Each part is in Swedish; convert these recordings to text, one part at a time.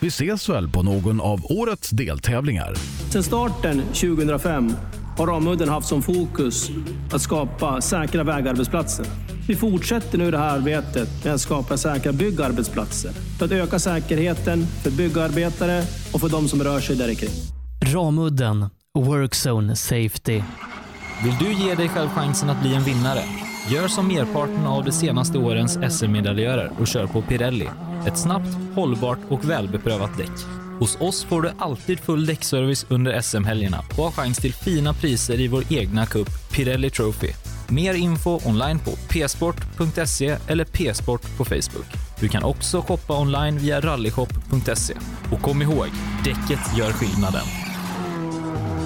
Vi ses väl på någon av årets deltävlingar? Sedan starten 2005 har Ramudden haft som fokus att skapa säkra vägarbetsplatser. Vi fortsätter nu det här arbetet med att skapa säkra byggarbetsplatser för att öka säkerheten för byggarbetare och för de som rör sig där kring. Ramudden Workzone Safety. Vill du ge dig själv chansen att bli en vinnare? Gör som merparten av de senaste årens SM-medaljörer och kör på Pirelli. Ett snabbt, hållbart och välbeprövat däck. Hos oss får du alltid full däckservice under SM-helgerna och har chans till fina priser i vår egna cup, Pirelli Trophy. Mer info online på psport.se eller psport på Facebook. Du kan också shoppa online via rallyshop.se. Och kom ihåg, däcket gör skillnaden.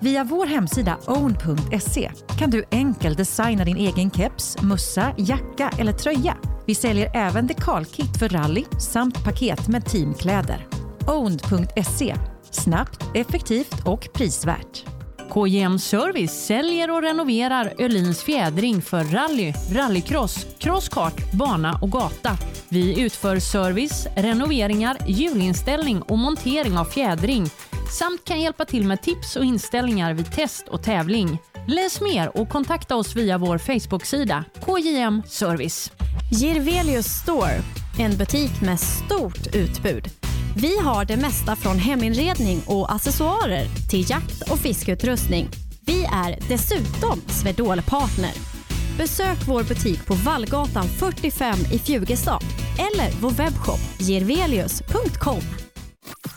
Via vår hemsida own.se kan du enkelt designa din egen keps, mössa, jacka eller tröja. Vi säljer även dekalkit för rally samt paket med teamkläder. Own.se Snabbt, effektivt och prisvärt. KJM Service säljer och renoverar Öhlins fjädring för rally, rallycross, crosskart, bana och gata. Vi utför service, renoveringar, hjulinställning och montering av fjädring samt kan hjälpa till med tips och inställningar vid test och tävling. Läs mer och kontakta oss via vår Facebook-sida KJM Service. Girvelius Store, en butik med stort utbud. Vi har det mesta från heminredning och accessoarer till jakt och fiskeutrustning. Vi är dessutom Swedol-partner. Besök vår butik på Vallgatan 45 i Fjugestad eller vår webbshop girvelius.com.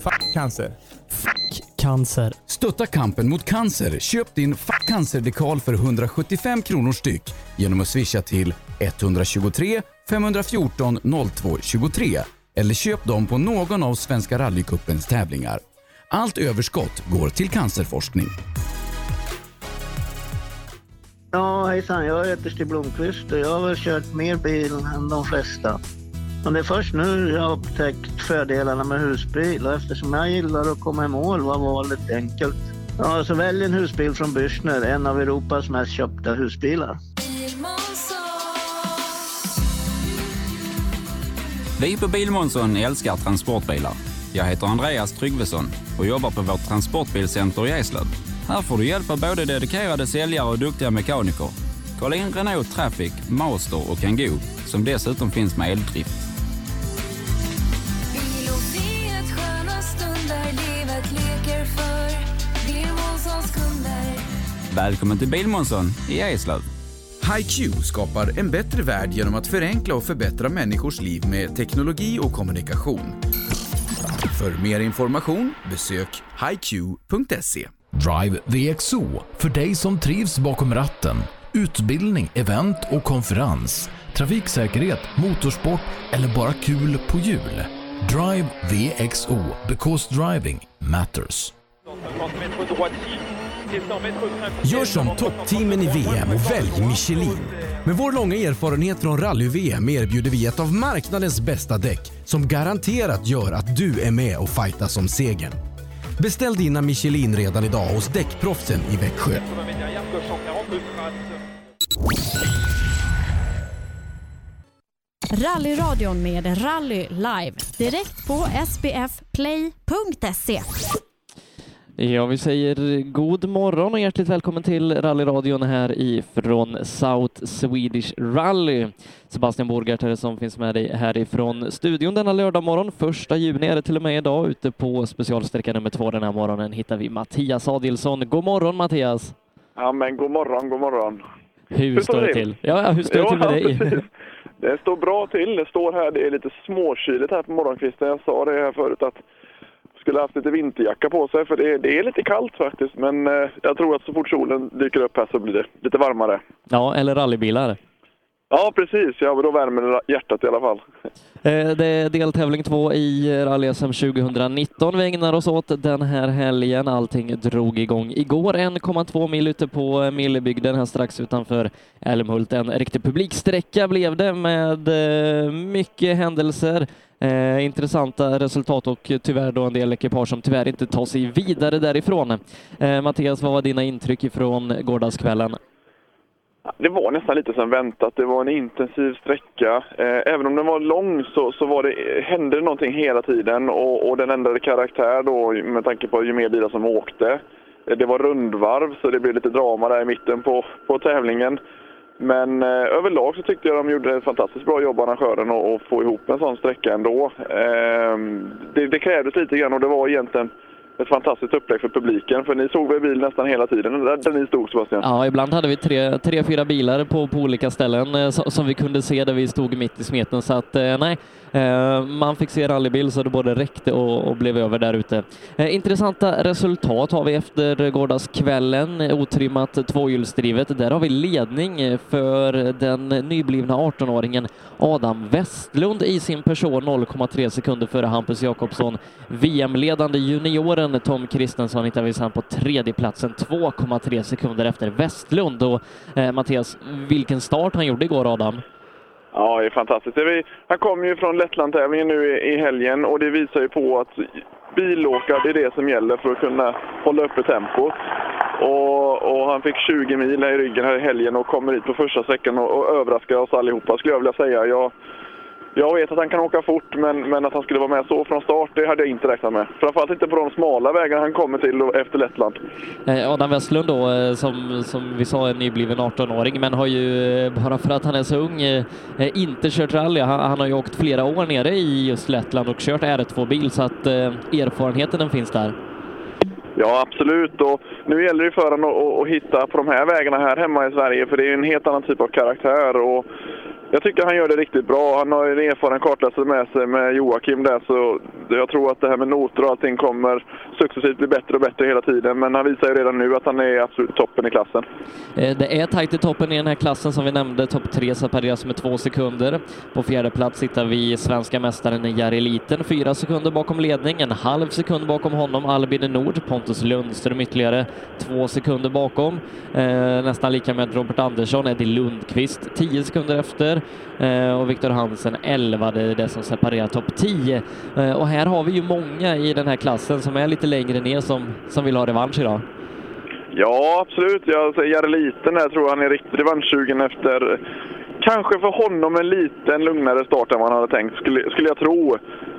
Fuck cancer. Cancer. Stötta kampen mot cancer. Köp din Fuck cancer-dekal för 175 kronor styck genom att swisha till 123 514 02 23 eller köp dem på någon av Svenska rallycupens tävlingar. Allt överskott går till cancerforskning. Ja, hejsan. Jag heter Stig Blomqvist och jag har väl kört mer bil än de flesta. Men det är först nu jag har upptäckt fördelarna med husbil och eftersom jag gillar att komma i mål var valet enkelt. Ja, så välj en husbil från Bürstner, en av Europas mest köpta husbilar. Vi på Bilmånsson älskar transportbilar. Jag heter Andreas Tryggvesson och jobbar på vårt transportbilcenter i Eslöv. Här får du hjälp av både dedikerade säljare och duktiga mekaniker. Kolla in Renault Traffic, Master och Kangoo som dessutom finns med eldrift. Välkommen till Bilmånsson i Eslöv. HiQ skapar en bättre värld genom att förenkla och förbättra människors liv med teknologi och kommunikation. För mer information besök hiq.se. Drive VXO för dig som trivs bakom ratten. Utbildning, event och konferens. Trafiksäkerhet, motorsport eller bara kul på jul. Drive VXO because driving matters. Gör som toppteamen i VM och välj Michelin. Med vår långa erfarenhet från rally-VM erbjuder vi ett av marknadens bästa däck som garanterat gör att du är med och fightar som segern. Beställ dina Michelin redan idag hos Däckproffsen i Växjö. Rallyradion med Rally Live. Direkt på E. sbfplay.se. Ja, vi säger god morgon och hjärtligt välkommen till rallyradion här ifrån South Swedish Rally. Sebastian Borgart här som finns med dig härifrån studion denna lördag morgon. Första juni är det till och med idag. Ute på specialsträcka nummer två den här morgonen hittar vi Mattias Adilsson. God morgon Mattias! Ja, men god morgon, god morgon. Hur, står det till? Ja, ja, hur står det till med dig? precis. Det står bra till. Det står här, det är lite småkyligt här på morgonkvisten. Jag sa det här förut att jag skulle haft lite vinterjacka på sig för det är, det är lite kallt faktiskt. Men eh, jag tror att så fort solen dyker upp här så blir det lite varmare. Ja, eller rallybilar. Ja, precis. Ja, men då värmer det hjärtat i alla fall. Eh, Det är deltävling två i rally-SM 2019 vi ägnar oss åt den här helgen. Allting drog igång igår. 1,2 mil ute på eh, Millebygden här strax utanför Älmhult. En riktig publiksträcka blev det med eh, mycket händelser. Eh, intressanta resultat och tyvärr då en del ekipage som tyvärr inte tar sig vidare därifrån. Eh, Mattias, vad var dina intryck ifrån gårdagskvällen? Det var nästan lite som väntat. Det var en intensiv sträcka. Eh, även om den var lång så, så var det, eh, hände det någonting hela tiden och, och den ändrade karaktär då med tanke på ju mer bilar som åkte. Eh, det var rundvarv så det blev lite drama där i mitten på, på tävlingen. Men eh, överlag så tyckte jag de gjorde ett fantastiskt bra jobb, arrangören, och, och få ihop en sån sträcka ändå. Eh, det, det krävdes lite grann och det var egentligen ett fantastiskt upplägg för publiken. För ni såg väl bil nästan hela tiden där, där ni stod Sebastian? Ja, ibland hade vi tre, tre fyra bilar på, på olika ställen eh, so- som vi kunde se där vi stod mitt i smeten. Så att eh, nej, eh, man fick se rallybil så det både räckte och, och blev över där ute. Eh, intressanta resultat har vi efter gårdagskvällen. eh, Otrimmat tvåhjulsdrivet. Där har vi ledning eh, för den nyblivna 18-åringen Adam Westlund i sin person 0,3 sekunder före Hampus Jakobsson. VM-ledande junioren Tom Kristensson hittar vi sen på tredjeplatsen 2,3 sekunder efter Westlund. Och eh, Mattias, vilken start han gjorde igår Adam. Ja, det är fantastiskt. Det är vi- Han kommer ju från Lettland-tävlingen nu i- i helgen och det visar ju på att bilåkare, det är det som gäller för att kunna hålla uppe tempot. Och, och han fick 20 mil här i ryggen här i helgen och kommer hit på första sträckan och, och överraskar oss allihopa skulle jag vilja säga. Jag, jag vet att han kan åka fort men, men att han skulle vara med så från start, det hade jag inte räknat med. Framförallt inte på de smala vägarna han kommer till och- efter Lettland. Eh, Adam Westlund då, eh, som, som vi sa, är nybliven 18-åring, men har ju, eh, bara för att han är så ung, eh, eh, inte kört rally. Han, han har ju åkt flera år nere i just Lettland och kört R2-bil, så att eh, erfarenheten den finns där. Ja, absolut. Och nu gäller det för honom att, att, att hitta på de här vägarna här hemma i Sverige, för det är ju en helt annan typ av karaktär. Och jag tycker han gör det riktigt bra. Han har ju en erfaren kartläsare med sig med Joakim där, så jag tror att det här med noter och allting kommer successivt bli bättre och bättre hela tiden. Men han visar ju redan nu att han är absolut toppen i klassen. Eh, Det är tajt i toppen i den här klassen som vi nämnde. Topp tre separeras med två sekunder. På fjärde plats hittar vi svenska mästaren Jari Liten, fyra sekunder bakom ledning, en halv sekund bakom honom Albin Nord, Pontus Lundström ytterligare två sekunder bakom. Eh, nästan lika med Robert Andersson, Eddie Lundqvist, tio sekunder efter eh, och Viktor Hansen elva, det är det som separerar topp tio. Eh, och här har vi ju många i den här klassen som är lite längre ner som, som vill ha revansch idag. Ja, absolut. Jag säger Jerry Liten där tror jag han är riktigt revanschsugen efter kanske för honom en liten lugnare start än vad han hade tänkt, skulle, skulle jag tro.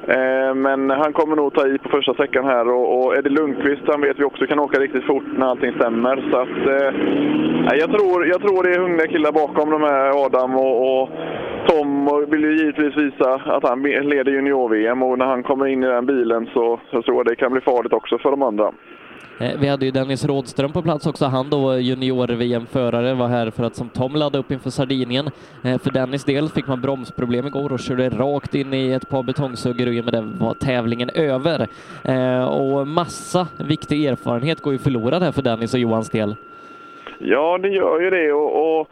Eh, men han kommer nog ta i på första säcken här och, och Eddie Lundqvist han vet vi också kan åka riktigt fort när allting stämmer. Så att, eh, nej, jag, tror, jag tror det är hungriga killar bakom de här Adam och, och Tom och vill ju givetvis visa att han leder junior-VM och när han kommer in i den bilen så, så tror jag det kan bli farligt också för de andra. Eh, Vi hade ju Dennis Rådström på plats också. Han då junior-VM-förare var här för att som Tom ladda upp inför Sardinien. Eh, För Dennis del fick man bromsproblem igår och körde rakt in i ett par betongsuggor och i och med det var tävlingen över. Eh, Och massa viktig erfarenhet går ju förlorad här för Dennis och Johans del. Ja, det gör ju det. Och, och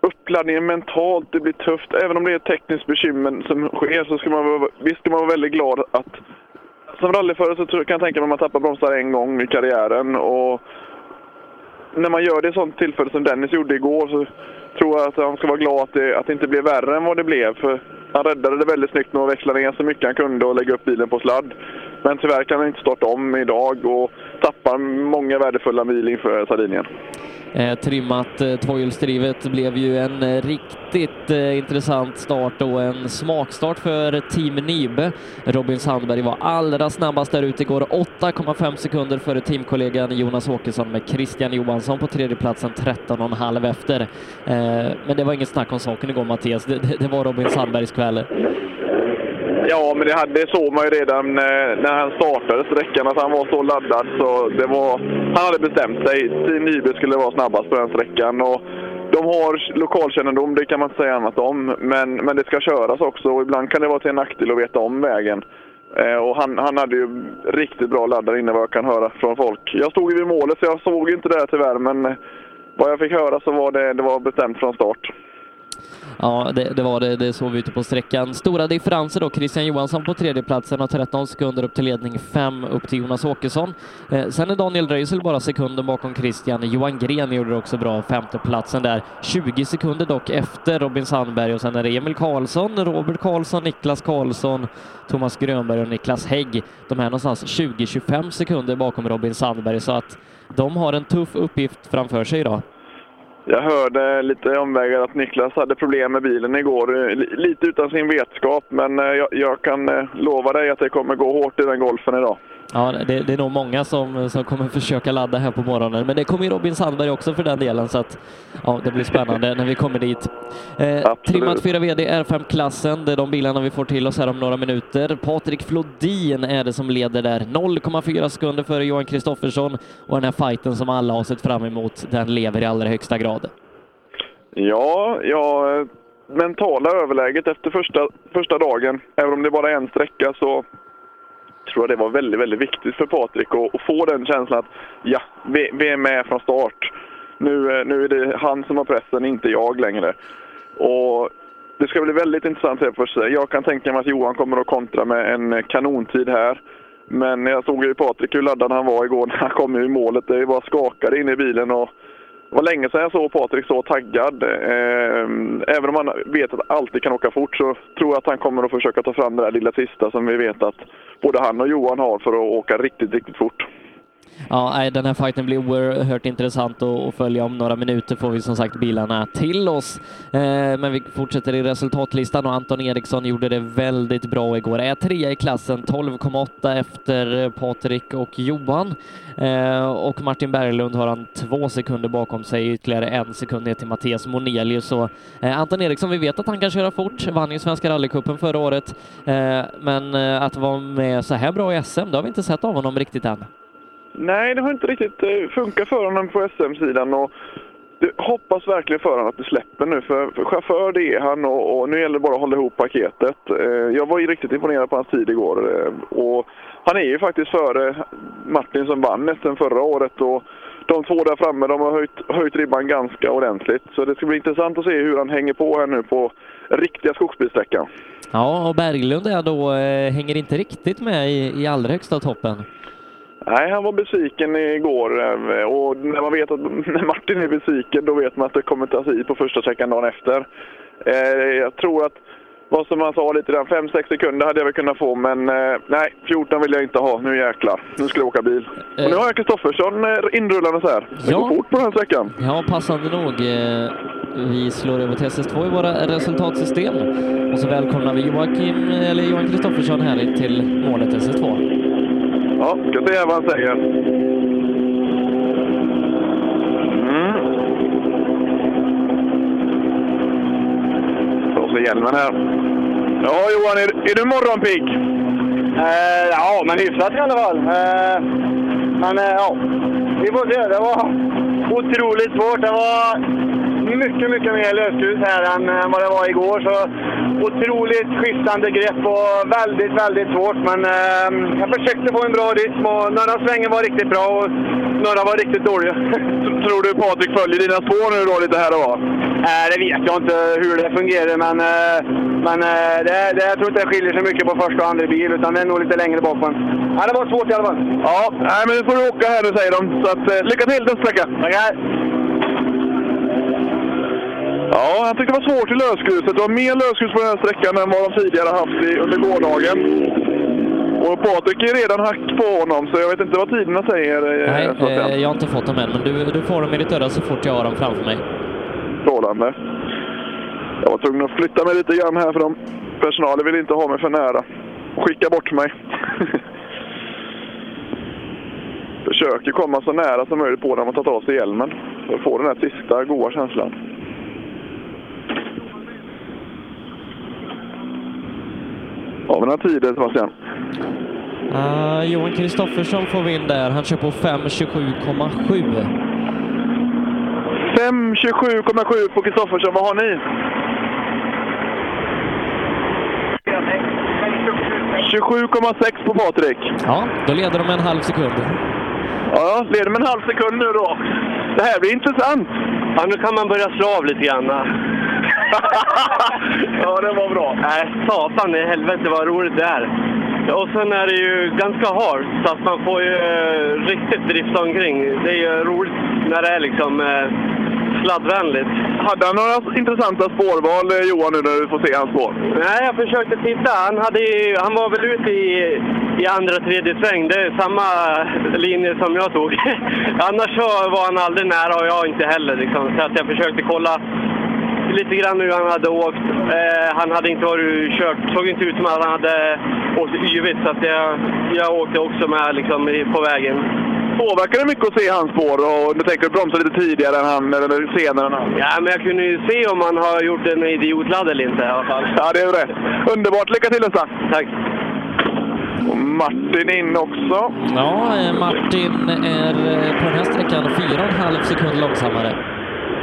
uppladdningen mentalt, det blir tufft. Även om det är ett tekniskt bekymmer som sker så ska man, vara- visst ska man vara väldigt glad att... Som rallyförare så tror- kan jag tänka mig att man tappar bromsar en gång i karriären. Och när man gör det i sånt tillfälle som Dennis gjorde igår så tror jag att han ska vara glad att det, att det inte blev värre än vad det blev. För han räddade det väldigt snyggt med att växla ner så mycket han kunde och lägga upp bilen på sladd. Men tyvärr kan han inte starta om idag och tappar många värdefulla mil inför Sardinien. Eh, trimmat eh, tvåhjulsdrivet blev ju en eh, riktigt eh, intressant start och en smakstart för Team Nibe. Robin Sandberg var allra snabbast där ute igår, 8,5 sekunder före teamkollegan Jonas Åkesson med Christian Johansson på tredjeplatsen 13,5 efter. Eh, men det var inget snack om saken igår Mattias, det, det, det var Robin Sandbergs kväll. Ja, men det, hade, det såg man ju redan eh, när han startade sträckan att han var så laddad. Så det var, han hade bestämt sig. Team Nyby skulle vara snabbast på den sträckan. Och de har lokalkännedom, det kan man inte säga annat om. Men, men det ska köras också och ibland kan det vara till en nackdel att veta om vägen. Eh, och han, han hade ju riktigt bra laddar innan vad jag kan höra från folk. Jag stod ju vid målet så jag såg ju inte det här tyvärr, men eh, vad jag fick höra så var det, det var bestämt från start. Ja, det, det var det. Det såg vi ute på sträckan. Stora differenser då. Christian Johansson på tredjeplatsen har 13 sekunder upp till ledning, 5 upp till Jonas Åkesson. Eh, sen är Daniel Röisel bara sekunden bakom Christian. Johan Gren gjorde det också bra, femteplatsen där. 20 sekunder dock efter Robin Sandberg och sen är det Emil Karlsson, Robert Karlsson, Niklas Karlsson, Thomas Grönberg och Niklas Hägg. De är någonstans 20-25 sekunder bakom Robin Sandberg så att de har en tuff uppgift framför sig idag. Jag hörde lite omvägar att Niklas hade problem med bilen igår. L- Lite utan sin vetskap, men eh, jag, jag kan eh, lova dig att det kommer gå hårt i den golfen idag. Ja, det, det är nog många som, som kommer försöka ladda här på morgonen, men det kommer ju Robin Sandberg också för den delen, så att ja, det blir spännande när vi kommer dit. Eh, trimmat 4 VD R5-klassen, det är de bilarna vi får till oss här om några minuter. Patrik Flodin är det som leder där, 0,4 sekunder före Johan Kristoffersson och den här fighten som alla har sett fram emot, den lever i allra högsta grad. Ja, ja eh, mentala överläget efter första, första dagen, även om det bara är en sträcka, så tror jag det var väldigt, väldigt viktigt för Patrik att, att få den känslan att ja, vi, vi är med från start. Nu, eh, nu är det han som har pressen, inte jag längre. Och det ska bli väldigt intressant här på sig. Jag kan tänka mig att Johan kommer att kontra med en kanontid här. Men jag såg ju Patrik hur laddad han var igår när han kom ur målet. Det bara skakade inne i bilen och det var länge sedan jag såg Patrik så taggad. Eh, Även om han vet att han alltid kan åka fort så tror jag att han kommer att försöka ta fram det där lilla sista som vi vet att både han och Johan har för att åka riktigt, riktigt fort. Ja, nej, den här fighten blir oerhört intressant att att följa. Om några minuter får vi som sagt bilarna till oss. Eh, Men vi fortsätter i resultatlistan och Anton Eriksson gjorde det väldigt bra igår. Är trea i klassen, 12,8 efter eh, Patrik och Johan. Eh, Och Martin Berglund har han två sekunder bakom sig, ytterligare en sekund ner till Mattias Monelius. Så eh, Anton Eriksson, vi vet att han kan köra fort, vann ju Svenska rallycupen förra året. Eh, Men eh, att vara med så här bra i SM, det har vi inte sett av honom riktigt än. Nej, det har inte riktigt eh, funkat för honom på SM-sidan. Och det- hoppas verkligen för honom att det släpper nu, för, för chaufför det är han och, och nu gäller det bara att hålla ihop paketet. Eh, jag var ju riktigt imponerad på hans tid igår. Eh, och han är ju faktiskt före Martin som vann SM förra året. Och de två där framme de har höjt, höjt ribban ganska ordentligt. Så det ska bli intressant att se hur han hänger på här nu på riktiga skogsbilsträckan. Ja, och Berglund är då, eh, hänger inte riktigt med i, i allra högsta toppen. Nej, han var besviken igår eh, och när man vet att när Martin är besviken då vet man att det kommer ta sig i på första sträckan dagen efter. Eh, jag tror att, vad som han sa lite där, 5-6 sekunder hade jag väl kunnat få men eh, nej, 14 vill jag inte ha. Nu jäklar, nu ska jag åka bil. Och nu har jag Kristoffersson eh, inrullandes här. Det Ja. går fort på den här sträckan. Ja, passande nog. eh, Vi slår över till SS2 i våra resultatsystem. Och så välkomnar vi Joakim, eller Johan Kristoffersson här till målet SS2. Ja, ska se vad han säger. Mm. Slår sig hjälmen här. Ja, Johan, är, är du morgonpigg? Eh, ja, men hyfsat i alla fall. Eh, men eh, ja, vi får se. Det var otroligt svårt. Det var mycket, mycket mer lösgrus här än eh, vad det var igår. Så otroligt skiftande grepp och väldigt, väldigt svårt. Men eh, jag försökte få en bra rytm och några svängar var riktigt bra och några var riktigt dåliga. Tror du Patrik följer dina spår nu då lite här och var? Eh, det vet jag inte hur det fungerar, men, eh, men eh, det, det, jag tror inte det skiljer sig mycket på första och andra bil, utan det är nog lite längre bak. Men, ja, det var svårt i alla fall. Ja, nej, men nu får du åka här nu säger de. Så att, eh, lycka till nästa vecka! Tackar! Ja, han tyckte det var svårt i lösgruset. Det var mer lösgrus på den här sträckan än vad de tidigare haft i, under gårdagen. Och Patrik är redan hack på honom, så jag vet inte vad tiderna säger. eh, Nej, Sebastian. eh, jag har inte fått dem än, men du, du får dem i ditt öra så fort jag har dem framför mig. Strålande. Jag var tvungen att flytta mig lite grann här för de personalen vill inte ha mig för nära. Skicka bort mig. Försöker komma så nära som möjligt på dem och ta av sig hjälmen. För att få den här sista goa känslan. Har vi några tider Sebastian? Ah, Johan Kristoffersson får vi in där. Han kör på 5.27,7. 5.27,7 på Kristoffersson. Vad har ni? 27,6 på Patrik. Ja, då leder de med en halv sekund. Ja, leder med en halv sekund nu då. Det här blir intressant. Ja, nu kan man börja slå av lite grann. ja, det var bra. Nej, satan i helvete vad roligt det är. Och sen är det ju ganska hårt så att man får ju eh, riktigt drifta omkring. Det är ju roligt när det är liksom eh, sladdvänligt. Hade han några intressanta spårval, eh, Johan, nu när du får se hans spår? Nej, jag försökte titta. Han, hade ju, han var väl ute i, i andra, tredje sväng. Det är samma linje som jag tog. Annars så var han aldrig nära och jag inte heller. Liksom. Så att jag försökte kolla lite grann hur han hade åkt. Eh, han hade inte varit ur- kört. såg inte ut som att han hade åkt yvigt. Så att jag, jag åkte också med liksom, i- på vägen. Påverkar det mycket att se hans spår? Och du tänker bromsa lite tidigare än han, eller senare än han? Ja, men jag kunde ju se om han har gjort en idiotladd eller inte i alla fall. Ja, det är rätt. Underbart. Lycka till nästa. Tack. Och Martin in också. Ja, eh, Martin är eh, på den här sträckan 4,5 sekund långsammare.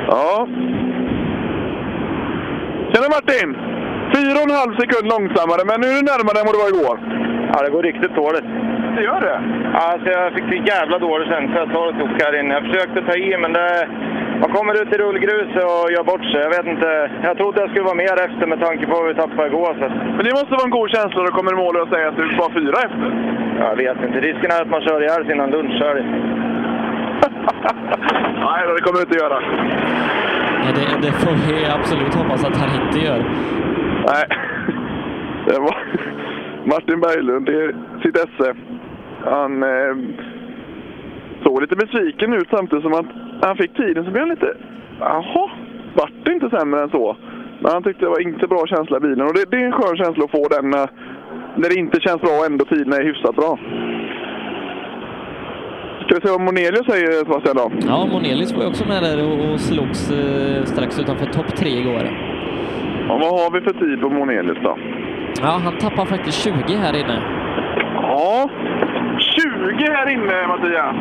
Ja. Tjena Martin! Fyra och en halv sekund långsammare, men nu är du närmare än vad du var igår. Ja, det går riktigt dåligt. Det gör det? Alltså jag fick en jävla dålig känsla att ta det tok här inne. Jag försökte ta i men det... Man kommer ut i rullgruset och gör bort sig. Jag vet inte. Jag trodde jag skulle vara mer efter med tanke på hur vi tappade igår. Så. Men det måste vara en god känsla när du kommer i mål och säger att du bara fyra efter. Jag vet inte. Risken är att man kör ihjäl sig innan lunch. så är det. Nej då, det kommer du inte göra. Ja, det, det får vi absolut hoppas att han inte gör. Nej. Det var Martin Berglund i sitt esse. Han eh, såg lite besviken ut samtidigt som att när han fick tiden så blev han lite... Jaha, vart det inte sämre än så? Men han tyckte det var inte bra känsla i bilen. Och det, det är en skön känsla att få den när, när det inte känns bra och ändå tiden är hyfsat bra. Ska vi se vad Monelius säger Sebastian då? Ja, Monelius var ju också med där och, och slogs eh, strax utanför topp tre igår. Ja, vad har vi för tid på Monelius då? Ja, han tappar faktiskt 20 här inne. Ja, 20 här inne Mattias.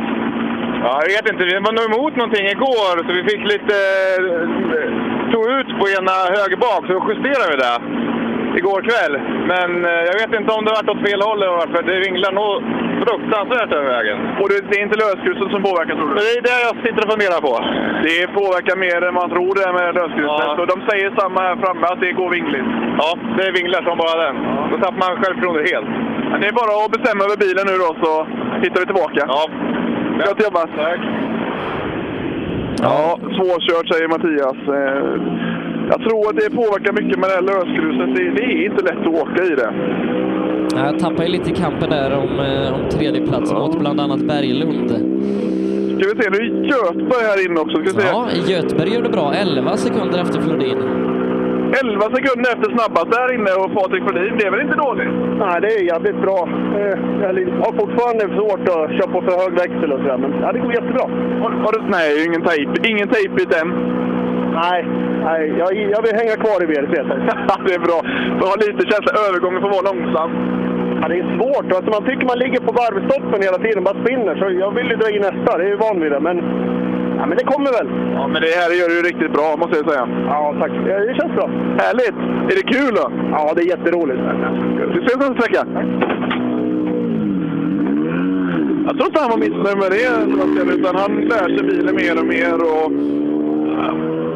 Ja, jag vet inte. Vi var nog emot någonting igår så vi fick lite... eh, Tog ut på ena höger bak så justerade vi det. Igår kväll. Men eh, jag vet inte om det varit åt fel håll eller varför. Det vinglar nog fruktansvärt över vägen. Och det, det är inte lösgruset som påverkar tror du? Det är det jag sitter och funderar på. Det påverkar mer än man tror det här med lösgruset. Och de säger samma här framme, att det går vingligt. Ja, det vinglar som bara den. Då tappar man självförtroendet helt. Men det är bara att bestämma över bilen nu då så hittar vi tillbaka. Ja. Gott jobbat! Tack! Ja, svårkört säger Mattias. Eh, Jag tror att det påverkar mycket med det här lösgruset. Det, det är inte lätt att åka i det. Ja, Jag tappar ju lite i kampen där om, eh, om tredjeplatsen mot bland annat Berglund. Ska vi se, nu är Göteborg här inne också. Ska vi se. Ja, Göteborg gör det bra. 11 sekunder efter Flodin. 11 sekunder efter snabbast där inne och Patrik Flodin, det är väl inte dåligt? Nej, det är jävligt bra. Eh, Jag har fortfarande svårt att köra på för hög växel och sådär, men ja, det går jättebra. Har, har du, nej, ingen tejp. Ingen tejpbit än. Nej, nej jag, jag vill hänga kvar i VRC. det är bra. Du har lite känsla. Övergången får vara långsam. Ja, det är svårt. Alltså, man tycker man ligger på varvstoppen hela tiden, bara spinner. Så jag vill ju dra i nästa, det är ju van vid det. Men, ja, men det kommer väl. Ja, men det här gör du riktigt bra, måste jag säga. Ja, tack. Ja, Det känns bra. Härligt! Är det kul då? Ja, det är jätteroligt. Vi ses nästa vecka. Jag tror inte han var missnöjd med det, Sebastian, utan han lär sig bilen mer och mer. Och, ja,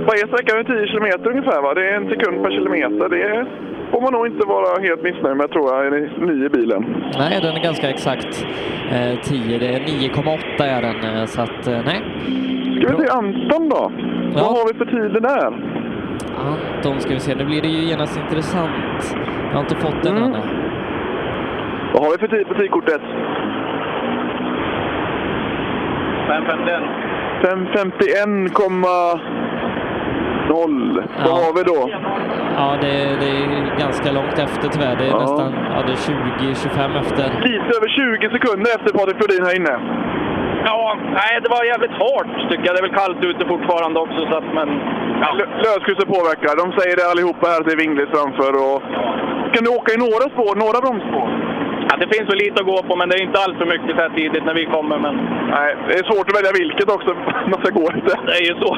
varje sträcka är 10 kilometer ungefär, va? Det är en sekund per kilometer. Det får man nog inte vara helt missnöjd med, tror jag, är ni- ny i bilen. Nej, den är ganska exakt eh, 10. Det är 9,8 är den, eh, så att eh, nej. Ska vi se Anton då? Vad har vi för tider där? Mm. Anton ska vi se, nu blir det ju genast intressant. Jag har inte fått den än. Vad har vi för tid på tidkortet? 551. 551,0. Ja. Vad har vi då? Ja, det, det är ganska långt efter tyvärr. Det är Ja. nästan ja, det är 20-25 efter. Lite över 20 sekunder efter Patrik Flodin här inne. Ja, nej, det var jävligt hårt tycker jag. Det är väl kallt ute fortfarande också, så att, men... Ja. Löskus är påverkad. De säger det allihopa här att det är vingligt framför. Och... Kan du åka i några spår, några bromsspår? Ja, det finns väl lite att gå på, men det är inte allt för mycket så här tidigt när vi kommer. Men... Nej, det är svårt att välja vilket också. Man ska gå lite. Det är ju så.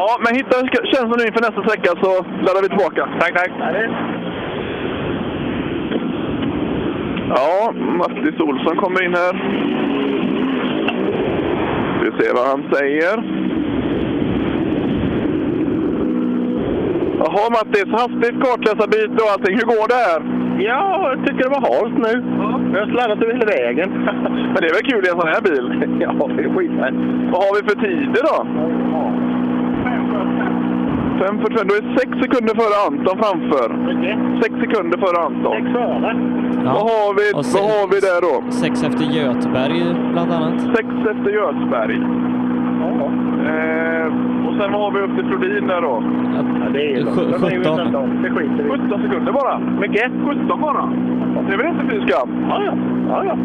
Ja, men hitta känslan nu inför nästa sträcka så laddar vi tillbaka. Tack, tack. Ja, Mattis Olsson kommer in här. Vi ser vad han säger. Jaha Mattis, hastigt kartläsarbyte och allting. Hur går det här? Ja, jag tycker det var halt nu. Jag har sladdat över hela vägen. Men det är väl kul i en sån här bil? ja, det är skitfett. Vad har vi för tider då? 5 för 20. Du är 6 sekunder före Anton framför. 6 sekunder före Anton. 6 före. Vad, har vi, Och vad har vi där då? Sex efter Göteberg bland annat. 6 efter Göteberg. Eh, och sen vad har vi upp till Flodin där då? Ja, det ju- Sju- de är ju 17. Det skiter vi 17 sekunder bara. Mycket? 17 bara. Det är väl inte fy skam? Ja, ja. ja.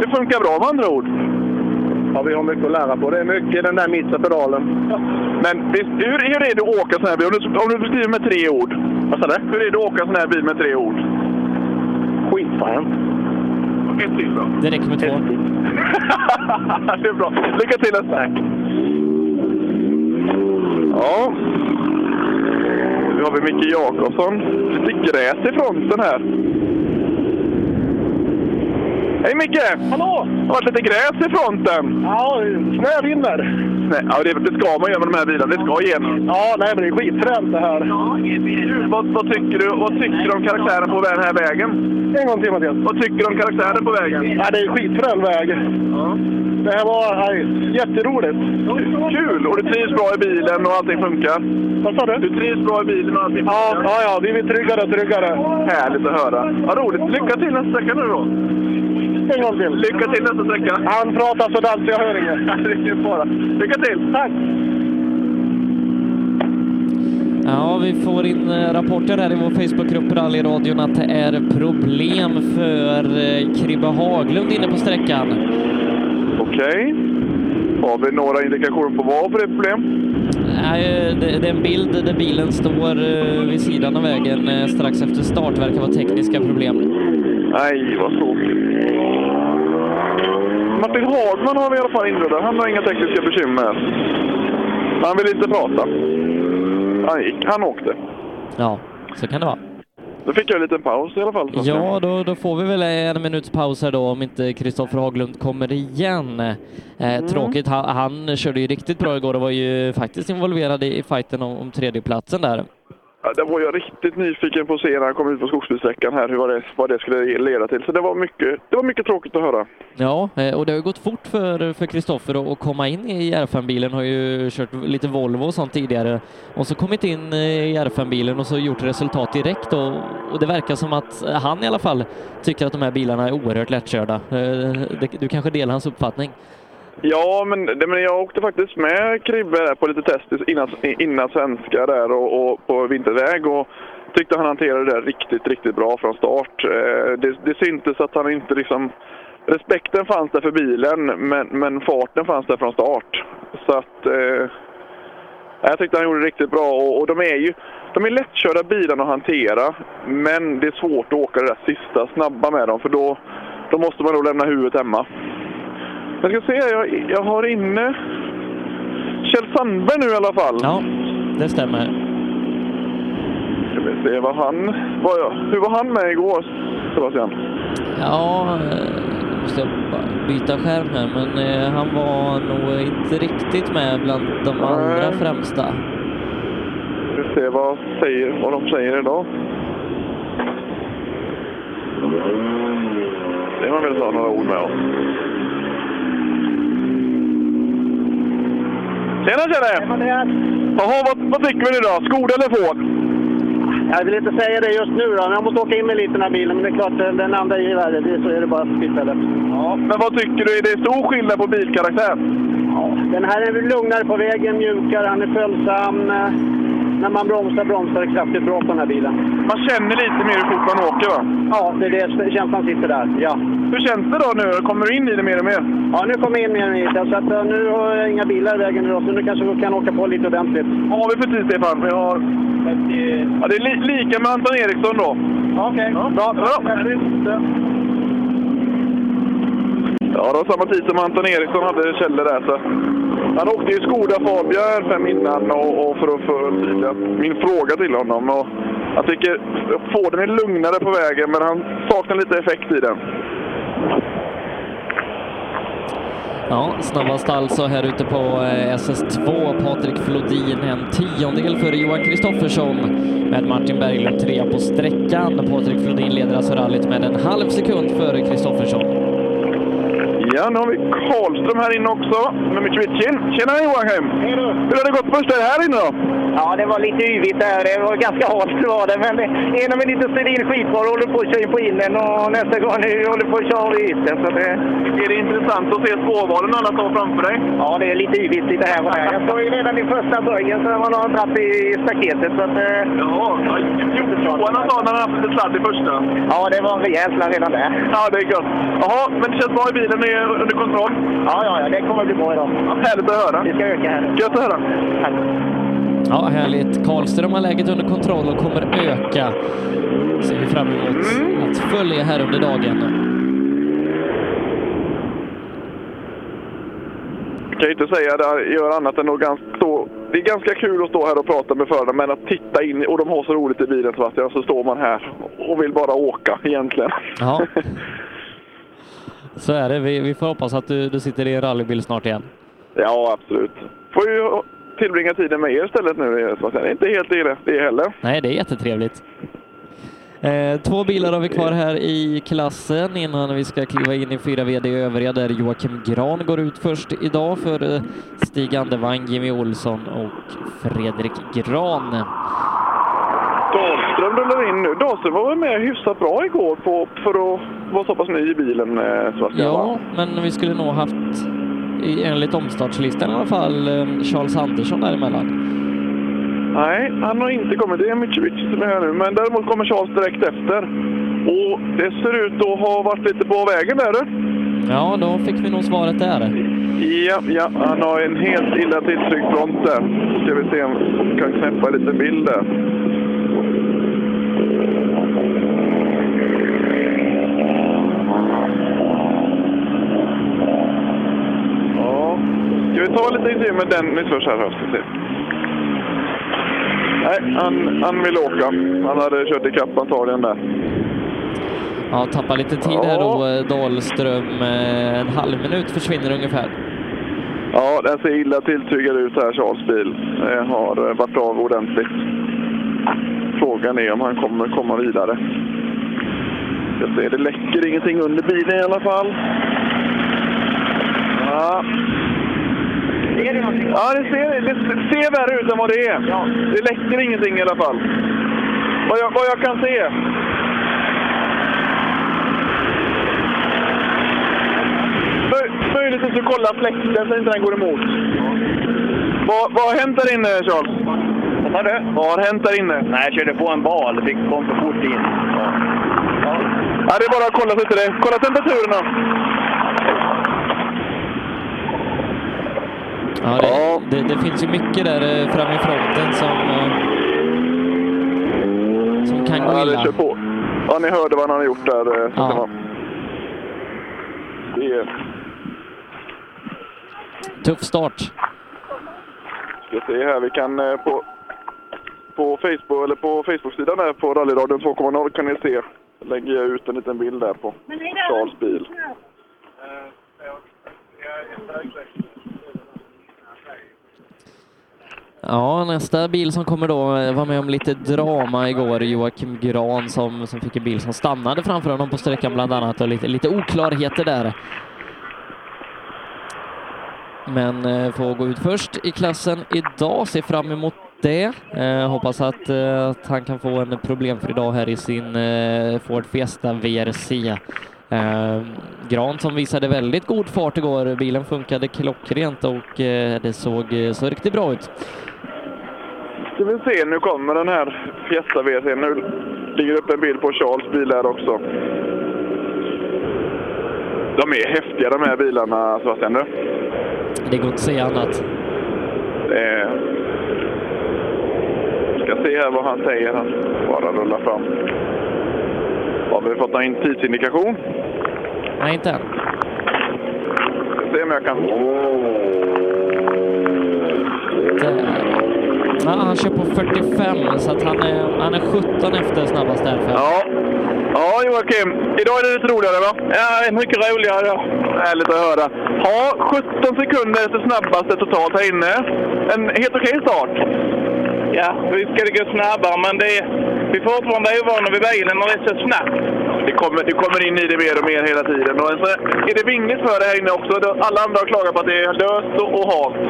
Det funkar bra med andra ord. Ja, vi har mycket att lära på. Det är mycket den där mittra pedalen. Men visst, hur, hur är det att åka sån här bil? Om du, om du beskriver med tre ord. Vad sa du? Hur är det att åka sån här bil med tre ord? Skitfränt. Ett till då. Det räcker med två. det är bra. Lycka till nästa. Tack. Ja. Nu har vi Micke Jakobsson. Lite gräs i fronten här. Hej Micke! Hallå! Det har varit lite gräs i fronten. Ja, snö vinner. Nej, ja, det, det ska man göra med de här bilarna. Det ska igenom. Ja, nej, men det är skitfränt det här. Vad, vad, tycker du, vad tycker du om karaktären på den här vägen? En gång till Mattias. Vad tycker du om karaktären på vägen? Ja, det är skitfrän väg. Det här var nej, jätteroligt. Kul! Och du trivs bra i bilen och allting funkar? Vad sa du? Du trivs bra i bilen och allting funkar? Ja, ja, vi blir tryggare och tryggare. Härligt att höra. Vad roligt. Lycka till nästa sträcka nu då. En gång till. Lycka till nästa sträcka. Han pratar så dansar jag hör inget. Det är ingen fara. Lycka till. Tack. Ja, vi får in eh, rapporter här i vår Facebookgrupp Rallyradion att det är problem för eh, Kribbe Haglund inne på sträckan. Okej. Har vi några indikationer på vad för det är problem? Nej, eh, Det det är en bild där bilen står eh, vid sidan av vägen eh, strax efter start. Verkar vara tekniska problem. Nej, vad tråkigt. Martin Hagman har vi i alla fall inbjuden. Han har inga tekniska bekymmer. Han vill inte prata. Han gick. Han åkte. Ja, så kan det vara. Då fick jag en liten paus i alla fall. Ja, då, då får vi väl en minuts paus här då om inte Kristoffer Haglund kommer igen. Eh, Mm. Tråkigt, han, han körde ju riktigt bra igår och var ju faktiskt involverad i i fighten om, om tredjeplatsen där. Ja, Där var jag riktigt nyfiken på att se när han kom ut på skogsbilssträckan här, hur vad det, vad det skulle leda till. Så det var mycket, det var mycket tråkigt att höra. Ja, eh, och det har ju gått fort för för Kristoffer att att komma in i R5-bilen. Har ju kört lite Volvo och sånt tidigare och så kommit in eh, i R5-bilen och så gjort resultat direkt och, och det verkar som att eh, han i alla fall tycker att de här bilarna är oerhört lättkörda. Eh, det- Du kanske delar hans uppfattning? Ja, men, det, men jag åkte faktiskt med Kribbe där på lite test innan, innan svenska där och, och på vinterväg och tyckte han hanterade det där riktigt, riktigt bra från start. Eh, det, det syntes att han inte liksom... Respekten fanns där för bilen, men, men farten fanns där från start. Så att... Eh, jag tyckte han gjorde det riktigt bra och, och de är ju... De är lättkörda bilarna att hantera, men det är svårt att åka det där sista snabba med dem för då, då måste man nog lämna huvudet hemma. Jag ska se, jag, jag har inne Kjell Sandberg nu i alla fall. Ja, det stämmer. Ska vi se vad han... Vad jag, hur var han med igår, Sebastian? Ja, eh, nu måste jag bara byta skärm här, men eh, han var nog inte riktigt med bland de allra främsta. Ska vi se vad, säger, vad de säger idag. Det man väl ta några ord med om. Tjena, tjena! Jaha, vad, vad tycker vi nu då? Skoda eller får? Jag vill inte säga det just nu då, men jag måste åka in med lite den här bilen. Men det är klart, den den andra är ju värre. Det, så är det bara för tillfället. Ja, men vad tycker du? Är det stor skillnad på bilkaraktär? Den här är lugnare på vägen, mjukare, han är följsam. Eh, När man bromsar, bromsar det kraftigt bra på den här bilen. Man känner lite mer hur fort man åker va? Ja, det är det känslan sitter där. Ja. Hur känns det då nu? Kommer du in i det mer och mer? Ja, nu kommer jag in mer än hit. Så att, eh, nu har jag inga bilar i vägen idag, så nu kanske vi kan åka på lite ordentligt. Vad har vi för tid, Stefan? Vi har... Ja, det är li- lika med Anton Eriksson då. Okej, bra. Ja, det var samma tid som Anton Eriksson hade Kjelle där. Så. Han åkte ju Skoda Fabia R5 innan och, och för att förtydliga min fråga till honom. Och jag tycker Forden är lugnare på vägen, men han saknar lite effekt i den. Ja, snabbast alltså här ute på eh, SS2. Patrik Flodin en tiondel före Johan Kristoffersson med Martin Berglund trea på sträckan. Patrik Flodin leder alltså rallyt med en halv sekund före Kristoffersson. Ja, nu har vi Karlström här inne också, med Mitjvitjin. Tjena Joakim! Hur har det gått första här inne då? Ja, det var lite yvigt där. Det var ganska halt var det. Men det- genom en liten steril skitbar håller på att köra in på innen och nästa gång nu håller på att köra i ytten. Så det... Är det intressant att se spårvalen alla tar framför dig? Ja, det är lite yvigt lite här och där. Jag står ju redan i första böjen så man har dratt i staketet. Så att, eh... Ja, Johan sa när han haft lite sladd i första. Ja, det var en rejäl sladd redan där. Ja, det är gött. Jaha, men det känns bra i bilen? Det är under kontroll? Ja, ja, ja det kommer bli bra idag. Ja, härligt att höra. Vi ska öka här. Gött att höra. Ja, härligt. Karlström har läget under kontroll och kommer öka. Ser vi fram emot att följa här under dagen. Jag kan ju inte säga det här, gör annat än att ganska stå... Det är ganska kul att stå här och prata med förarna, men att titta in och de har så roligt i bilen Sebastian, så står man här och vill bara åka egentligen. Ja. Så är det. Vi, vi får hoppas att du, du sitter i en rallybil snart igen. Ja, absolut. Får ju tillbringa tiden med er istället nu Sebastian. Det är inte helt illa det heller. Nej, det är jättetrevligt. Eh, två bilar har vi kvar här i klassen innan vi ska kliva in i 4 VD övriga där Joakim Gran går ut först idag för eh, Stig Andervang, Jimmy Olsson och Fredrik Gran. Dahlström rullar in nu. Dahlström var väl med hyfsat bra igår på, för att vara så pass ny i bilen eh, Sebastian? Ja, va? men vi skulle nog haft, i- enligt omstartslistan i alla fall, eh, Charles Andersson däremellan. Nej, han har inte kommit. Det är Mitrovic som är här nu. Men däremot kommer Charles direkt efter. Och det ser ut att ha varit lite på vägen där du. Ja, då fick vi nog svaret där. Ja, ja, han har en helt illa tilltryckt front där. Ska vi se om vi kan knäppa lite bild där. Ja, ska vi ta lite intervju med Dennis först här då? Ska vi se. Nej, han, han vill åka. Han hade kört ikapp antagligen där. Ja, tappar lite tid här då, eh, Dahlström. Eh, En halv minut försvinner ungefär. Ja, den ser illa tilltygad ut här, Charles bil. Eh, Har eh, varit av ordentligt. Frågan är om han kommer komma vidare. Jag ser, det läcker ingenting under bilen i alla fall. Ja. Ja, det ser, det ser värre ut än vad det är. Det läcker ingenting i alla fall. Vad jag, vad jag kan se. Möj- Möjligtvis att kolla fläkten så inte den går emot. Vad, vad har hänt där inne, Charles? Vad sa du? Vad har hänt där inne? Nej, jag körde på en bal. Fick kom för fort in. Ja. Ja, det är bara att kolla så inte det. Kolla temperaturerna. Ja, det, det, det finns ju mycket där eh, framme i fronten som, eh, som kan gå Ja, det illa. kör på. Ja, ni hörde vad han har gjort där. eh, så Ja. kan man- Det är... Tuff start. Ska se här, vi kan eh, på, på Facebook eller på Facebook-sidan här på Rallyradion 2.0 kan ni se. Lägger jag ut en liten bild där på Charles bil. Ja, nästa bil som kommer då eh, var med om lite drama igår. Joakim Gran som, som fick en bil som stannade framför honom på sträckan bland annat och lite, lite oklarheter där. Men eh, får gå ut först i klassen idag. Ser fram emot det. Eh, hoppas att, eh, att han kan få en problemfri dag här i sin eh, Ford Fiesta VRC. Eh, Gran som visade väldigt god fart igår. Bilen funkade klockrent och eh, det såg, såg riktigt bra ut. Ska vi se, nu kommer den här Fiesta VC. Nu ligger upp en bild på Charles bil här också. De är häftiga de här bilarna, Sebastian. du. Det går inte att säga annat. Eh, ska se här vad han säger. Han bara rullar fram. Har vi fått någon tidsindikation? Nej, inte än. Ska se om jag kan... Ja, han kör på 45 så att han är, han är 17 efter snabbast därför. Ja. Ja, Joakim. Idag är det lite roligare, va? Ja, mycket roligare. Härligt att höra. Ja, 17 sekunder efter snabbaste totalt här inne. En helt okej start. Ja, vi ska det gå snabbare, men det är, vi är fortfarande ovana vid bilen när det är så snabbt. Det kommer, du kommer in i det mer och mer hela tiden. Och så är det vingligt för det här inne också. Alla andra har klagat på att det är löst och, och halt.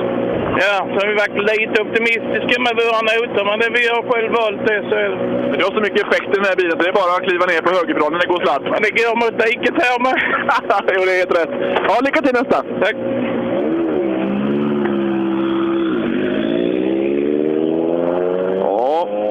Ja, så har vi varit lite optimistiska med våra noter, men det vi har själv valt det så är det. Men du har så mycket effekt i den här bilen så det är bara att kliva ner på högerbromsen när det går sladd. Men det går mot diket här med. jo, det är helt rätt. Ja, lycka till nästa! Tack! Ja.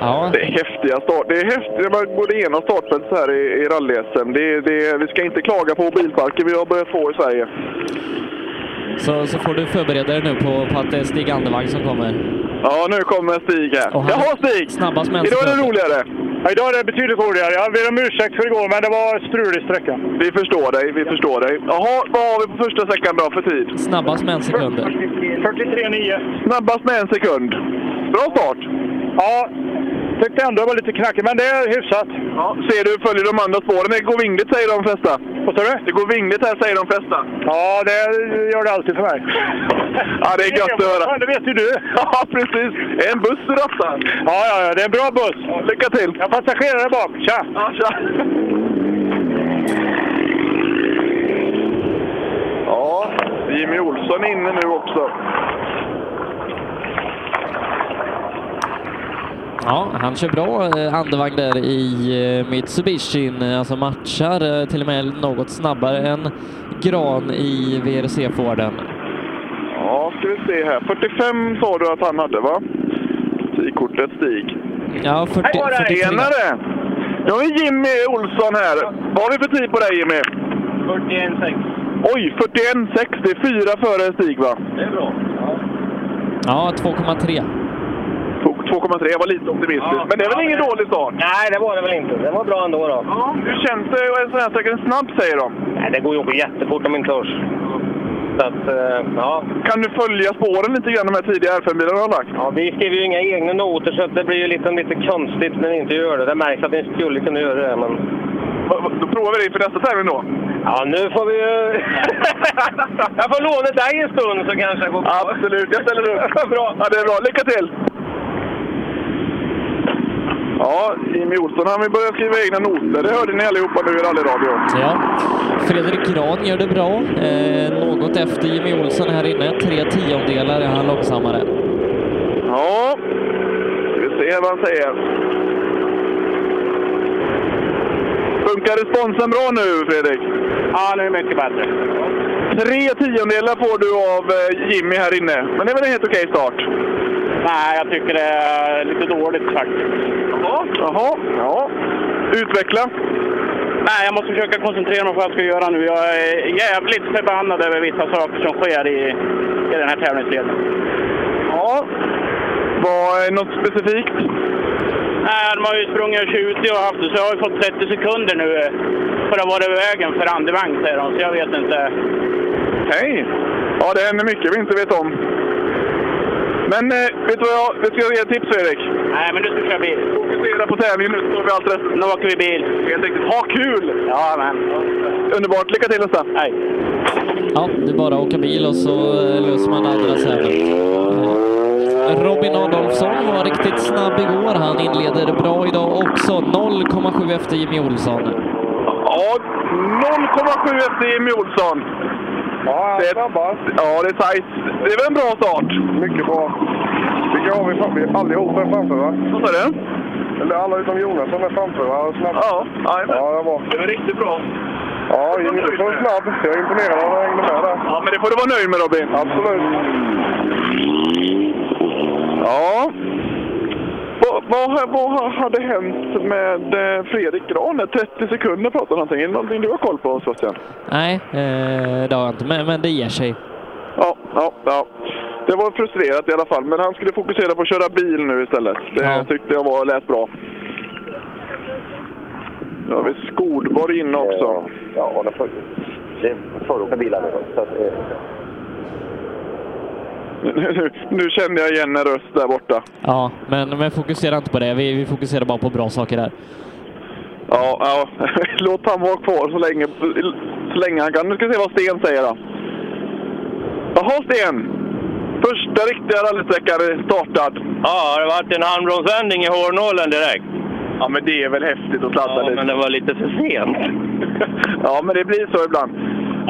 Ja. Det är häftiga start. Det är häftigt när man går igenom startfältet så här i, i rally-SM. Det, det, vi ska inte klaga på bilparken vi har börjat få i Sverige. Så, så får du förbereda dig nu på, på att det är Stig Andervang som kommer. Ja, nu kommer Stig här. Och han- Jaha Stig! Snabbast mänsklig. Idag är det roligare. idag är det betydligt roligare. Jag ber om ursäkt för igår, men det var strulig sträcka. Vi förstår dig, vi förstår dig. Jaha, vad har vi på första sträckan då för tid? Snabbast med en sekund. 43,9. Snabbast med en sekund. Bra start! Ja, tyckte ändå det var lite knackigt, men det är hyfsat. Ja, ser du, följer de andra spåren? Det går vingligt säger de flesta. Vad sa du? Det går vingligt här säger de flesta. Ja, det gör det alltid för mig. Ja, det är gött att höra. Ja, det vet ju du. Ja, precis. En buss du rattar. Ja, ja, ja, det är en bra buss. Lycka till. Jag har passagerare bak. Tja! Ja, tja. Ja, Jimmy Olsson är inne nu också. Ja, han kör bra eh, andevagn där i eh, Mitsubishi, eh, alltså matchar eh, till och med något snabbare än Gran i VRC-Forden. Ja, ska vi se här. 45 sa du att han hade, va? Tidkortet Stig. Ja, 40, Hej var det! 43. Tjenare! Nu har vi Jimmy Olsson här. Vad har vi för tid på dig, Jimmy? 41,6. Oj, 41,6. Det är fyra före Stig, va? Det är bra. Ja, 2,3. 2,3 var lite optimistisk. Ja. Men det är väl ingen dålig start? Nej, det var det väl inte. Det var bra ändå. då. Ja, hur känns det att en sån här sträcka är snabb, säger de? Nej, det går ju att gå jättefort om inte törs. Så att, eh, ja. Kan du följa spåren lite grann, de här tidiga R5-bilarna har lagt? Ja, vi skriver ju inga egna noter så att det blir ju liksom lite konstigt när ni inte gör det. Det märks att ni skulle kunna göra det, men... Då provar vi det inför nästa tävling då. Ja, nu får vi ju... jag får låna dig en stund så kanske jag går bra. Absolut, jag ställer upp. bra. Ja, det är bra. Lycka till! Ja, Jimmy Olsson han vill börja skriva egna noter. Det hörde ni allihopa nu i rallyradion. Ja. Fredrik Gran gör det bra. Eh, något efter Jimmy Olsson här inne. Tre tiondelar är han långsammare. Ja, ska vi se vad han säger. Funkar responsen bra nu, Fredrik? Ja, nu är det mycket bättre. Tre tiondelar får du av eh, Jimmy här inne, men det är väl en helt okej start? Nej, jag tycker det är lite dåligt faktiskt. Jaha, jaha, ja. Utveckla. Nej, jag måste försöka koncentrera mig på vad jag ska göra nu. Jag är jävligt förbannad över vissa saker som sker i, i den här tävlingsleden. Ja. Var något specifikt? Nej, de har ju sprungit 20 och haft, så jag har ju fått 30 sekunder nu eh, för att vara i vägen för andevagn, säger de. Så jag vet inte. Hej! Ja, det händer mycket vi inte vet om. Men eh, vet du vad jag, vet du vad jag ger tips, Erik? Nej, men du ska köra bil. Fokusera på tävlingen nu, så tar vi allt rätt. Nu åker vi bil. Helt riktigt. Ha kul! Ja, men. Underbart. Lycka till nästa. Hej. Ja, det är bara att åka bil och så eh, löser man andra sätet. Eh, Robin Adolfsson var riktigt snabb igår. Han inleder bra idag också. 0,7 efter Jimmy Olsson. Ja, 0,7 efter Jimmy Olsson. Ja, det är, ja, det är tajt. Det är väl en bra start? Mycket bra. Vilka har vi framför? Allihopa är framför, va? Vad sa du? Eller alla utom Jonasson är framför, va? Snabb. Ja, ja, det var Det var riktigt bra. Ja, inte så snabb. Jag är imponerad av att jag hängde med där. Ja, men det får du vara nöjd med, Robin. Absolut. Ja. Vad, vad, vad hade hänt med eh, Fredrik Gran? 30 sekunder pratade han någonting. Är det någonting du har koll på, Sebastian? Nej, eh, det har jag inte, men, men det ger sig. Ja, ja, ja. Det var frustrerat i alla fall, men han skulle fokusera på att köra bil nu istället. Det tyckte jag var, lät bra. Nu har vi Skodborg inne också. Eh, Ja, och de får, det får åka bilar nu. Så att, eh, Nu, nu, nu kände jag igen en röst där borta. Ja, men, men fokusera inte på det. Vi, vi fokuserar bara på bra saker där. Ja, ja. låt han vara kvar så länge, så länge han kan. Nu ska vi se vad Sten säger då. Jaha Sten! Första riktiga rallysträckan startad. Ja, det vart en handbromsvändning i hårnålen direkt. Ja, men det är väl häftigt att sladda lite. men det var lite för sent. Ja, men det blir så ibland.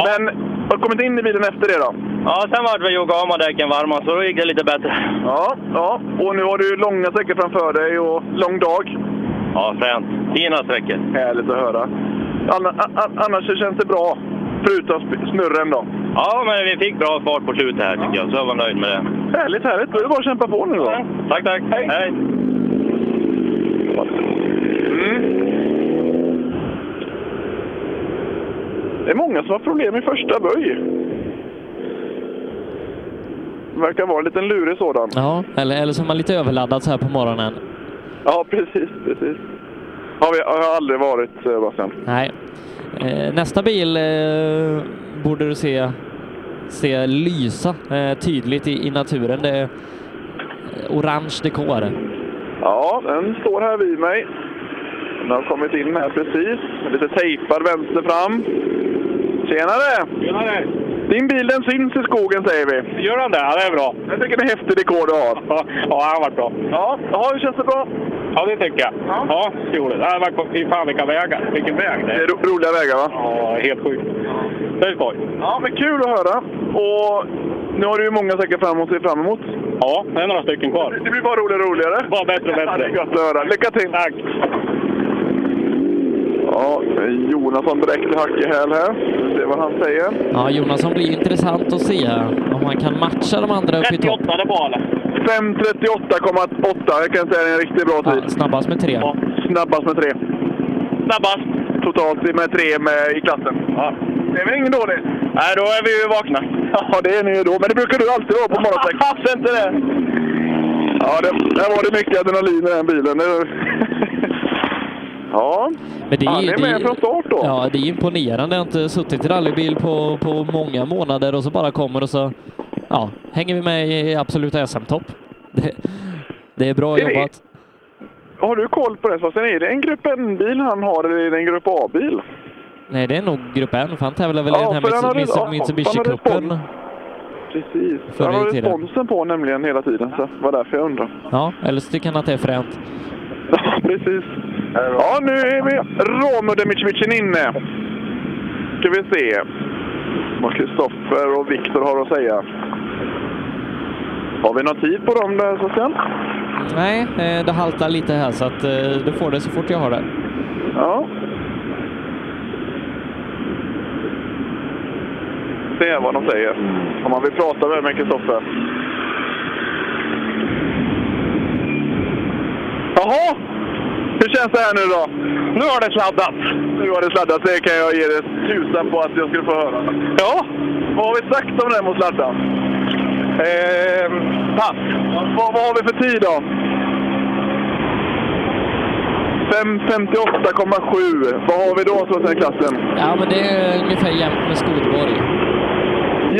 Men har du kommit in i bilen efter det då? Ja, sen vart vi gjorde av med däcken varma, så då gick det lite bättre. Ja, ja. Och nu har du långa sträckor framför dig och lång dag. Ja, fränt. Fina sträckor. Härligt att höra. Anna, a, a, annars så känns det bra, förutom sp- snurren då. Ja, men vi fick bra fart på slutet här tycker jag, så jag var nöjd med det. Härligt, härligt. Då är det bara att kämpa på nu då. Tack, tack. Hej. Det är många som har problem i första böj. Det verkar vara en liten lurig sådan. Ja, eller, eller så är man lite överladdad så här på morgonen. Ja, precis, precis. Har vi har jag aldrig varit, Sebastian. Nej. Eh, nästa bil eh, borde du se, se lysa eh, tydligt i, i naturen. Det är eh, orange dekor. Ja, den står här vid mig. Den har kommit in här precis. Lite tejpad vänster fram. Tjenare! Tjenare! Din bil den syns i skogen säger vi. Gör den det? Ja, det är bra. Jag tycker det är häftig dekor du har. Ja, den har varit bra. Ja, ja hur känns det bra? Ja, det tycker jag. Ja, ja det gjorde det. Det har varit på, fy fan vilka vägar. Vilken väg det är. Det är ro- roliga vägar va? Ja, helt sjukt. Det är skoj. Ja, men kul att höra. Och nu har du ju många säkert fram att se fram emot. Ja, det är några stycken kvar. Det blir bara roligare och roligare. Bara bättre och bättre. Ja, det är gott att höra. Lycka till! Tack! Ja, Jonasson direkt i hack i häl här. Vi får Se vad han säger. Ja, Jonasson blir ju intressant att se här. Om han kan matcha de andra uppe i topp. 38 det bra eller? 5.38,8. Jag kan säga det är en riktigt bra tid. snabbast med tre. Snabbast med tre. Snabbast? Totalt med tre med, i klassen. Ja. Det är väl ingen dåligt? Nej, då är vi ju vakna. Ja, det är ni ju då. Men det brukar du alltid vara på morgonen. Fast inte det! Ja, det, där var det mycket adrenalin i den bilen. Det- ja, Men det är, han ju- är med från start då. Ja, det är imponerande. Jag har inte suttit i rallybil på, på många månader och så bara kommer och så ja, hänger vi med i absoluta SM-topp. Det, det är bra Är det- jobbat. Har du koll på det? Sebastian? är det en Grupp N-bil han har eller är det en Grupp A-bil? Nej, det är nog grupp N, för han tävlar väl i Ja, den här för han har- Mitsu- Mitsu- ja, han har Mitsubishi-cupen. Precis. Förr Han i har tiden. responsen på nämligen hela tiden, så det var därför jag undrar. Ja, eller så tycker han att det är fränt. Ja, precis. Ja, nu är vi Romudemicevicin inne. Ska vi se vad Kristoffer och Viktor har att säga. Har vi någon tid på dem där, Sebastian? Nej, eh, det haltar lite här så att eh, du får det så fort jag har det. Ja. Se vad de säger. Om man vill prata med med Kristoffer. Jaha! Hur känns det här nu då? Nu har det sladdat. Nu har det sladdat. Det kan jag ge dig tusan på att jag skulle få höra. Ja. Vad har vi sagt om det här med att sladda? Eh, pass. Vad, vad har vi för tid då? 5.58,7. Vad har vi då så att säga i klassen? Ja, men det är ungefär jämnt med Skodborg.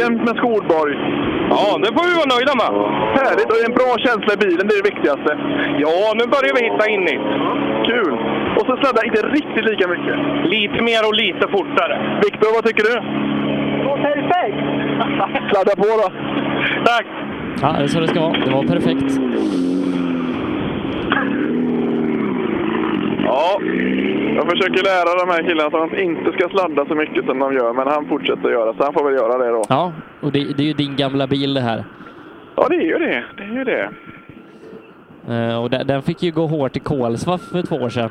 Jämt med Skolborg. Ja, det får vi vara nöjda med. Härligt, och det är en bra känsla i bilen, det är det viktigaste. Ja, nu börjar vi hitta in i. Kul! Och så sladdar inte riktigt lika mycket. Lite mer och lite fortare. Viktor, vad tycker du? Perfekt! Sladda på då! Tack! Ja, det är så det ska vara. Det var perfekt. Ja, Ja, jag försöker lära de här killarna så att de inte ska sladda så mycket som de gör, men han fortsätter göra så han får väl göra det då. Ja, och det, det är ju din gamla bil det här. Ja, det är ju det. Det är ju det. Eh, och den, den fick ju gå hårt i Kolsva för två år sedan.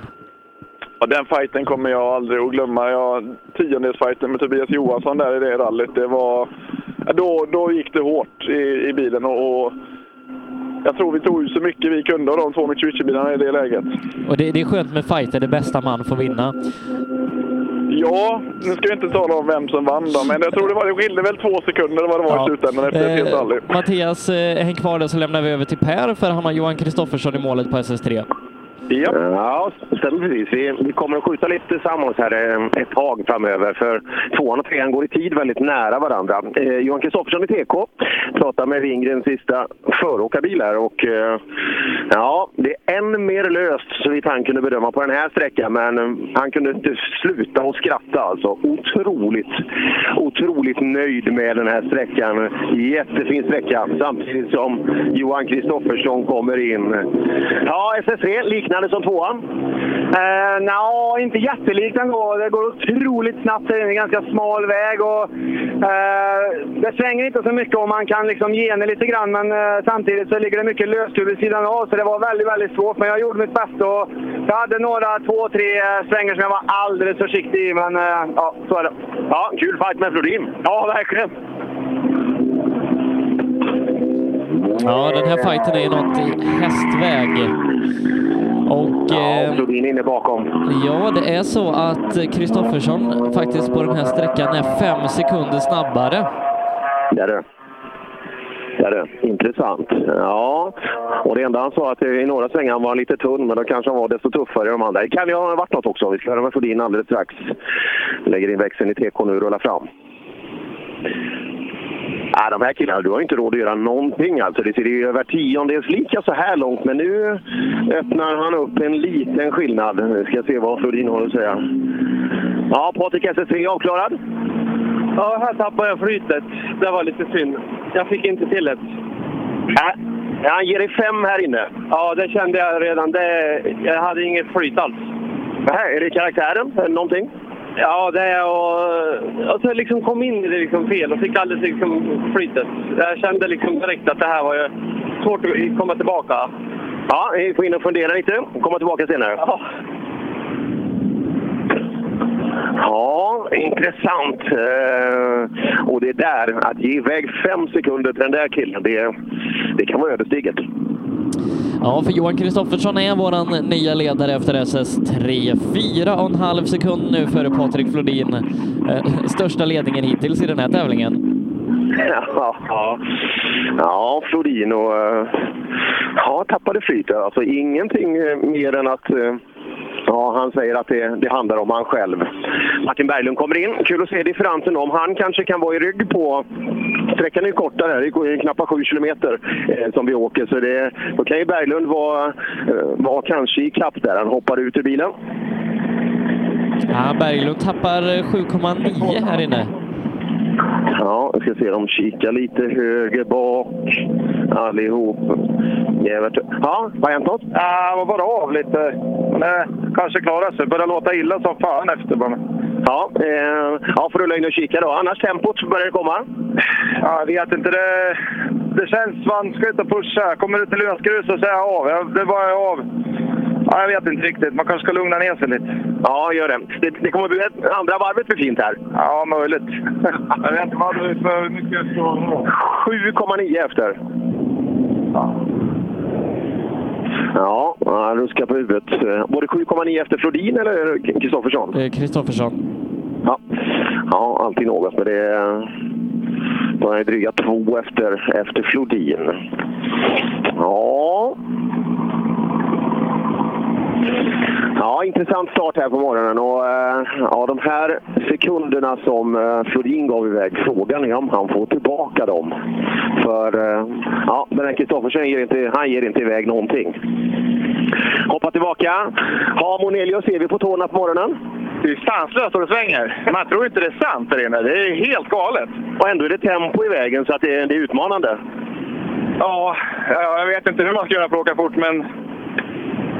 Ja, den fighten kommer jag aldrig att glömma. Jag, tiondelsfighten med Tobias Johansson där i det rallyt, det var... ja, Då, då gick det hårt i, i bilen och, och jag tror vi tog ut så mycket vi kunde av de två Mitsubishi-bilarna i det läget. Och det, det är skönt med fighter, det bästa man får vinna. Ja, nu ska vi inte tala om vem som vann då, men jag tror det, var, det skilde väl två sekunder vad det var Ja. i slutändan efter ett helt Eh, rally. Mattias, eh, häng kvar där så lämnar vi över till Per för han har Johan Kristoffersson i målet på SS3. Ja, ja stämmer precis. Vi, vi kommer att skjuta lite tillsammans här eh, ett tag framöver för tvåan och trean går i tid väldigt nära varandra. Eh, Johan Kristoffersson i TK pratar med Wingrens sista föråkarbil här och eh, ja, det är än mer löst så vitt han kunde bedöma på den här sträckan men eh, han kunde inte sluta att skratta alltså. Otroligt, otroligt nöjd med den här sträckan. Jättefin sträcka samtidigt som Johan Kristoffersson kommer in. Ja, SS3 liknande som tvåan. Eh, Nja, inte jättelikt ändå. Det går otroligt snabbt. Det är en ganska smal väg. Och, eh, det svänger inte så mycket och man kan liksom gena lite grann. Men eh, samtidigt så ligger det mycket lösskruv vid sidan av. Så det var väldigt, väldigt svårt. Men jag gjorde mitt bästa. Och jag hade några två, tre eh, svängar som jag var alldeles försiktig i. Men eh, ja, så är det. Ja, kul fight med Flodin. Ja, verkligen. Ja, den här fighten är ju något i hästväg. Och, ja, Flodin inne bakom. Ja, det är så att eh, Kristoffersson faktiskt på den här sträckan är fem sekunder snabbare. Där du. Där du. Intressant. Ja, och det enda han sa att i några svängar han var lite tunn, men då kanske han var desto tuffare i de andra. Det kan ju ha varit något också. Vi ska höra med Flodin alldeles strax. Lägger in växeln i TK nu och rullar fram. Nej, de här killarna, du har ju inte råd att göra någonting alltså. Det ser ju över tiondels lika så här långt, men nu öppnar han upp en liten skillnad. Vi ska se vad Flodin har att säga. Ja, Patrik SS3 avklarad. Ja, här tappade jag flytet. Det var lite synd. Jag fick inte till det. Äh. Ja, han ger dig fem här inne. Ja, det kände jag redan. Det, jag hade inget flyt alls. Nej, är det karaktären eller någonting? Ja, det är och, alltså, och så liksom kom in i det liksom fel och fick alldeles liksom flytet. Jag kände liksom direkt att det här var ju svårt att komma tillbaka. Ja, vi får in och fundera lite. Komma tillbaka senare. Ja. Ja, intressant. Eh, och det där, att ge iväg fem sekunder till den där killen, det, det kan vara ödesdigert. Ja, för Johan Kristoffersson är våran nya ledare efter SS3. Fyra och en halv sekund nu före Patrik Flodin. Eh, Största ledningen hittills i den här tävlingen. Ja, ja Flodin och... eh, Ja, tappade flytet. Alltså ingenting eh, mer än att... eh, Ja, han säger att det, det handlar om han själv. Martin Berglund kommer in. Kul att se differensen om han kanske kan vara i rygg på... Sträckan är ju kortare, här. det går ju knappt 7 kilometer eh, som vi åker. Så det, då kan ju Berglund vara, eh, vara kanske i kapp där. Han hoppar ut ur bilen. Ja, Berglund tappar eh, 7,9 här inne. Ja, vi ska se. De kikar lite höger bak allihop. Jävligt. Ja, vad har hänt något? Ja, han var bara av lite. Men eh, kanske klarar sig. Börjar låta illa som fan efter bara. Ja, eh, ja får rulla in och kika då. Annars tempot börjar det komma. Ja, jag vet inte. Det, det känns vanskligt att pusha. Kommer det till lösgrus så säger jag av. Jag, det var jag av. Ja, jag vet inte riktigt. Man kanske ska lugna ner sig lite. Ja, gör det. Det, det kommer bli ett, andra varvet blir fint här. Ja, möjligt. Jag vet inte vad det är för mycket så... 7,9 efter. Ja, han ruskar på huvudet. Eh, Var det 7,9 efter Flodin eller Kristoffersson? Eh, Kristoffersson. Ja. ja, alltid något. Men det är, de är dryga två efter, efter Flodin. Ja. Ja, intressant start här på morgonen. Och, eh, ja, de här sekunderna som eh, Flodin gav iväg, frågan är om han får tillbaka dem. För eh, ja, den här Kristoffersson ger inte, han ger inte iväg någonting. Hoppa tillbaka. Ja, Monelius ser vi på tårna på morgonen. Det är sanslöst och det svänger. Man tror inte det är sant där inne. Det är helt galet. Och ändå är det tempo i vägen så att det, det är utmanande. Ja, ja, jag vet inte hur man ska göra för att åka fort, men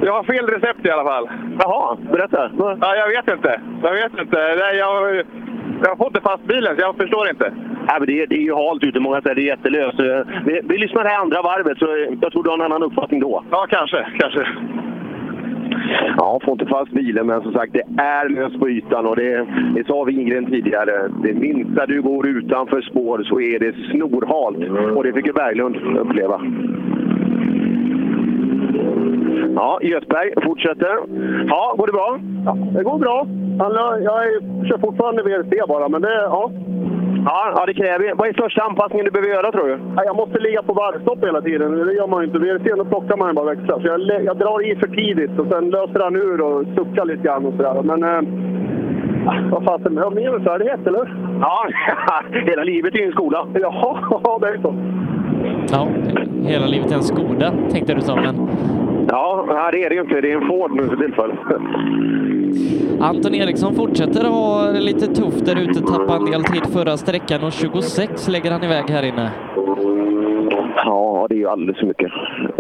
Jag har fel recept i alla fall. Jaha, berätta. Ja, jag vet inte. Jag vet inte. Nej, jag, jag har fått det fast bilen, så jag förstår inte. Nej, men det, är- det är ju halt ute, många säger det är jättelöst. Eh, Vi, vi lyssnar här andra varvet, så eh, jag tror du har en annan uppfattning då. Ja, kanske. kanske. Ja, får inte fast bilen, men som sagt, det är löst på ytan och det, det sa Wingren tidigare. Det minsta du går utanför spår så är det snorhalt och det fick ju Berglund uppleva. Ja, Göthberg fortsätter. Ja, går det bra? Ja, det går bra. Alla, jag är- kör fortfarande VRC bara, men det... Ja. Ja, ja, det kräver ju. Vad är största anpassningen du behöver göra, tror du? Ja, Jag måste ligga på varvstopp hela tiden. Det gör man ju inte. VRC, då plockar man ju bara växlar. Så jag, lä- jag drar i för tidigt och sen löser han ur och suckar lite grann och sådär. Men... Eh, vad fasen, jag har mer med färdighet, eller? Ja, hela livet är ju en skola. Jaha, det är så. Ja, hela livet är en skoda, tänkte du så, men Ja, nej, det är det ju inte. Det är en Ford nu för tillfället. Anton Eriksson fortsätter att ha det lite tufft där ute, tappade en del tid förra sträckan och 26 lägger han iväg här inne. Ja, det är ju alldeles för mycket.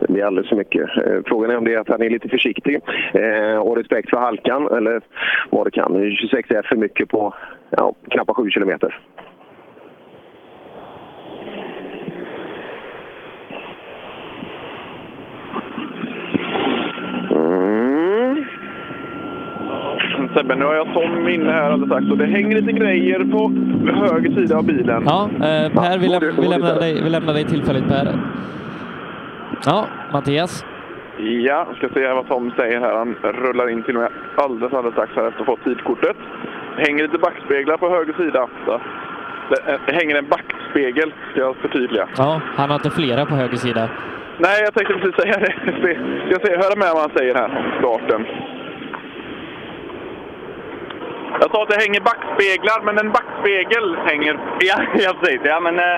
Det är alldeles för mycket. Eh, Frågan är om det är att han är lite försiktig eh, och respekt för halkan eller vad det kan. 26 är för mycket på ja, knappt 7 kilometer. Mm. Sebbe, nu har jag sån minne här alldeles strax och det hänger lite grejer på höger sida av bilen. Ja, eh, Per, vi, läm vi, lämnar dig, vi lämnar dig tillfälligt Per. Ja, Mattias. Ja, ska se vad Tom säger här. Han rullar in till mig alldeles, alldeles strax här efter att ha fått tidkortet. Hänger lite backspeglar på höger sida. Så. Det eh, hänger en backspegel, ska jag förtydliga. Ja, han har inte flera på höger sida. Nej, jag tänkte precis säga det. Se- Jag ska höra med vad han säger här om starten. Jag sa att det hänger backspeglar, men en backspegel hänger... Ja, ja precis. Ja, men, eh,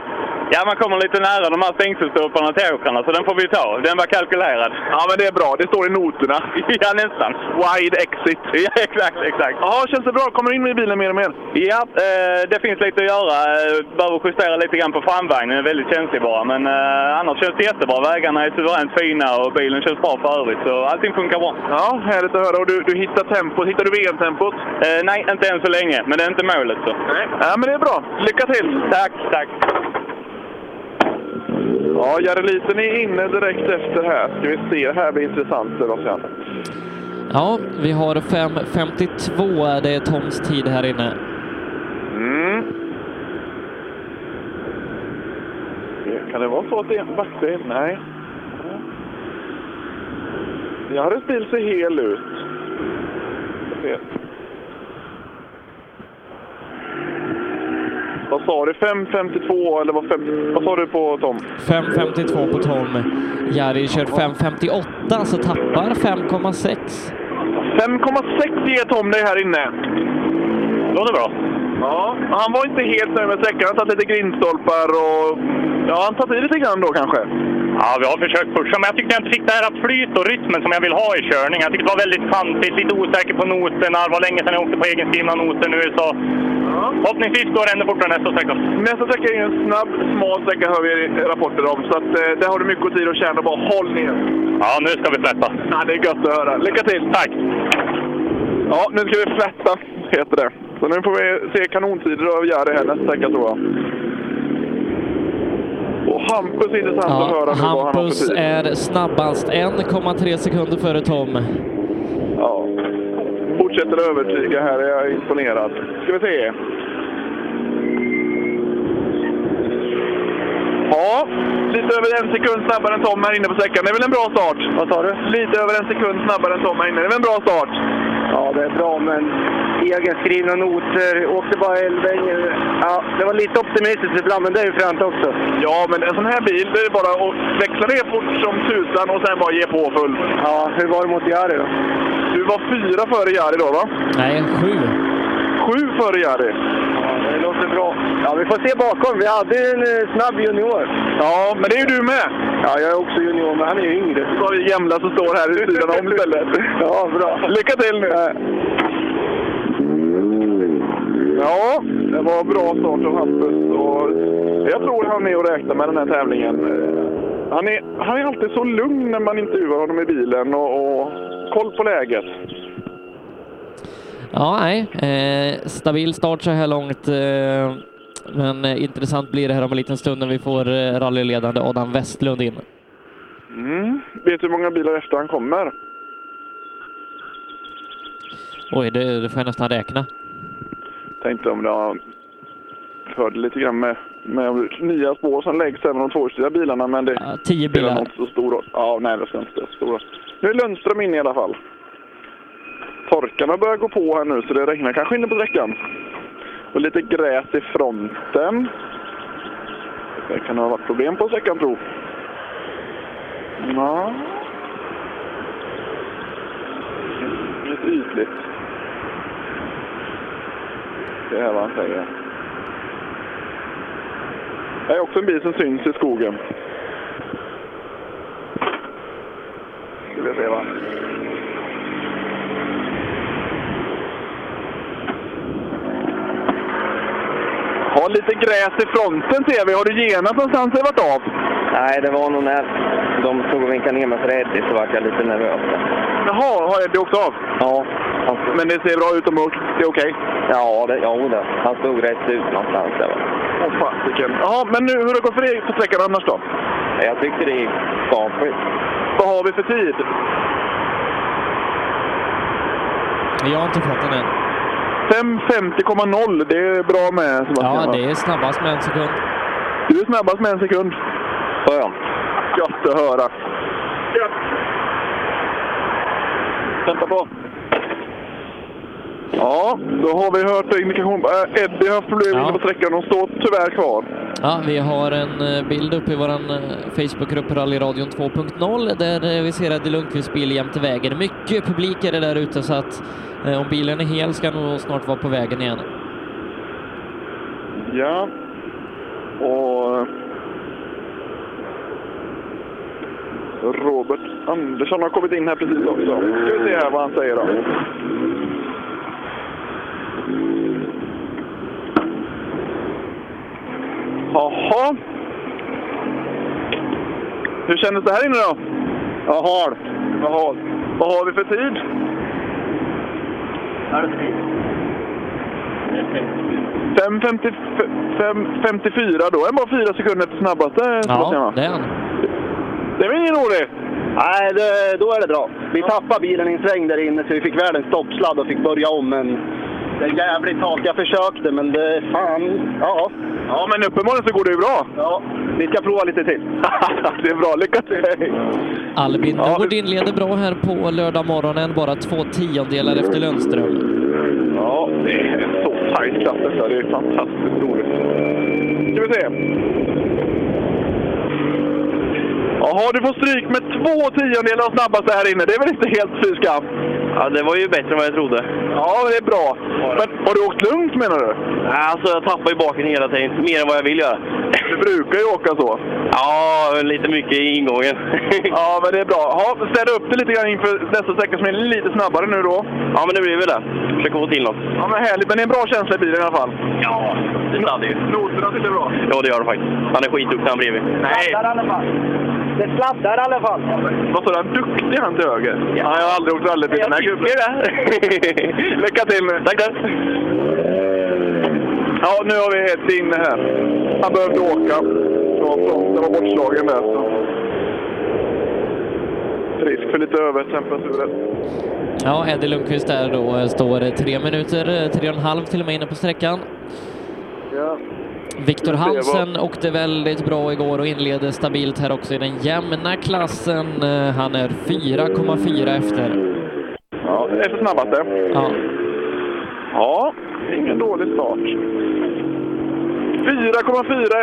ja, man kommer lite nära de här stängselstolparna till åkrarna, så den får vi ta. Den var kalkylerad. Ja, men det är bra. Det står i noterna. ja, nästan. Wide exit. Ja, exakt, exakt. Ja, känns det bra? Kommer in med bilen mer och mer? Ja, eh, det finns lite att göra. Eh, Behöver justera lite grann på framvagnen. Den är väldigt känslig bara. Men eh, annars känns det jättebra. Vägarna är suveränt fina och bilen känns bra för övrigt. Så allting funkar bra. Ja, härligt att höra. Och du, du hittar tempot. Hittar du VM-tempot? Eh, nej, inte än så länge. Men det är inte målet så. Nej. Ja, men det är bra. Lycka till! Tack, tack. Ja, Jareliten är inne direkt efter här. Ska vi se, det här blir intressant Sebastian. Ja, vi har 5.52, det är Toms tid här inne. Mm. Kan det vara så att det är en backbil? Nej. Jarres bil ser hel ut. Ska se. Vad sa du? 5.52 eller vad, fem, vad sa du på Tom? 5.52 på Tom. Jari kör 5.58, så tappar 5,6. 5,6 ger Tom dig här inne. Låter bra. Ja, han var inte helt nöjd med sträckan. Han satt lite grindstolpar och... Ja, han tar i lite grann då kanske. Ja, vi har försökt pusha, men jag tyckte jag inte fick det här flyt och rytmen som jag vill ha i körning. Jag tyckte det var väldigt kantigt, lite osäker på noterna. Det var länge sedan jag åkte på egenskrivna noter nu, så förhoppningsvis går det ännu fortare nästa sträcka. Nästa sträcka är ju en snabb, smal sträcka hör vi rapporter om. Så att, eh, där har du mycket tid att tjäna. Bara håll ner. Ja, nu ska vi släppa. Ja, det är gött att höra. Lycka till! Tack! Ja, nu ska vi flätta, heter det. Så nu får vi se kanontider av Jerry här nästa sträcka tror jag. Och Hampus är intressant att höra Ja, nu vad han har för Hampus tid. är snabbast, 1,3 sekunder före Tom. Ja. Fortsätter att övertyga här, jag är imponerad. Ska vi se. Ja, lite över en sekund snabbare än Tom här inne på sträckan. Det är väl en bra start? Vad sa du? Lite över en sekund snabbare än Tom här inne. Det är väl en bra start? Ja, det är bra, men egenskrivna noter. Åkte bara elvägen. Ja, det var lite optimistiskt ibland, men det är ju fränt också. Ja, men en sån här bil, det är bara att växla ner fort som tusan och sen bara ge på fullt. Ja, hur var det mot Jari då? Du var fyra före Jari då, va? Nej, sju. Sju före Jari. Ja, det låter bra. Ja, vi får se bakom. Vi hade ju en eh, snabb junior. Ja, men det är ju du med. Ja, jag är också junior, men han är ju yngre. Så har vi Jämla som står här vid sidan om istället. Ja, bra. Lycka till nu! Ja, det var bra start av Hampus. Och jag tror han är att räkna med den här tävlingen. Han är, han är alltid så lugn när man intervjuar honom i bilen. Och, och koll på läget. Ja, nej. Eh, stabil start så här långt. Eh, men eh, intressant blir det här om en liten stund när vi får eh, rallyledande Adam Westlund in. Mm. Vet du hur många bilar efter han kommer? Oj, det, det får jag nästan räkna. Tänkte om jag hörde lite grann med, med nya spår som läggs även de tvåhjulsdrivna bilarna. Men det tio spelar bilar. nog inte så stor roll. Ja, nej, det ska inte spela så stor roll. Nu är Lundström inne i alla fall. Torkarna börjar gå på här nu så det regnar kanske inne på sträckan. Och lite gräs i fronten. Det kan ha varit problem på sträckan tro. Ja. Lite ytligt. Det är vad han säger. Det är också en bil som syns i skogen. Ska vi se va. Ja, lite gräs i fronten ser vi. Har du genat någonstans eller varit av? Nej, det var nog när de tog och vinkade ner mig för Eddie så vart jag lite nervös. Jaha, har Eddie åkt av? Ja. Men det ser bra ut omhört. Det är okej? Ja, det, jo, det. han stod rätt ut någonstans. Där, va? Åh fasiken. Jaha, men nu, hur har det gått för dig på sträckan annars då? Jag tyckte det gick skapligt. Vad har vi för tid? Jag har inte fått den än. 5.50,0. Det är bra med Sebastian. Ja, va? det är snabbast med en sekund. Du är snabbast med en sekund. Skönt. Gött att höra. Gött. Vänta på. Ja, då har vi hört indikation. Äh, Eddie har haft problem inne på sträckan och står tyvärr kvar. Ja, vi har en eh, bild uppe i vår Facebookgrupp Rallyradion 2.0 där eh, vi ser Eddie Lundqvists bil jämte vägen. Mycket publik är det där ute så att eh, om bilen är hel ska han nog snart vara på vägen igen. Ja. Och... eh, Robert Andersson har kommit in här precis också. Ska vi se här vad han säger då. Jaha. Hur kändes det här inne då? Vad halt. Vad halt. Vad har vi för tid? Halv 5.54, då är han bara fyra sekunder efter snabbaste Sebastian va? det är han. Det är väl ingen roligt? Nej, det, då är det bra. Vi tappade bilen i en sväng där inne så vi fick väl en stoppsladd och fick börja om. Men det är jävligt halt. Jag försökte men det fan, ja. Ja, men uppenbarligen så går det ju bra. Ja, vi ska prova lite till. det är bra. Lycka till! Albin Nord inleder bra här på lördag morgonen, bara två tiondelar efter Lundström. Ja, det är så tajt klass detta. Det är fantastiskt roligt. Ska vi se. Jaha, du får stryk med två tiondelar av snabbaste här inne. Det är väl inte helt fy skam? Ja, det var ju bättre än vad jag trodde. Ja, det är bra. Men har du åkt lugnt menar du? Nej, alltså jag tappar ju baken hela tiden, mer än vad jag vill göra. Du brukar ju åka så. Ja, lite mycket i ingången. ja, men det är bra. Ja, städa upp det lite grann inför nästa sträcka som är lite snabbare nu då. Ja, men det blir väl det. Försöker få till något. Ja, men härligt. Men det är en bra känsla i bilen i alla fall. Ja, det sladdar ju. Noterna sitter bra. Ja, det gör det faktiskt. Han är skitduktig han bredvid. Nej! Det sladdar i alla fall. Vad sa du? Han duktig han till höger? Ja. jag har aldrig åkt rallybil med den här gubben. Lycka till nu! Tack, tack! Ja, nu har vi helt inne här. Han behövde åka. Ja, fronten var bortslagen där. Så. Risk för lite övertemperaturer. Ja, Eddie Lundqvist där då eh, står eh, tre minuter, eh, tre och en halv till och med inne på sträckan. Ja. Viktor Det var- Hansen åkte väldigt bra igår och inleder stabilt här också i den jämna klassen. Eh, Han är 4,4 efter. Ja, efter snabbaste. Ja. Ja, ingen dålig start. 4,4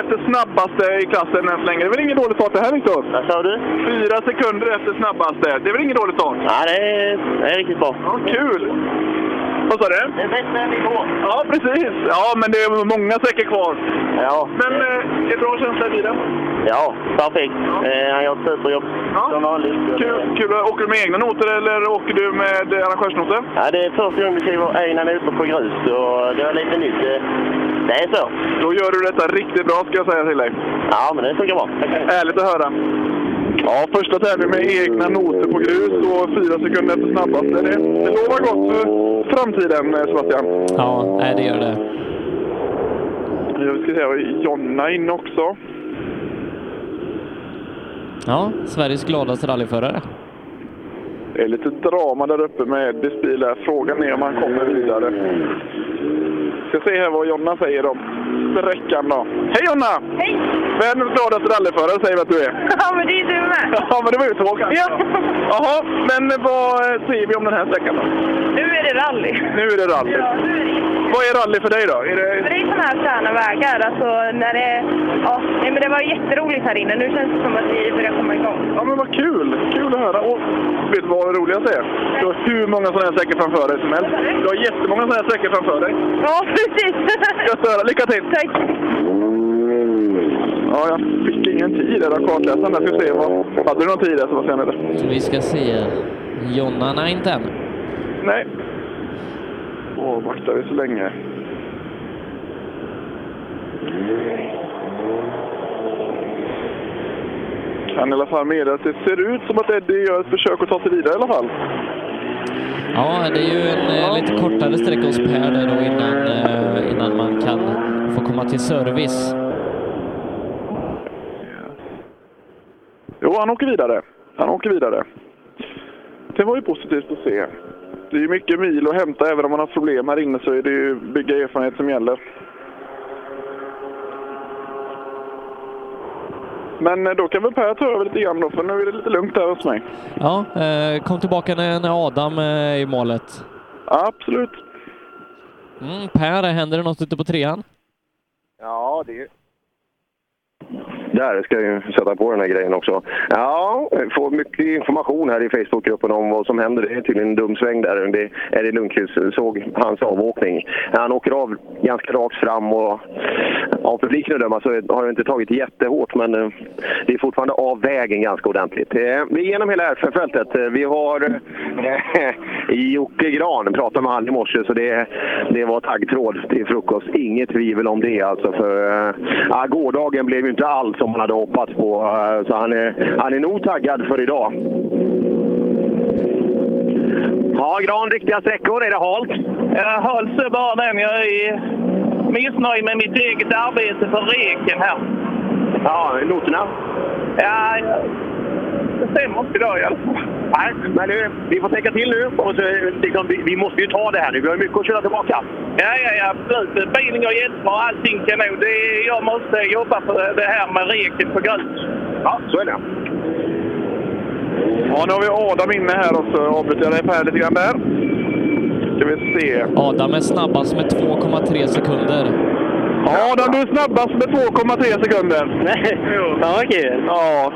efter snabbaste i klassen än så länge. Det är väl ingen dålig start det här Viktor? Vad sa du? Fyra sekunder efter snabbaste. Det är väl ingen dålig start? Nej, det är, det är riktigt bra. Ja, kul! Vad sa du? Det är bättre än igår. Ja, precis. Ja, men det är många sträckor kvar. Ja. Men eh, det är bra känsla i bilen. Ja, perfekt. Eh, Han gör ett superjobb som vanligt. Kul, kul. Åker du med egna noter eller åker du med eh, arrangörsnoter? Ja, det är första gången vi skriver egna noter på grus och det var lite nytt. Det- Det är så. Då gör du detta riktigt bra ska jag säga till dig. Ja, men det funkar bra. Härligt att höra. Ja, första tävling med egna noter på grus och fyra sekunder efter snabbaste. Det, det lovar gott för framtiden, eh, Sebastian. Ja, nej, det gör det. Jag ska säga, Jonna inne också. Ja, Sveriges gladaste rallyförare. Det är lite drama där uppe med Eddies bil. Där. Frågan är om han kommer vidare. Ska se här vad Jonna säger om sträckan då. Hej Jonna! Hej! Världens gladaste rallyförare säger vi att du är. Ja, men det är du med. Ja, men det var uttråkat. Ja. Jaha, men vad eh, säger vi om den här sträckan då? Nu är det rally. Nu är det rally. Ja, nu är det Vad är rally för dig då? Är det... Men det är såna här sköna vägar. Alltså, när det, ja, nej, men det var jätteroligt här inne. Nu känns det som att vi börjar komma igång. Ja, men vad kul! Kul att höra. Och vet du vad det roligaste är? Du har hur många sådana här sträckor framför dig som helst. Du har jättemånga sådana här sträckor framför dig. Ja, precis. Gött att höra. Lycka till! Tack! Ja, jag fick ingen tid där av kartläsaren. Jag ska se vad... Hade du någon tid där Sebastian? Eller? Vi ska se. Jonna, nej inte än. Nej. Avvaktar vi så länge? Kan i alla fall meddela att det ser ut som att Eddie gör ett försök att ta sig vidare i alla fall. Ja, det är ju en eh, lite kortare sträcka hos Per där då innan, eh, innan man kan få komma till service. Jo, han åker vidare. Han åker vidare. Det var ju positivt att se. Det är ju mycket mil att hämta. Även om man har problem här inne så är det ju bygga erfarenhet som gäller. Men eh, då kan väl Per ta över lite grann då, för nu är det lite lugnt här hos mig. Ja, eh, kom tillbaka när när Adam eh, är i målet. Absolut. Mm, per, händer det något ute på trean? Ja, det är Där ska jag ju sätta på den här grejen också. Ja, jag får mycket information här i Facebookgruppen om vad som händer. Det är tydligen en dum sväng där. Det är Eddie Lundqvist såg hans avåkning. Han åker av ganska rakt fram och av publiken att döma så har det inte tagit jättehårt men eh, det är fortfarande av vägen ganska ordentligt. Eh, Vi är genom hela RF-fältet. Eh, Vi har eh, Jocke Gran, pratade med han i morse så det, det var taggtråd till frukost. Inget tvivel om det alltså. För, eh, ja, gårdagen blev ju inte allt som man hade hoppats på eh, så han är, han är nog taggad för idag. Ja, Gran, riktiga sträckor. Är det halt? Jag hålls Eh, bara den. Jag är missnöjd med mitt eget arbete för reken här. Ja, noterna? Ja, det stämmer inte idag i alla fall. Nej, men nu, vi får tänka till nu. Och så, liksom, vi, vi måste ju ta det här nu. Vi har ju mycket att köra tillbaka. Ja, ja, ja, absolut. Bilen går jättebra. Allting kanon. Det är, jag måste jobba på det här med reken på grus. Ja, så är det. Ja, nu har vi Adam inne här och så avbryter jag dig Per lite grann där. Ska vi se. Adam är snabbast med 2,3 sekunder. Adam, du är snabbast med 2,3 sekunder. Nej, ja, vad kul. Ja.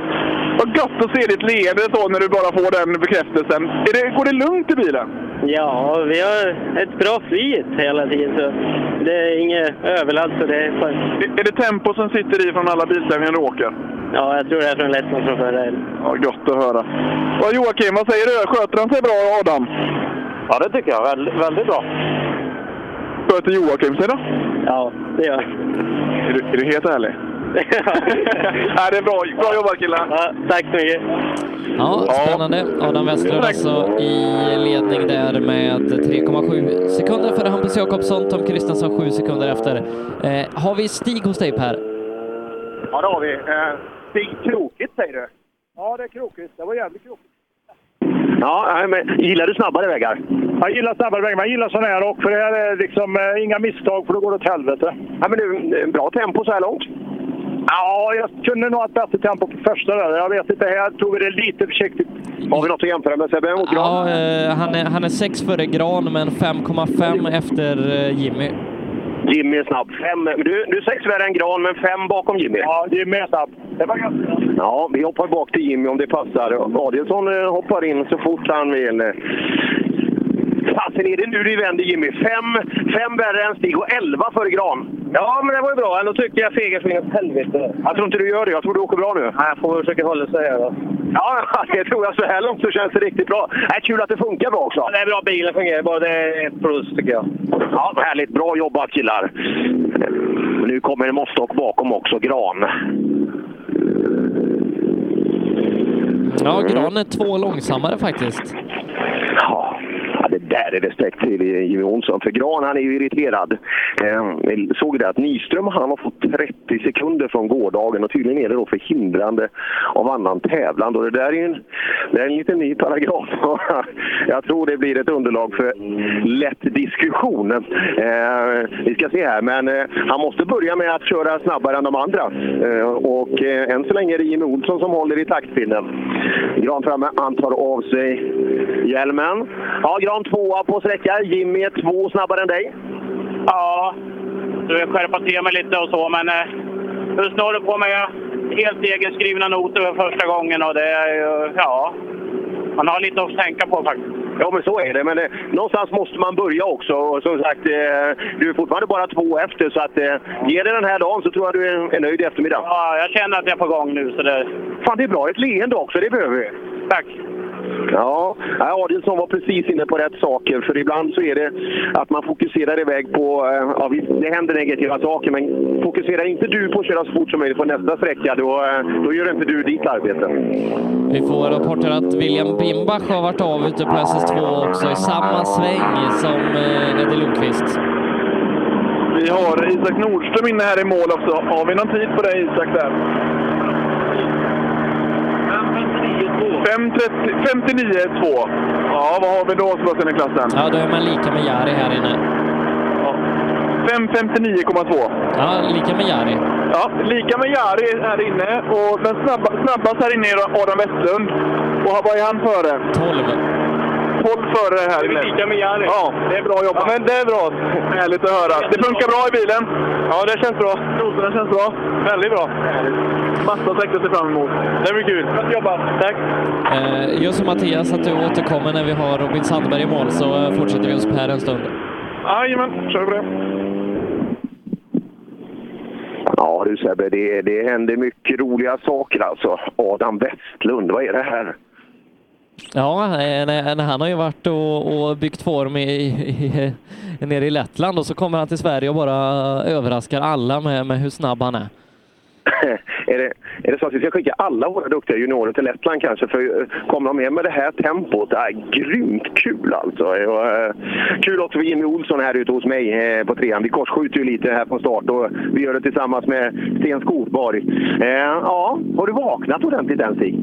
Vad gott att se ditt leende så när du bara får den bekräftelsen. Är det, går det lugnt i bilen? Ja, vi har ett bra flyt hela tiden. Så det är inget överlast. Så det är, är det tempo som sitter i från alla biltävlingar du åker? Ja, jag tror det är från Lettland från förra helgen. Ja, gott att höra. Och Joakim, vad säger du? Sköter han sig bra, Adam? Ja, det tycker jag. väldigt bra. Sköter Joakim sig då? Ja, det gör jag. Är du, är du helt ärlig? Nej, det är bra. Bra jobbat killar! tack så mycket! Ja, spännande. Adam Westlund alltså i ledning där med 3,7 sekunder före Hampus Jakobsson, Tom Kristensson 7 sekunder efter. Eh, har vi Stig hos dig Per? Ja, det har vi. Eh, Stig, krokigt säger du? Ja, det är krokigt. Det var jävligt krokigt. Ja, nej, men gillar du snabbare vägar? Jag gillar snabbare vägar, men jag gillar sån här också. För det här är liksom eh, inga misstag, för då går det åt helvete. Ja, men du, eh, bra tempo så här långt? Ja, jag kunde nog ha ett bättre tempo på första där. Jag vet inte, här tog vi det lite försiktigt. Har vi något att jämföra med Sebbe? Ja, eh, han, är, han är 6 före Gran men 5,5 efter eh, Jimmy. Jimmy är snabb. Fem, du, du är sex värre än Gran, men fem bakom Jimmy. Ja, Jimmy är snabb. Det var Ja, vi hoppar bak till Jimmy om det passar. Adielsson eh, hoppar in så fort han vill. Fasen, är det nu det vänder Jimmy? Fem, fem värre än Stig och elva före Gran. Ja, men det var ju bra. Ändå tycker jag fegar svingar åt helvete. Jag tror inte du gör det. Jag tror du åker bra nu. Nej, jag får väl försöka hålla sig här då. Ja, det tror jag. Så här långt så känns det riktigt bra. Äh, kul att det funkar bra också. Det är bra. Bilen fungerar bara. Det är ett plus tycker jag. Ja, härligt. Bra jobbat killar. Nu kommer en måttstock bakom också, Gran. Ja, Gran är två långsammare faktiskt. Ja, ja, det där är respekt till Jimmy Olsson. För Gran han är ju irriterad. Eh, jag såg det att Nyström han har fått 30 sekunder från gårdagen och tydligen är det då för hindrande av annan tävlan. Och det där är ju en, det är en liten ny paragraf. jag tror det blir ett underlag för lätt diskussion. Eh, vi ska se här, men eh, han måste börja med att köra snabbare än de andra. Eh, och eh, än så länge är det Jimmy Olsson som håller i taktpinnen. Gran framme, han tar av sig hjälmen. Ja, Gran tvåa på sträcka. Jimmy är två snabbare än dig. Ja, du vill skärpa till mig lite och så, men eh, just nu håller jag på med helt egenskrivna noter för första gången och det är ju, ja, man har lite att tänka på faktiskt. Ja, men så är det. Men eh, någonstans måste man börja också. Och som sagt, eh, du är fortfarande bara två efter, så att, eh, ge dig den här dagen så tror jag du är- är nöjd i eftermiddag. Ja, jag känner att jag är på gång nu så det... Fan, det är bra. Ett leende också, det behöver vi. Tack. Ja, nej, Adielsson var precis inne på rätt saker. För ibland så är det att man fokuserar iväg på... eh, Ja, visst, det händer negativa saker, men fokuserar inte du på att köra så fort som möjligt på nästa sträcka, då, eh, då gör inte du ditt arbete. Vi får rapporter att William Bimbach har varit av ute på SS2 också i samma sväng som eh, Eddie Lundqvist. Vi har Isak Nordström inne här i mål också. Har vi någon tid på dig Isak där? 59,2. Ja, vad har vi då Sebastian i klassen? Ja, då är man lika med Jari här inne. 5.59,2. Ja, lika med Jari. Ja, lika med Jari här inne. Och den snabba, snabbast här inne är Adam Westlund. Och vad är han före? 12. 12 före här inne. Lika med Jari. Ja, det är bra jobbat. men det är bra. Härligt att höra. Det funkar bra i bilen. Ja, det känns bra. Noterna känns bra. Väldigt bra. Massa sträckor att se fram emot. Det blir kul. Bra jobbat. Tack. Eh, gör som Mattias, att du återkommer när vi har Robin Sandberg i mål så eh, fortsätter vi hos Per en stund. Jajamän, kör på det. Ja du Sebbe, det, det händer mycket roliga saker alltså. Adam Westlund, vad är det här? Ja, eh, nej, nej, han har ju varit och, och byggt form i, i, i, nere i Lettland och så kommer han till Sverige och bara överraskar alla med, med hur snabb han är. är, det, är det så att vi ska skicka alla våra duktiga juniorer till Lettland kanske? För eh, kommer de hem med det här tempot, det är grymt kul alltså. Och, eh, kul också för Jimmy Olsson här ute hos mig eh, på trean. Vi korsskjuter ju lite här på start och vi gör det tillsammans med Sten Skogborg. Eh, ja, har du vaknat ordentligt än Stig?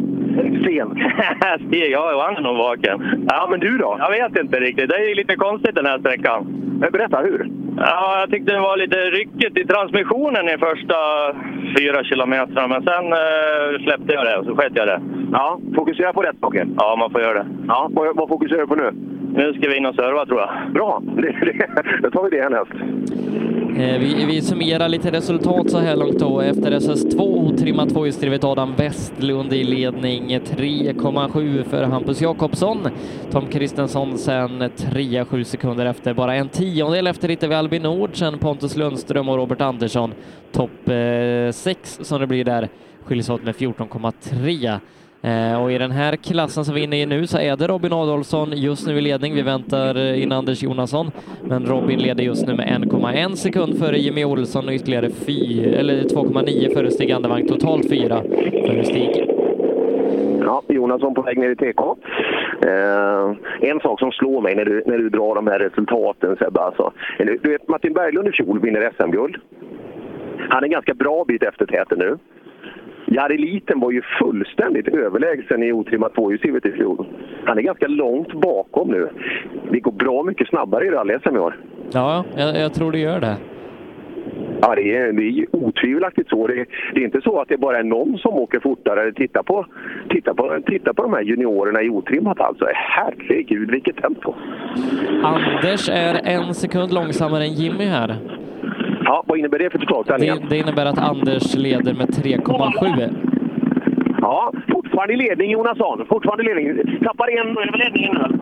Sten. Stig, ja, han är nog vaken. Ja, men du då? Jag vet inte riktigt. Det är ju lite konstigt den här sträckan. Berätta, hur? Ja, jag tyckte det var lite ryckigt i transmissionen i första fyra kilometrarna, men sen eh, släppte jag det och så sket jag det. Ja, fokusera på rätt saker. Ja, man får göra det. Ja, vad, vad fokuserar du på nu? Nu ska vi in och serva, tror jag. Bra, det, det, då tar vi det härnäst. Eh, Vi, vi summerar lite resultat så här långt då. Efter SS2 otrimmat tvåhjulsdrivet Adam Westlund i ledning 3,7 för Hampus Jakobsson. Tom Kristensson sen 3,7 sekunder efter. Bara en tiondel efter hittar vi Albin Nordsen, Pontus Lundström och Robert Andersson. Topp 6 som det blir där skiljs åt med 14,3. Eh, Och i den här klassen som vi är inne i nu så är det Robin Adolfsson just nu i ledning. Vi väntar eh, in Anders Jonasson, men Robin leder just nu med 1,1 sekund före Jimmy Olsson och ytterligare fy- eller 2,9 före Stig Andervang. Totalt fyra före Stig. Ja, Jonasson på väg ner i TK. Eh, en sak som slår mig när du, när du drar de här resultaten Sebbe, alltså. Eller, Du vet, Martin Berglund i fjol vinner SM-guld. Han är en ganska bra bit efter täten nu. Jari Liten var ju fullständigt överlägsen i otrimmat tvåhjulsdrivet i fjol. Han är ganska långt bakom nu. Det går bra mycket snabbare i rally-SM i år. Ja, jag, jag tror du gör det. Ja, det är, det är ju otvivelaktigt så. Det, det är inte så att det bara är någon som åker fortare. Titta på, titta på, titta på de här juniorerna i otrimmat alltså. Herregud, vilket tempo! Anders är en sekund långsammare än Jimmy här. Ja, vad innebär det för Det, totalställningen? det innebär att Anders leder med 3,7. Ja, fortfarande i ledning Jonasson. Fortfarande i ledning. Tappar en...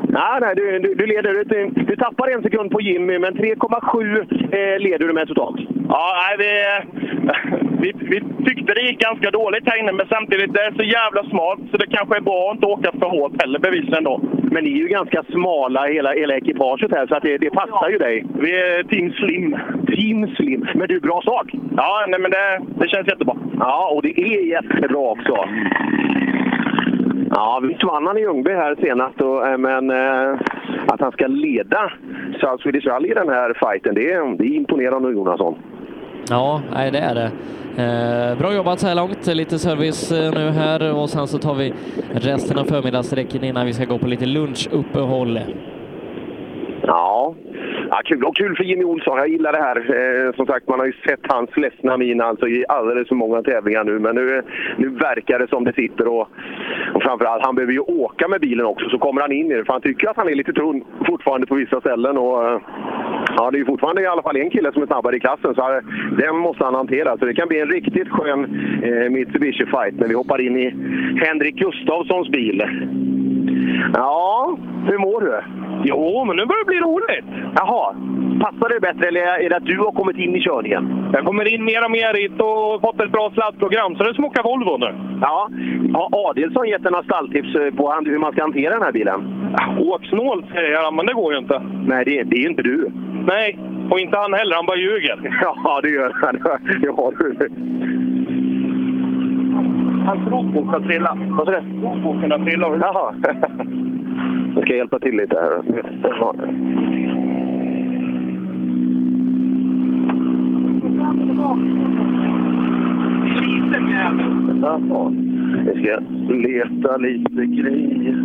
Nej, nej, du, du, du leder. Du, du tappar en sekund på Jimmy, men 3,7 eh, leder du med totalt. Ja, nej, vi, vi, vi tyckte det gick ganska dåligt här inne, men samtidigt det är så jävla smalt så det kanske är bra att inte åka för hårt heller bevisligen då. Men ni är ju ganska smala hela, hela ekipaget här, så att det, det passar ju dig. Vi är Team Slim. Team Slim. Men du, bra sak! Ja, nej, men det, det känns jättebra. Ja, och det är jättebra också. Ja, visst vann han i Ljungby här senast, och, eh, men eh, att han ska leda South Swedish Rally i den här fighten, det är, det är imponerande Jonasson. Ja, nej, det är det. Eh, bra jobbat så här långt. Lite service eh, nu här och sen så tar vi resten av förmiddagssträckan innan vi ska gå på lite lunchuppehåll. Ja. ja kul. Och kul för Jimmy Olsson. Jag gillar det här. Eh, som sagt, man har ju sett hans ledsna min alltså, i alldeles för många tävlingar nu. Men nu, nu verkar det som det sitter. Och, och framförallt, han behöver ju åka med bilen också, så kommer han in i det. För han tycker att han är lite tunn fortfarande på vissa ställen. Och, eh, ja, det är ju fortfarande i alla fall en kille som är snabbare i klassen, så här, den måste han hantera. Så det kan bli en riktigt skön eh, Mitsubishi-fight när vi hoppar in i Henrik Gustafssons bil. Ja, hur mår du? Jo, men nu börjar det bli roligt. Jaha. Passar det bättre eller är det att du har kommit in i körningen? Jag kommer in mer och mer hit och fått ett bra sladdprogram, så det är som att åka Volvo nu. Ja. Har Adelsson gett dig några stalltips eh, på han- hur man ska hantera den här bilen? Åk snålt säger han, men det går ju inte. Nej, det, det är ju inte du. Nej, och inte han heller. Han bara ljuger. Ja, det gör han. Det har du. Hans rotbok har trillat. Vad sa du? Rotboken har trillat. Jaha. Jag ska hjälpa till lite här. Ja. Liten jävel. Jaha. Vi ska leta lite grejer.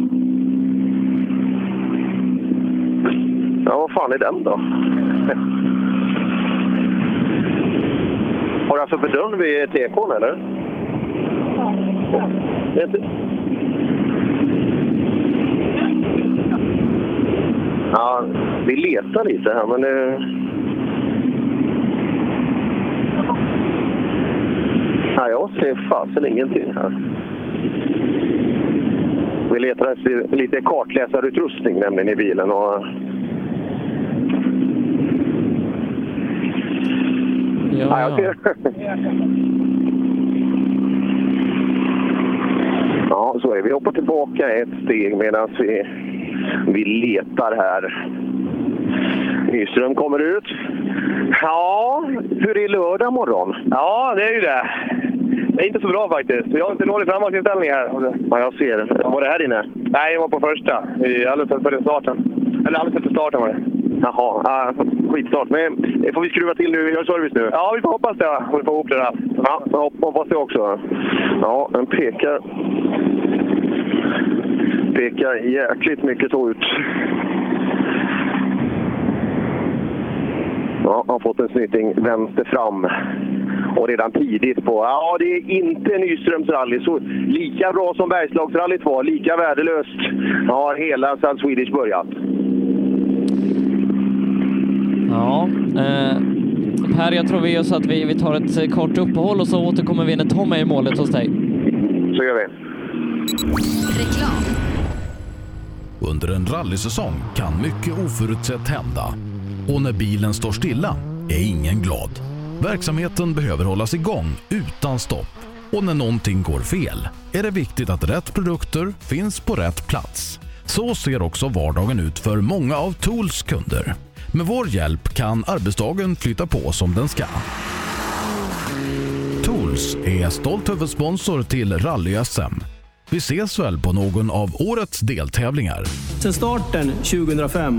Ja, vad fan är den då? Har du haft öppet dörren vid TK'n eller? Det är inte- Ja, vi letar lite här men... eh, Nej, jag ser fasen ingenting här. Vi letar efter lite kartläsarutrustning nämligen i bilen. Och... Ja, jag ser. ja, så är det. Vi hoppar tillbaka ett steg medan vi, vi letar här. Nyström kommer ut. Ja, hur är lördag morgon? Ja, det är ju det. Det är inte så bra faktiskt. Vi har inte dålig framvarsinställning här. Ja, jag ser det. Var det här inne? Nej, jag var på första. Vi är Alldeles före starten. Eller alldeles efter starten var det. Jaha, ah, skitstart. Men eh, får vi skruva till nu? Vi gör service nu. Ja, vi får hoppas det. Och vi får ihop det där. Ja, jag hop- hoppas det också. Ja, den pekar... Pekar jäkligt mycket så ut. Ja, har fått en snyting vänster fram. Och redan tidigt på... Ja, det är inte Nyströms rally. Så lika bra som Bergslagsrallyt var, lika värdelöst har hela South Swedish börjat. Ja, eh, Per, jag tror vi gör så att vi, vi tar ett eh, kort uppehåll och så återkommer vi när Tom är i målet hos dig. Så gör vi. Under en rallysäsong kan mycket oförutsett hända och när bilen står stilla är ingen glad. Verksamheten behöver hållas igång utan stopp och när någonting går fel är det viktigt att rätt produkter finns på rätt plats. Så ser också vardagen ut för många av Tools kunder. Med vår hjälp kan arbetsdagen flytta på som den ska. Tools är stolt huvudsponsor till Rally-SM. Vi ses väl på någon av årets deltävlingar. Sedan starten 2005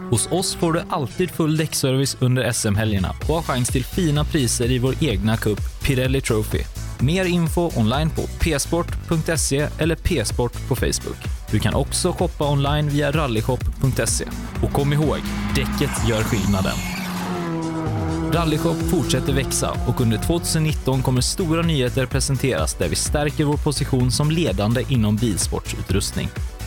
Hos oss får du alltid full däckservice under SM-helgerna och har chans till fina priser i vår egna cup Pirelli Trophy. Mer info online på psport.se eller psport på Facebook. Du kan också shoppa online via rallyshop.se. Och kom ihåg, däcket gör skillnaden. Rallyshop fortsätter växa och under 2019 kommer stora nyheter presenteras där vi stärker vår position som ledande inom bilsportsutrustning.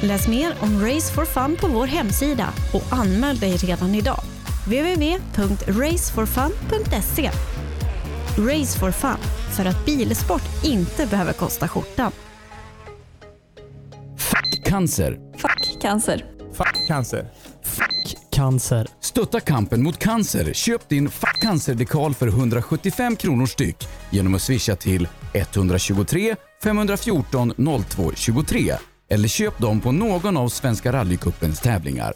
Läs mer om Race for Fun på vår hemsida och anmäl dig redan idag. www.raceforfun.se Race for Fun, för att bilsport inte behöver kosta skjortan. Cancer. Fuck cancer. Fuck cancer. Cancer. Stötta kampen mot cancer. Köp din Fuck cancer-dekal för 175 kronor styck genom att swisha till 123 514 02 23 eller köp dem på någon av Svenska rallycupens tävlingar.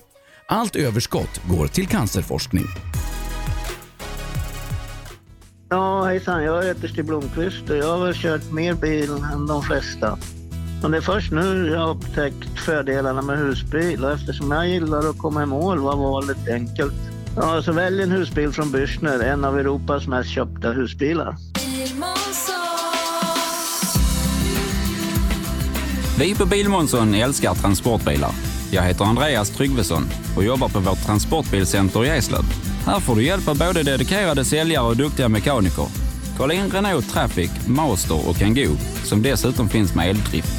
Allt överskott går till cancerforskning. Ja, hejsan. Jag heter Stig Blomqvist och jag har väl kört mer bil än de flesta. Men det är först nu jag har upptäckt fördelarna med husbil och eftersom jag gillar att komma i mål var valet enkelt. Ja, så välj en husbil från Bürstner, en av Europas mest köpta husbilar. Vi på Bilmånsson älskar transportbilar. Jag heter Andreas Tryggvesson och jobbar på vårt transportbilcenter i Eslöv. Här får du hjälp av både dedikerade säljare och duktiga mekaniker. Kolla in Renault Traffic, Master och Kangoo som dessutom finns med eldrift.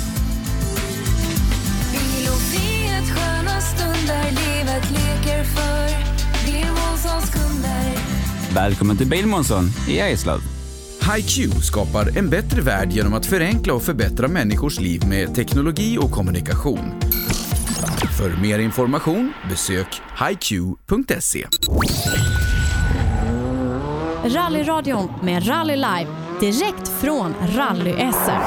Välkommen till Bilmånsson i Eslöv. HiQ skapar en bättre värld genom att förenkla och förbättra människors liv med teknologi och kommunikation. För mer information besök hiq.se. Rallyradion med Rally Live, direkt från Rally-SM.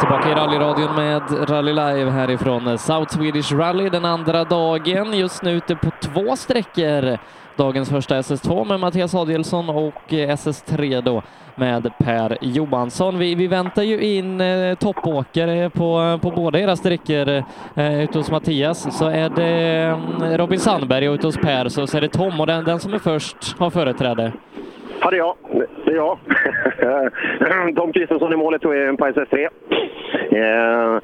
Tillbaka i rallyradion med Rally Live härifrån South Swedish Rally den andra dagen. Just nu ute på två sträckor. Dagens första SS2 med Mattias Adielsson och eh, SS3 då med Per Johansson. Vi, vi väntar ju in eh, toppåkare på, på båda era sträckor. Eh, ute hos Mattias så är det eh, Robin Sandberg och ute hos Per så, så är det Tom och den, den som är först har företräde. Ja, det är jag. Det är jag. Tom Kristensson i målet tog en på SS3. Eh,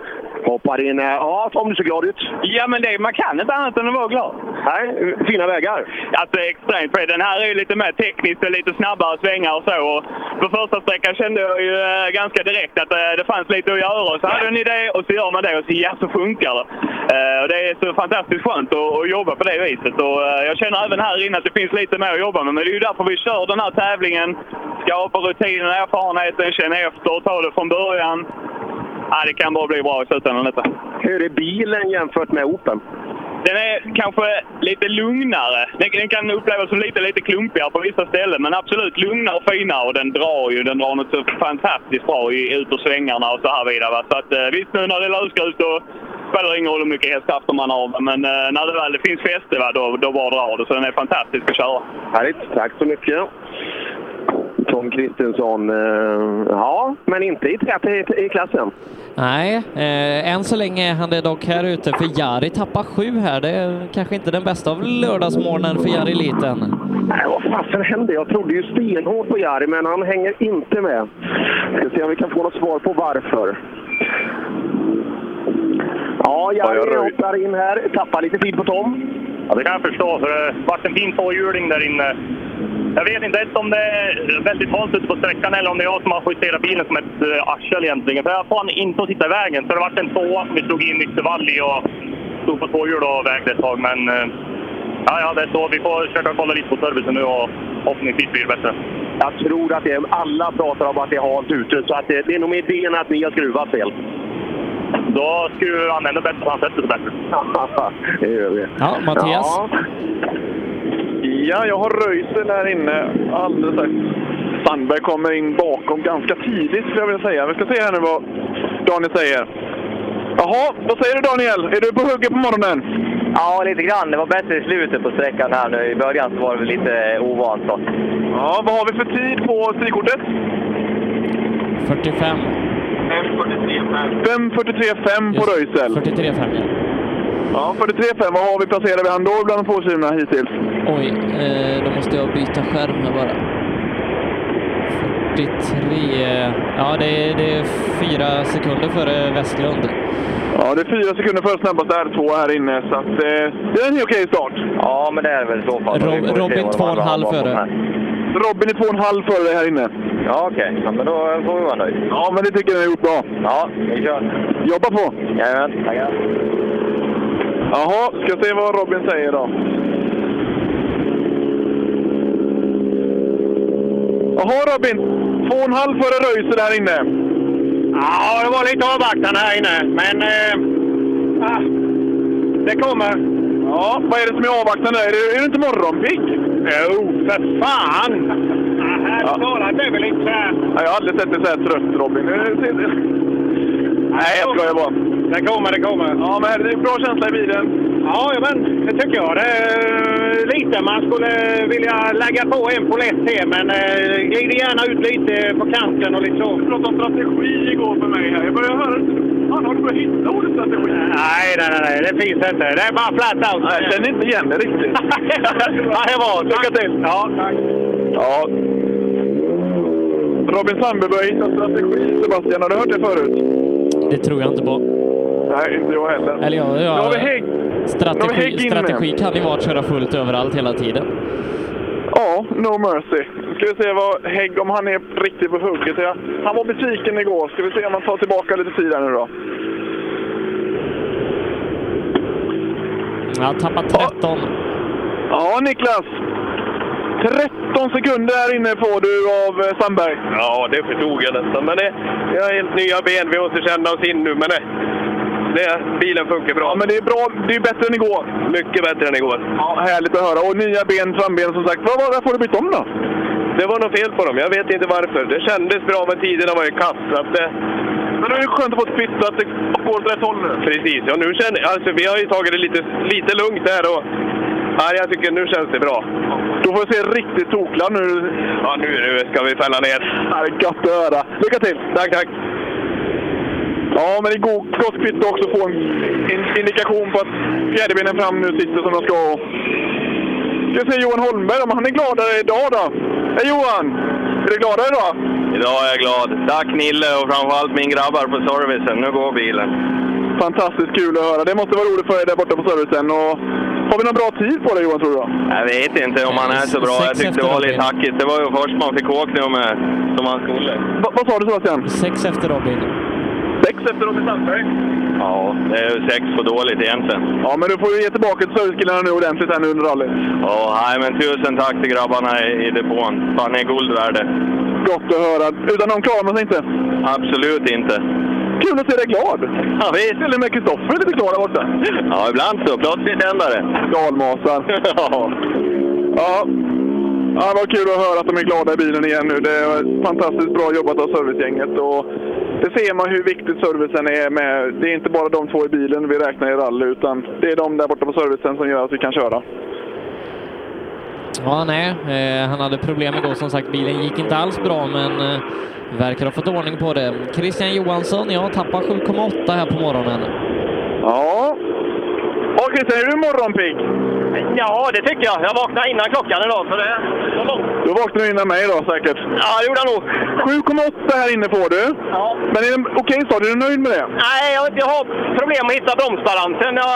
hoppar in. här. Ja, Tom, du ser glad ut. Ja, men det, man kan inte annat än att vara glad. Nej, fina vägar. Alltså extremt fint. Den här är ju lite mer tekniskt och lite snabbare svängar och så. Och på första sträckan kände jag ju eh, ganska direkt att eh, det fanns lite att göra. Och Så hade jag en idé och så gör man det och så, ja, så funkar det. Eh, och det är så fantastiskt skönt att, att jobba på det viset. Och, eh, jag känner även här inne att det finns lite mer att jobba med. Men det är ju därför vi kör den här tävlingen. Skapa rutinen, erfarenheten, känna efter och ta det från början. Ja, det kan bara bli bra i slutändan detta. Hur är bilen jämfört med Open? Den är kanske lite lugnare. Den, den kan upplevas som lite, lite klumpigare på vissa ställen, men absolut lugnare och finare. Och den drar ju. Den drar något så fantastiskt bra i, ut ur svängarna och så här vidare. va. Så att, eh, visst, nu när det är lösgrus då spelar det ingen roll hur mycket hästkrafter man har. Men eh, när det väl finns fäste, va, då, då bara drar det. Så den är fantastisk att köra. Härligt. Tack så mycket. Tom Kristensson, eh, ja, men inte i tät i, i klassen. Nej, eh, än så länge är han det dock här ute för Jari tappar sju här. Det är kanske inte den bästa av lördagsmorgnen för Jari Liten. Nej, vad fasen hände? Jag trodde ju stenhårt på Jari, men han hänger inte med. Ska se om vi kan få något svar på varför. Ja, Jari hoppar in här. Tappar lite tid på Tom. Ja, det kan jag förstå, för det vart en fin tvåhjuling där inne. Jag vet inte ens om det är väldigt halt ute på sträckan eller om det är jag som har justerat bilen som ett eh, arsel egentligen. För jag får han inte att sitta i vägen. Så det vart en tvåa som vi slog in yttervall i och stod på två hjul och vägde ett tag. Men eh, Ja, ja, det är så. Vi får försöka kolla lite på servicen nu och hoppningsvis blir det bättre. Jag tror att det, Ehm, alla pratar om att det är halt ute, så att det, det är nog med idén att ni har skruvat fel. Då skruvar han ännu bättre, så han sätter sig bättre. det gör vi. Ja, Mattias. Ja. ja, jag har Röisel här inne alldeles strax. Sandberg kommer in bakom ganska tidigt skulle jag vilja säga. Vi ska se här nu vad Daniel säger. Jaha, vad säger du Daniel? Är du på hugget på morgonen? Ja, lite grann. Det var bättre i slutet på sträckan här nu. I början så var det väl lite ovant. Då. Ja, vad har vi för tid på styrkortet? 45. 5.43,5 på Röisel. 43,5 ja. Ja, 43,5. Vad har vi placerat vi han då bland de påkörna hittills? Oj, eh, då måste jag byta skärm här bara. 43... Ja, det är, det är fyra sekunder före Westlund. Ja, det är fyra sekunder för snabbaste R2 här inne, så att, eh, det är en helt okej start. Ja, men det är väl så fall. Rob- Robin två och en halv före. Robin är två och en halv före dig här inne. Ja, okej. Ja, men då får vi vara nöjda. Ja, men det tycker jag ni har gjort bra. Ja, vi kör. Jobba på! Jajamän, tackar. Jaha, ska se vad Robin säger då. Jaha Robin, två och en halv före Röisel här inne. Ja, det var lite avvaktande här inne, men... Eh, ah, det kommer. Ja, vad är det som är avvaktande? Är det, är det inte morgonpigg? Jo, för fan! Ärligt talat, det är väl inte så här... Nej, jag har aldrig sett dig så här trött Robin. Nej, jag skojar bara. Det kommer, det kommer. Ja, men det är bra känsla i bilen. Ja, men det tycker jag. Det är lite. Man skulle vilja lägga på en polett till, men eh, glider gärna ut lite på kanten och lite så. Du pratade om strategi igår för mig. Här. Jag börjar höra... Fan, har du börjat hitta ordet strategi? Nej, nej, nej, nej. Det finns inte. Det är bara flat out. Jag känner inte igen det riktigt. ja, det är bra. Lycka till! Ja, tack. Ja. Robin Sandberg börjar hitta strategi, Sebastian. Har du hört det förut? Det tror jag inte på. Nej, inte jag heller. Eller ja, Nu ja, har vi hägg. Nu har vi hägg strategi, inne. strategi kan ju vara att köra fullt överallt hela tiden. Ja, No Mercy. Nu ska vi se vad Hägg, om han är riktigt på hugget. Ja, Han var besviken igår. Ska vi se om han tar tillbaka lite tid här nu då. Ja, tappat 13. Ja, Niklas. 13 sekunder här inne får du av eh, Sandberg. Ja, det förstod jag nästan. Men det, vi har helt nya ben. Vi måste känna oss in nu. Men det, det, bilen funkar bra. Ja, men det är bra. Det är bättre än igår. Mycket bättre än igår. Ja, härligt att höra. Och nya ben, framben som sagt. Vad var det får du byta om då? Det var något fel på dem. Jag vet inte varför. Det kändes bra, men tiderna var ju kass. Så att det... Men nu är det skönt att få ett kvitto att det går åt rätt håll nu. Precis. Ja, nu känner, alltså, vi har ju tagit det lite, lite lugnt här. Och, ja, jag tycker nu känns det bra. Då får vi se riktigt tokla nu. Ja, nu, nu ska vi fälla ner. Ja, det är gött att höra. Lycka till! Tack, tack. Ja, men det är go- gott kvitto också att få en in- indikation på att fjäderbenen fram nu sitter som de ska. Och ska se Johan Holmberg om han är gladare idag då. Hej Johan! Är du gladare idag? Idag är jag glad. Tack Nille och framförallt min grabbar på servicen. Nu går bilen. Fantastiskt kul att höra. Det måste vara roligt för dig där borta på servicen. Och har vi någon bra tid på dig Johan tror du? Då? Jag vet inte om han är så bra. Jag tyckte det var lite hackigt. Det var ju först man fick åka med som han skulle. Va- vad sa du Sebastian? Sex efter Robin. Sex efter Robin Sandberg. Ja, det är ju sex för dåligt egentligen. Ja, men du får ju ge tillbaka till servicekillarna nu ordentligt här nu under rallyt. Ja, nej men tusen tack till grabbarna i, i depån. Fan, ni är guld värde. Gott att höra. Utan dem klarar man sig inte. Absolut inte. Kul att se dig glad! Ja, visst. Till och med Kristoffer är lite glad där borta. Ja, ibland så. Plötsligt händer det. Dalmasar. ja. Ja. ja, vad kul att höra att de är glada i bilen igen nu. Det är fantastiskt bra jobbat av servicegänget. Och det ser man hur viktigt servicen är. Med. Det är inte bara de två i bilen vi räknar i rally, utan det är de där borta på servicen som gör att vi kan köra. Ja, nej. Eh, han hade problem igår som sagt. Bilen gick inte alls bra, men eh, verkar ha fått ordning på det. Christian Johansson, ja, tappar 7,8 här på morgonen. Ja. Ja, Christian, är du morgonpigg? Ja, det tycker jag. Jag vaknade innan klockan idag, så det... Då vaknade du innan mig då säkert. Ja, det gjorde jag nog. 7,8 här inne får du. Ja. Men är det okej start? Är du nöjd med det? Nej, jag, jag har problem att hitta bromsbalansen. Jag,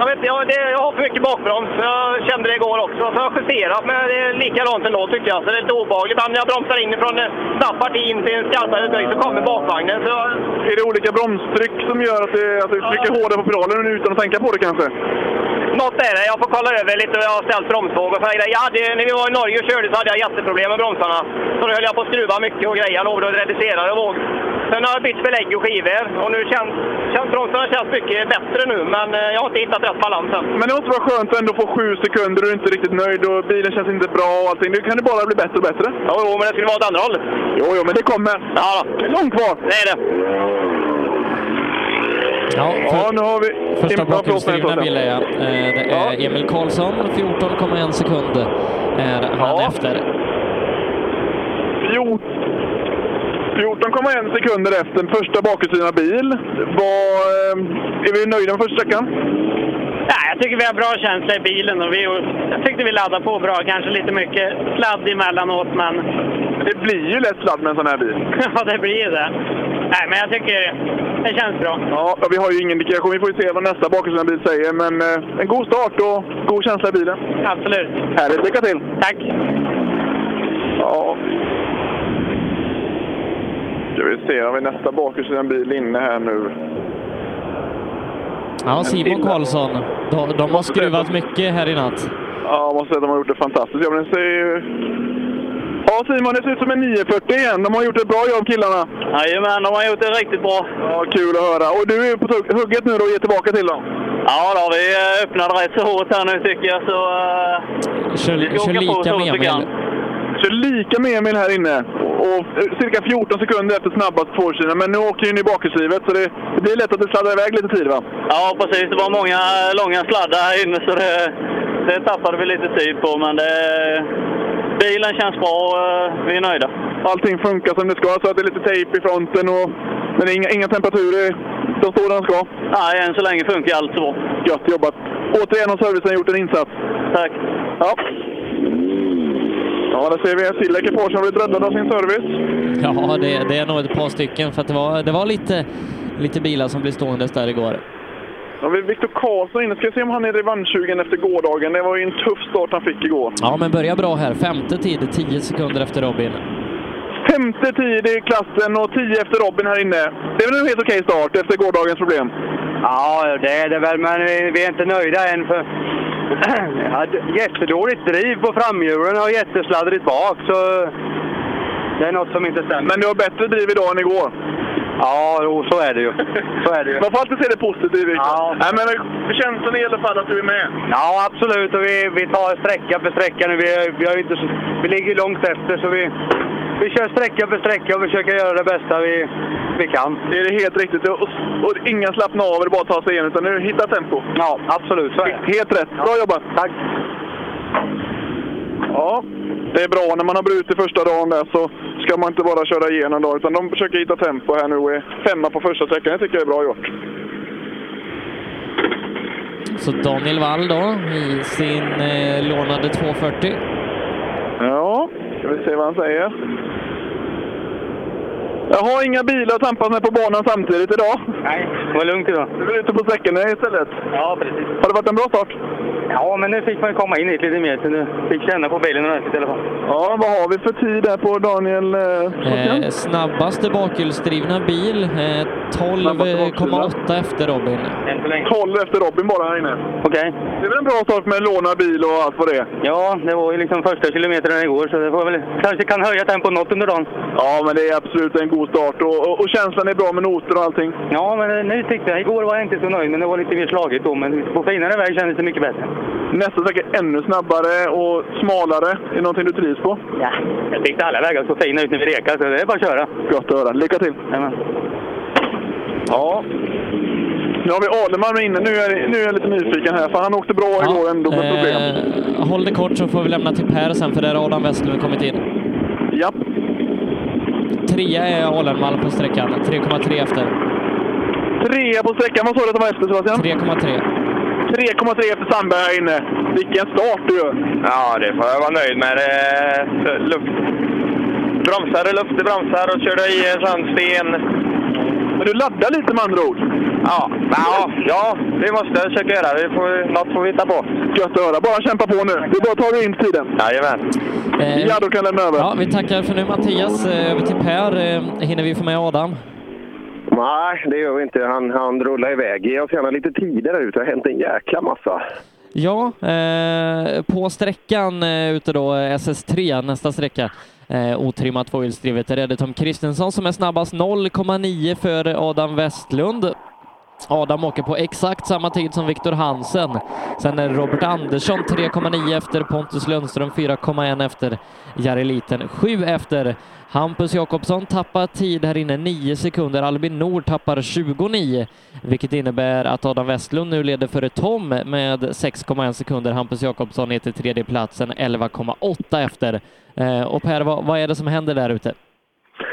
jag, vet, jag, det, jag har för mycket bakbroms. Jag kände det igår också. Så jag har justerat, men det är likadant ändå tycker jag. Så det är lite obehagligt. Ibland när jag bromsar inifrån eh, snabbt parti in till en skarpare dräkt så kommer bakvagnen. Så jag, Är det olika bromstryck som gör att du, att du trycker hårdare på pedalen nu utan att tänka på det kanske? något är det. Jag får kolla över lite vad jag har ställt bromsvågor för grejer. Jag hade, när vi var i Norge och körde så hade jag jätteproblem med bromsarna. Så då höll jag på att skruva mycket och grejer och då reducerade våg. Sen har jag bytt belägg och skivor och nu känns, känns bromsarna känns mycket bättre nu men eh, jag har inte hittat rätt balans än. Men det måste vara skönt att ändå få sju sekunder och du är inte riktigt nöjd och bilen känns inte bra och allting. Nu kan det bara bli bättre och bättre. Jo, jo men det skulle vara åt andra hållet. Jo, jo, men det kommer. Ja, Det är långt kvar. det är det. Ja, ja, nu har vi... Första Emil, förlåt, men bakhjulsdrivna förlåt. bilar, ja. Eh, Det är Emil Karlsson, 14,1 sekund är han efter. 14,1 sekunder efter första bakhjulsdrivna bil. Var, eh, är vi nöjda med första sträckan? Nej, jag tycker vi har bra känsla i bilen och vi, jag tyckte vi laddade på bra. Kanske lite mycket sladd emellanåt, men... Det blir ju lätt sladd med en sån här bil. ja, det blir ju det. Nej, men jag tycker det känns bra. Ja, vi har ju ingen indikation. Vi får ju se vad nästa bakhjulsdrivna bil säger. Men eh, en god start och god känsla i bilen. Absolut. Härligt. Lycka till! Tack! Ja. Ska vi se, har vi nästa bakhjulsdrivna bil inne här nu? Ja, Simon Karlsson. De, de har skruvat mycket här i natt. Ja, jag måste säga att de har gjort ett fantastiskt jobb. Det ser ju... Ja, Simon, det ser ut som en 940 igen. De har gjort ett bra jobb, killarna. Jajamän, de har gjort det riktigt bra. Ja, kul att höra. Och du är ju på tugg- hugget nu då och ger tillbaka till dem. Ja, då, vi eh, öppnade rätt så hårt här nu tycker jag. Så, eh, Kör, vi ska kör åka på så lika gott med vi kan. Emil. Kör lika med Emil här inne. Och eh, cirka 14 sekunder efter snabbast tvåhjulsdrivna. Men nu åker ju ni bakhjulsdrivet, så det, det blir lätt att det sladdar iväg lite tid, va? Ja, precis. Det var många långa sladdar här inne så det, det tappade vi lite tid på. Men det, bilen känns bra och eh, vi är nöjda. Allting funkar som det ska, så att det är lite tejp i fronten och... Men inga, inga temperaturer. De står där de ska. Nej, än så länge funkar allt så bra. Gött jobbat! Återigen har servicen gjort en insats. Tack! Ja. Ja, där ser vi en Silla Ekipage som blivit räddad av sin service. Ja, det, det är nog ett par stycken för att det var, det var lite, lite bilar som blev stående där igår. Ja, vi har Viktor Karlsson inne. Ska se om han är revanschsugen efter gårdagen. Det var ju en tuff start han fick igår. Ja, men börja bra här. Femte tid, 10 sekunder efter Robin. Femte tid i klassen och tio efter Robin här inne. Det är väl en helt okej start efter gårdagens problem? Ja, det är det väl, men vi, vi är inte nöjda än. För jag hade jättedåligt driv på framhjulen och jättesladdrigt bak, så det är något som inte stämmer. Men du har bättre driv idag än igår? Ja, jo, så är det ju. Så är det ju. Man får alltid se det positivt. liksom. Ja. Nej, men känslan är i alla fall att du är med. Ja, absolut. Och vi, vi tar sträcka för sträcka nu. Vi, vi, har ju inte, så- vi ligger ju långt efter, så vi, vi kör sträcka för sträcka och försöker göra det bästa vi, vi kan. Det är helt riktigt. Och, och inga slappna av eller bara ta sig igenom, utan nu hitta tempo. Ja, absolut. Så är det. Helt rätt. Bra jobbat! Tack! Ja, det är bra. När man har brutit första dagen där så ska man inte bara köra igenom då, utan de försöker hitta tempo här nu och är femma på första sträckan. Det tycker jag är bra gjort. Så Daniel Wall då i sin eh, lånade 240. Ja, ska vi se vad han säger. Jag har inga bilar att tampas med på banan samtidigt idag. Nej, det var lugnt idag. Du är ute på sträckorna istället. Ja, precis. Har det varit en bra start? Ja, men nu fick man ju komma in hit lite mer, så nu fick känna på bilen ordentligt i alla fall. Ja, vad har vi för tid här på Daniel? Eh, Eh, snabbaste bakhjulsdrivna bil, eh, 12,8 efter Robin. 12 efter Robin bara här inne. Okej. Det är väl en bra start med låna bil och allt vad det är? Ja, det var ju liksom första kilometern igår, så det får väl, kanske kan höja tempot något under dagen. Ja, men det är absolut en god start och, och, och känslan är bra med noter och allting. Ja, men eh, nu tyckte jag, igår var jag inte så nöjd, men det var lite mer slagigt då. Men på finare väg kändes det mycket bättre. Nästa sträcka ännu snabbare Eh, och smalare. Är det någonting du trivs på? Ja, jag tyckte alla vägar såg fina ut när vi rekade, så det är bara att köra. Gott att höra. Lycka till! Jajamän. Ja. Nu har vi Adelman inne. Nu är, nu är jag lite nyfiken här, för han åkte bra igår ändå med problem. Eh, håll det kort så får vi lämna till Per sen, för där har Adam Westlund kommit in. Japp. Trea är Ålenmalm på sträckan, 3,3 efter. Trea på sträckan. Vad sa du att de var efter, Sebastian? 3,3. 3,3 efter Sandberg här inne. Eh, Vilken start du gör! Ja, det får jag vara nöjd med. Eh, Luft. Bromsade luft i bromsar och körde i en sån sten. Men du laddar lite med andra ord? Ja, ja, ja det måste jag försöka göra. Vi får, något får vi hitta på. Gött att höra. Bara kämpa på nu. Det är bara att ta dig in till tiden. Jajamän. Eh, ja, då kan jag lämna över. Ja, vi tackar för nu Mattias. Eh, Över till Per. Eh, Hinner vi få med Adam? Nej, det gör vi inte. Han, han rullar iväg. Ge oss gärna lite tider där ute. Det har hänt en jäkla massa. Ja, eh, på sträckan eh, ute då, SS3, nästa sträcka, eh, otrimmat tvåhjulsdrivet, är det Tom Kristensson som är snabbast, 0,9 för Adam Westlund. Adam åker på exakt samma tid som Viktor Hansen. Sen är Robert Andersson 3,9 efter, Pontus Lundström 4,1 efter, Jari Liten 7 efter. Hampus Jakobsson tappar tid här inne 9 sekunder, Albin Nord tappar 29, vilket innebär att Adam Westlund nu leder före Tom med 6,1 sekunder. Hampus Jakobsson är till tredje platsen 11,8 efter. Eh, Och Per, vad, vad är det som händer där ute?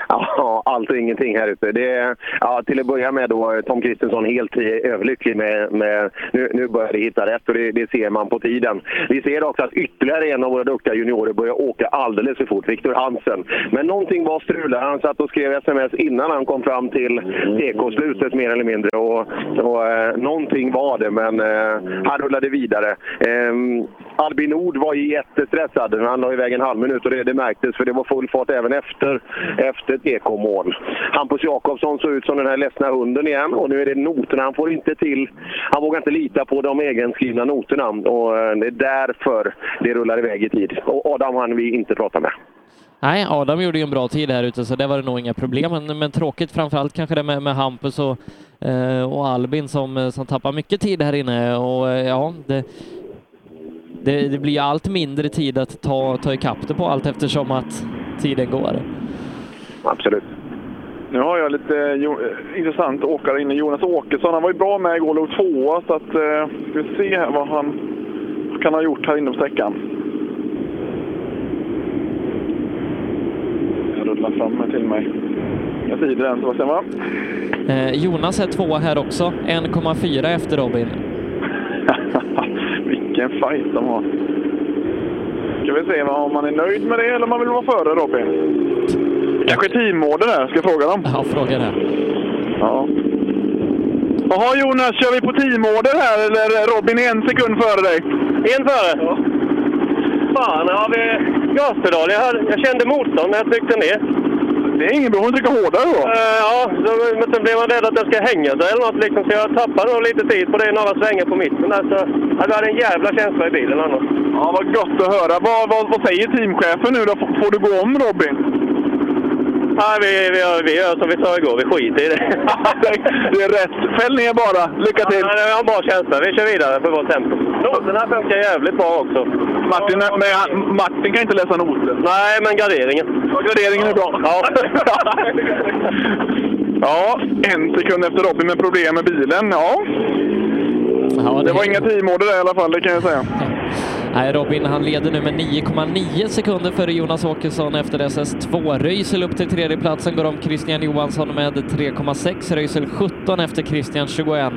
Ja, allt och ingenting här ute. Det, är- ja, till att börja med då Tom Kristensson helt i- överlycklig med... med nu, nu börjar det hitta rätt och det, det ser man på tiden. Vi ser också att ytterligare en av våra duktiga juniorer börjar åka alldeles för fort, Viktor Hansen. Men någonting var strul där. Han satt och skrev sms innan han kom fram till ekoslutet mer eller mindre. Och, och, eh, någonting var det, men eh, han rullade vidare. Ehm, Albin Nord var ju jättestressad. Han la iväg en halv minut och det, det märktes för det var full fart även efter, efter ett ekomål. Hampus Jakobsson såg ut som den här ledsna hunden igen och nu är det noterna. Han får inte till... Han vågar inte lita på de egenskrivna noterna och eh, det är därför det rullar iväg i tid. Och Adam hann vi inte prata med. Nej, Adam gjorde ju en bra tid här ute så det var det nog inga problem. Men, men tråkigt framförallt kanske det med, med Hampus och, eh, och Albin som, eh, som tappar mycket tid här inne. Och eh, ja, det, det, det blir ju allt mindre tid att ta, ta ikapp det på allt eftersom att tiden går. Absolut. Nu har jag lite eh, jo, eh, intressant åkare inne. Jonas Åkesson, han var ju bra med igår, låg tvåa. Så att, eh, ska vi se här vad han kan ha gjort här inne på sträckan. Jag rullar fram här till mig. Jag tider den Sebastian va? Eh, Jonas är tvåa här också, 1,4 efter Robin. Vilken fight de har. Ska vi se vad- om man är nöjd med det eller om man vill vara före Robin? Kanske teamorder där, ska jag fråga dem? Ja, fråga det. Ja. Jaha Jonas, kör vi på teamorder här eller Robin är en sekund före dig? En före? Ja. Fan, har vi gaspedal? Jag, hör- jag kände motstånd när jag tryckte ner. Eh, Det är ingen bra, hon trycker hårdare då. ja, så, men sen blev man rädd att jag ska hänga sig eller något liksom, så jag tappade nog lite tid på det i några svängar på mitten där. Så, ja, det hade en jävla känsla i bilen annars. Ja, vad gott att höra. Vad, vad, vad säger teamchefen nu då? F- Får du gå om Robin? Nej, vi, vi, gör- vi gör som vi sa igår, vi skiter i det. det är rätt. Fäll ner bara. Lycka till! Ja, jag har en bra känsla. Vi kör vidare på vårt tempo. Noterna funkar jävligt bra också. Martin, men han- Martin kan inte läsa noter. Nej, men garderingen. Ja, garderingen är bra. Ja. Ja, en sekund efter Robin med problem med bilen. Ja. det- det... var inga teamorder där i alla fall, det kan jag säga. Nej, Robin han leder nu med 9,9 sekunder före Jonas Åkesson efter SS2. Röisel upp till tredje platsen går om Christian Johansson med 3,6. Röisel 17 efter Christian 21.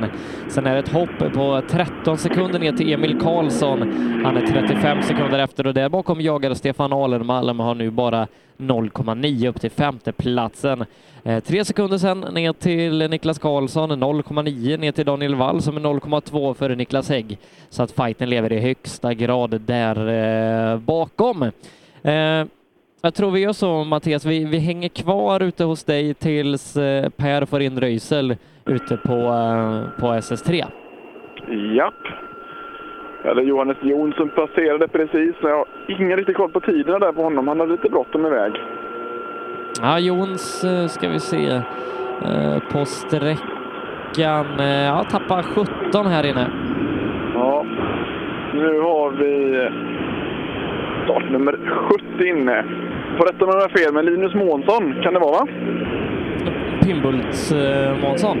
Sen är det ett hopp på 13 sekunder ner till Emil Karlsson. Han är 35 sekunder efter och där bakom jagar Stefan Alenmalm har nu bara 0,9 upp till femte platsen. Eh, tre sekunder sen ner till Niklas Karlsson, 0,9 ner till Daniel Wall som är 0,2 före Niklas Hägg. Så att fighten lever i högsta grad där eh, bakom. Eh, jag tror vi gör så Mattias, vi, vi hänger kvar ute hos dig tills eh, Per får in Röisel ute på, eh, på SS3. Japp. Eller Johannes Jonsson passerade precis. Jag har ingen riktig koll på tiderna där på honom. Han hade lite bråttom iväg. Ja, Jons eh, ska vi se eh, på sträckan. eh, Ja, tappar 17 här inne. Ja, nu har vi startnummer 70 inne. Får rätta mig om jag har fel, men Linus Månsson kan det vara va? Pimbult eh, Månsson.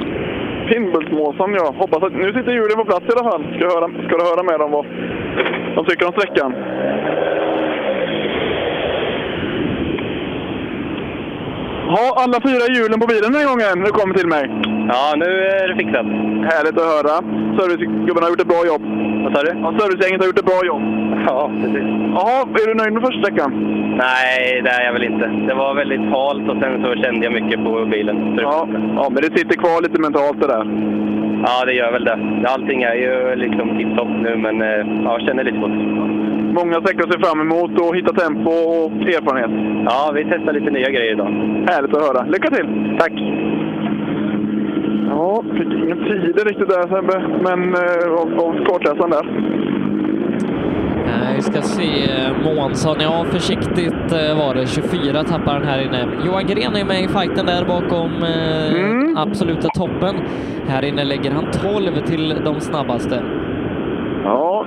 Pimbult Månsson ja. Hoppas att, nu sitter hjulen på plats i alla fall. Ska, jag höra, ska du höra med dem vad de tycker om sträckan. Ja, alla fyra hjulen på bilen den här gången nu kommer till mig. Ja, nu är det fixat. Härligt att höra. Servicegubben har gjort ett bra jobb. Vad sa du? Ja, servicegänget har gjort ett bra jobb. Ja, precis. Jaha, är du nöjd med första sträckan? Nej, det är jag väl inte. Det var väldigt halt och sen så kände jag mycket på bilen. Ja, ja, men det sitter kvar lite mentalt det där. Ja, det gör väl det. Allting är ju liksom tipptopp nu, men eh, ja, jag känner lite på det. Många sträckor ser fram emot och hitta tempo och erfarenhet. Ja, vi testar lite nya grejer idag. Härligt att höra. Lycka till! Tack! Ja, fick ingen tid riktigt där Sebbe, men eh, av, av kartläsaren där. se eh, Månsson. Ja, försiktigt eh, var det. 24 tappar han här inne. Johan Gren är med i fighten där bakom eh, absoluta toppen. Här inne lägger han 12 till de snabbaste. Ja,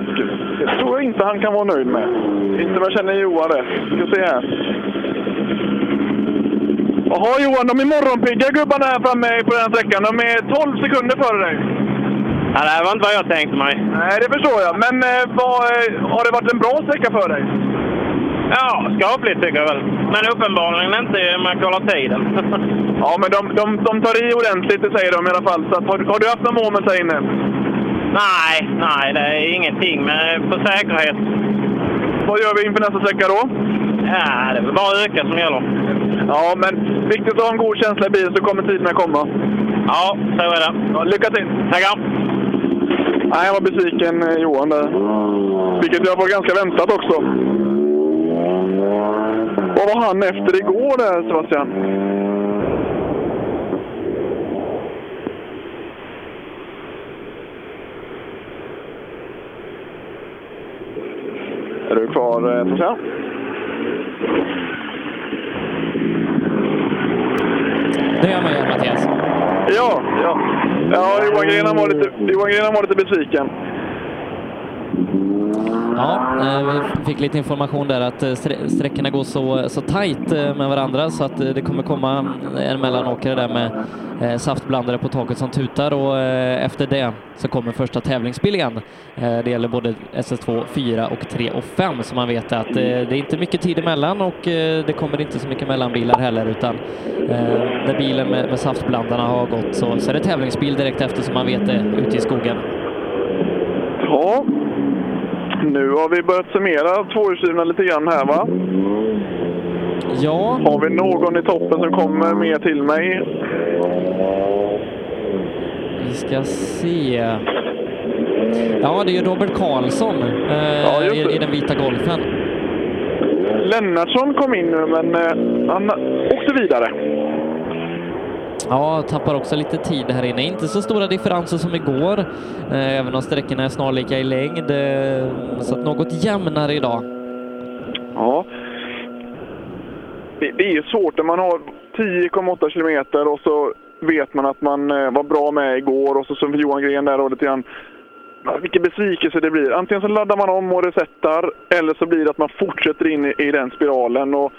det tror jag inte han kan vara nöjd med. Inte vad jag känner Johan det. Ska se här. Jaha Johan, de är morgonpigga gubbarna här framme på den här sträckan. De är 12 sekunder före dig. Ja, det här var inte vad jag tänkte mig. Nej, det förstår jag. Men eh, vad, eh, har det varit en bra sträcka för dig? Ja, skapligt tycker jag väl. Men uppenbarligen inte om eh, man kollar tiden. Ja, men de, de, de tar i ordentligt, det säger de i alla fall. Så att, har, har du haft några moment här inne? nej, nej, det är ingenting. Men på säkerhet. Vad gör vi inför nästa sträcka då? Ja, det är väl bara att öka som gäller. Ja, men viktigt att ha en god känsla i bilen så kommer tiderna komma. Ja, så är det. Ja, lycka till! Tackar! Nej, jag var besviken eh, Johan där. Vilket jag var ganska väntat också. Vad var han efter igår där Sebastian? Är du kvar eh, Sebastian? Nu är jag med Mattias. Ja, ja. ja Johan Gren han var lite, Johan Gren han var lite besviken. Ja, eh, vi fick lite information där att eh, strä- sträckorna går så, så tajt eh, med varandra så att eh, det kommer komma en mellanåkare där med eh, saftblandare på taket som tutar och eh, efter det så kommer första tävlingsbil igen. Eh, Det gäller både SS2 4 och 3 och 5 så man vet att eh, det är inte mycket tid emellan och eh, det kommer inte så mycket mellanbilar heller utan eh, när bilen med, med saftblandarna har gått så, så är det tävlingsbil direkt efter som man vet är ute i skogen. Ja, nu har vi börjat summera tvåhjulsdrivna lite grann här va? Ja. Har vi någon i toppen som kommer med till mig? Vi ska se. Ja, det är ju Robert Karlsson eh, i, i den vita golfen. Lennartsson kom in nu men eh, han åkte vidare. Ja, tappar också lite tid här inne. Inte så stora differenser som igår, eh, även om sträckorna är snarlika i längd. Eh, så att något jämnare idag. Ja. Det, det är ju svårt när man har 10,8 kilometer och så vet man att man eh, var bra med igår och så som Johan Gren där och lite grann. Ja, Vilken besvikelse det blir. Antingen så laddar man om och resetar eller så blir det att man fortsätter in i, i den spiralen. Och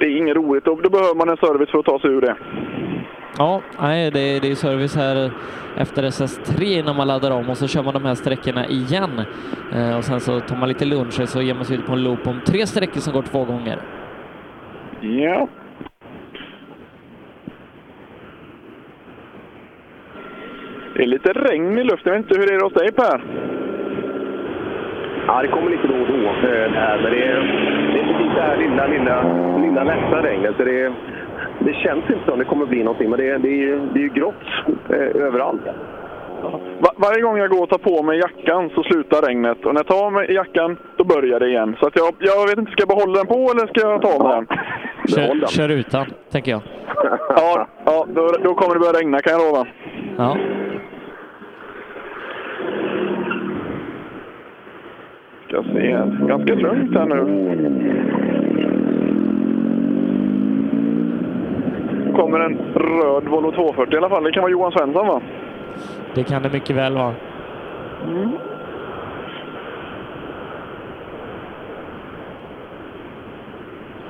det är inget roligt och då behöver man en service för att ta sig ur det. Ja, nej, det, det är service här efter SS3 innan man laddar om och så kör man de här sträckorna igen. Eh, och sen så tar man lite lunch och så ger man sig ut på en loop om tre sträckor som går två gånger. Ja. Det är lite regn i luften. Jag vet inte hur det är hos dig Per? Ja, det kommer lite då och då. eh, Här, men det är, det är precis det här lilla, lilla, lilla lätta regnet. Så det, det känns inte som det kommer bli någonting, men det, det, är, ju, det är ju grått eh, överallt. Va- varje gång jag går och tar på mig jackan så slutar regnet. Och när jag tar av mig jackan, då börjar det igen. Så att jag, jag vet inte, ska jag behålla den på eller ska jag ta av mig den? Kör, kör utan, tänker jag. Ja, ja då, då kommer det börja regna kan jag lova. Ja. Ska se här. Ganska lugnt här nu. Nu kommer en röd Volvo 240 i alla fall. Det kan vara Johan Svensson va? Det kan det mycket väl vara. Mm.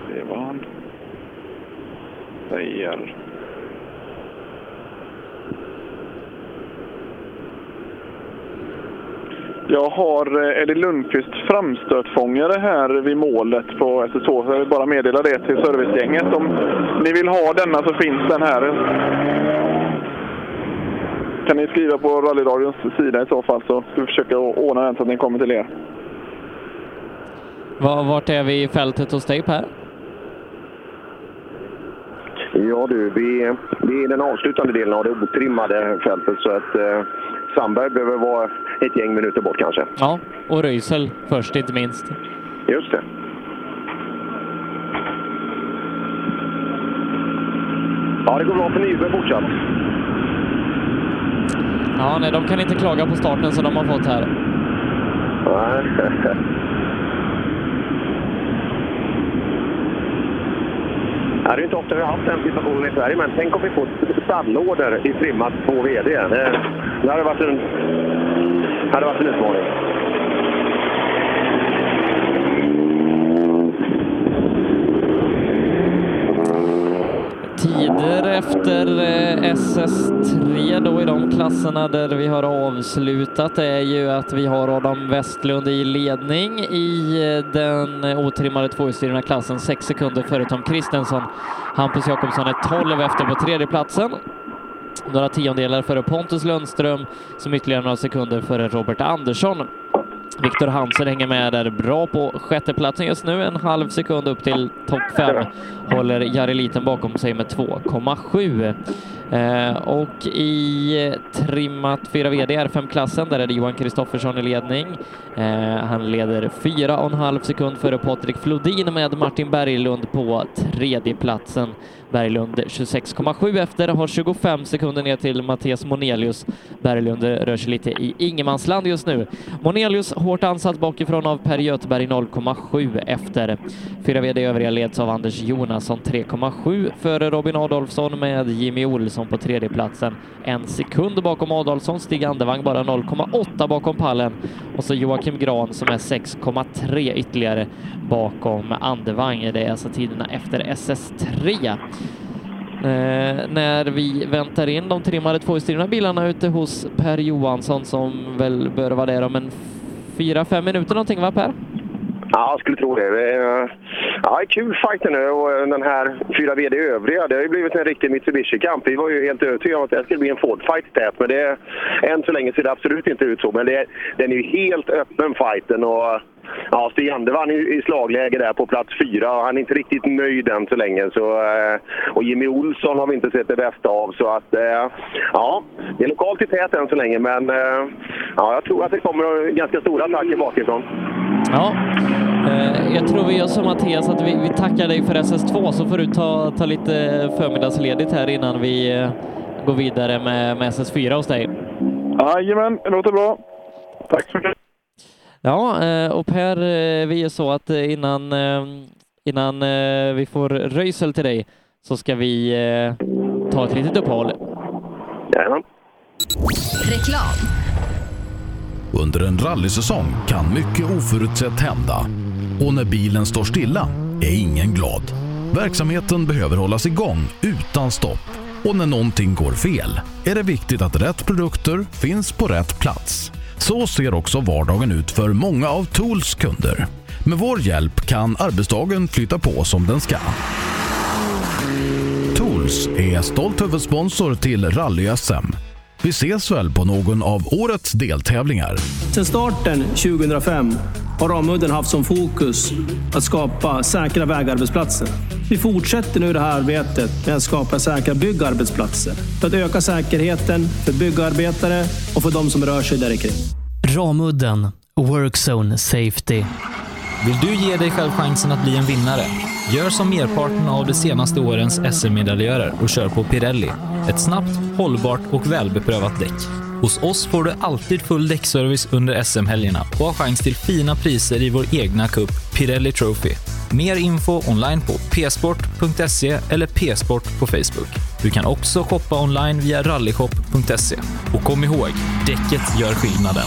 Det var han. Säger. Jag har eh, Eddie Lundqvist framstötfångare här vid målet på SS2. Så jag vill bara meddela det till servicegänget. Om ni vill ha denna så finns den här. Kan ni skriva på rallyradions sida i så fall så ska vi försöka å- ordna den så att den kommer till er. Va- Vart är vi i fältet hos dig Per? Ja du, vi, vi är i den avslutande delen av det otrimmade fältet så att eh, Sandberg behöver vara ett gäng minuter bort kanske. Ja, och Röisel först inte minst. Just det. Ja, det går bra för Nyberg fortsatt. Ja, nej, de kan inte klaga på starten som de har fått här. Nej. Ja, det är inte ofta vi har haft den situationen i Sverige, men tänk om vi får stallorder i trimmat 2 VD. Det, det hade varit en, det hade varit en utmaning. Tider efter eh, SS3 då i de klasserna där vi har avslutat är ju att vi har Adam Westlund i ledning i eh, den otrimmade tvåhjulsdrivna klassen, sex sekunder före Tom Kristensson. Hampus Jakobsson är 12 efter på tredjeplatsen. Några tiondelar före Pontus Lundström, som ytterligare några sekunder före Robert Andersson. Viktor Hansen hänger med där bra på sjätteplatsen just nu, en halv sekund upp till topp fem. Håller Jari Liten bakom sig med 2,7. Eh, och i eh, trimmat 4 VD R5-klassen, där är det Johan Kristoffersson i ledning. Eh, han leder 4,5 sekund före Patrik Flodin med Martin Berglund på tredjeplatsen. Berglund 26,7 efter, har 25 sekunder ner till Mattias Monelius. Berglund rör sig lite i ingenmansland just nu. Monelius hårt ansatt bakifrån av Per Göteberg 0,7 efter. 4 VD övriga leds av Anders Jonasson 3,7 före Robin Adolfsson med Jimmy Olsson på tredjeplatsen. En sekund bakom Adolfsson, Stig Andevang bara 0,8 bakom pallen och så Joakim Gran som är 6,3 ytterligare bakom Andevang. Det är alltså tiderna efter SS3. Eh, när vi väntar in de trimmade tvåhjulsdrivna bilarna ute hos Per Johansson som väl bör vara där om en fyra, fem minuter någonting va Per? Ja, jag skulle tro det. Det är, eh, ja, det är kul fighter nu och eh, den här 4 VD övriga. Det har ju blivit en riktig Mitsubishi-kamp. Vi var ju helt övertygade om att det här skulle bli en Ford-fight tät, men det, än så länge ser det absolut inte ut så. Men det, den är ju helt öppen fighten och ja, Stig Andervang i i slagläge där på plats fyra och han är inte riktigt nöjd än så länge. Så, eh, och Jimmy Olsson har vi inte sett det bästa av. Så att, eh, ja, det är lokalt i tät än så länge, men eh, ja, jag tror att det kommer ganska stora attacker bakifrån. Ja. Eh, Jag tror vi gör som Mattias, att vi, vi tackar dig för SS2 så får du ta, ta lite förmiddagsledigt här innan vi eh, går vidare med, med SS4 hos dig. Jajamän, det låter bra. Tack så mycket. Ja, eh, och Per, eh, vi är så att eh, innan, eh, innan eh, vi får Röisel till dig så ska vi eh, ta ett litet uppehåll. Jajamän. Reklam. Under en rallysäsong kan mycket oförutsett hända och när bilen står stilla är ingen glad. Verksamheten behöver hållas igång utan stopp och när någonting går fel är det viktigt att rätt produkter finns på rätt plats. Så ser också vardagen ut för många av Tools kunder. Med vår hjälp kan arbetsdagen flytta på som den ska. Tools är stolt huvudsponsor till Rally-SM. Vi ses väl på någon av årets deltävlingar? Sedan starten 2005 har Ramudden haft som fokus att skapa säkra vägarbetsplatser. Vi fortsätter nu det här arbetet med att skapa säkra byggarbetsplatser för att öka säkerheten för byggarbetare och för de som rör sig där kring. Ramudden, Workzone Safety. Vill du ge dig själv chansen att bli en vinnare? Gör som merparten av de senaste årens SM-medaljörer och kör på Pirelli. Ett snabbt, hållbart och välbeprövat däck. Hos oss får du alltid full däckservice under SM-helgerna och har chans till fina priser i vår egna cup Pirelli Trophy. Mer info online på psport.se eller psport på Facebook. Du kan också shoppa online via rallyshop.se. Och kom ihåg, däcket gör skillnaden.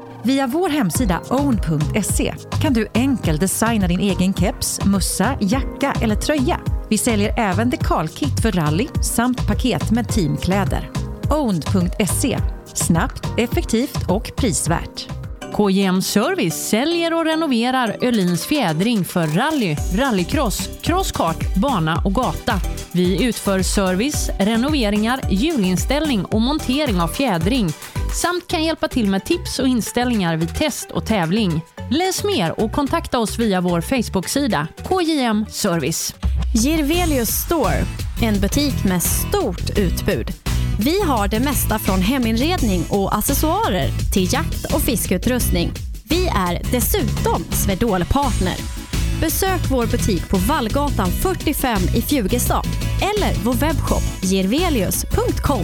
Via vår hemsida own.se kan du enkelt designa din egen keps, mussa, jacka eller tröja. Vi säljer även dekalkit för rally samt paket med teamkläder. Own.se Snabbt, effektivt och prisvärt. KJM Service säljer och renoverar Öhlins fjädring för rally, rallycross, crosskart, bana och gata. Vi utför service, renoveringar, hjulinställning och montering av fjädring samt kan hjälpa till med tips och inställningar vid test och tävling. Läs mer och kontakta oss via vår Facebook-sida KJM Service. Girvelius Store, en butik med stort utbud. Vi har det mesta från heminredning och accessoarer till jakt och fiskeutrustning. Vi är dessutom Swedol partner. Besök vår butik på Vallgatan 45 i Fjugestad eller vår webbshop gervelius.com.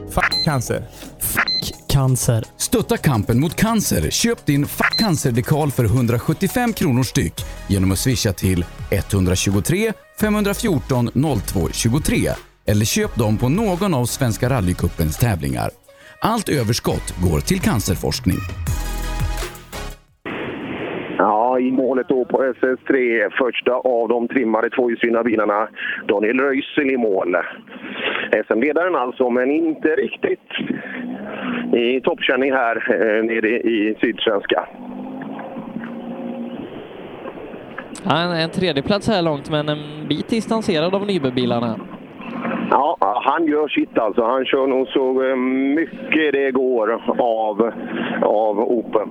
Fuck cancer! Cancer. Stötta kampen mot cancer. Köp din Fuck cancer-dekal för 175 kronor styck genom att swisha till 123 514 0223 eller köp dem på någon av Svenska rallycupens tävlingar. Allt överskott går till cancerforskning. Ja, i målet då på SS3, första av de trimmade tvåhjulsdrivna bilarna. Daniel Röisel i mål. SM-ledaren alltså, men inte riktigt i toppkänning här eh, nere i Sydsvenska. Ja, en, en tredjeplats här långt, men en bit distanserad av Nyberbilarna. Ja, han gör sitt alltså. Han kör nog så eh, mycket det går av, av Open.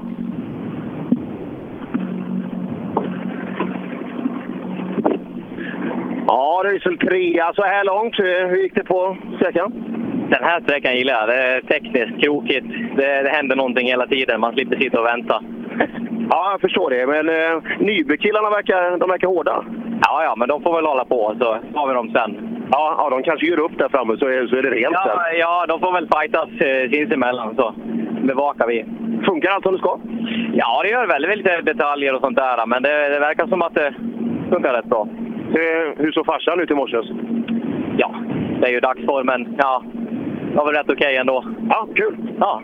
Ja, Röisel trea så här långt. Eh, Hur gick det på sträckan? Den här sträckan gillar jag. Det är tekniskt, krokigt. Det, det händer någonting hela tiden. Man slipper sitta och vänta. Ja, jag förstår det. Men eh, Nybekillarna verkar, de verkar hårda. Ja, ja, men de får väl hålla på så tar vi dem sen. Ja, ja de kanske gör upp där framme så är, så är det rent sen. Ja, ja, de får väl fightas eh, sinsemellan så bevakar vi. Funkar allt som det ska? Ja, det gör väl. Det är lite detaljer och sånt där, men det, det verkar som att det funkar rätt bra. Eh, hur såg farsan ut i morse? Ja, det är ju dagsformen. Ja, det var väl rätt okej ändå. Ja, kul! Ja.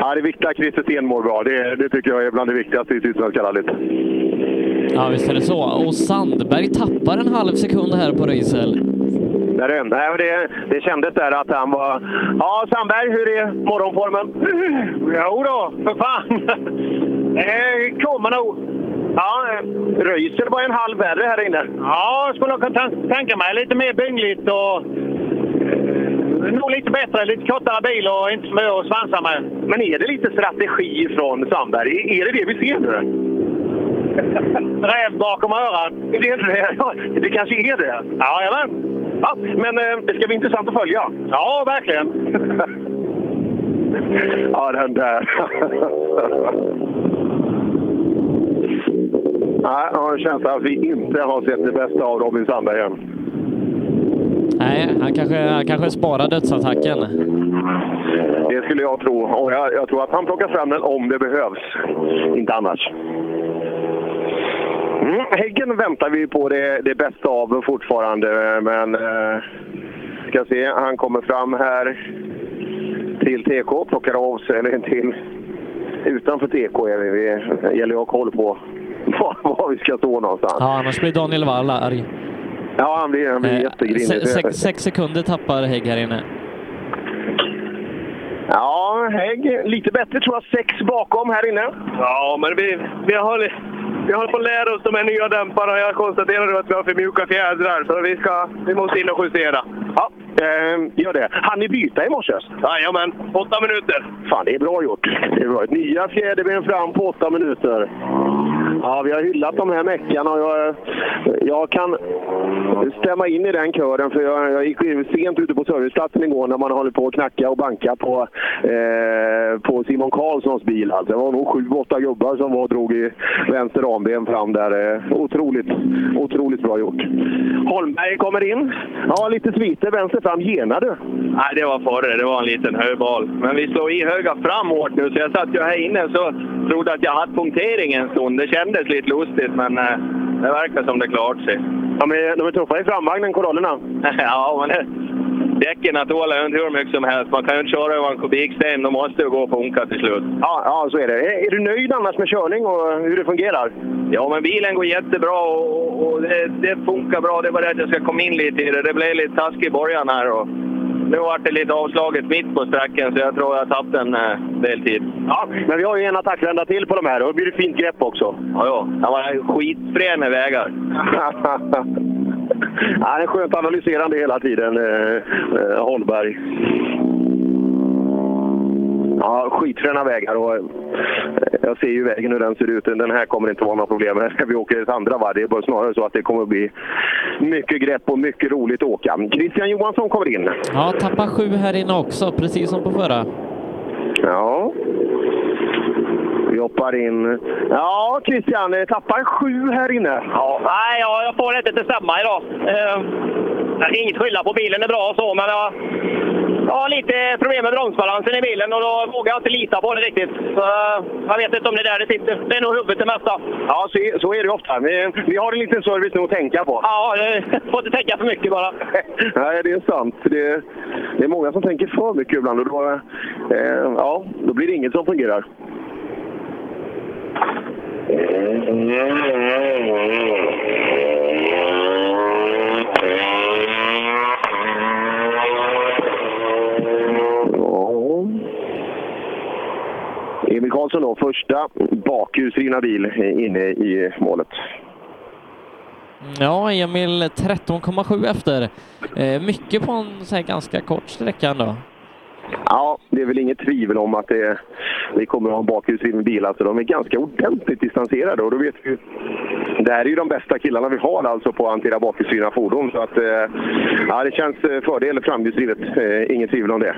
Ja, det viktiga Christer Sten mår bra. Det, det tycker jag är bland det viktigaste i Sydsvenska rallyt. Ja, visst är det så. Och Sandberg tappar en halv sekund här på Röisel. Där är den. Nej, men det, det kändes där att han var... Ja, Sandberg, hur är morgonformen? Jo då, för fan! Det kommer nog. Ja, eh, Röisel var en halv värre här inne. Ja, skulle jag kunna tan- tänka mig. Lite mer byngligt och... eh, Nog lite bättre, lite kortare bil och inte så mycket att svansa med. Men är det lite strategi från Sandberg? Är det det vi ser nu? Räv bakom örat. Är det, det, ja, det kanske är det? Ja, jajamän. Ja, men eh, det ska bli intressant att följa. Ja, verkligen. Ja, den där. Nej, jag har en känsla att vi inte har sett det bästa av Robin Sandberg än. Nej, han kanske, han kanske sparar dödsattacken. Det skulle jag tro. Och jag, jag tror att han plockar fram den om det behövs. Inte annars. Mm, häggen väntar vi på det, det bästa av fortfarande, men... Eh, ska se, han kommer fram här till TK, plockar av sig, eller till... Utanför TK är vi, vi gäller att ha koll på var, var vi ska stå någonstans. Ja, annars blir Daniel Wall arg. Ja, han blir, han blir jättegrinig. Eh, Se, sex, sex sekunder tappar Hägg här inne. Ja, Hägg. Lite bättre tror jag. Sex bakom här inne. Ja, men vi, vi, håller, vi håller på att lära oss de här nya dämparna och jag konstaterar nu att vi har för mjuka fjädrar så vi, ska, vi måste in och justera. Ja, eh, gör det. Han ni byta i morse? Jajamän, åtta minuter. Fan, det är bra gjort. Det är bra. Nya fjäderben fram på åtta minuter. Ja, vi har hyllat de här meckarna och jag, jag kan stämma in i den kören för jag, jag gick ju sent ute på serviceplatsen igår när man håller på att knacka och banka på, eh, på Simon Karlssons bil. Alltså, det var nog sju, åtta gubbar som var och drog i vänster ramben fram där. Eh, Otroligt, otroligt bra gjort. Holmberg kommer in. Ja, lite sviter vänster fram. Genar du? Nej, det var före. Det var en liten högbal. Men vi slog i höga fram hårt nu, så jag satt ju här inne så trodde att jag hade punktering en stund. Det kändes lite lustigt, men eh, det verkar som det klart sig. De är, de är tuffa i framvagnen, korallerna. ja, men det, Däcken att tål ju inte hur mycket som helst. Man kan ju inte köra över en kubiksten. De måste ju gå och funka till slut. Ja, ja, så är det. Är, är du nöjd annars med körning och hur det fungerar? Ja, men bilen går jättebra och, och det, det funkar bra. Det var det att jag ska komma in lite i det. Det blev lite taskigt i början här. Och nu vart det lite avslaget mitt på sträckan så jag tror jag tappade en eh, del tid. Ja, men vi har ju en attackvända till på de här och då blir det fint grepp också. Ja, ja. Jag var skitfrän med vägar. ja, han är skönt analyserande hela tiden, eh, eh, Holmberg. Ja, skitfräna vägar och eh, jag ser ju vägen hur den ser ut. Den här kommer inte vara några problem. Här ska vi åka ett andra varv. Det är bara snarare så att det kommer att bli mycket grepp och mycket roligt att åka. Christian Johansson kommer in. Ja, tappa sju här inne också, precis som på förra. Ja. Vi hoppar in. Ja, Christian, eh, tappar sju här inne. Ja, nej, ja, jag får inte till samma idag. Eh, inget skylla på, bilen är bra och så, men jag, jag har lite problem med bromsbalansen i bilen och då vågar jag inte lita på den riktigt. Så, eh, jag vet inte om det är där det sitter. Det är nog huvudet det mesta. Ja, så, så är det ofta. Vi, vi har en liten service nu att tänka på. Ja, eh, får inte tänka för mycket bara. Nej, det är sant. Det, det är många som tänker för mycket ibland och då, eh, ja, då blir det inget som fungerar. Ja. Emil Karlsson då, första bakhjulsdrivna bil inne i målet. Ja, Emil 13,7 efter. Eh, mycket på en så här ganska kort sträcka ändå. Ja, det är väl inget tvivel om att det, vi kommer att ha en bakhjulsdriven bil. Alltså, de är ganska ordentligt distanserade och då vet vi ju- det här är ju de bästa killarna vi har alltså på att hantera bakhjulsdrivna fordon. Så att, eh, ja, det känns eh, fördel framhjulsdrivet, eh, inget tvivel om det.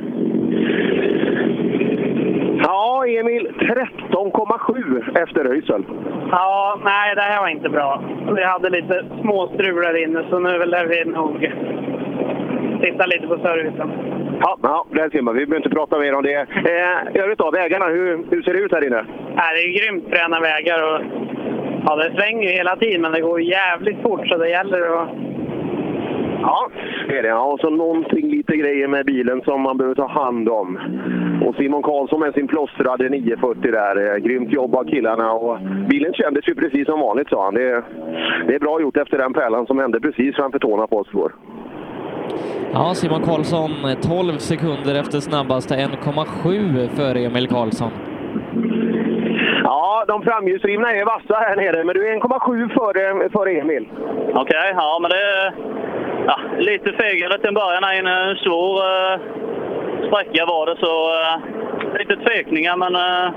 Ja, Emil, 13,7 efter Höjsel. Ja, nej, det här var inte bra. Vi hade lite småstrul där inne, så nu lär vi nog titta lite på servicen. Ja, ja, där ser man. Vi behöver inte prata mer om det. Eh, I övrigt då, vägarna, hur, hur ser det ut här inne? Nej, det är ju grymt fräna vägar och ja, det svänger ju hela tiden, men det går ju jävligt fort så det gäller att... Ja, det är det. Ja, och så någonting lite grejer med bilen som man behöver ta hand om. Och Simon Karlsson med sin plåstrade 940 där. Eh, Grymt jobb av killarna. Och bilen kändes ju precis som vanligt sa han. Det, det är bra gjort efter den pärlan som hände precis framför tårna på oss igår. Ja, Simon Karlsson 12 sekunder efter snabbaste, 1,7 före Emil Karlsson. Ja, de framhjulsdrivna är vassa här nere, men du är 1,7 före, före Emil. Okej, ja men det är ja, lite fegare till en början. här inne. En svår eh, sträcka var det, så eh, lite tvekningar men eh,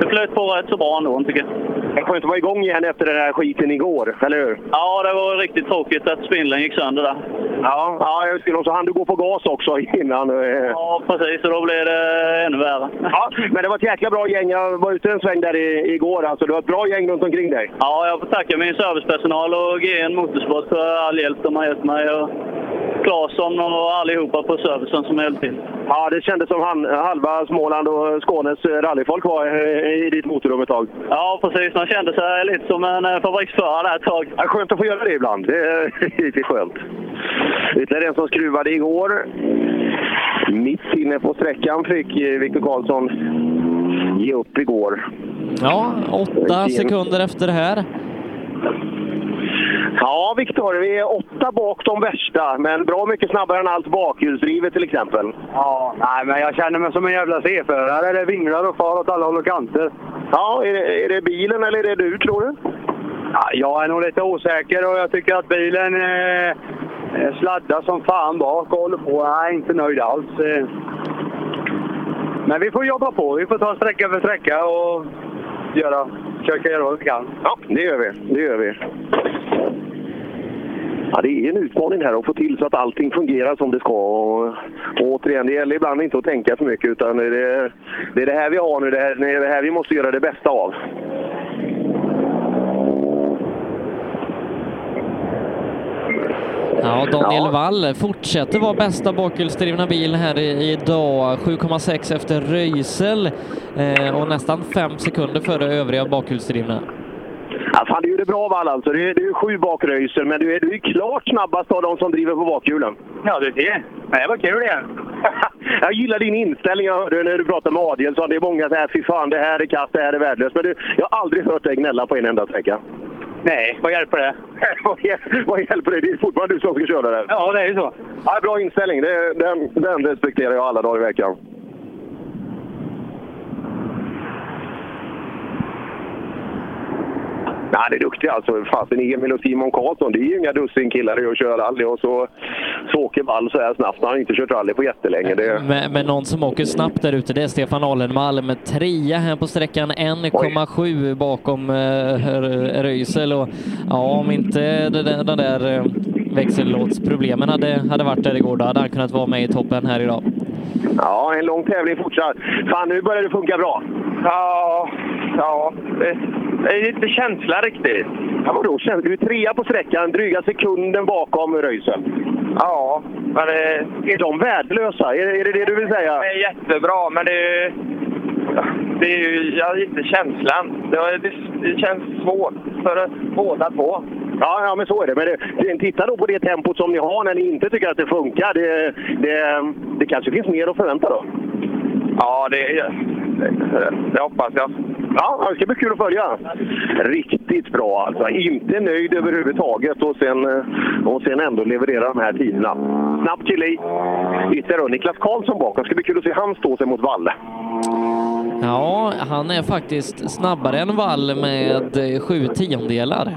det flöt på rätt så bra ändå tycker jag. Det får inte vara igång igen efter den här skiten igår, eller hur? Ja, det var riktigt tråkigt att spindeln gick sönder där. Ja, ja just det. Och så hann du gå på gas också innan. eh. Ja, precis. Och då blev det ännu värre. Ja, men det var ett jäkla bra gäng. Jag var ute en sväng där i, igår. Alltså, det var ett bra gäng runt omkring dig. Ja, jag får tacka min servicepersonal och GN Motorsport för all hjälp de har gett mig. Och Claesson och allihopa på servicen som hjälpt till. Ja, det kändes som han, halva Småland och Skånes eh, rallyfolk var eh, i ditt motorrum ett tag. Ja, precis. Man kände sig lite som en eh, fabriksförare där ett tag. Ja, skönt att få göra det ibland. Det är riktigt skönt. Ytterligare en som skruvade igår. Mitt inne på sträckan fick eh, Victor Karlsson ge upp igår. Ja, 8 sekunder efter här. Ja, Viktor, vi är åtta bak de värsta, men bra mycket snabbare än allt bakhjulsdrivet till exempel. Ja, nej, men jag känner mig som en jävla C-förare. Det vinglar och far åt alla håll och kanter. Ja, är det, är det bilen eller är det du, tror du? Ja, jag är nog lite osäker och jag tycker att bilen eh, sladdar som fan bak och håller på. Jag är inte nöjd alls. Eh. Men vi får jobba på. Vi får ta sträcka för sträcka och göra, försöka göra vad vi kan. Ja, det gör vi. Det gör vi. Ja, det är en utmaning här att få till så att allting fungerar som det ska. Och, och återigen, det gäller ibland inte att tänka för mycket utan det är det, är det här vi har nu. Det, här, det är det här vi måste göra det bästa av. Ja, Daniel Wall fortsätter vara bästa bakhjulsdrivna bil här i- idag. 7,6 efter Röisel eh, och nästan 5 sekunder före övriga bakhjulsdrivna. Ja, fan, du gjorde bra Wall alltså. Du är, du är sju bak Röisel, men du är, du är klart snabbast av de som driver på bakhjulen. Ja, du ser. Det var kul igen. Jag gillar din inställning. Jag hörde när du pratade med Adielsson. Det är många som säger fy fan, det här är kast, det här är värdelöst. Men du, jag har aldrig hört dig gnälla på en enda sträcka. Nej, vad hjälper det? vad, hjäl- vad hjälper det? Det är fortfarande du som ska köra där. Ja, det är ju så. Ja, bra inställning. Det, den, den respekterar jag alla dagar i veckan. Nej, det är duktiga alltså. Fasen, Emil och Simon Karlsson, det är ju inga dussin killar i att köra rally. Och så, så åker Wall så här snabbt. Han har inte kört rally på jättelänge. Det, Men, men någon som åker snabbt där ute, det är Stefan Alenmalm. Trea här på sträckan, 1,7 bakom eh, Rö- Röisel. Och, ja, om inte det där- de där eh, växellådsproblemen hade, hade varit där igår, då hade han kunnat vara med i toppen här idag. ja, en lång tävling fortsatt. Fan, nu börjar det funka bra. Ja, ja. Det, det är lite känsla riktigt. Ja, vadå känsla? Du är trea på sträckan, dryga sekunden bakom Röisel. Ja, men eh, det... Är de värdelösa? Är, är det det du vill säga? Det är jättebra, men det är ju... Det är ju jag har inte känslan. Det, var, det, det känns svårt för oss båda två. Ja, ja, men så är det. Men det, det, titta då på det tempot som ni har när ni inte tycker att det funkar. Det, det, det kanske finns mer att förvänta då? Ja, det, det, det hoppas jag. Ja, det ska bli kul att följa. Riktigt bra alltså. Inte nöjd överhuvudtaget och sen, eh, och sen ändå leverera de här tiderna. Snabbt kille i. Ytterligare då, Niklas Karlsson bakom. Det ska bli kul att se han stå sig mot Valle. Ja, han är faktiskt snabbare än Wall med eh, sju tiondelar.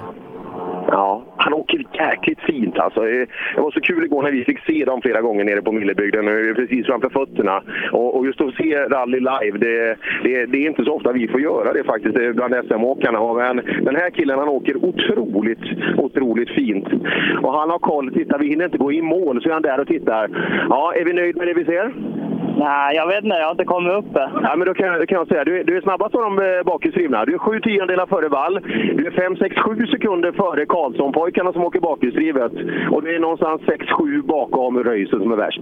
Ja, han åker jäkligt fint alltså. Eh, Det var så kul igår när vi fick se dem flera gånger nere på Millebygden, eh, precis framför fötterna. Och, och just att se rally live, det, det, det är inte så ofta vi får göra det faktiskt eh, bland SM-åkarna. Och Men den här killen han åker otroligt, otroligt fint. Och han har koll. Titta, vi hinner inte gå i mål, så är han där och tittar. Ja, är vi nöjda med det vi ser? Nej, jag vet inte. Jag har inte kommit upp än. Ja, men då kan, jag- då kan jag säga, du, är- du är snabbast av de eh, bakhjulsdrivna. Du är sju tiondelar före Wall. Du är fem, sex, sju sekunder före Karlsson-pojkarna som åker bakhjulsdrivet. Och du är någonstans sex, sju bakom Röisel som är värst.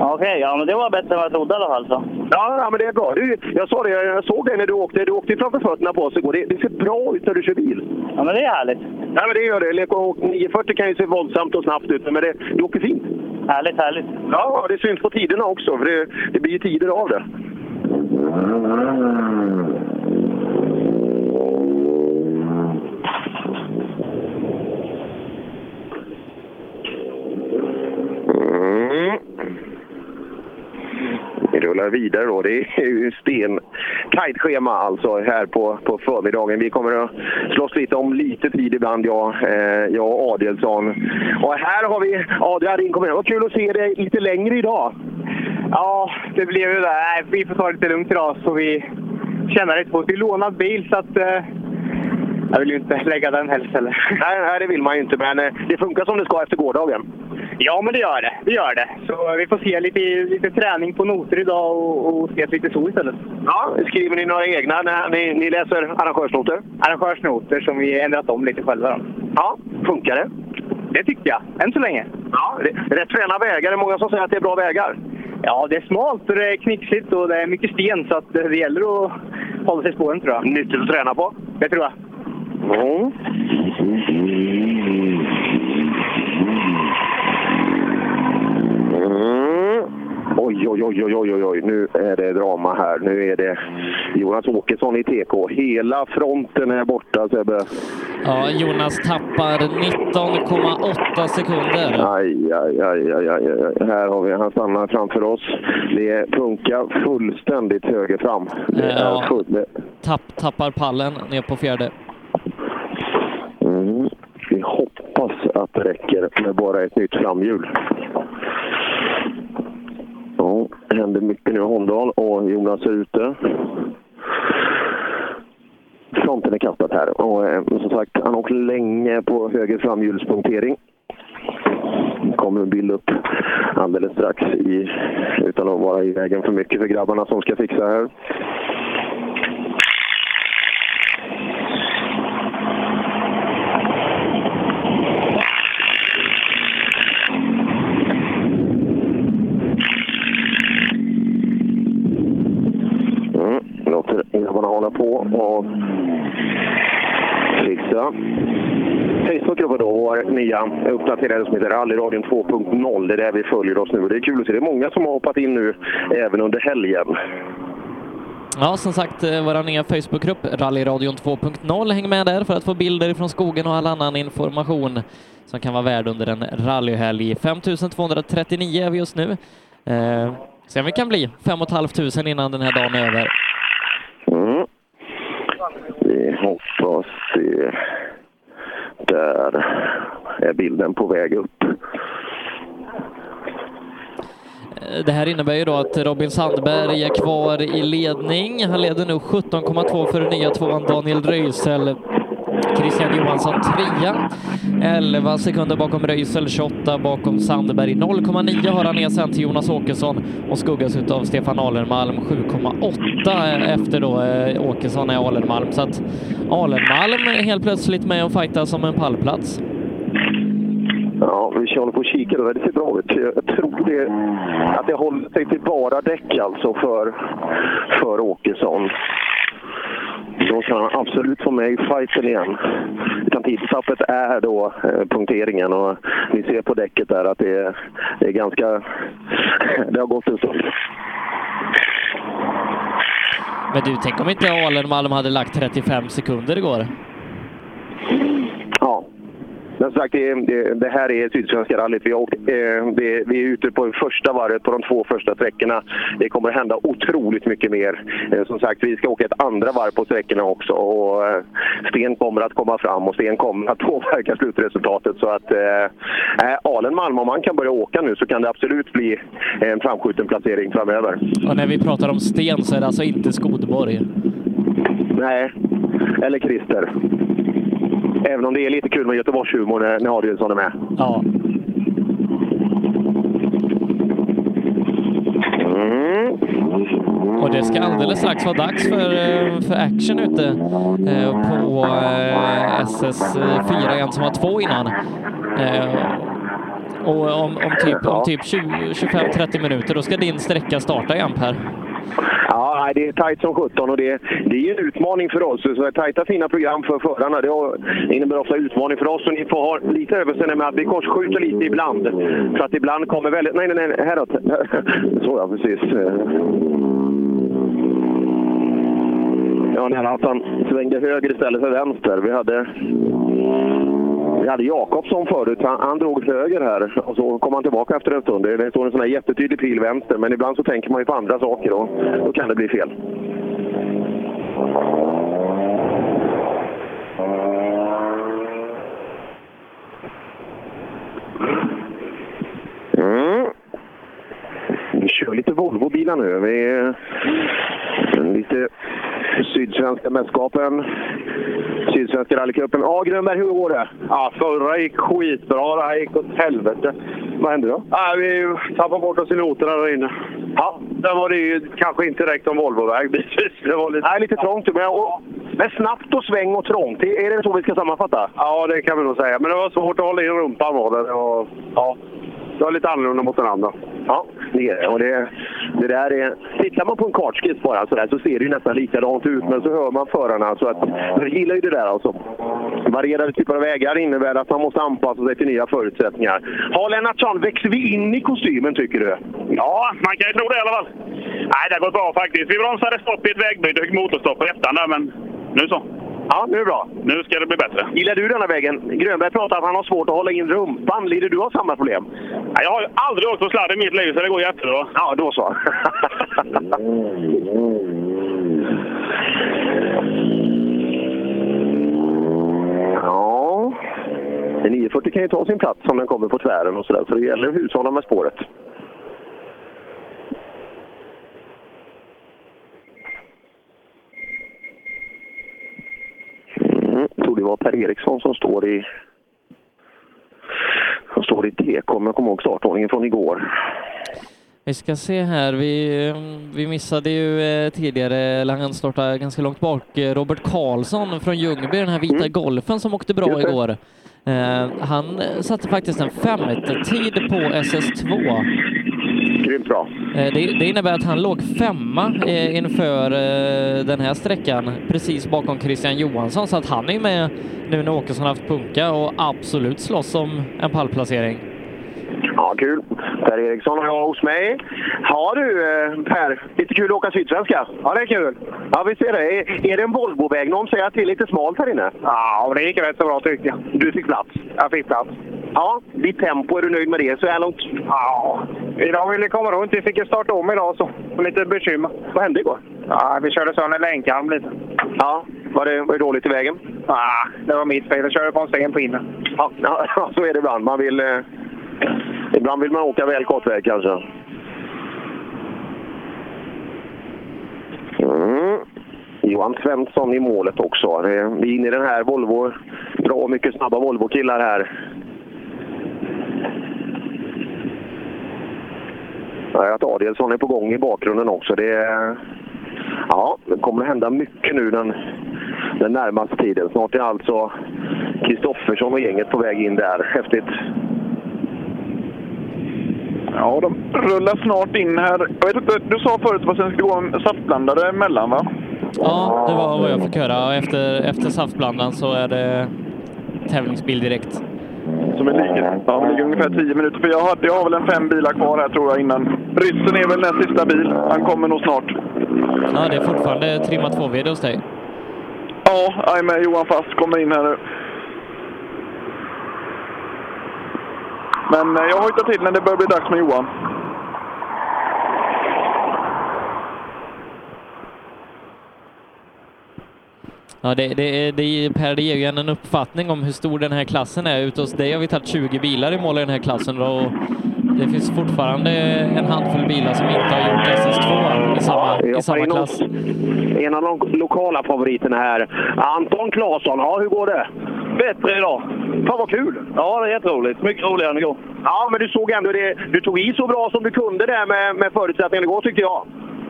Okej, ja, men det var bättre än vad jag trodde i alla fall. Så. Ja, ja, men det är bra. Du, jag sa det, jag såg dig när du åkte. Du åkte framför fötterna på oss igår. Det, det ser bra ut när du kör bil. Ja, men det är härligt. Ja, men det gör det. Lek- och 940 kan ju se våldsamt och snabbt ut, men det, du åker fint. Härligt, härligt. Ja, det syns på tiderna också, för det, det blir ju tider av det. Mm. Vi rullar vidare då. Det är ju sten tajt schema alltså här på, på förmiddagen. Vi kommer att slåss lite om lite tid ibland, jag, eh, jag och Adelsson. Och här har vi Adrian inkommer. Vad kul att se dig lite längre idag. Ja, det blev ju det. Nej, vi får ta det lite lugnt idag så vi känner lite på det. Vi lånade bil så att eh, jag vill ju inte lägga den helst heller. Nej, nej, det vill man ju inte, men eh, det funkar som det ska efter gårdagen. Ja, men det gör det. Det gör det. Så eh, vi får se lite, lite träning på noter idag och, och se lite så istället. Ja, skriver ni några egna när ni, ni läser arrangörsnoter? Arrangörsnoter som vi ändrat om lite själva. Då. Ja, funkar det? Det tycker jag, än så länge. Ja, det- rätt fräna vägar. Det är många som säger att det är bra vägar. Ja, det är smalt och det är knixigt och det är mycket sten så att eh, det gäller att hålla sig i spåren tror jag. Nyttigt att träna på? Det tror jag. Mm. Mm. Oj, oj, oj, oj, oj, oj, oj, nu är det drama här. Nu är det Jonas Åkesson i TK. Hela fronten är borta, Sebbe. Ja, Jonas tappar 19,8 sekunder. Aj, aj, aj, aj, aj, aj. Här har vi, han stannar framför oss. Det funkar fullständigt höger fram. Det Ja. är full, det. Tapp, tappar pallen ner på fjärde. Mm. Vi hoppas att det räcker med bara ett nytt framhjul. Ja, det händer mycket nu. Holmdahl och Jonas är ute. Fronten är kastad här. Och eh, som sagt, han åker länge på höger framhjulspunktering. Det kommer en bild upp alldeles strax i, utan att vara i vägen för mycket för grabbarna som ska fixa här. Mm, låter grabbarna hålla på och fixa. fredag. Facebookgruppen då, vår nya uppdaterade som heter Rallyradion 2.0. Det är där vi följer oss nu. Det är kul att se. Det är många som har hoppat in nu, även under helgen. Ja, som sagt, eh, vår nya Facebookgrupp Rallyradion 2.0. Häng med där för att få bilder från skogen och all annan information som kan vara värd under en rallyhelg. 5239 är vi just nu. Eh, se om vi kan bli 5 500 innan den här dagen är över. Mm. Vi hoppas se. Där är bilden på väg upp. Eh, Det här innebär ju då att Robin Sandberg är kvar i ledning. Han leder nu 17,2 för den nya tvåan Daniel Röisel. Christian Johansson trea. 11 sekunder bakom Röisel, 28 bakom Sandberg. 0,9 har han ner sen till Jonas Åkesson och skuggas av Stefan Alenmalm 7,8 efter då eh, Åkesson är Alenmalm. Så att Alenmalm är helt plötsligt med och fightar som en pallplats. Ja, vi håller på och kikar. då. Det ser bra ut. Jag tror det, att det håller sig till bara däck alltså för, för Åkesson. Då kan han absolut få med i fighten igen. Utan tidstappet är då eh, punkteringen och ni ser på däcket där att det är, det är ganska... Det har gått en stund. Men du, tänk om inte Alenmalm hade lagt 35 sekunder igår? Ja. Men som sagt, det, det, det här är Sydsvenska rallyt. Vi, har åkt, eh, det, vi är ute på första varvet på de två första sträckorna. Det kommer att hända otroligt mycket mer. Eh, som sagt, vi ska åka ett andra varv på sträckorna också. Och, eh, Sten kommer att komma fram och Sten kommer att påverka slutresultatet. Så att, eh, eh, Alenmalm, om han kan börja åka nu så kan det absolut bli en framskjuten placering framöver. Och när vi pratar om sten så är det alltså inte Skodborg. Nej, eller Christer. Även om det är lite kul med Göteborgshumor när, när Adielsson är med. Ja. Och det ska alldeles strax vara dags för, eh, för action ute eh, på eh, SS4, en som var två innan. Eh, Och om, om typ, om typ 20 25-30 minuter, då ska din sträcka starta igen Per. Ja, nej, det är tajt som 17 och det, det är ju en utmaning för oss. Så tajta fina program för förarna det har- innebär ofta utmaning för oss. Och ni får ha lite överseende med att vi korsskjuter lite ibland. För att ibland kommer väldigt... Nej, nej, nej, häråt. Så ja, precis. Ja, nära att han svängde höger istället för vänster. Vi hade... Vi hade Jakobsson förut, han, han drog höger här och så kom han tillbaka efter en stund. Det det står en sån här jättetydlig pil vänster, men ibland så tänker man ju på andra saker och då kan det bli fel. Mm. Vi kör lite Volvo-bilar nu. Vi är lite Sydsvenska mästerskapen, Sydsvenska rallycupen. Ja, Grönberg, hur går det? Ja, förra gick skitbra. Det här gick åt helvete. Vad hände då? Ja, vi tappade bort oss i noterna där inne. Ja, sen var det ju kanske inte direkt om Volvoväg bitvis. Det var lite... Nej, lite trångt. Men, och, men snabbt och sväng och trångt. Är är det så vi ska sammanfatta? Ja, det kan vi nog säga. Men det var svårt att hålla i rumpan var det. det var... Ja. Det var lite annorlunda mot den andra. Ja, det är det. och det. Det där är... Tittar man på en kartskiss bara så, där, så ser det ju nästan likadant ut, men så hör man förarna. Så att, jag gillar ju det där alltså. Varierade typer av vägar innebär att man måste anpassa sig till nya förutsättningar. Ja, Lennartsson, växer vi in i kostymen tycker du? Ja, man kan ju tro det i alla fall. Nej, det har gått bra faktiskt. Vi bromsade stopp i ett vägbyte och fick motorstopp på ettan där, men nu så. Ja, nu är det bra. Nu ska det bli bättre. Gillar du denna vägen? Grönberg pratar att han har svårt att hålla in rumpan. Lider du av samma problem? Nej, Jag har ju aldrig åkt på sladd i mitt liv, så det går jättebra. Ja, då så. Ja... En 940 kan ju ta sin plats om den kommer på tvären och sådär, så det gäller att hushålla med spåret. Mm, jag tror det var Per Eriksson som står i som står i TK, men jag kommer ihåg startordningen från igår. Vi ska se här, vi, eh, vi missade ju eh, tidigare, eller han startade ganska långt bak, eh, Robert Karlsson från Ljungby, den här vita golfen som åkte bra Mm. Just det. igår. Eh, han eh, satte faktiskt en femte tid på SS2. Grymt bra. Eh, Det, det innebär att han låg femma eh, inför eh, den här sträckan, precis bakom Christian Johansson, så att han är med nu när Åkesson haft punka och absolut slåss om en pallplacering. Ja, kul. Per Eriksson och jag hos mig. Ja du eh, Per, lite kul att åka Sydsvenska. Ja, det är kul. Ja, vi ser det. Är, är det en Volvoväg? Någon säger att det är lite smalt här inne. Ja, det gick rätt så bra tyckte jag. Du fick plats? Jag fick plats. Ja, ditt tempo, är du nöjd med det så här långt? Ja, Idag ville vi komma runt. Vi fick ju starta om idag så. Och lite bekymmer. Vad hände igår? Ja, vi körde sönder länkarm lite. Ja, var det, var det dåligt i vägen? Ja, Ah, det var mitt fel. Jag körde på en sten på inne. Ja, ja, så är det ibland. Man vill, eh, ibland vill man åka väl kort väg kanske. Mm. Johan Svensson i målet också. Det- Vi är inne i den här Volvo. Bra mycket snabba Volvo-killar här. Jag hör att Adielsson är på gång i bakgrunden också. Det, är- ja, det kommer att hända mycket nu den, den närmaste tiden. Snart är alltså Kristoffersson och gänget på väg in där. Häftigt. Ja, de rullar snart in här. Jag vet inte, du sa förut att det skulle gå en saftblandare emellan, va? Ja, det var vad jag fick höra och efter, efter saftblandaren så är det tävlingsbil direkt. Som är ligger, ja, ligger ungefär 10 minuter. För jag har, jag har väl en fem bilar kvar här tror jag innan. Ryssen är väl den sista bil. Han kommer nog snart. Ja, det är fortfarande trimma 2-VD hos dig. Ja, jag är med. Johan Fast kommer in här nu. Men eh, jag hojtar till när det börjar bli dags med Johan. Ja, det, det, det, per, det ger ju en en uppfattning om hur stor den här klassen är. Ute hos dig har vi tagit 20 bilar i mål i den här klassen då, och det finns fortfarande en handfull bilar som inte har gjort SS2 i samma, i samma klass. En av de lokala favoriterna här. Anton Claesson, ja hur går det? Bättre idag. Fan vad kul! Ja, det är jätteroligt. Mycket roligare än igår. Ja, men du såg ändå det. Du tog i så bra som du kunde där med, med förutsättningarna igår tyckte jag.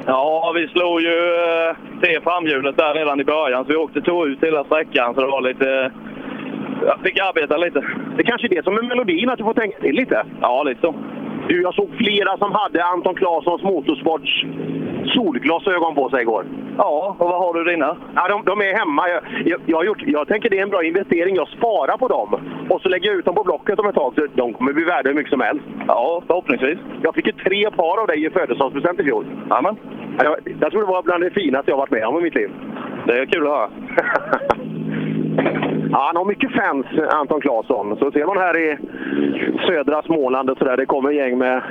Ja, vi slog ju eh, det framhjulet där redan i början, så vi åkte tog ut hela sträckan. Så det var lite... eh, Jag fick arbeta lite. Det kanske är det som är melodin, att du får tänka till lite. Ja, lite så. Du, jag såg flera som hade Anton Claessons motorsports solglasögon på sig igår. Ja, och vad har du dina? Ja, de, de är hemma. Jag, jag, jag, har gjort, jag tänker det är en bra investering. Jag sparar på dem och så lägger jag ut dem på Blocket om ett tag. Så de kommer bli värda hur mycket som helst. Ja, förhoppningsvis. Jag fick ju tre par av dig i födelsedagspresent i fjol. Amen. Jag, jag tror det var bland det finaste jag varit med om i mitt liv. Det är kul att höra. Ja, han har mycket fans, Anton Claesson. Så ser man här i södra Småland och sådär, det kommer gäng med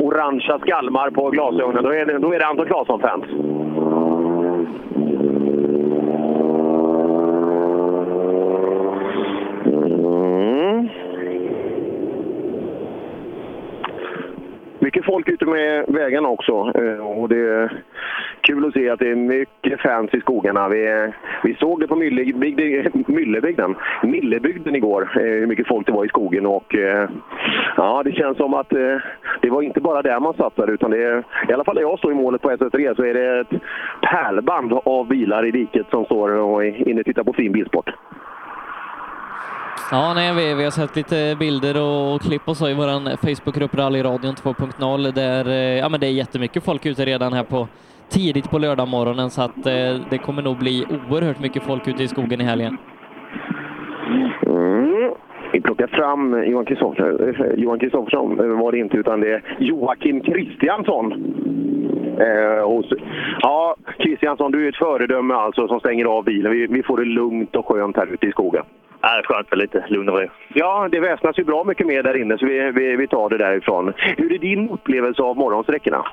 orangea skalmar på glasögonen. Då är det, då är det Anton Claesson-fans. Mm. Mycket folk ute med vägarna också. eh, Och det är kul att se att det är mycket fans i skogarna. Vi, vi såg det på Myllebygden, Myllebygden, Millebygden igår, eh, hur mycket folk det var i skogen. Och, eh, ja, det känns som att eh, det var inte bara där man satsade, utan det, är- i alla fall där jag står i målet på SS3 så är det ett pärlband av bilar i diket som står och är inne och tittar på fin bilsport. Ja, nej, vi, vi har sett lite bilder och klipp och så i vår Facebookgrupp Rallyradion 2.0 där eh, ja, men det är jättemycket folk ute redan här på tidigt på lördagmorgonen så att eh, det kommer nog bli oerhört mycket folk ute i skogen i helgen. Mm. Vi plockar fram Johan Kristoffersson. Eh, Johan Kristoffersson eh, var det inte, utan det är Joakim Kristiansson. Eh, hos, ja, Kristiansson, du är ett föredöme alltså som stänger av bilen. Vi, vi får det lugnt och skönt här ute i skogen. Nej, skönt med lite lugn och ro. Ja, det väsnas ju bra mycket mer där inne, så vi, vi, vi tar det därifrån. Hur är din upplevelse av morgonsträckorna?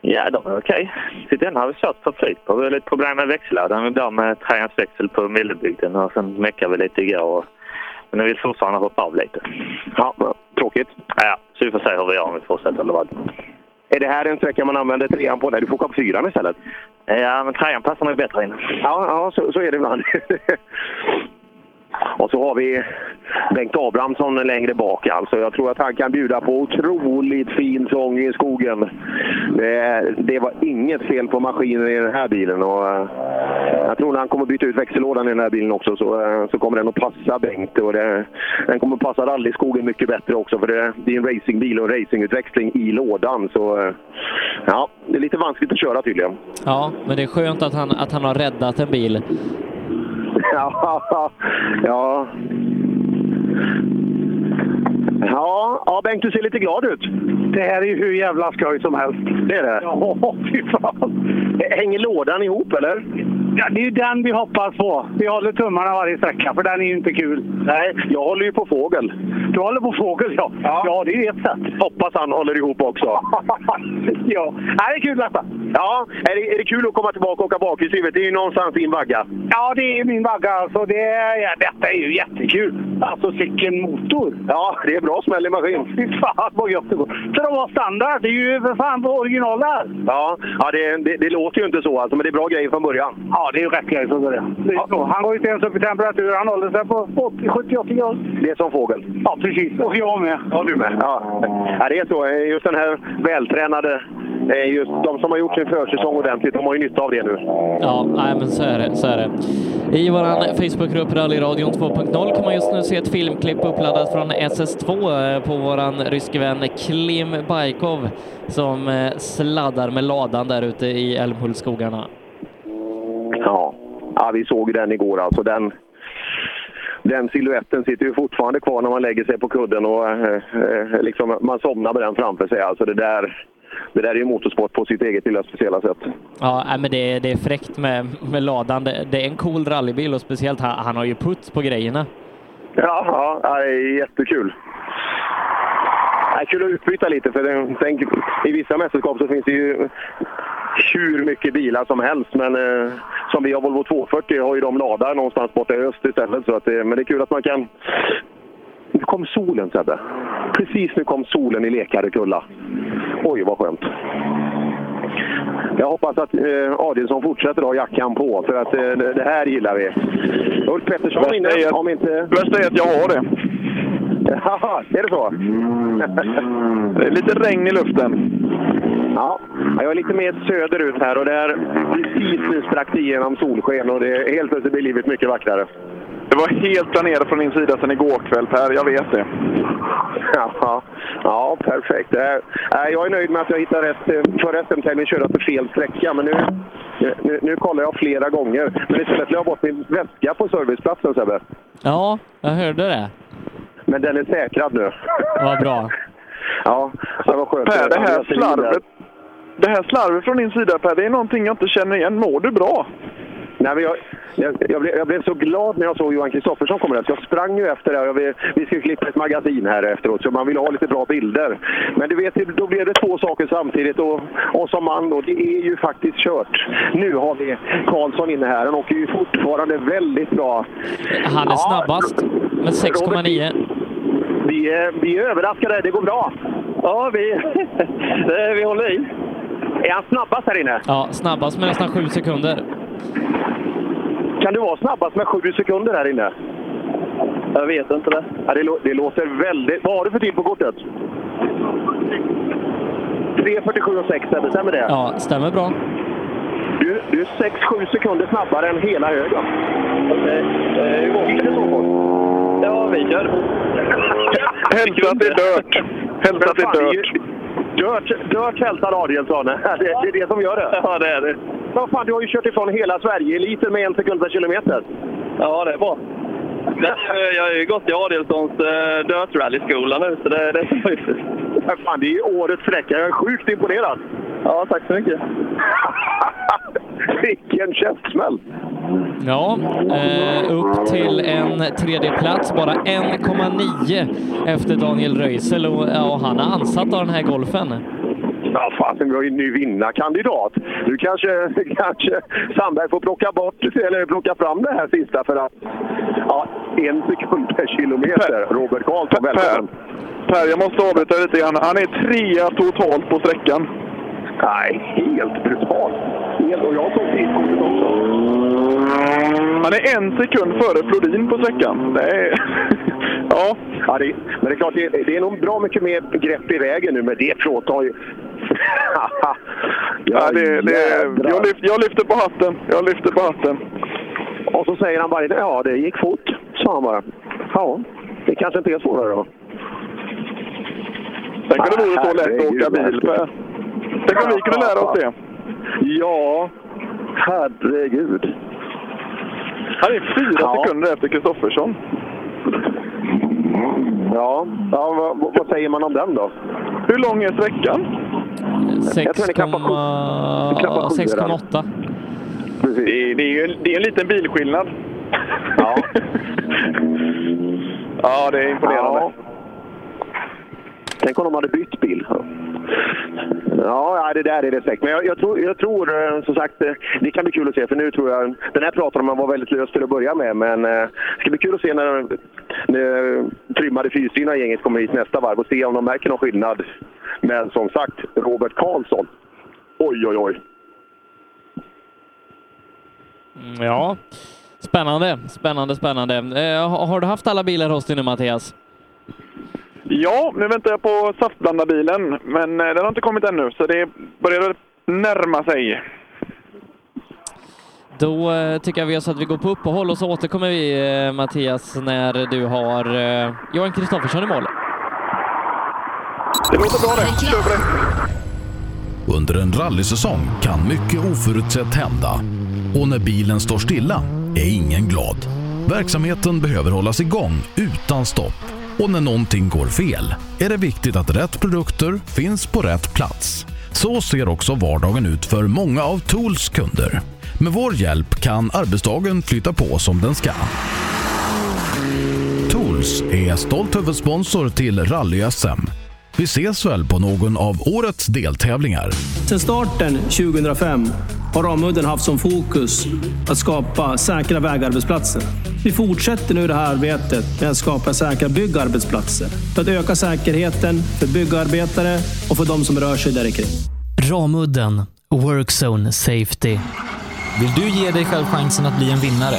Ja, de är okej. Till den har vi kört perfekt på. Vi har lite problem med växellådan. Vi blev med trejans växel på Millebygden och sen meckade vi lite igår. Och... Men nu vill fortfarande hoppa av lite. Ja, tråkigt. Ja, så vi får se hur vi gör om vi fortsätter eller vad. Är det här en sträcka man använder trean på? Nej, du får åka på fyran istället. Ja, men trean passar nog bättre in. Ja, ja så, så är det ibland. Och så har vi Bengt Abrahamsson längre bak. Alltså, jag tror att han kan bjuda på otroligt fin sång i skogen. Det, det var inget fel på maskinen i den här bilen. Och, eh, jag tror när han kommer byta ut växellådan i den här bilen också så, eh, så kommer den att passa Bengt. Och det, den kommer passa rallyskogen mycket bättre också för det, det är en racingbil och en racingutväxling i lådan. Så, eh, ja, det är lite vanskligt att köra tydligen. Ja, men det är skönt att han, att han har räddat en bil. Ja, ja. Ja, ja, Bengt, du ser lite glad ut. Det här är ju hur jävla skoj som helst. Det är det? Ja, fy fan. Hänger lådan ihop, eller? Ja, det är ju den vi hoppas på. Vi håller tummarna varje sträcka, för den är ju inte kul. Nej, jag håller ju på fågel. Du håller på fågel, ja. Ja, det är ju ett sätt. Hoppas han håller ihop också. ja, Nej, det är kul detta. Ja, är det, är det kul att komma tillbaka och åka bakhjulsdrivet? Det är ju någonstans din vagga. Ja, det är min vagga alltså. Det är, ja, detta är ju jättekul. Alltså, sicken motor! Ja, det är bra smäll i maskin. Fy fan vad gött det går. Så de var standard. Det är ju för fan på original där. Ja, ja det, det, det låter ju inte så alltså, men det är bra grejer från början. Ja, det är ju rätt grejer från början. Det är så. Han går inte ens upp i temperatur. Han håller sig på 70-80 grader. Det är som fågel. Ja, precis. Och jag med. Ja, du med. Ja. ja, det är så. Just den här vältränade, eh, just de som har gjort sin försäsong ordentligt, de har ju nytta av det nu. Ja, nej, men så är det. Så är det. I vår Facebookgrupp Rallyradion 2.0 kan man just nu se ett filmklipp uppladdat från SS2 eh, på vår ryske vän Klim Bajkov som eh, sladdar med ladan där ute i Älmhultsskogarna. Ja. ja, vi såg ju den igår alltså. Den, den siluetten sitter ju fortfarande kvar när man lägger sig på kudden och eh, eh, liksom, man somnar med den framför sig. Alltså det där, det där är ju motorsport på sitt eget lilla speciella sätt. Ja, nej, men det är, det är fräckt med, med ladan. Det, det är en cool rallybil och speciellt han, han har ju puts på grejerna. Ja, ja, ja, det är jättekul. Det är kul att utbyta lite, för den, tänk, i vissa mästerskap så finns det ju hur mycket bilar som helst. Men eh, som vi har Volvo 240 har ju de ladar någonstans borta i öst istället. Så att, eh, men det är kul att man kan... Nu kom solen Sebbe. Precis nu kom solen i Lekarekulla. Oj, vad skönt. Jag hoppas att eh, Adielsson fortsätter att ha jackan på, för att eh, det det här gillar vi. Ulf Pettersson var inne, om inte... Bästa är att jag har det. Jaha, är det så? Det är lite regn i luften. Ja, jag är lite mer söderut här och det är precis nu strax igenom solsken och det är helt plötsligt blir livet mycket vackrare. Det var helt planerat från din sida sedan igår kväll Per, jag vet det. Ja, ja perfekt. Det är- nej, Jag är nöjd med att jag hittade rätt. eh, Förra SM-tävlingen körde jag på fel sträcka, men nu, nu, nu kollar jag flera gånger. Men istället la jag bort min väska på serviceplatsen, Sebbe. Ja, jag hörde det. Men den är säkrad nu. Vad bra. Ja, det var skönt. Per, det här Jag ser in där. slarvet. Det här slarvet från din sida Per, det är någonting jag inte känner igen. Mår du bra? Nej, men jag, jag, jag, blev, jag blev så glad när jag såg Johan Kristoffersson komma där, så jag sprang ju efter det. här. Jag, vi, vi skulle klippa ett magasin här efteråt, så man ville ha lite bra bilder. Men du vet, då blev det två saker samtidigt. Och, och som man då, det är ju faktiskt kört. Nu har vi Karlsson inne här. Han åker ju fortfarande väldigt bra. Han är Ja, snabbast med 6,9. Vi är, vi är överraskade. Det går bra. Ja, vi, eh, vi håller i. Är han snabbast här inne? Ja, snabbast med nästan sju sekunder. Kan du vara snabbast med sju sekunder här inne? Jag vet inte det. Ja, det, lå- det låter väldigt... Vad har du för tid på kortet? 3.47 och 6, det stämmer det? Ja, stämmer bra. Du, du är 6-7 sekunder snabbare än hela högen. Okej. Gick det så fort? Ja, vi kör. Hälsa att det är dört. Hälsa att det är dört. Dirt, dirt hälsar Adielsson. Det, det är det som gör det. Ja, det är det. Vad fan, du har ju kört ifrån hela Sverige-eliten med en sekund per kilometer. Ja, det är bra. Jag har ju gått i Adielssons uh, Dirt Rally-skola nu, så det, det är så Ja, Fan, det är ju årets sträcka. Jag är sjukt imponerad. Ja, tack så mycket. Vilken käftsmäll! Ja, eh, upp till en tredje plats bara 1,9 efter Daniel Röisel och, ja, och han har ansatt av den här golfen. Ja, fasen, vi har ju en ny vinnarkandidat. Nu kanske, kanske Sandberg får plocka bort, eller plocka fram det här sista för att... Ja, en sekund per kilometer. Robert Karlsson, välkommen! Per, jag måste avbryta lite grann. Han är trea totalt på sträckan. Nej, helt brutalt. Helt, och jag tog tidkortet också. Han är en sekund före Flodin på sträckan. Det är... Ja, ja det, men det är klart, det, det är nog bra mycket mer grepp i vägen nu, men det fråntar ju... Ja, det, det, jag, lyfter, jag lyfter på hatten. Jag lyfter på hatten. Och så säger han bara ja, det gick fort, sa han bara. Ja, det kanske inte är svårare då. Tänk om det vore så lätt att åka bil. Per. Tänk om vi kunde lära oss det. Ja, herregud. Han är fyra Ja. sekunder efter Kristoffersson. Ja, ja vad, vad säger man om den då? Hur lång är sträckan? Jag tror ni klappar sju. Ni klappar sju redan. 6,8. Det, det är ju en, det är en liten bilskillnad. Ja. ja, det är imponerande. Tänk om de hade bytt bil. Ja, nej, det där är det säkert. Men jag, jag tror, jag tror eh, som sagt, eh, det kan bli kul att se. För nu tror jag, den här pratade man var väldigt lös till att börja med. Men eh, det ska bli kul att se när, när trimmade fyrstyrna gänget kommer hit nästa varv och se om de märker någon skillnad. Men som sagt, Robert Karlsson. Oj, oj, oj. Mm, Ja, spännande, spännande, spännande. Eh, ha- har du haft alla bilar hos dig nu Mattias? Ja, nu väntar jag på saftblandarbilen, men eh, den har inte kommit ännu, så det börjar väl närma sig. Då eh, tycker jag vi gör så att vi går på uppehåll och så återkommer vi eh, Mattias när du har eh, Johan Kristoffersson i mål. Det låter bra det. Kör på det. Under en rallysäsong kan mycket oförutsett hända. Och när bilen står stilla är ingen glad. Verksamheten behöver hållas igång utan stopp. Och när någonting går fel är det viktigt att rätt produkter finns på rätt plats. Så ser också vardagen ut för många av Tools kunder. Med vår hjälp kan arbetsdagen flytta på som den ska. Tools är stolt huvudsponsor till Rally-SM. Vi ses väl på någon av årets deltävlingar. Sedan starten 2005 har Ramudden haft som fokus att skapa säkra vägarbetsplatser. Vi fortsätter nu det här arbetet med att skapa säkra byggarbetsplatser för att öka säkerheten för byggarbetare och för de som rör sig där i kring. Ramudden Workzone Safety. Vill du ge dig själv chansen att bli en vinnare?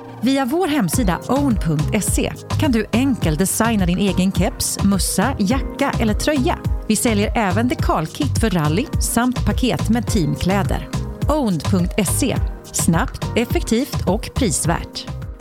Via vår hemsida own.se kan du enkelt designa din egen keps, mössa, jacka eller tröja. Vi säljer även dekalkit för rally samt paket med teamkläder. Own.se Snabbt, effektivt och prisvärt.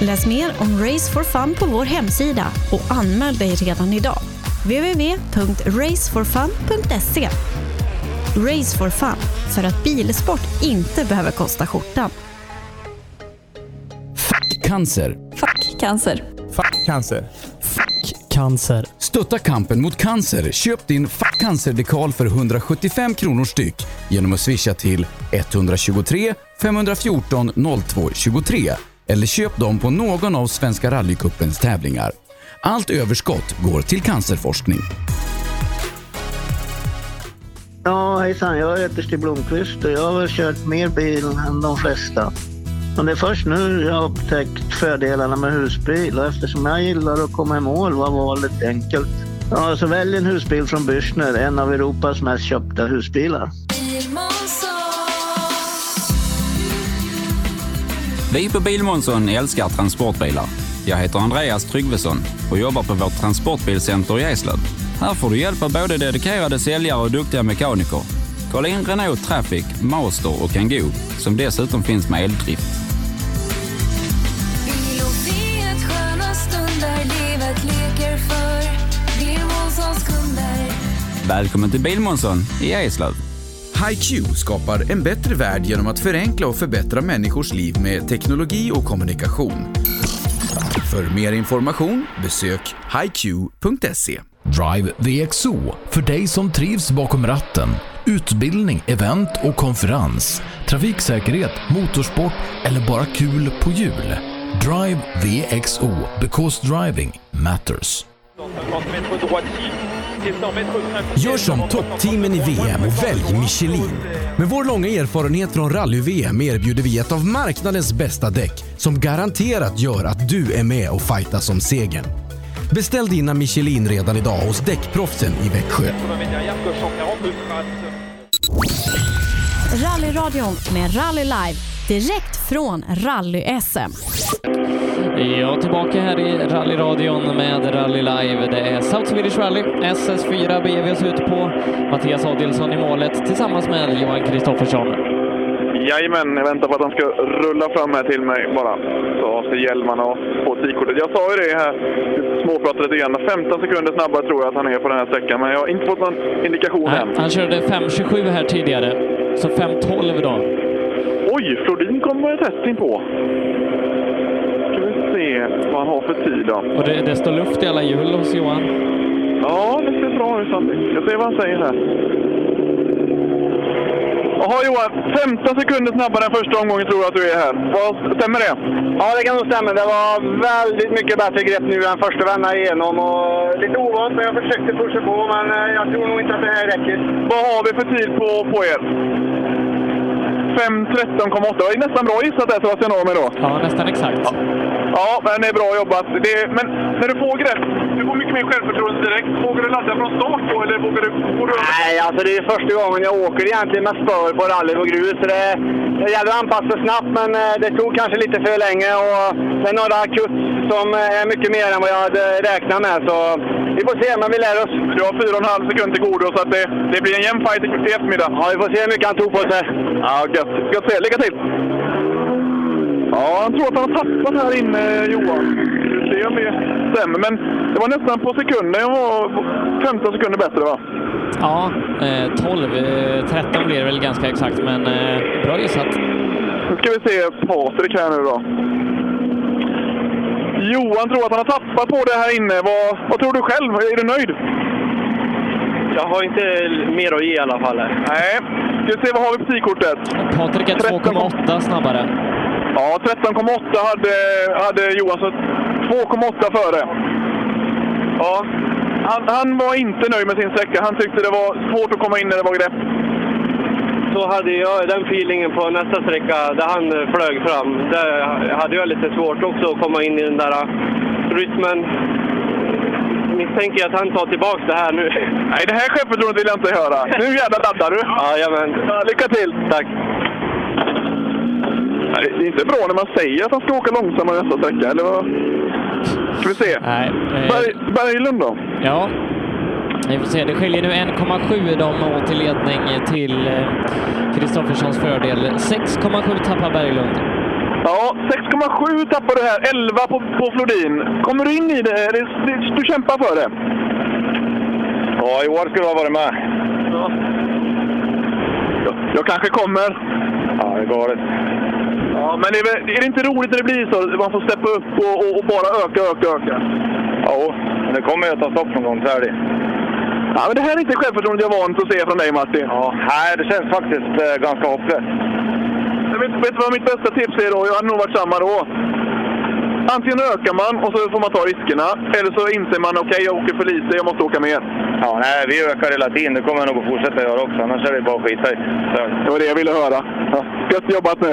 Läs mer om Race for Fun på vår hemsida och anmäl dig redan idag. www.raceforfun.se Race for Fun, för att bilsport inte behöver kosta skjortan. Cancer. Fuck cancer. Fuck cancer. Fuck cancer. Stötta kampen mot cancer. Köp din Fuck cancer-dekal för 175 kronor styck genom att swisha till 123 514 02 23 eller köp dem på någon av Svenska rallycupens tävlingar. Allt överskott går till cancerforskning. Ja, hejsan. Jag heter Stig Blomqvist och jag har väl kört mer bil än de flesta. Men det är först nu jag har upptäckt fördelarna med husbil och eftersom jag gillar att komma i mål var valet enkelt. Ja, så välj en husbil från Bürstner, en av Europas mest köpta husbilar. Vi på Bilmånsson älskar transportbilar. Jag heter Andreas Tryggvesson och jobbar på vårt transportbilcenter i Eslöv. Här får du hjälp av både dedikerade säljare och duktiga mekaniker. Kolla in Renault Traffic, Master och Kangoo som dessutom finns med eldrift. Välkommen till Bilmånsson i Eslöv. HiQ skapar en bättre värld genom att förenkla och förbättra människors liv med teknologi och kommunikation. För mer information besök hiq.se. Drive VXO för dig som trivs bakom ratten. Utbildning, event och konferens. Trafiksäkerhet, motorsport eller bara kul på jul. Drive VXO because driving matters. 50 mètres droitier, c'est 100 mètres crainte. Gör som toppteamen i VM och välj Michelin. Med vår långa erfarenhet från rally-VM erbjuder vi ett av marknadens bästa däck som garanterat gör att du är med och fightas om segern. Beställ dina Michelin redan idag hos däckproffsen i Växjö. 80 mètres derrière, coche 140, trace. Rallyradion med Rally Live direkt från Rally-SM. Ja, tillbaka här i rallyradion med Rally Live. Det är South Swedish Rally, SS4 BVs ut på. Mattias Adielsson i målet tillsammans med Johan Kristoffersson. Jajamän, jag väntar på att han ska rulla fram här till mig bara. Så av sig hjälmarna och på tidkortet. Jag sa ju det här, småpratade lite grann. 15 sekunder snabbare tror jag att han är på den här sträckan, men jag har inte fått någon indikation Nej, än. han körde 5.27 här tidigare, så 5.12 då. Oj, Flodin kommer tätt inpå. Ska vi se vad han har för tid då. Och det, det står luft i alla hjul hos Johan. Ja, det ser bra ut Sandy. Jag ser vad han säger här. Jaha Johan, 15 sekunder snabbare än första omgången tror jag att du är här. Vad, stämmer det? Ja, det kan nog stämma. Det var väldigt mycket bättre grepp nu än första vändan igenom. Och lite ovant, men jag försökte pusha på. Men eh, jag tror nog inte att det här räcker. Vad har vi för tid på, E på er? 5.13,8. Det var nästan bra gissat där Sebastian Norrby då. Ja, nästan exakt. Ja, ja men det är bra jobbat. Det är, men när du får grepp, du får mycket mer självförtroende direkt. Vågar du ladda från start då, eller vågar du... Nej, alltså det är första gången jag åker egentligen med spör på rally på grus. Så det, det gäller att anpassa sig snabbt, men eh, det tog kanske lite för länge. Och det är några kutt som eh, är mycket mer än vad jag hade räknat med. Så vi får se, men vi lär oss. Du har 4,5 sekunder till godo, så att det, det blir en jämn fight i eftermiddag. Ja, vi får se hur mycket han tog på sig. Ja, gött. Gött se. Lycka till! Ja, han tror att han har tappat här inne, Johan. Vi får se om det stämmer. Men det var nästan på sekunden. Jag var 15 sekunder bättre, va? Ja, eh, 12, eh, 13 blir det väl ganska exakt, men eh, bra gissat. Nu ska vi se Patrik här nu då. Johan tror att han har tappat på det här inne. Vad, vad tror du själv? Är du nöjd? Jag har inte mer att ge i alla fall. Nej. Ska vi se, vad har vi på tidkortet? Patrik är 2,8 snabbare. Ja, 13,8 hade, hade Johan, så 2,8 före. Ja, han, han var inte nöjd med sin sträcka. Han tyckte det var svårt att komma in när det var grepp. Så hade jag den feelingen på nästa sträcka där han eh, flög fram. Där hade jag lite svårt också att komma in i den där eh, rytmen. Misstänker jag att han tar tillbaka det här nu. Nej, det här självförtroendet vill jag inte höra. Nu jävlar laddar du! Jajamän. Ja, lycka till! Tack! Nej, det är inte bra när man säger att han ska åka långsammare nästa sträcka, eller vad? Ska vi se. Nej, eh, Berg, Berglund då? Ja, vi får se. Det skiljer nu 1,7 dem åt i ledning till eh, Kristofferssons fördel. 6,7 tappar Berglund. Ja, 6,7 tappar du här. 11 på, på Flodin. Kommer du in i det? det, det du kämpar för det? Ja, i år skulle jag ha varit med. Jag, jag kanske kommer. Ja, det går det. Ja, men är, väl- är det inte roligt när det blir så? Man får steppa upp och, och, och bara öka, öka, öka. Ja, men det kommer jag ta stopp någon gång, så är det. Ja, men det här är inte självförtroendet jag är van att se från dig, Martin. Ja, nej, det känns faktiskt ganska eh, hopplöst. Jag vet, vet du vad mitt bästa tips är då? Jag hade nog varit samma då. Antingen ökar man och så får man ta riskerna, eller så inser man okej, jag åker för lite, jag måste åka mer. Ja, nej, vi ökar hela tiden. Det kommer jag nog att fortsätta göra också, annars är det bara att skita i. Det var det jag ville höra. Gött jobbat nu!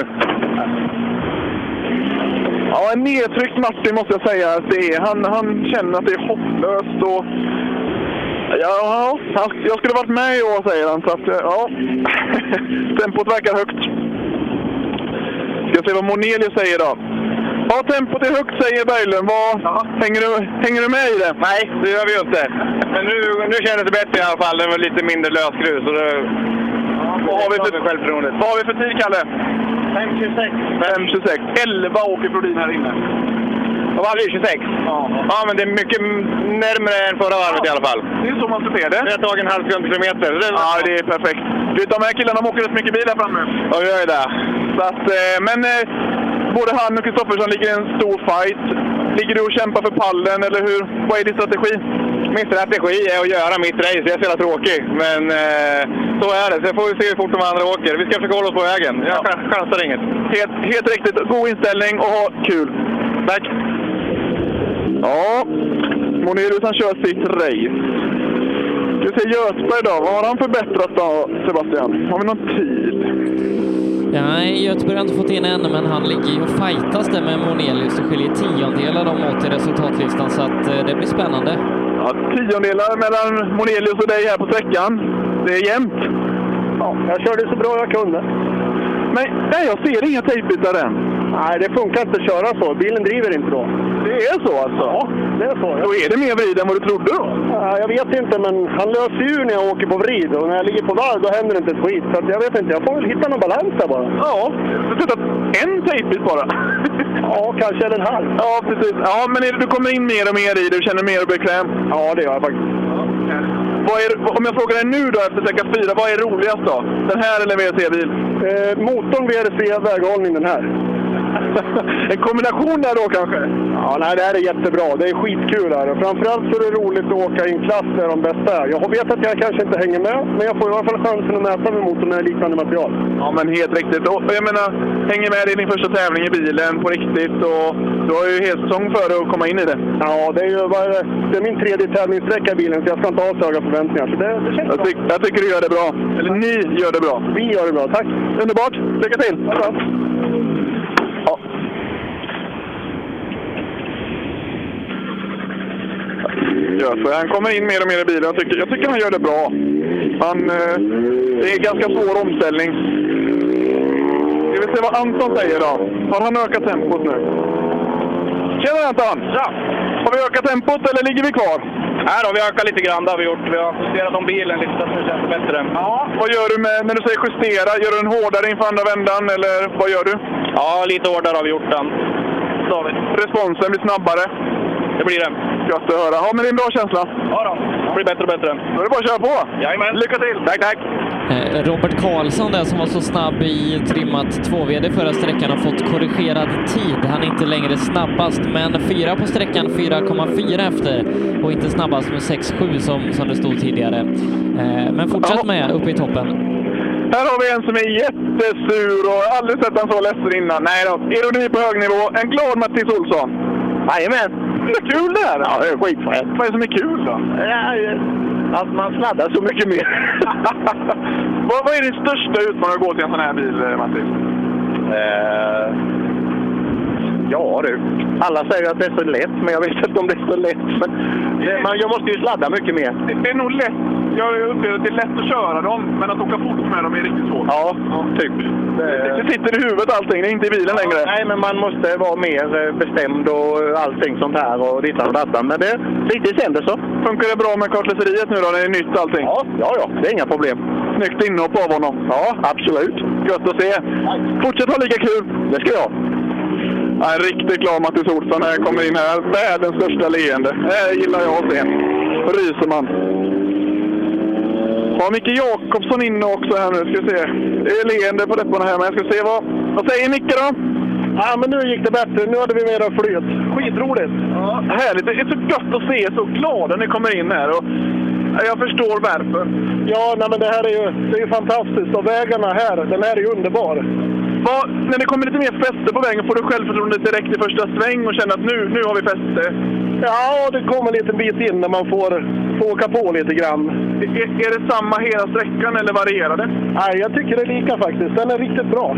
Ja, en nedtryckt Martin måste jag säga att det är. Han, han känner att det är hopplöst och... Ja, han, jag skulle varit med i år säger han, så att ja... Tempot verkar högt. Ska se vad Monelius säger då. Ja, tempot är högt säger Berglund. Vad, hänger, du, hänger du med i det? Nej, det gör vi ju inte. Men nu, nu kändes det bättre i alla fall. Det var lite mindre lösgrus. Och det... Vad har vi för, vad har vi för tid, Kalle? 5.26. 5.26. 11 åker Brodin här inne. Vad hade du? 26? Ja. ja, men det är mycket närmare än förra varvet i alla fall. Det är så man ska se det. Vi har tagit en halv kilometer. Det är... Ja, det är perfekt. Du, vet, de här killarna de åker rätt mycket bil här framme. Ja, vi gör ju det. Så att, eh, men eh, både han och Kristoffersson ligger i en stor fight. Ligger du och kämpar för pallen, eller hur? Vad är din strategi? Min strategi är att göra mitt race. Jag är så jävla tråkig. Men eh, så är det. Sen får vi se hur fort de andra åker. Vi ska försöka hålla oss på vägen. Jag ja. chansar inget. Helt, helt riktigt. God inställning och ha kul. Tack! Ja, Monelius han kör sitt race. Ska vi se Göthberg då. Vad har han förbättrat då, Sebastian? Har vi någon tid? Nej, Göteborg har inte fått in än, men han ligger ju och fightas där med Monelius. Det skiljer tiondelar de åt i resultatlistan, så att eh, det blir spännande. Ja, tiondelar mellan Monelius och dig här på sträckan. Det är jämnt. Ja, jag körde så bra jag kunde. Men nej, jag ser inga tejpbitar än. Nej, det funkar inte att köra så. Bilen driver inte då. Det är så alltså? Ja, det är så. Då är det mer vrid än vad du trodde då? Ja, jag vet inte, men han löser ju när jag åker på vrid. Och när jag ligger på varv, då händer det inte ett skit. Så att jag vet inte, jag får väl hitta någon balans där bara. Ja, sätta en tejpbit bara. ja, kanske en halv. Ja, precis. Ja, men är det, du kommer in mer och mer i det, du känner mer och bekväm? Ja, det gör jag faktiskt. Vad är, om jag frågar dig nu då efter sträcka 4, vad är roligast då? Den här eller VRC-bil? Eh, motorn, VRC, väghållning den här. en kombination där då kanske? Ja, nej, det här är jättebra. Det är skitkul här. Framförallt så är det roligt att åka i en klass där de bästa är. Jag vet att jag kanske inte hänger med, men jag får i alla fall chansen att mäta mig mot dem med liknande material. Ja, men helt riktigt. Och, jag menar, hänger med i din första tävling i bilen på riktigt och du har ju helt säsong för dig att komma in i det. Ja, det är ju bara, det är min tredje tävlingssträcka i bilen, så jag ska inte ha så höga förväntningar. Så det, det känns jag, tyck, jag tycker du gör det bra. Eller ni gör det bra. Vi gör det bra, tack. Underbart. Lycka till! Ja, gör. För han kommer in mer och mer i bilen. Jag tycker, jag tycker han gör det bra. Han, eh, det är en ganska svår omställning. Ska vi se vad Anton säger då? Har han ökat tempot nu? Tjena Anton! Ja! Har vi ökat tempot eller ligger vi kvar? Nej då, vi ökar lite grann. Det har vi gjort. Vi har justerat om bilen lite så att det känns bättre. Ja, vad gör du med, när du säger justera? Gör du den hårdare inför andra vändan eller vad gör du? Ja, lite hårdare har vi gjort den. Så har vi. Responsen blir snabbare? Det blir den. Gött att höra. Ja, men det är en bra känsla. Ja då. Det blir bättre och bättre. Då är det bara att köra på. Jajamän. Lycka till. Tack, tack. Eh, Robert Karlsson där som var så snabb i trimmat 2VD förra sträckan har fått korrigerad tid. Han är inte längre snabbast, men fyra på sträckan, 4,4 efter och inte snabbast med 6,7 som, som det stod tidigare. Eh, men fortsätt med uppe i toppen. Här har vi en som är jättesur och aldrig sett han så ledsen innan. Nej då, ironi på hög nivå. En glad Mattis Olsson. Jajamän. Det är kul det här! Ja, det är skitfränt. Vad är det som är kul då? Ja, att man sladdar så mycket mer. vad, vad, är din största utmaning att gå till en sån här bil, Mattis? Eh, ja du, alla säger att det är så lätt, men jag vet inte om det är så lätt. Men det, man, jag måste ju sladda mycket mer. Det, det är nog lätt. Jag upplever att det är lätt att köra dem, men att åka fort med dem är riktigt svårt. Ja, typ. Det, det sitter i huvudet allting, det är inte i bilen längre. Ja, nej, men man måste vara mer eh, bestämd och allting sånt här och dittan och dattan. Men det, riktigt kändes så. Funkar det bra med kartläseriet nu då, när det är nytt allting? Ja, ja, ja. det är inga problem. Snyggt inhopp av honom. Ja, absolut. Gött att se. Tack. Fortsätt ha lika kul. Det ska jag. Ja, en riktigt glad Mattis Olsson när han kommer in här. Världens största leende. Det gillar jag att se. ryser man. Har ja, Micke Jakobsson inne också här nu. Ska vi se. Det är leende på läpparna här, men jag ska se vad... Vad säger Micke då? Ja, men nu gick det bättre. Nu hade vi mer av flyt. Skitroligt! Ja, härligt. Det är så gött att se så glada när ni kommer in här. Och Jag förstår varför. Ja, nej, men det här är ju, det är ju fantastiskt. Och vägarna här, den här är ju underbar. när det kommer lite mer fäste på vägen, får du självförtroendet direkt i första sväng och känner att nu, nu har vi fäste? Ja, det kommer en liten bit in när man får, får åka på lite grann. Är, är det samma hela sträckan eller varierar det? Nej, jag tycker det är lika faktiskt. Den är riktigt bra.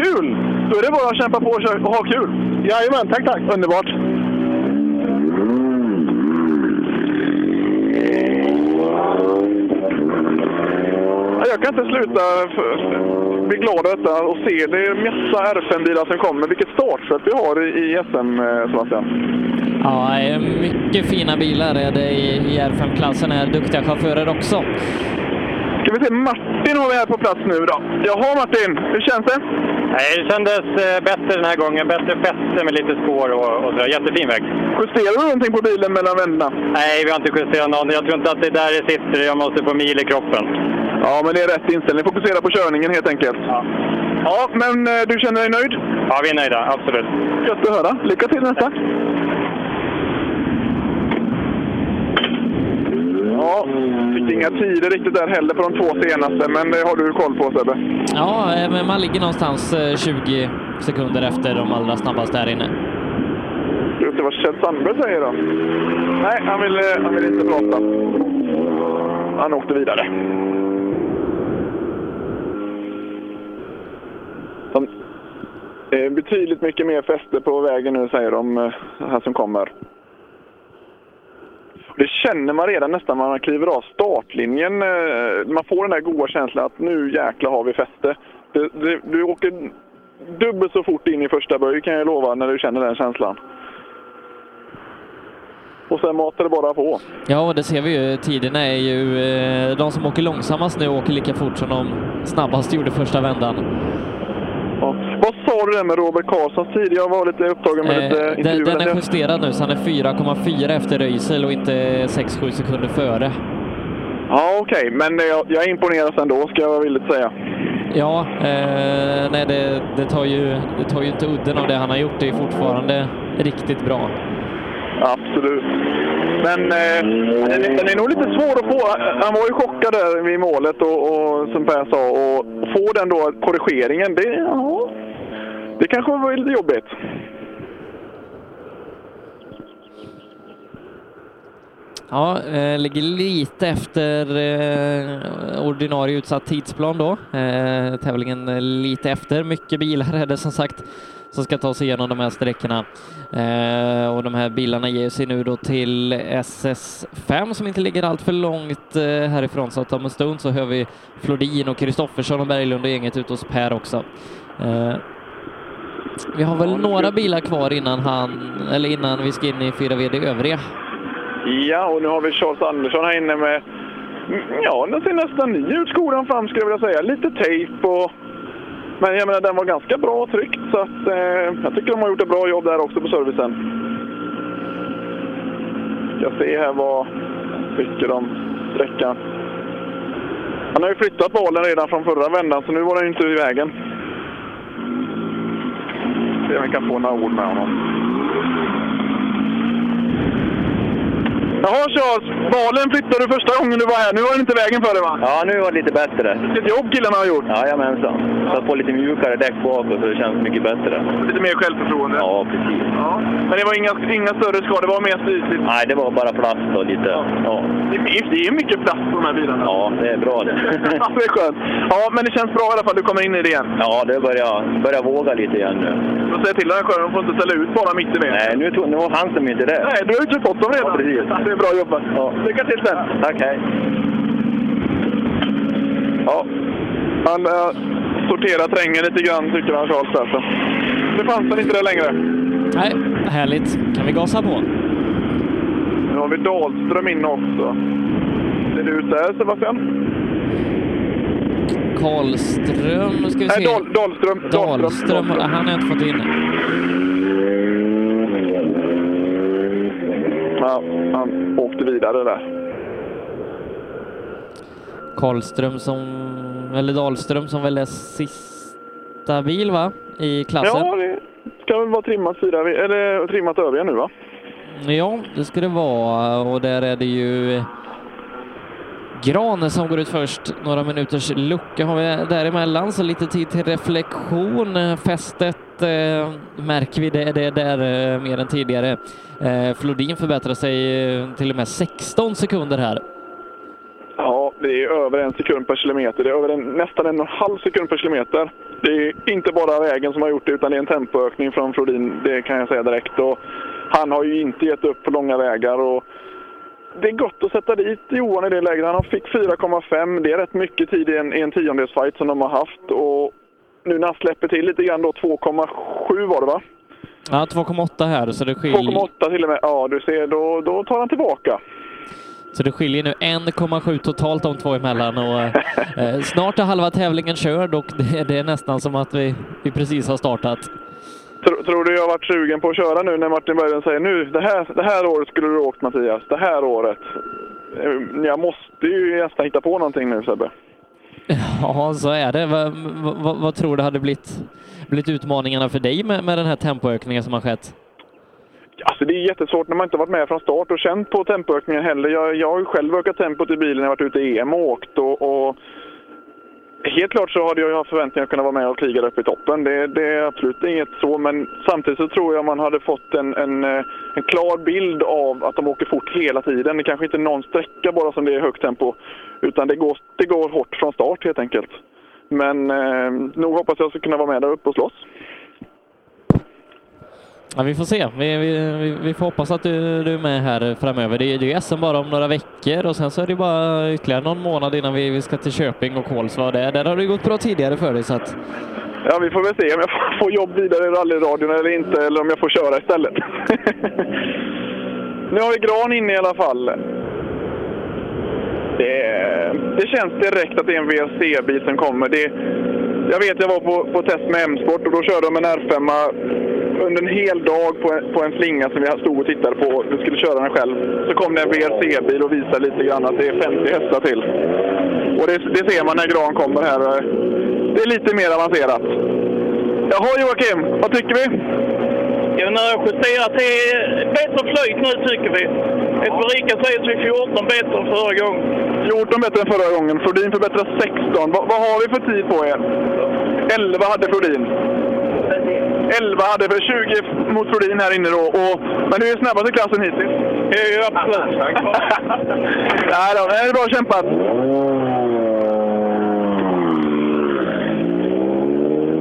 Kul! Då är det bara att kämpa på och köra- och ha kul. Jajamän, tack tack. Underbart. Ja, Jag kan inte sluta f- f- bli glad över detta och se. Det är massa R5-bilar som kommer. Vilket startfält vi har i- i SM, eh, Sebastian. Ja, eh, mycket fina bilar är det i i R5-klassen här. Duktiga chaufförer också. Ska vi se, Martin har vi här på plats nu då. Jaha Martin, hur känns det? Nej, det kändes eh, bättre den här gången. Bättre fäste med lite spår och, och sådär. Jättefin väg. Justerar du någonting på bilen mellan vänderna? Nej, vi har inte justerat någon. Jag tror inte att det är där det sitter. Jag måste få mil i kroppen. Ja, men det är rätt inställning. Fokusera på körningen helt enkelt. Ja, ja men eh, du känner dig nöjd? Ja, vi är nöjda. Absolut. Gött att höra. Lycka till nästa! Ja, fick inga tider riktigt där heller på de två senaste, men det har du koll på Sebbe. Ja, eh, men man ligger någonstans eh, 20 sekunder efter de allra snabbaste här inne. Ska vi se vad Kjell Sandberg säger då? Nej, han vill, eh, han vill inte prata. Han åkte vidare. Som, eh, betydligt mycket mer fäste på vägen nu, säger de eh, här som kommer. Det känner man redan nästan när man kliver av startlinjen. eh, Man får den där goda känslan att nu jäkla har vi fäste. Du, du, du åker dubbelt så fort in i första böj kan jag lova när du känner den känslan. Och sen matar det bara på. Ja, och det ser vi ju. Tiderna är ju... eh, De som åker långsammast nu åker lika fort som de snabbast gjorde första vändan. Ja. Vad sa du där med Robert Karlssons tid? Jag var lite upptagen med Eh, lite den, intervjuer. den är justerad nu, så han är 4,4 efter Röisel och inte 6-7 sekunder före. Ja, okej. Men eh, jag, jag imponeras ändå, ska jag villigt säga. Ja, eh, nej, det, det, tar ju, det tar ju inte udden av det han har gjort. Det är fortfarande riktigt bra. Absolut. Men eh, den, är- den är nog lite svår att få. Han var ju chockad där vid målet, och, och, som Per sa. Och få den då korrigeringen, det, ja, det kanske var lite jobbigt. Ja, eh, ligger lite efter eh, ordinarie utsatt tidsplan då. Eh, tävlingen eh, lite efter. Mycket bilar är det som sagt som ska ta sig igenom de här sträckorna. Eh, och de här bilarna ger sig nu då till SS5 som inte ligger allt för långt eh, härifrån. Så att om en stund så hör vi Flodin och Kristoffersson och Berglund och gänget ute hos Per också. Eh, vi har väl några bilar kvar innan, han, eller innan vi ska in i 4VD övriga. Ja, och nu har vi Charles Andersson här inne med... mm, Ja, den ser nästan ny ut, skolan fram skulle jag vilja säga. Lite tejp och... Men jag menar, den var ganska bra tryckt så att, eh, jag tycker de har gjort ett bra jobb där också på servicen. Ska se här vad tycker om sträckan. Han har ju flyttat bollen redan från förra vändan så nu var den ju inte i vägen. Se om vi kan få några ord med honom. Jaha Charles, balen flyttade du första gången du var här. Nu var den inte i vägen för dig va? Ja, nu var det lite bättre. Vilket jobb killarna har gjort! Jajamensan. Satt på lite mjukare däck bak och så det känns mycket bättre. Lite mer självförtroende? Ja, precis. Men det var inga, inga större skador, det var mer slitigt? Nej, det var bara plast och lite... Ja. Det är, det är mycket plast på de här bilarna. Ja, det är bra det. Ja, det är skönt. Ja, men det känns bra i alla fall. Du kommer in i det igen. Ja, det börjar, börjar våga lite igen nu. Du får säga till den här chauffören, de får inte ställa ut bara mitt i vägen. Nej, nu, tog, nu var chansen inte det. Nej, du har ju inte fått dem redan. Ja, precis. Det är bra jobbat. Lycka till sen. Tack, hej. Ja, han äh, sorterar terrängen lite grann tycker han, Charles Persson. Nu fanns han inte där längre. Nej, härligt. Kan vi gasa på? Nu har vi Dahlström inne också. Ser det ut där Sebastian? Karlström, nu ska vi se. Nej, Dahl, Dahlström. Dahlström, han har jag inte fått in. Ja, han åkte vidare där. Karlström som, eller Dahlström som väl är sista bil va? I klassen? Ja, det ska väl vara trimmat, fyra, eller, trimmat övriga nu va? Ja, det ska det vara och där är det ju Gran som går ut först. Några minuters lucka har vi däremellan, så lite tid till reflektion. Fästet eh, märker vi, det, det är där eh, mer än tidigare. Eh, Flodin förbättrar sig eh, till och med 16 sekunder här. Ja, det är över en sekund per kilometer. Det är över en, nästan en och en halv sekund per kilometer. Det är inte bara vägen som har gjort det, utan det är en tempoökning från Flodin. Det kan jag säga direkt. Och han har ju inte gett upp på långa vägar. Och det är gott att sätta dit Johan i det läget. Han fick 4,5. Det är rätt mycket tid i en, i en tiondelsfight som de har haft. Och nu när han släpper till lite grann då, 2,7 var det va? Ja, 2,8 här, så det skiljer, 2,8 till och med. Ja, du ser, då, då tar han tillbaka. så det skiljer nu 1,7 totalt de två emellan. Och, eh, snart är halva tävlingen körd och det, det är nästan som att vi, vi precis har startat. Tro, tror du jag har varit sugen på att köra nu när Martin Berglund säger nu, det här, det här året skulle du ha åkt Mattias, det här året. Eh, Jag måste ju nästan hitta på någonting nu Sebbe. Ja, så är det. Vad, vad- vad, vad tror du hade blivit, blivit utmaningarna för dig med, med den här tempoökningen som har skett? Alltså det är jättesvårt när man inte har varit med från start och känt på tempoökningen heller. Jag, jag har ju själv ökat tempot i bilen när jag varit ute i EM och åkt. Och, och helt klart så hade jag ju haft förväntningar att kunna vara med och kriga där uppe i toppen. Det, det är absolut inget så, men samtidigt så tror jag man hade fått en, en, eh, en klar bild av att de åker fort hela tiden. Det kanske inte är någon sträcka bara som det är högt tempo, utan det går, det går hårt från start helt enkelt. Men eh, nog hoppas jag ska kunna vara med där uppe och slåss. Ja, vi får se. Vi, vi, vi- vi får hoppas att du, du är med här framöver. Det är det är ju SM bara om några veckor och sen så är det bara ytterligare någon månad innan vi, vi ska till Köping och Kolsva. Där, där har det ju gått bra tidigare för dig. Så att, Ja, vi får väl se om jag får- får jobb vidare i rallyradion eller inte, eller om jag får köra istället. nu har vi Gran inne i alla fall. Det, det känns direkt att det är en VRC-bil som kommer. Det, jag vet, jag var på, på test med M-sport och då körde de en R5 under en hel dag på en, på en slinga som vi stod och tittade på. Vi skulle köra den själv. Så kom det en VRC-bil och visade lite grann att det är 50 hästar till. Och det, det ser man när Gran kommer här. Det är lite mer avancerat. Jaha Joakim, vad tycker vi? Ja, när jag justerar till bättre flyt nu tycker vi. Efter Rika säger att vi är 14 bättre än förra gången. 14 bättre än förra gången. Flodin förbättrar 16. Vad, vad har vi för tid på er? 11 hade Flodin. 11 hade för 20 mot Flodin här inne då. Och, men du är snabbast i klassen hittills. Ja, absolut. Nej då, men det är bra kämpat.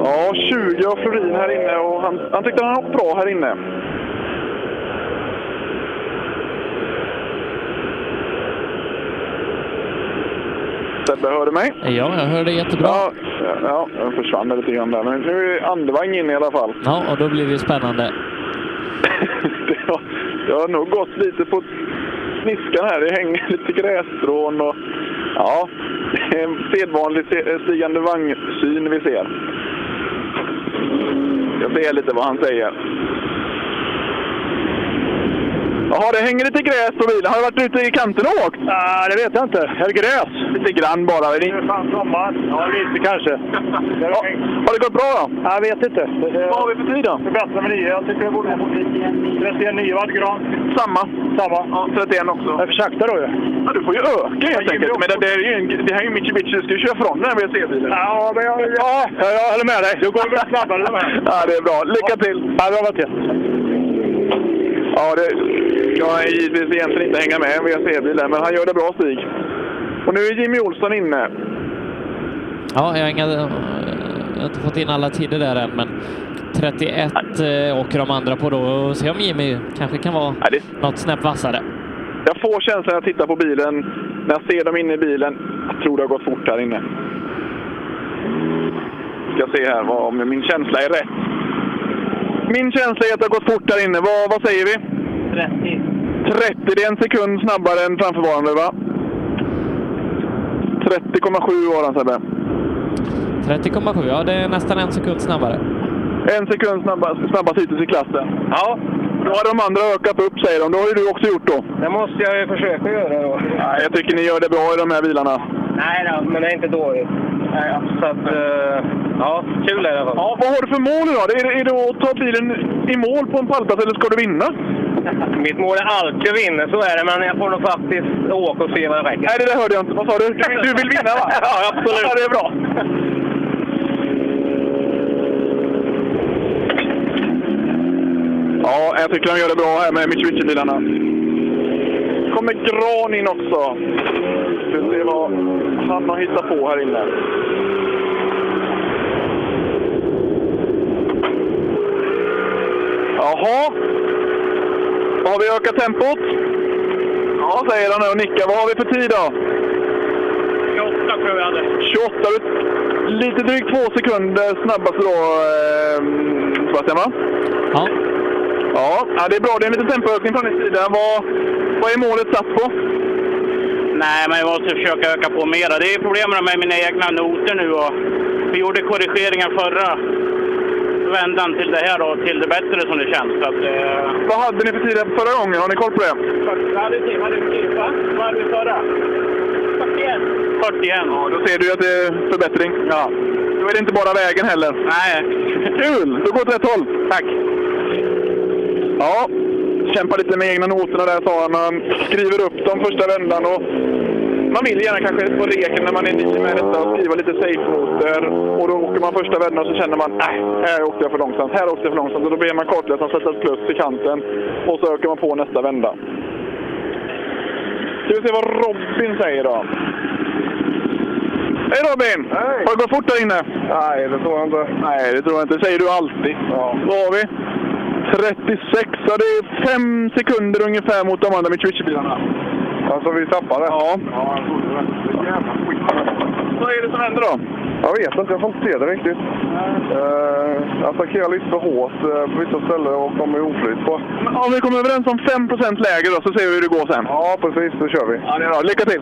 Ja, 20 av Florin här inne och han, han tyckte han var bra här inne. Sebbe, hör du mig? ja, jag hör dig jättebra. Ja, ja, jag försvann lite grann där. Men nu är Andevang inne i alla fall. Ja, och då blir det ju spännande. Det har, det har nog gått lite på sniskan här. Det hänger lite grässtrån och... Ja, det är en sedvanlig se- stigande vagnsyn vi ser. Jag ser lite vad han säger. Jaha, det hänger lite gräs på bilen. Har du varit ute i kanten och åkt? Nej, Ah, det vet jag inte. Är det gräs? Lite grann bara. Det är fan sommar. Ja, lite kanske. Ja, har det gått bra då? Jag vet inte. Vad har vi för tid då? Förbättra med 9. Jag tycker det borde vara 31 9 watt gran. Samma. Samma. Ja, 31 också. Jag för sakta då ju. Ja, du får ju öka helt enkelt. Men det, det, är ju en, det här är ju Mitsubishi. Du ska ju köra från den här WRC-bilen. Ja, men jag, ja, jag, jag håller med dig. Du går väl snabbare Ja, det är bra. Lycka till! Ja, bra Mattias. Ja, det, jag är givetvis egentligen inte hänga med en WRC-bil där, men han gör det bra Stig. Och nu är Jimmy Olsson inne. Ja, jag har, inga, eh, jag har inte fått in alla tider där än, men 31 eh, åker de andra på då och se om Jimmy kanske kan vara något snäpp vassare. Jag får känslan när jag tittar på bilen, när jag ser dem inne i bilen. Jag tror det har gått fort här inne. Ska se här vad, om min känsla är rätt. Min känsla är att det har gått fort där inne. Vad, vad säger vi? 30. 30, det är en sekund snabbare än framförvarande va? 30,7 var han Sebbe. 30,7, ja det är nästan en sekund snabbare. En sekund snabbast, snabbast hittills i klassen. Ja. Då har de andra ökat upp säger de. Det har ju du också gjort då. Det måste jag ju försöka göra då. Nej, jag tycker ni gör det bra i de här bilarna. Nej då, men det är inte dåligt. Nej, ja. Så att, eh, ja, kul i alla fall. Ja, vad har du för mål idag? Är det, är det att ta bilen i mål på en pallplats eller ska du vinna? Mitt mål är alltid att vinna, så är det. Men jag får nog faktiskt åka och se vad det räcker. Nej, det där hörde jag inte. Vad sa du? Du vill vinna, va? ja, absolut. Ja, det är bra. Ja, jag tycker de gör det bra här med Mitsubishi-bilarna. kommer Gran in också. Vi ska se vad han har hittat på här inne. Jaha. Har vi ökat tempot? Ja, säger han nu och nickar. Vad har vi för tid då? 28 tror jag hade. 28. Lite drygt två sekunder snabbast då, eh, Sebastian, va? Ja. Ja, ja, det är bra. Det är en liten tempoökning från din sida. Vad, vad är målet satt på? Nej, men jag måste försöka öka på mera. Det är problemen med mina egna noter nu. Och vi gjorde korrigeringar förra vändan till det här och till det bättre som det känns. Så att, eh, Vad hade ni för tid förra gången? Har ni koll på det? Första hade vi hade vi skrivit, va? Vad hade vi förra? 41. 41. Ja, då ser du ju att det är förbättring. Ja. Då är det inte bara vägen heller. Nej. Kul! Då går det åt rätt håll. Tack. Ja, kämpa lite med egna noterna där sa han. Han skriver upp dem första vändan och man vill gärna kanske på leken när man är ny med detta och skriva lite safe-noter. Och då åker man första vändan och så känner man nej, här åkte jag för långsamt, här åkte jag för långsamt. Och då ber man kartläsaren sätta ett plus i kanten och så ökar man på nästa vända. Ska vi se vad Robin säger då. Hej Robin! Har det gått fort där inne? Nej, det tror jag inte. Nej, det tror jag inte. säger du alltid. Ja. Vad har vi? 36, ja det är fem sekunder ungefär mot de andra Mitsubishi-bilarna. Alltså vi tappade? Ja. ja Vad är det som händer då? Jag vet inte, jag får inte se det riktigt. Eh, attackerar lite för hårt eh, på vissa ställen och kommer i oflyt på. Men Om vi kommer överens om 5 lägre då, så ser vi hur det går sen. Ja, precis. Då kör vi. Ja, det är bra. Lycka till!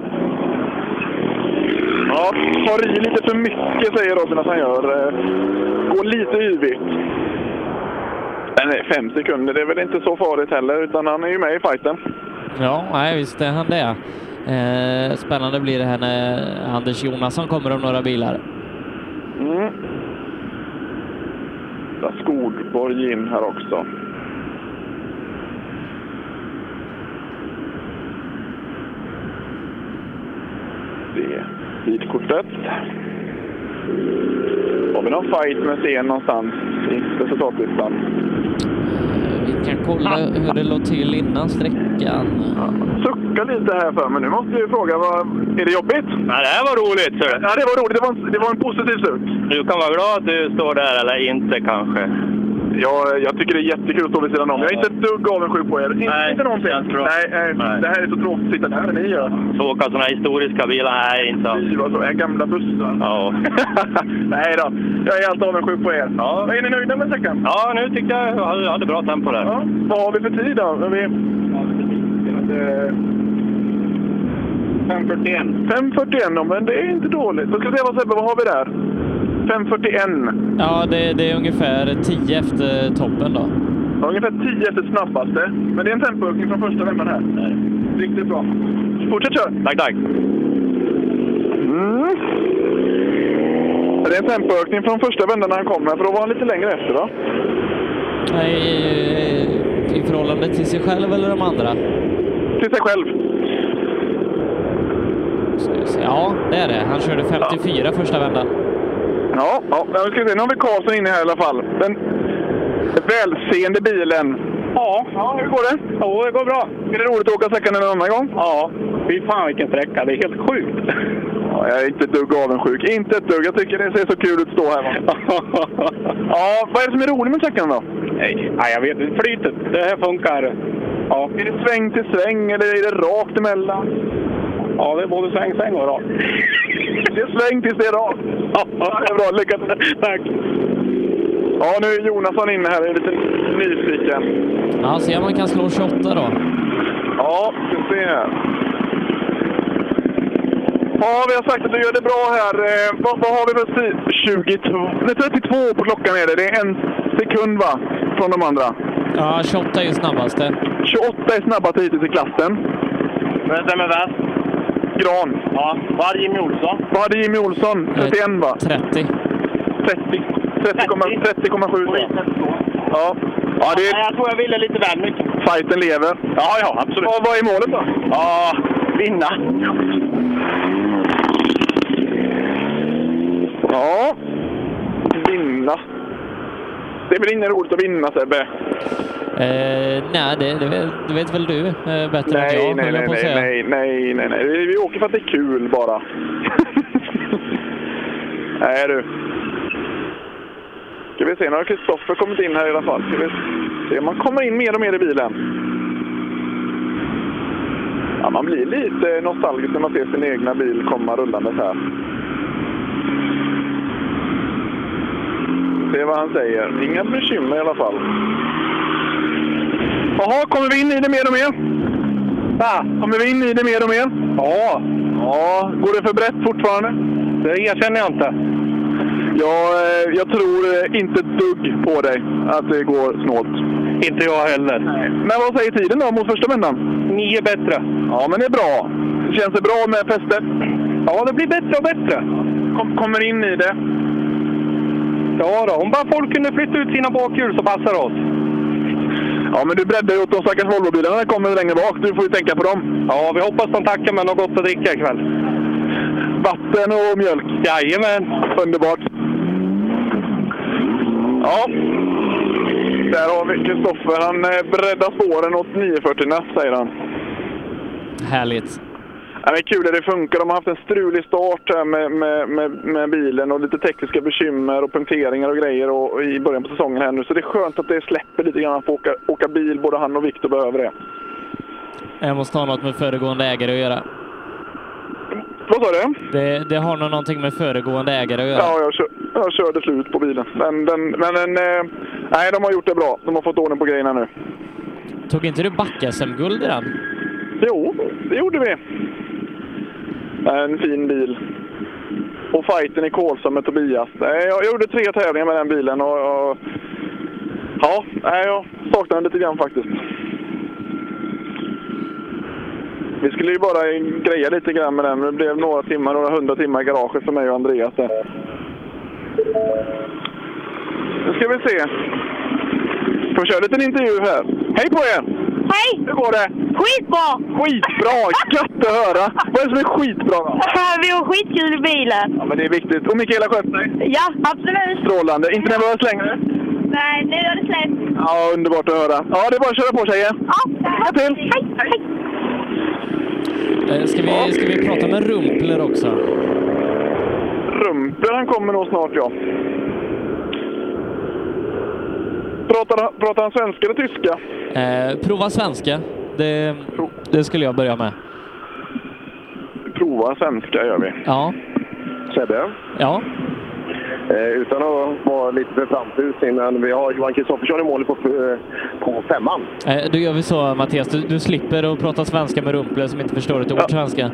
Ja, tar i lite för mycket säger Robin att han gör. Eh, Går lite yvigt. Men eh, fem sekunder, det är väl inte så farligt heller, utan han är ju med i fighten. Ja, nej, visst är han det. Eh, spännande blir det här när Anders Jonasson kommer om några bilar. Mm. Där Skogborg in här också. Det är tidkortet. Har vi någon fight med Sten någonstans i resultatlistan? Vi kan kolla hur det låg till innan sträckan. Suckar lite här för mig. Nu måste jag ju fråga, vad, är det jobbigt? Nej, det här var roligt. Så. Ja, det var roligt. Det var en, det var en positiv suck. Du kan vara glad att du står där, eller inte kanske. Jag, jag tycker det är jättekul att stå vid sidan om. Jag är inte ett dugg avundsjuk på er. Inte, inte någonting. Nej, eh, nej, Det här är så tråkigt att sitta där ni gör. Så åka sådana här historiska bilar, nej inte alls. Fy, vad så- är Gamla bussar. Ja. nej då, jag är allt avundsjuk på er. Ja. Är ni nöjda med sträckan? Ja, nu tyckte jag jag hade- jag hade bra tempo där. Ja. Vad har vi för tid då? Har vi... 5.41. 5.41, ja, men det är inte dåligt. Då ska vi se vad Sebbe, vad har vi där? 5.41. Ja, det, det är ungefär 10 efter toppen då. Ja, ungefär 10 efter snabbaste. Men det är en tempoökning från första vändan här. Riktigt bra. Fortsätt köra! Tack, tack. Mm. Det är en tempoökning från första vändan när han kom här, för då var han lite längre efter va? Nej, I, i förhållande till sig själv eller de andra? Till sig själv. Ja, det är det. Han körde 54 första vändan. Ja, ja. Nu ska vi se. Nu har vi Karlsson inne här i alla fall. Den välseende bilen. Ja, ja hur går det? Jo, det går bra. Är det roligt att åka sträckan en annan gång? Ja, fy fan vilken sträcka. Det är helt sjukt. Ja, jag är inte ett dugg avundsjuk. Inte ett dugg. Jag tycker det ser så kul ut att stå här. Va? ja, vad är det som är roligt med sträckan då? Nej, jag vet inte. Flytet. Det här funkar. Ja. Är det sväng till sväng eller är det rakt emellan? Ja, det är både sväng, sväng och rakt. det är sväng tills det är rakt. Ja, det är bra. Lycka till. Tack. Ja, nu är Jonasson inne här. Jag är lite nyfiken. Ja, se om man kan slå 28 då. Ja, vi ska se här. Ja, vi har sagt att du gör det bra här. Eh, vad, vad har vi för tid? 22... Nej, 32 på klockan är det. Det är en sekund va? Från de andra. Ja, 28 är ju snabbaste. 28 är snabbast hittills i klassen. Vem är värst? Gran. Ja. Vad hade Jimmy Olsson? Vad hade Jimmy Eh, Olsson? 31 va? 30. 30. 30,7 30, 30, Ja. Ja, jag tror jag ville lite väl mycket. Fighten lever. Ja, ja, absolut. Och vad är målet då? Ja, vinna. Ja, vinna. Det är väl inget roligt att vinna Sebbe? Eh, nej, det, det, vet, det vet väl du eh, bättre än Nej, jag, nej, höll jag nej, på att nej, säga. nej, nej, nej, nej. Vi, vi åker för att det är kul bara. nej du. Ska vi se, nu har Kristoffer kommit in här i alla fall. Ska vi se, man kommer in mer och mer i bilen. Ja, man blir lite nostalgisk när man ser sin egna bil komma rullandes här. Se vad han säger. Inga bekymmer i alla fall. Jaha, kommer vi in i det mer och mer? Va? Kommer vi in i det mer och mer? Ja. Ja, går det för brett fortfarande? Det erkänner jag inte. Jag, eh, jag tror eh, inte ett dugg på dig att det går snålt. Inte jag heller. Men vad säger tiden då mot första vändan? Nio bättre. Ja, men det är bra. Känns det bra med fäste? Ja, det blir bättre och bättre. Kom, kommer in i det. Ja då, om bara folk kunde flytta ut sina bakhjul så passar det oss. Ja, men du breddar ju åt de stackars Volvobilarna när det kommer längre bak. Du får ju tänka på dem. Ja, vi hoppas de tackar med något gott att dricka ikväll. Vatten och mjölk. Jajamän. Underbart. Ja. Där har vi Kristoffer. Han eh, breddar spåren åt 940 säger han. Härligt. Ja, men kul att det funkar. De har haft en strulig start här med, med, med, med bilen och lite tekniska bekymmer och punkteringar och grejer och, och i början på säsongen här nu. Så det är skönt att det släpper lite grann att få åka, åka bil. Både han och Viktor behöver det. Jag måste ha något med föregående ägare att göra. Vad sa du? Det, det har nog någonting med föregående ägare att göra. Ja, jag, kör, jag körde slut på bilen. Men, den, men den, eh, nej, de har gjort det bra. De har fått ordning på grejerna nu. Tog inte du back-SM-guld i den? Jo, det gjorde vi. En fin bil. Och fighten i Kolsva med Tobias. Nej, Jag jag gjorde tre tävlingar med den bilen och... och ja, nej, jag saknar den lite grann faktiskt. Vi skulle ju bara greja lite grann med den. men Det blev några timmar, några hundra timmar i garaget för mig och Andreas. där. Nu ska vi se. Får vi köra lite intervju här? Hej på er! Hej! Hur går det? Skitbra! Skitbra! Gött att höra! Vad är det som är skitbra då? Vi har skitkul i bilen. Ja, men det är viktigt. Och Mikaela skötte sig? Ja, absolut. Strålande. Inte nervös längre? Nej, nu har det släppt. Ja, underbart att höra. Ja, det är bara att köra på tjejer. Ja, lycka till. Hej, hej. Eh, Ska vi, ska vi prata med Rumpler också? Rumpler han kommer nog snart, ja. Pratar, han- pratar han svenska eller tyska? Eh, prova svenska. Det, det skulle jag börja med. Prova svenska gör vi. Ja. Sebbe, Ja. eh, utan att vara lite framfus innan, vi har Johan Kristoffersson i mål på, eh, på femman. Eh, då gör vi så Mattias. Du, du slipper att prata svenska med Rumpler som inte förstår ett ord svenska.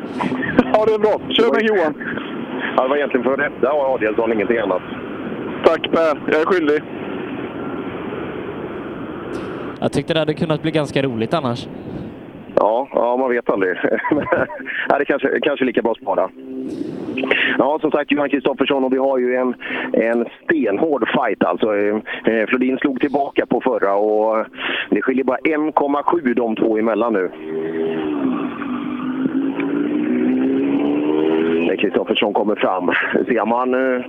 Ja, det är bra. Kör med Johan. Ja, det var egentligen för att rädda Adelsson, ingenting annat. Tack Per, jag är skyldig. Jag tyckte det hade kunnat bli ganska roligt annars. Ja, ja man vet aldrig. Nej, det kanske, kanske är lika bra att spara. Ja, som sagt, Johan Kristoffersson och vi har ju en, en stenhård fight alltså. Eh, Flodin slog tillbaka på förra och det skiljer bara 1,7 de två emellan nu. när Kristoffersson kommer fram. Ser man, eh,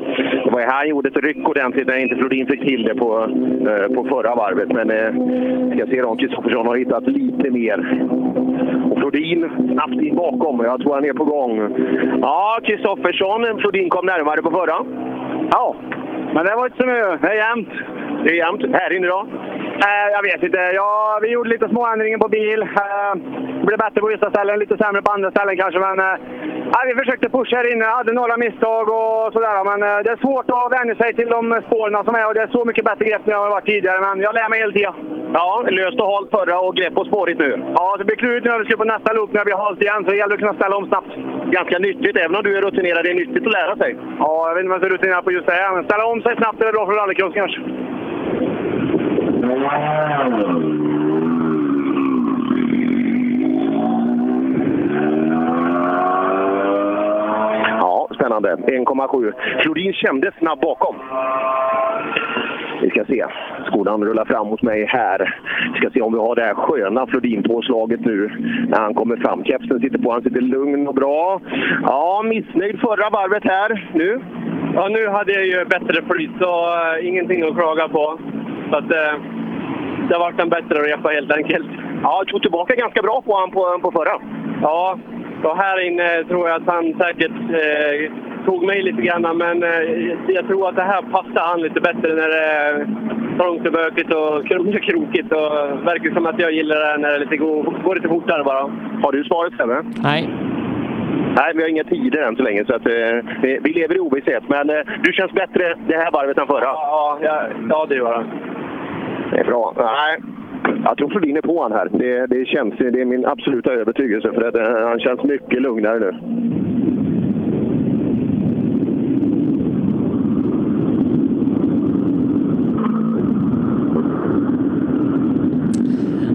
det var ju här han gjorde ett ryck ordentligt när inte Flodin fick till det på, eh, på förra varvet. Men eh, jag ser om Kristoffersson har hittat lite mer. Och Flodin snabbt in bakom. Jag tror han är på gång. Ja, Kristoffersson. Flodin kom närmare på förra. Ja, men det var inte så mycket. Det är jämnt. Det är jämnt. Här inne då? Eh, Jag vet inte. Ja, vi gjorde lite små ändringar på bil. Eh, Det blev bättre på vissa ställen, lite sämre på andra ställen kanske. Men, eh, ja, vi försökte pusha här inne, hade några misstag och sådär. Men eh, det är svårt att vänja sig till de spåren som är och det är så mycket bättre grepp nu än vad det varit tidigare. Men jag lär mig hela tiden. Ja, löst och halt förra och grepp och spårigt nu. Ja, det blir klurigt nu när vi ska på nästa loop när det blir halt igen. Så det gäller att kunna ställa om snabbt. Ganska nyttigt, även om du är rutinerad. Det är nyttigt att lära sig. Ja, jag vet inte om jag är så rutinerad på just det här. Men ställa om sig snabbt är bra för rallycross kanske. Ja, spännande. 1,7. Flodin kände snabb bakom. Vi ska se. Skodan rullar fram mot mig här. Vi ska se om vi har det här sköna Flodin-påslaget nu när han kommer fram. Kepsen sitter på, han sitter lugn och bra. Ja, missnöjd förra varvet här nu. Ja, nu hade jag ju bättre flyt, så eh, ingenting att klaga på. Så att, eh, det vart en bättre repa helt enkelt. Ja, tog tillbaka ganska bra på han på, på förra. Ja, och här inne tror jag att han säkert eh, tog mig lite grann, men eh, jag tror att det här passar han lite bättre när det är trångt och bökigt och krum- krokigt. Och verkar som att jag gillar det här när det lite går, går lite fortare bara. Har du svaret Sebbe? Nej. Nej, vi har inga tider än så länge så att, eh, vi- vi lever i ovisshet. Men eh, du känns bättre det här varvet än förra? Ja, ja, ja det gör han. Det är bra. Nej. Jag tror Flodin är på han här. Det, det, känns, det är min absoluta övertygelse. För att, eh, han känns mycket lugnare nu.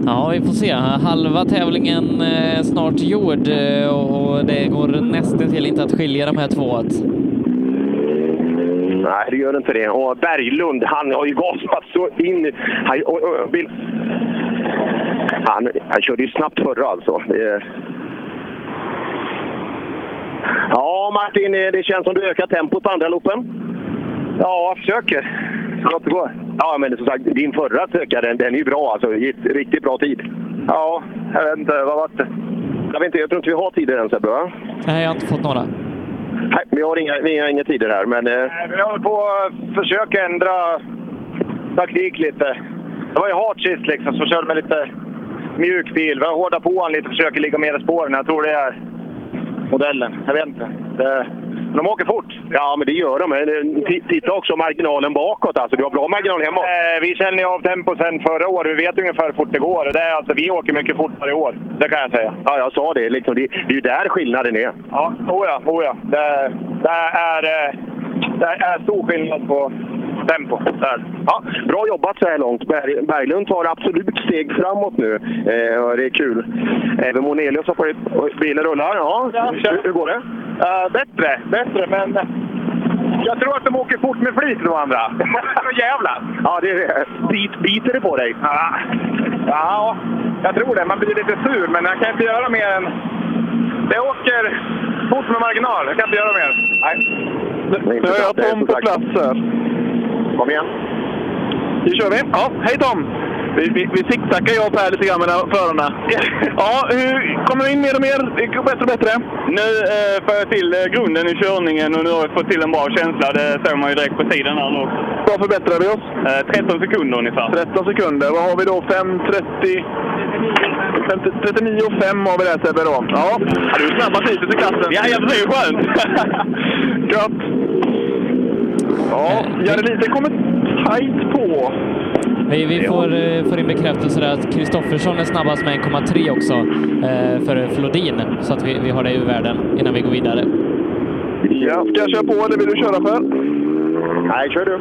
Ja, vi får se. Halva tävlingen eh, snart gjord eh, och det går nästan till inte att skilja de här två åt. Nej, det gör inte det. Och Berglund, han har ju gasat så in... Han, och, och, vill... han, han körde ju snabbt förra alltså. Det... Ja, Martin, eh, det känns som du ökar tempot på andra loopen. Ja, jag försöker. Så gott det går. Ja, men som sagt, din förra sökare, den, den är ju bra alltså. Gick Riktigt bra tid. Ja, jag vet inte. Vad var det? Jag vet inte, jag tror inte vi har tider än Sebbe, va? Nej, jag har inte fått några. Nej, vi har inga, vi har inga tider här, men... Eh... Vi håller på att försöka ändra taktik lite. Det var ju hårt sist liksom, så körde med lite mjuk bil. Vi har hårdat på han lite och försöker ligga mer i spåren. Jag tror det är modellen. Jag vet inte. Det... De åker fort. Ja, men det gör de. Men, eh, ti- Titta också marginalen bakåt. Alltså, du har bra marginal hemåt. Eh, Vi känner ju av tempo sen förra året. Vi vet ungefär hur fort det går. Och Det är, alltså, vi åker mycket fortare i år. Det kan jag säga. Eh, Ja, jag sa det. Liksom, det, det är ju där skillnaden är. Ja, oh ja, oh ja. Det, det, är, eh, det är stor skillnad på tempo. Där. Ja, bra jobbat så här långt. Berg, Berglund tar absolut steg framåt nu. Eh, och det är kul. Även Monelius har varit... oj, Bilen rullar. Ja. Eh, Hur, hur går det? bättre, bättre, men jag tror att de åker fort med flit, de andra. Så jävla. Ja, det är det. Bit, biter det på dig? Ja. ja, jag tror det. Man blir lite sur, men jag kan inte göra mer än... Det åker fort med marginal. Jag kan inte göra mer. Nej. Nu är jag Tom på plats här. Kom igen. Nu kör vi. Ja, hej Tom! Vi, vi, vi sicksackar jag och Per lite grann med förarna. Ja, hur kommer vi in mer och mer? Det går bättre och bättre. Nu eh, får jag till eh, grunden i körningen och nu har jag fått till en bra känsla. Det såg man ju direkt på tiden här nu också. Vad förbättrar vi oss? Eh, 13 sekunder ungefär. 13 sekunder. Vad har vi då? 5, 30... 50, 39 och 5 har vi där Sebbe då. Ja, du är snabbast hittills i klassen. Ja, jag precis. Skönt! Gött! Ja, Jareliten kommer tajt på. Vi, vi får, eh, får in bekräftelse där att Kristoffersson är snabbast med 1,3 också eh, för Flodin, så att vi, vi har det i världen innan vi går vidare. Ja, ska jag köra på eller vill du köra Per? Nej, kör du.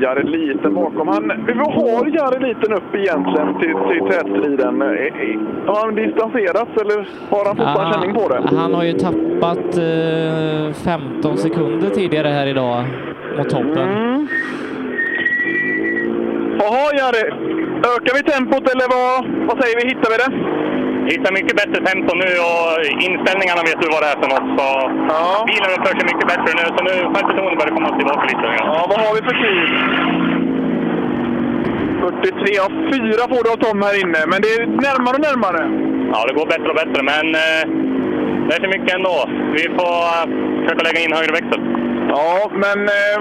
Jared Liten bakom. Han, vi har Jared Liten upp egentligen till, till tätstriden. Eh, eh, Har han distanserats eller har han fortfarande Ah, känning på det? Han har ju tappat eh, 15 sekunder tidigare här idag mot toppen. Mm. Jaha Jari, ökar vi tempot eller vad, vad säger vi? Hittar vi det? Hittar mycket bättre tempo nu och inställningarna vet du vad det är för något. Så Bilen uppför sig mycket bättre nu, så nu självförtroendet börjar komma tillbaka lite. Ja, vad har vi för tid? 43, ja 4 får du av Tom här inne, men det är närmare och närmare. Ja, det går bättre och bättre, men eh, det är för mycket ändå. Vi får eh, försöka lägga in högre växel. Ja, men eh,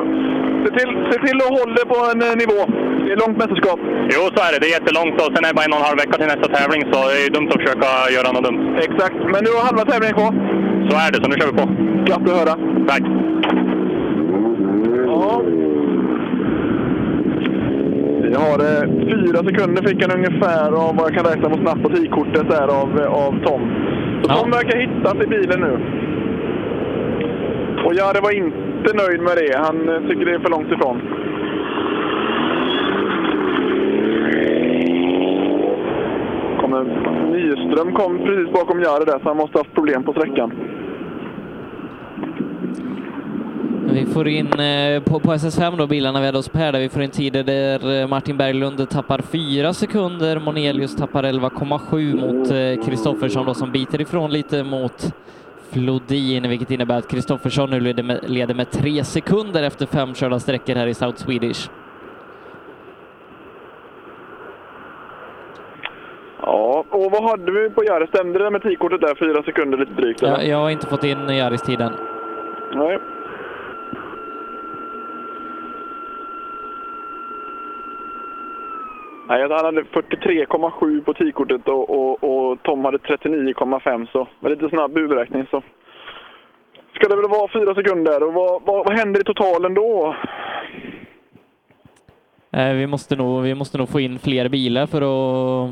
se, till, se till att hålla på en eh, nivå. Det är långt mästerskap. Jo, så är det. Det är jättelångt och sen är det bara en och en halv vecka till nästa tävling, så det är ju dumt att försöka göra något dumt. Exakt, men du har halva tävlingen kvar. Så är det, så nu kör vi på. Glatt att höra. Tack. Ja. Vi har eh, fyra sekunder fick han ungefär av vad jag kan räkna på snabbt på tidkortet där av, eh, av Tom. Så Tom verkar hittat i bilen nu. Och Jari var inte nöjd med det. Han eh, tycker det är för långt ifrån. Kommer, Nyström kom precis bakom Jari där, så han måste ha haft problem på sträckan. Vi får in eh, på, på SS5 då bilarna vi hade oss på här där vi får in tider där eh, Martin Berglund tappar 4 sekunder, Monelius tappar 11,7 mot eh, Kristoffersson då som biter ifrån lite mot Flodin, vilket innebär att Kristoffersson nu leder med, leder med 3 sekunder efter fem körda sträckor här i South Swedish. Ja, och vad hade vi på Jari? Stämde det med tidkortet där? Fyra sekunder lite drygt? Jag, Eller? jag har inte fått in Jaris-tiden. Nej. Nej, han hade 43,7 på tidkortet och, och, och Tom hade 39,5 så med lite snabb huvudräkning så ska det väl vara fyra sekunder. Och vad, vad, vad händer i totalen då? Eh, vi, måste nog, vi måste nog få in fler bilar för att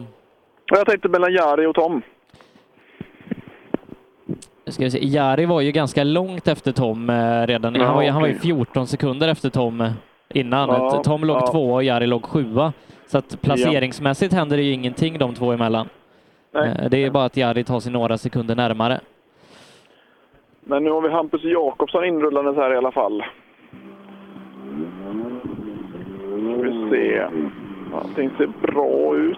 Och Jag tänkte mellan Jari och Tom. Nu Ska vi se. Jari var ju ganska långt efter Tom eh, redan. han, var ju, han var ju okej. 14 sekunder efter Tom eh, innan. Ja, Tom låg ja. tvåa och Jari låg sjua. Så att placeringsmässigt händer det ju ingenting de två emellan. Eh, Det är bara att Jari tar sig några sekunder närmare. Men nu har vi Hampus Jakobsson inrullandes här i alla fall. Ska vi se. Allting ser bra ut.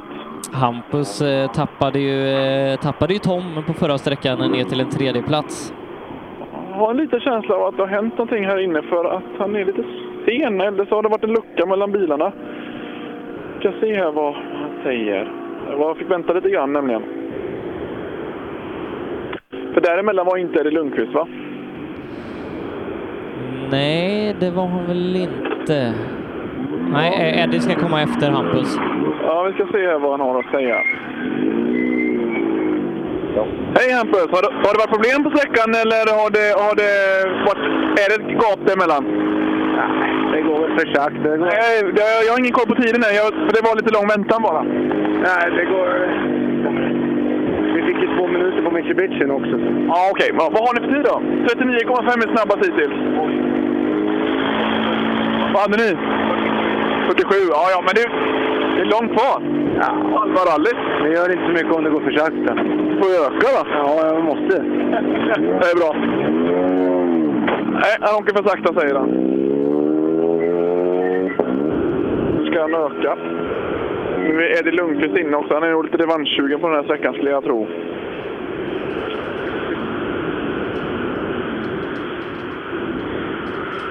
Hampus eh, tappade ju, eh, tappade ju Tom på förra sträckan ner till en tredje plats. Jag har en liten känsla av att det har hänt någonting här inne för att han är lite sen. Eller så har det varit en lucka mellan bilarna. Vi ska se här vad han säger. Jag fick vänta lite grann nämligen. För däremellan var inte Eddie Lundqvist va? Nej, det var han väl inte. Nej, eh, Eddie ska komma efter Hampus. Ja, vi ska se här vad han har att säga. Hej Hampus! Har det, har det varit problem på sträckan eller har det, har det varit, är det ett gap däremellan? Nej, det går väl för sakta. Nej, jag, jag har ingen koll på tiden än. Jag- för Det var lite lång väntan bara. Nej, det går... Vi fick ju två minuter på Mitsubishi också. Ja, okej. Ja, Vad har ni för tid då? 39,5 är snabbast hittills. Vad hade ni? 47. Ja, ja, men det, det är långt kvar. Ja. Halva rallyt. Det gör inte så mycket om det går för sakta. får öka då. Ja, jag måste. det är bra. Nej, han åker för sakta säger han. Nu ska han öka. Nu är Eh, Eddie Lundqvist inne också. Han är nog lite revanschsugen på den här sträckan skulle jag tro.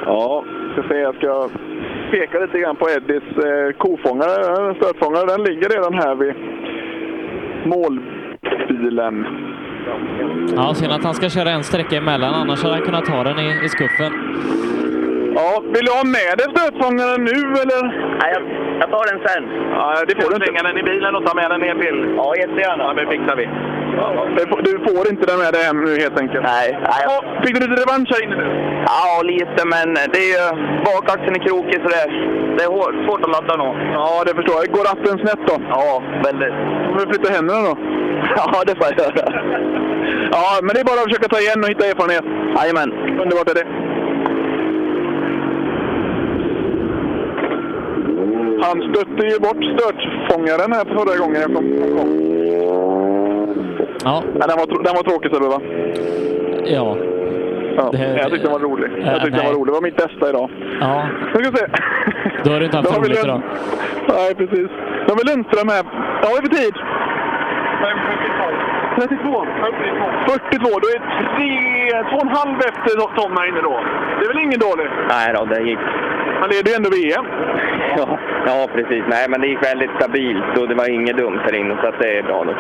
Ja, ska se. Jag ska peka lite grann på Eddies eh, kofångare, eh, stötfångare. Den ligger redan här vid målbilen. Ja, synd att han ska köra en sträcka emellan, annars hade han kunnat ta den i, i skuffen. Ja, vill du ha med dig stötfångaren nu eller? Nej, jag, tar den sen. Ja, det får du inte. den i bilen och ta med den ner till... Ja, jättegärna. Ja, det fixar vi. Det får- Du får inte den med dig hem nu helt enkelt. Nej. nej. Fick du lite revansch här inne nu? Ja, lite, men det är ju... Bakaxeln är krokig, så det, det är hår, svårt att ladda nog. Ja, det förstår jag. Går ratten snett då? Ja, väldigt. Får du flytta händerna då? Ja, det får jag göra. Ja, men det är bara att försöka ta igen och hitta erfarenhet. Jajamän. Underbart är det. Han stötte ju bort störtfångaren här förra gången jag kom. han kom. Ja. Den, var, tr- den var tråkig Sebbe va? Ja. Ja, jag tyckte den var rolig. Jag tyckte den var nej. rolig. Det var mitt bästa idag. Ja. Nu ska vi se. Då har du inte haft vi roligt Lund- idag. Nej, precis. Då har vi Lundström här. Vad har vi för tid? 32. 42. Då är tre, två och en halv efter Tom här inne då. Det är väl ingen dålig? Nej då, det gick... Han leder ju ändå VM. Ja, ja, precis. Nej, men det gick väldigt stabilt och det var inget dumt här inne, så att det är bra. Då.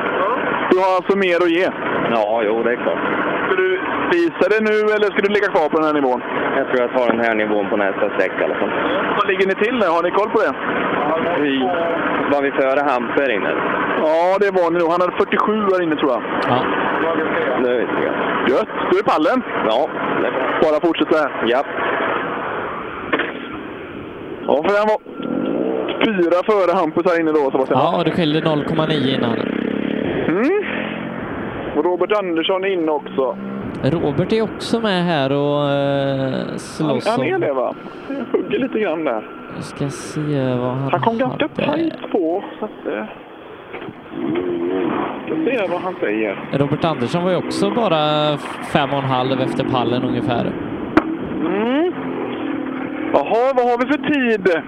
Du har alltså mer att ge. Ja, jo, det är klart. Ska du visa det nu eller ska du ligga kvar på den här nivån? Jag tror jag tar den här nivån på nästa sträcka i alla fall. Vad ligger ni till där? Har ni koll på det? Vi, var vi före Hampus här inne? Ja, det var ni nog. Han hade 47 här inne tror jag. Ja. Nu vet jag. Gött! Du är pallen? Ja. Bara fortsätt så här. Ja. Ja, för han var fyra före Hampus här inne då, Sebastian. Ja, och det skilde 0,9 innan. Mm. Och Robert Andersson är inne också. Robert är också med här och eh, Han, slåss han är om- det va? Jag hugger lite grann där. Jag ska se vad han Han kom ganska hade. tajt på. Så att, eh, ska se vad han säger. Robert Andersson var ju också bara fem och en halv efter pallen ungefär. Mm. Jaha, vad har vi för tid?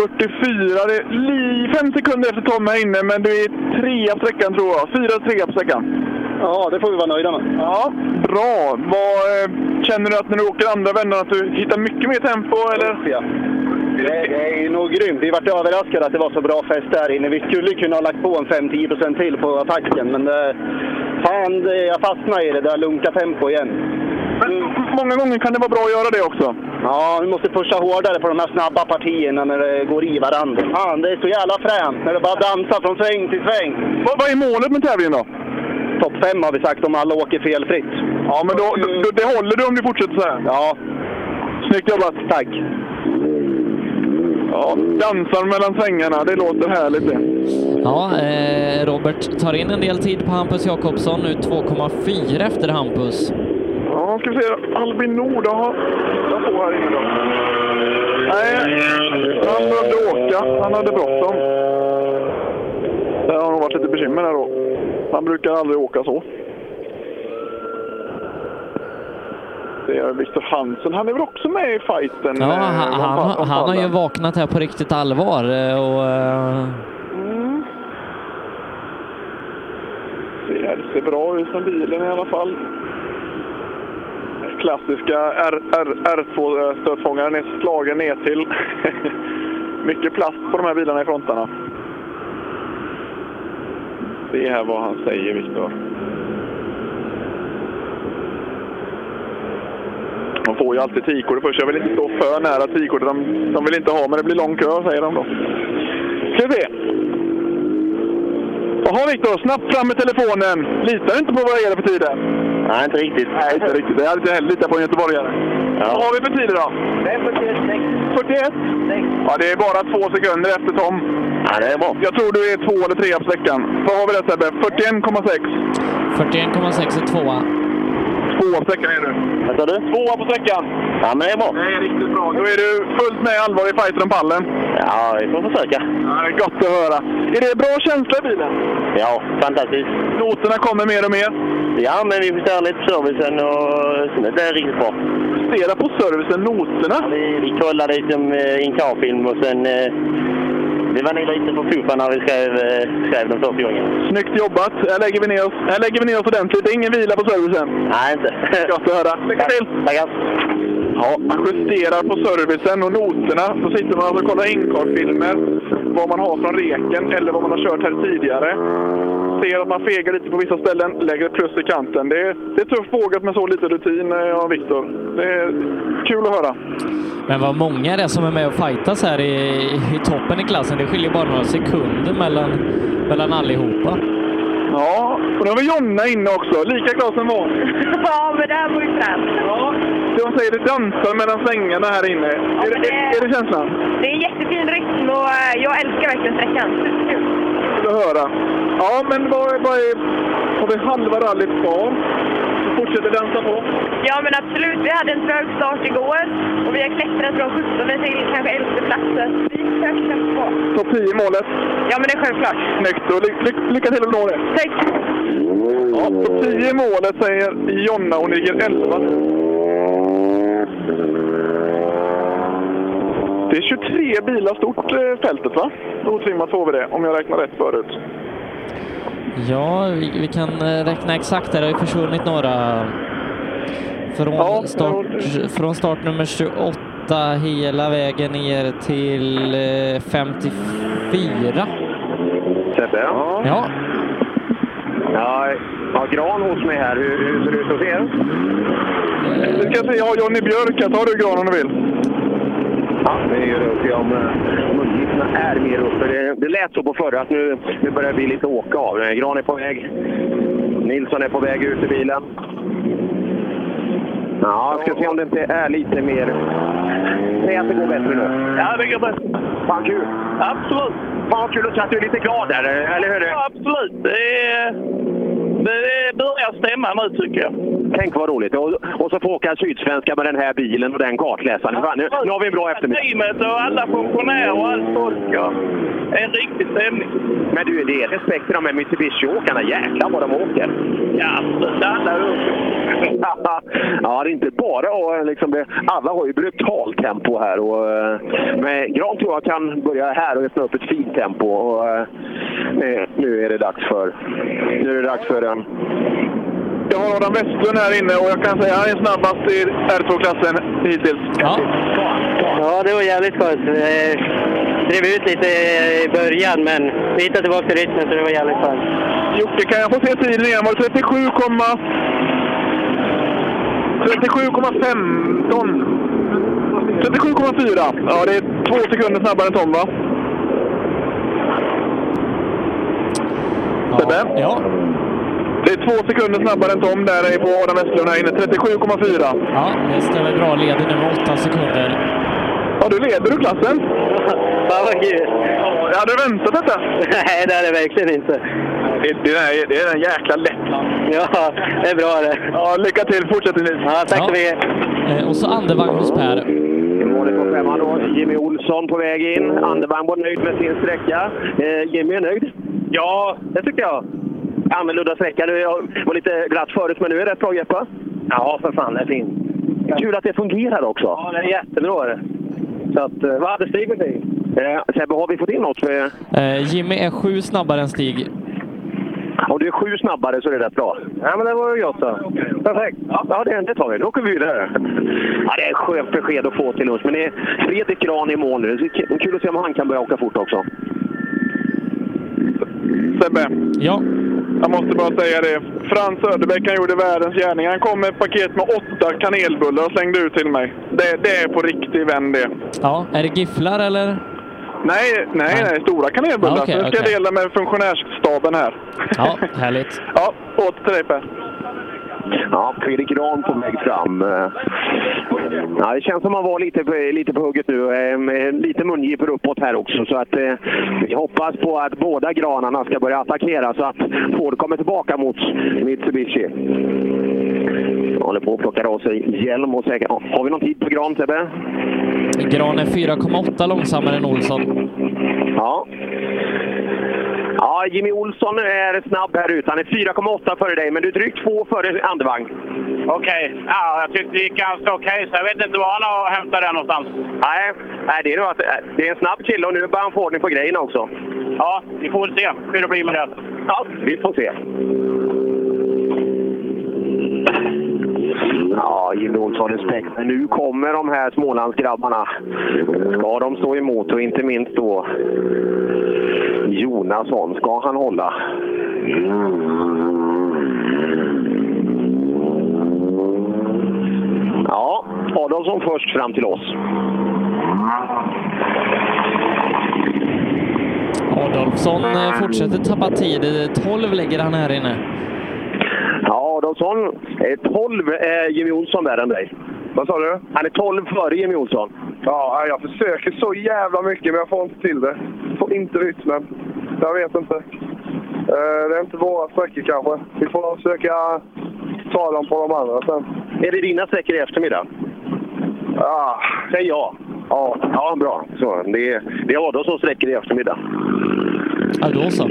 44. Det är li- fem sekunder efter Tom här inne, men du är trea på sträckan tror jag. Fyra trea på sträckan. Ja, det får vi vara nöjda med. Ja, bra. Vad, eh, känner du att när du åker andra vändan att du hittar mycket mer tempo? Eller? Det, det är ju nog grymt. Vi vart överraskade att det var så bra fäst där inne. Vi skulle kunna ha lagt på en 5-10% till på attacken, men det, fan, det, jag fastnade i det där lunka tempo igen. Mm. Många gånger kan det vara bra att göra det också. Ja, vi måste pusha hårdare på de här snabba partierna när det går i varandra. Fan, det är så jävla fränt när det bara dansar från sväng till sväng. Vad, vad är målet med tävlingen då? Topp fem har vi sagt om alla åker felfritt. Ja, men då, då, det håller du om du fortsätter så här? Ja. Snyggt jobbat. Tack. Ja, dansar mellan svängarna. Det låter härligt det. Ja, eh, Robert tar in en del tid på Hampus Jakobsson, nu 2,4 efter Hampus. Ja, ska vi se. Albin Nord, jaha. Jag får här inne då. Nej, han behövde åka. Han hade bråttom. Det har nog varit lite bekymmer där då. Han brukar aldrig åka så. Det är Viktor Hansen. Han är väl också med i fighten? Ja, eh, han, om han, fa- har- om han har ju pallen. vaknat här på riktigt allvar eh, och eh, Mm. Det ser bra ut med bilen i alla fall. Klassiska R- R- R2-stötfångaren är slagen ner till. Mycket plast på de här bilarna i frontarna. Det här vad han säger, Viktor. De får ju alltid tikortet först. Jag vill inte stå för nära tikortet. De, de vill inte ha, men det blir lång kö, säger de då. Ska vi se. Jaha Viktor, snabbt fram med telefonen. Litar du inte på vad det är för tider? Nej, inte riktigt. Nej, inte riktigt. Det hade inte heller litat på en göteborgare. Vad har vi för tider då? Det är 41. 41? Ja, det är bara två sekunder efter Tom. Ja, det är bra. Jag tror du är två eller tre på sträckan. Vad har vi där Sebbe? 41,6. 41,6 är tvåa. Tvåa på sträckan är du. Vad sa du? Tvåa på sträckan. Ja, men det är bra. Det är riktigt bra. Då är du fullt med i allvar i fighten om pallen. Ja, vi får försöka. Ja, det är gott att höra. Är det bra känsla i bilen? Ja, fantastiskt. Noterna kommer mer och mer. Ja, men vi förstör lite servicen och sånt. Det är riktigt bra. Justera på servicen, noterna? Vi, vi kollade lite om eh, Incar-film och sen... Eh, vi var nog lite på puffa när vi skrev, eh, skrev den första gången. Snyggt jobbat. Här lägger vi ner oss, här lägger vi ner oss ordentligt. Det är ingen vila på servicen. Nej, inte. Gott att höra. Lycka till! Tackar! Ja, man justerar på servicen och noterna. Så sitter man och kollar inkorfilmer. Vad man har från reken eller vad man har kört här tidigare. Ser att man fegar lite på vissa ställen, lägger ett plus i kanten. Det är, det är tufft vågat med så lite rutin eh, av Viktor. Det är kul att höra. Men vad många det är som är med och fightas här i, i toppen i klassen. Det skiljer bara några sekunder mellan, mellan allihopa. Ja, och nu har vi Jonna inne också. Lika glad som vanligt. Ja, men det här var ju fränt. Ja. De säger det dansar mellan svängarna här inne. Är, det, är, är det känslan? Det är en jättefin rytm och eh, jag älskar verkligen sträckan. Superkul. Kul att höra. Ja, men vad, vad är... Har vi halva rallyt kvar? Vi fortsätter dansa på. Ja, men absolut. Vi hade en trög start igår och vi har klättrat från 17 till kanske 11 platser. Vi försöker kämpa på. Topp 10 i målet. Ja, men det är självklart. Snyggt. Och ly, ly, lycka till att nå det. Tack. Ja, topp 10 i målet säger Jonna. Hon ligger 11. Det är 23 bilar stort eh, fältet, va? Otrimmat får vi det, om jag räknar rätt förut. Ja, vi, vi kan eh, räkna exakt här. Det har ju försvunnit några. Från, start, från start nummer 28 hela vägen ner till eh, 54. Sebbe? Ja. Ja, Ja, jag har gran hos mig här. Hur, hur ser det ut hos er? Nu ska jag se, jag har Johnny Björk här. Tar du gran om du vill? Ja, det gör det upp. Jag om, eh, om uppgifterna är mer uppe. Det, det lät så på förra att nu, nu börjar vi lite åka av. Eh, Gran är på väg. Nilsson är på väg ut i bilen. Ja, ska se om det inte är lite mer... Säg att det går bättre nu. Ja, det går bättre. Fan kul! Absolut! Fan vad kul att se att du är lite glad där, eh, eller hur? Ja, absolut. Det, är- det börjar stämma nu tycker jag. Tänk vad roligt! Och, och så får åka sydsvenska med den här bilen och den kartläsaren. Fan, nu, nu har vi en bra eftermiddag. Teamet och alla funktionärer och allt folk. Ja. En riktig stämning. Men du, det är respekt för de här Mitsubishi-åkarna. Jäklar vad de åker! Ja, absolut. Alla åker. Ja, det är inte bara och liksom det, Alla har ju brutalt tempo här. Och, eh, men Gran tror jag kan börja här och öppna upp ett fint tempo. Och, eh, nu- nu är det dags för... Nu är det dags för eh, den. Jag har Adam Westlund här inne och jag kan säga att han är snabbast i R2-klassen hittills. Ja. Ja, det var jävligt skönt. Eh, drev ut lite i början, men vi hittade tillbaka till rytmen så det var jävligt skönt. Jocke, kan jag få se tiden igen? Var det 37, 37,15? 37,4. Ja, det är två sekunder snabbare än Tom, va? Sebbe? Ja. Det är två sekunder snabbare än Tom där på Adam Westlund här inne. 37,4. Ja, det stämmer bra. Leder nu med åtta sekunder. Ja, du leder du klassen. Fan vad kul! Hade du väntat detta? Nej, det hade jag verkligen inte. Det, det, är, det är en jäkla Lettland. Ja, det är bra det. Ja, lycka till fortsättningsvis. Ja, tack så mycket. Eh, och så andevagn hos Per. Mm, Målet på femman då. Jimmy Olsson på väg in. Andervang var nöjd med sin sträcka. Eh, Jimmy är nöjd? Ja, det tycker jag. Annorlunda sträcka. Det var lite glatt förut, men nu är det rätt bra grepp, va? Ja, för fan. Det är fint. Kul att det fungerar också. Ja, det är jättebra. Så att, vad hade Stig för tid? Eh, Sebbe, har vi fått in något? För... Eh, Jimmy är sju snabbare än Stig. Om du är sju snabbare så är det rätt bra. Ja, men det var ju gott då. Perfekt. Ja, det, det tar vi. Då åker vi vidare. Ja, det är ett skönt besked att få till oss. Men det är Fredrik Gran i mål nu. Det är kul att se om han kan börja åka fort också. Sebbe. Ja. Jag måste bara säga det. Frans Söderbäck han gjorde världens gärning. Han kom med ett paket med åtta kanelbullar och slängde ut till mig. Det, det är på riktig vän det. Ja, är det gifflar eller? Nej, nej, nej. Stora kanelbullar. Ja, okej, nu ska jag okej. dela med funktionärsstaben här. Ja, härligt. Ja, åter till dig Per. Ja, Fredrik Gran på väg fram. Eh, Ja, det känns som han var lite på, lite på hugget nu. Eh, med Lite mungipor uppåt här också. Så att, eh, vi hoppas på att båda granarna ska börja attackera så att Ford kommer tillbaka mot Mitsubishi. Jag håller på att plocka av sig hjälm och säkert. ja, Har vi någon tid på Gran, Sebbe? Gran är 4,8 långsammare än Olsson. Ja. Ja, Jimmy Olsson är snabb här ute. Han är 4,8 före dig, men du är drygt två före andevagn. Okej. Ja, jag tyckte det gick ganska okej, så jag vet inte var han har hämtat det någonstans. Nej, nej det, är nog att, eh, det är en snabb kille och nu börjar han få ordning på grejerna också. Ja, vi får väl se hur det blir med det. Ja, vi får se. Ja, Jimmy Olsson respekt. Men nu kommer de här Smålandsgrabbarna. Ska de stå emot och inte minst då Jonasson, ska han hålla? Ja, Adolfsson först fram till oss. Adolfsson eh, fortsätter tappa tid. Eh, 12 lägger han här inne. Ja, Adolfsson är 12 eh, Jimmy Olsson värre än dig. Vad sa du? Han är 12 före Jimmy Olsson. Ja, jag försöker så jävla mycket men jag får inte till det. Får inte rytmen. Jag vet inte. Eh, Det är inte våra sträckor kanske. Vi får försöka ta dem på de andra sen. Är det dina sträckor i eftermiddag? Ja. Säg ja. Ja, ja bra. Så, det, är, det är Adolfsson sträcker i eftermiddag. Ja, då så.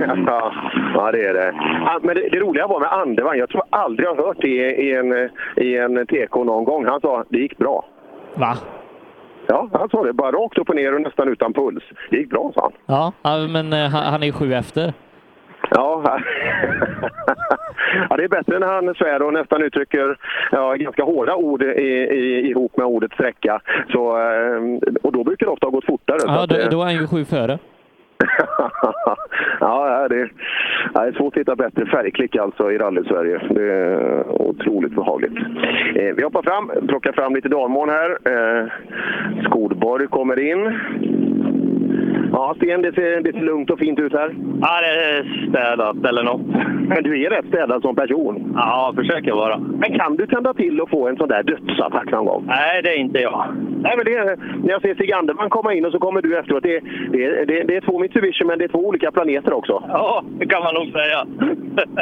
Ja, ja, det är det. Ja, Men det, det roliga var med Andevang, jag tror aldrig jag har hört det i, i, en, i en TK någon gång. Han sa det gick bra. Va? Ja, han sa det. Bara rakt upp och ner och nästan utan puls. Det gick bra, sa han. Ja, ja, men eh, han han är sju efter. Ja, ja det är bättre när han svär och nästan uttrycker ja, ganska hårda ord i, i, ihop med ordet sträcka. Så, eh, och då brukar det ofta ha gått fortare. så Ja, att, då, eh, då är han ju sju före. ja, det är, ja, det är svårt att hitta bättre färgklick alltså i rally-Sverige. Det är otroligt behagligt. Eh, vi hoppar fram, plockar fram lite dalmål här. Eh, Skodborg kommer in. Ja, Sten, det ser, det ser lugnt och fint ut här. Ja, det är städat eller något. Men du är rätt städad som person. Ja, försöker vara. Men kan du tända till och få en sån där dödsattack någon gång? Nej, det är inte jag. Nej, men det är, när jag ser Stig Anderman komma in och så kommer du efteråt. Det, det, det, det är två Mitsubishi, men det är två olika planeter också. Ja, det kan man nog säga.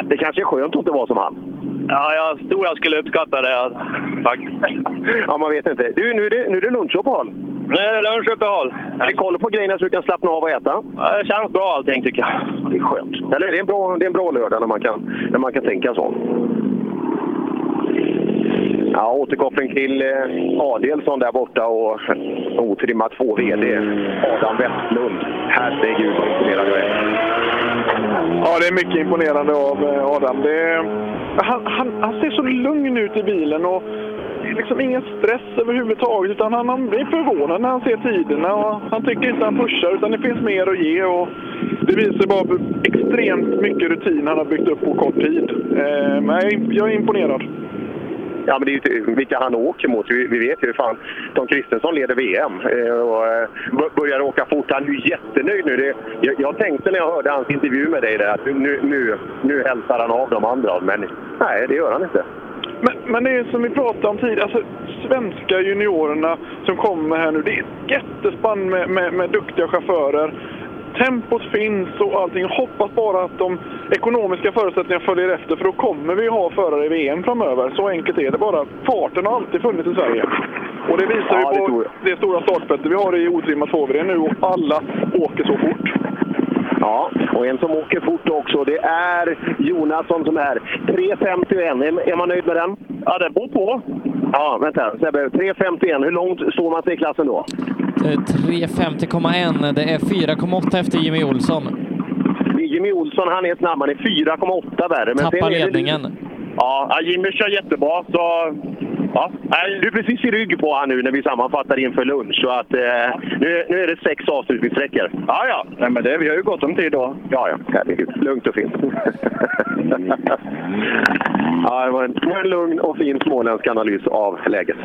Det kanske är skönt att inte vara som han. Ja, jag tror jag skulle uppskatta det faktiskt. Ja, man vet inte. Du, nu är det, nu är det lunchuppehåll. Nu är det lunchuppehåll. Är det koll på grejerna så du kan slappna av och äta? Ja, det känns bra allting tycker jag. Det är skönt. Eller det är en bra, det är en bra lördag när man kan, när man kan tänka så. Ja, återkoppling till eh, Adelsson där borta och otrimmat 2 VD Adam Westlund. Herregud vad imponerad jag är. Ja, det är mycket imponerande av eh, Adam. Det är, han, han, han ser så lugn ut i bilen och det är liksom ingen stress överhuvudtaget. Utan han, han blir förvånad när han ser tiderna och han tycker inte han pushar utan det finns mer att ge. Och det visar bara hur extremt mycket rutin han har byggt upp på kort tid. Eh, men jag är imp- jag är imponerad. Ja, men det är ju inte- vilka han åker mot. Vi, vi vet ju hur fan Tom Kristensson leder VM eh, och eh, bör- börjar åka fort. Han är ju jättenöjd nu. Det, jag, jag tänkte när jag hörde hans intervju med dig där att nu, nu, nu hälsar han av de andra, men nej, det gör han inte. Men, men det är som vi pratade om tidigare, alltså, svenska juniorerna som kommer här nu, det är ett jättespann med, med, med duktiga chaufförer. Tempot finns och allting. Hoppas bara att de ekonomiska förutsättningarna följer efter för då kommer vi ha förare i VM framöver. Så enkelt är det bara. Farten har alltid funnits i Sverige. Och det visar ju på det, stora startfältet vi har i otrimmat Fåvred nu och alla åker så fort. Ja, och en som åker fort också, det är Jonasson som är 3.51. Är, är man nöjd med den? Ja, den bor på. Ja, vänta. Sebbe, 3.51. Hur långt står man sig i klassen då? Eh, 3.50,1. Det är 4,8 efter Jimmy Olsson. Det är Jimmy Olsson, han är snabb. Han är 4,8 värre. Men Tappar sen är det- ledningen. Ja, ja, Jimmy kör jättebra. Så, ja. Du är precis i rygg på han nu när vi sammanfattar inför lunch. Så att, eh, nu, nu är det sex avslutningssträckor. Ja, ja. Nej, men det, vi har ju gott om tid då. Mm. Ja, ja. Herregud. Lugnt och fint. ja, det var en, det var en lugn och fin småländsk analys av läget.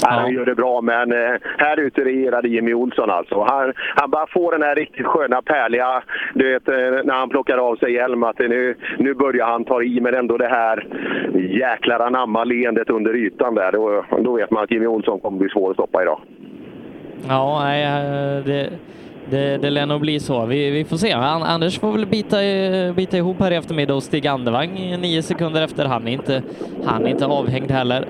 Ja. Han gör det bra, men eh, här ute regerade Jimmy Olsson alltså. Han, han bara får den här riktigt sköna pärliga, du vet eh, när han plockar av sig hjälm, att det nu, nu börjar han ta i, men ändå det här jäklar anamma-leendet under ytan där. Då, då vet man att Jimmy Olsson kommer bli svår att stoppa idag. Ja, nej, eh, det, det, det lär nog bli så. Vi, vi får se. An- Anders får väl bita, i- bita ihop här i eftermiddag och Stig Andevang är nio sekunder efter. Han är inte, han är inte avhängd heller.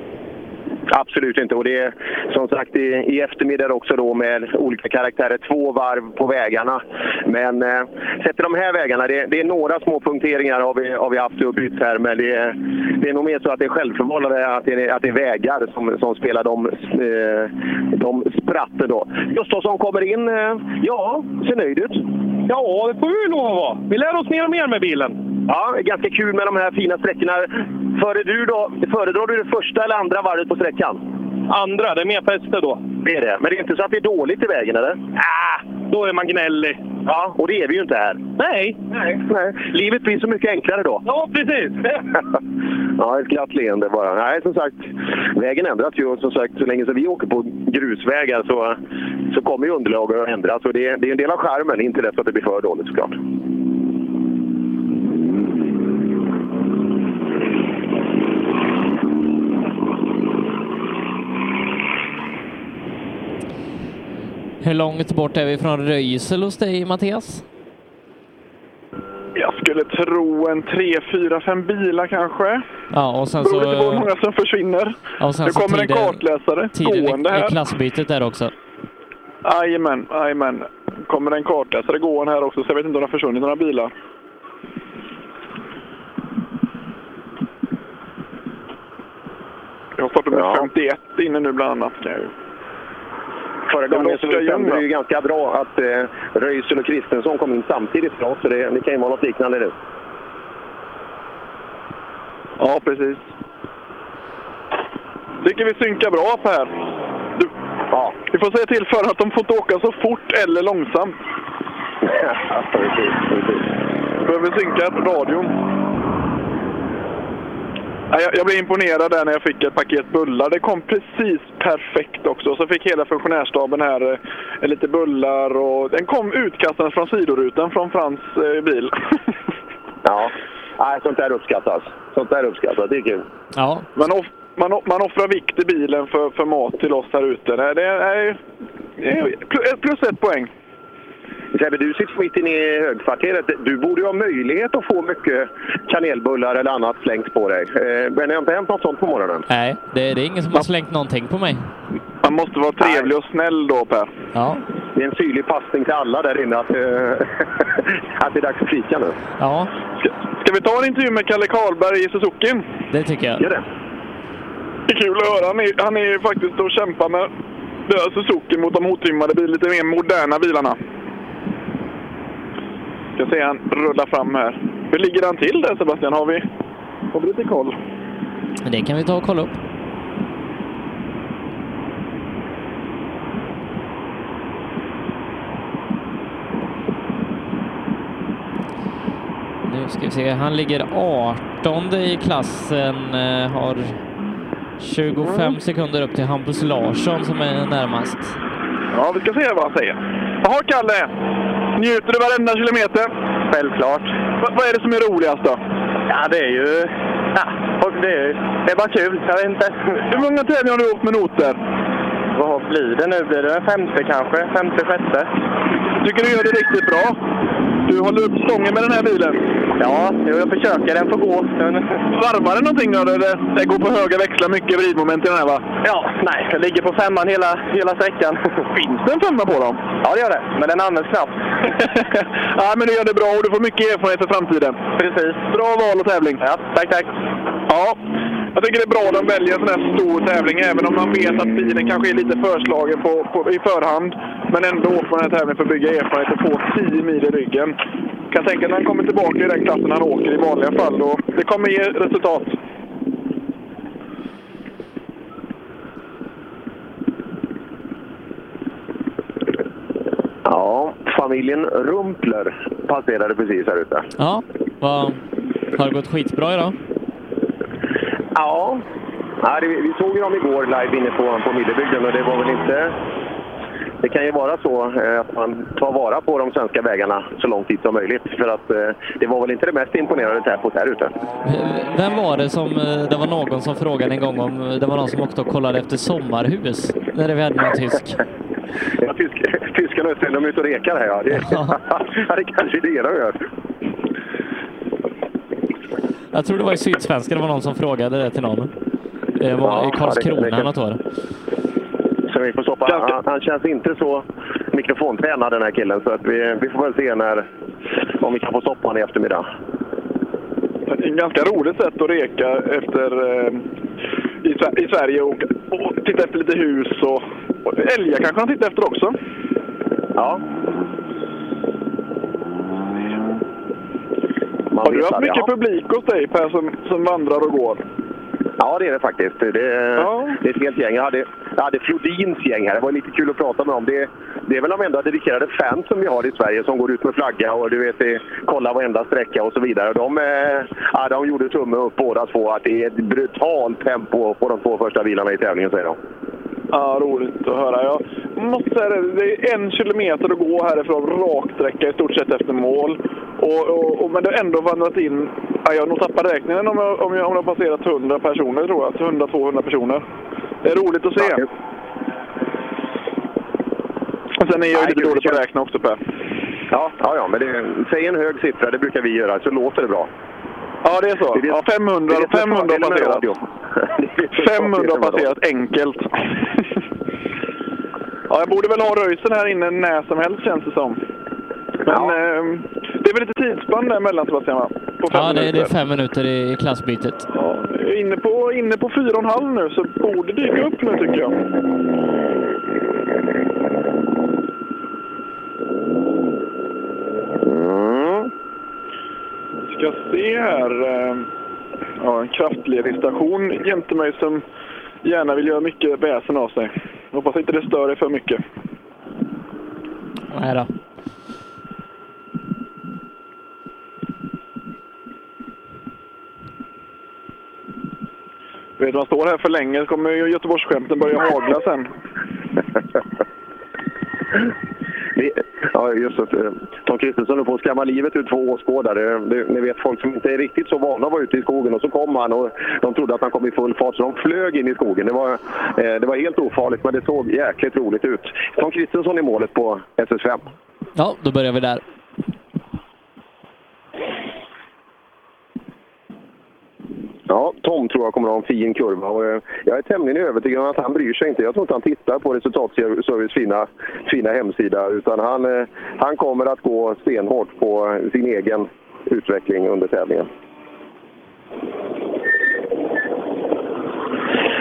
Absolut inte. Och det är som sagt i, i eftermiddag också då med olika karaktärer. Två varv på vägarna. Men eh, sett till de här vägarna, det, det är några små punkteringar har vi, har vi haft och bytt här. Men det, är- det är nog mer så att det är självförvållade, att det, är- att det är vägar som, som spelar de, eh, de spratten då. Gustafsson kommer in. Eh, ja, ser nöjd ut. Ja, det får vi lov att vara. Vi lär oss mer och mer med bilen. Ja, det är ganska kul med de här fina sträckorna. Före du då, föredrar du det första eller andra varvet på sträckan? Andra, det är mer fäste då. Det är det. Men det är inte så att det är dåligt i vägen, eller? Ah, då är man gnällig. Ja, och det är vi ju inte här. Nej. Nej. Livet blir så mycket enklare då. Ja, precis. ja, ett glatt leende bara. Nej, som sagt, vägen ändras ju. Och Som sagt, så länge som vi åker på grusvägar så, så kommer ju underlaget att ändras. Och det, är- det är en del av skärmen, inte det så att det blir för dåligt såklart. Hur långt bort är vi från Röisel hos dig, Mattias? Jag skulle tro en tre, fyra, fem bilar kanske. Ja, och sen Beror lite på hur så... många som försvinner. Alltså, Ja, och sen nu så kommer tiden- en kartläsare Tiden gående i, i här. klassbytet där också. Jajamän, jajamän. kommer en kartläsare gående här också, så jag vet inte om det har försvunnit några bilar. Jag har startat med Ja. 51 inne nu bland annat. Förra gången så Oskar Ljung, stämde det va? ju ganska bra att eh, Röisel och Kristensson kom in samtidigt för oss, så det, det kan ju vara något liknande nu. Ja, precis. tycker vi synkar bra Per. Du, ja. Vi får säga till för att de får inte åka så fort eller långsamt. precis, precis. Behöver synka radion. Ja, Jag, jag blev imponerad där när jag fick ett paket bullar. Det kom precis perfekt också. Så fick hela funktionärstaben här eh, lite bullar och den kom utkastad från sidorutan från Frans eh, bil. Ja, Nej, sånt där uppskattas. Sånt där uppskattas, det är kul. Ja. Man, off, man, off, man offrar vikt i bilen för, för mat till oss här ute. Nej, Det är, det är pl- plus ett poäng. Sebbe, du sitter mitt inne i högkvarteret. Du borde ju ha möjlighet att få mycket kanelbullar eller annat slängt på dig. Eh, Men det har inte hänt något sånt på morgonen? Nej, det, det är ingen som har slängt någonting på mig. Man måste vara trevlig och snäll då, Per. Ja. Det är en syrlig passning till alla där inne att, eh, att det är dags för fika nu. Ja. Ska vi ta en intervju med Kalle Karlberg i Suzuki? Det tycker jag. Gör det. Det är kul att höra. Han är, han är ju faktiskt och kämpar med det här Suzuki mot de otrimmade bil, lite mer moderna bilarna. Ska se han rulla fram här. Hur ligger han till där Sebastian? Har vi, har vi lite koll? Det kan vi ta och kolla upp. Nu ska vi se, han ligger 18 i klassen, eh, har 25 sekunder upp till Hampus Larsson som är närmast. Ja, vi ska se vad han säger. Jaha, Kalle! Njuter du varenda kilometer? Självklart. vad är det som är roligast då? Ja, det är ju... Ja, det, är, det är bara kul. Jag vet inte. Hur många tävlingar har du åkt med noter? Vad blir det nu? Blir det en femte kanske? Femte, sjätte? tycker du gör det riktigt bra. Du håller upp stången med den här bilen. Ja, jag försöker. Den får gå. Varvar den någonting då? Det, det går på höga växlar, mycket vridmoment i den här va? Ja, nej. Den ligger på femman hela, hela sträckan. Finns det en femma på dem? Ja, det gör det. Men den används knappt. ja, men du gör det bra och du får mycket erfarenhet för framtiden. Precis. Bra val och tävling. Ja, tack, tack. Ja, jag tycker det är bra att de väljer en sån här stor tävling, även om man vet att bilen kanske är lite förslagen på, på, i förhand. Men ändå åker man den här tävlingen för att bygga erfarenhet och få 10 mil i ryggen. Kan tänka när han kommer tillbaka i den klassen han åker i vanliga fall. Och det kommer ge resultat. Ja, familjen Rumpler passerade precis här ute. Ja, vad, har det gått skitbra idag? Ja. ja det, vi såg ju dem igår live inne på, på Millebygden och det var väl inte... Det kan ju vara så eh, att man tar vara på de svenska vägarna så lång tid som möjligt. För att eh, det var väl inte det mest imponerande tempot här ute. Eh, Vem var det som, eh, det var någon som frågade en gång om eh, det var någon som åkte och kollade efter sommarhus när vi hade någon tysk. Ja, tysk, tyskarna och östlänningarna, de är ute och rekar här ja. Det, ja. det kanske är det de gör. Jag tror det var i Sydsvenskan det var någon som frågade det till någon. Eh, Det var Ja, i Karlskrona det- det- eller något var det. Så vi får stoppa. Han, han känns inte så mikrofontränad den här killen. Så att vi, vi får väl se när, om vi kan få stoppa honom i eftermiddag. En ganska roligt sätt att reka efter, eh, i, Sve- i Sverige och, och titta efter lite hus och, och älgar kanske han tittar efter också. Ja. Har du vet haft aldrig, mycket ja. publik hos dig Per som, som vandrar och går? Ja, det är det faktiskt. Det, det är ett helt gäng. Jag hade, jag hade Flodins gäng här. Det var lite kul att prata med dem. Det, det är väl de enda dedikerade fans som vi har i Sverige som går ut med flagga och du vet, det- kollar varenda sträcka och så vidare. Och De, eh, ja, de gjorde tumme upp båda två att det är ett brutalt tempo på de två första bilarna i tävlingen, säger de. Ja, roligt att höra. Jag måste säga det, det är en kilometer att gå härifrån, raksträcka i stort sett efter mål. Och, och, och, men det har ändå vandrat in, ja, jag har nog tappat räkningen om jag, om, jag, om jag har passerat 100 personer tror jag, 100-200 personer. Det är roligt att se. Och sen är jag ju lite dålig på att räkna också Per. Ja, ja, ja men det, säg en hög siffra, det brukar vi göra, så låter det bra. Ja, det är så. Ja, 500, det är det som är 500 fördelen med passerat. radio. Det är det som är 500 fördelen med radio. passerat enkelt. ja, jag borde väl ha röjsen här inne när som helst känns det som. Men ehm, det är väl lite tidsspann där mellan Sebastian va? På fem Ja, det, det är minuter. fem minuter i, i klassbytet. Inne på, inne på 4,5 nu så borde dyka upp nu tycker jag. Mm. Ska se här. ehm, Ja, en kraftledningsstation jämte mig som gärna vill göra mycket väsen av sig. Hoppas inte det stör dig för mycket. Nej då. Vet, man står här för länge så kommer ju Göteborgsskämten börja hagla sen. Vi- Ja, just det. Eh, Tom Kristensson höll på att skrämma livet ur två åskådare. Det- Ni vet folk som inte är riktigt så vana att vara ute i skogen och så kom han och de trodde att han kom i full fart så de flög in i skogen. Det var, eh, det var helt ofarligt men det såg jäkligt roligt ut. Tom Kristensson i målet på SS5. Ja, då börjar vi där. Ja, Tom tror jag kommer ha en fin kurva. Och eh, jag är tämligen övertygad om att han bryr sig inte. Jag tror inte han tittar på Resultatservice fina, fina hemsida. Utan han, eh, han kommer att gå stenhårt på sin egen utveckling under tävlingen.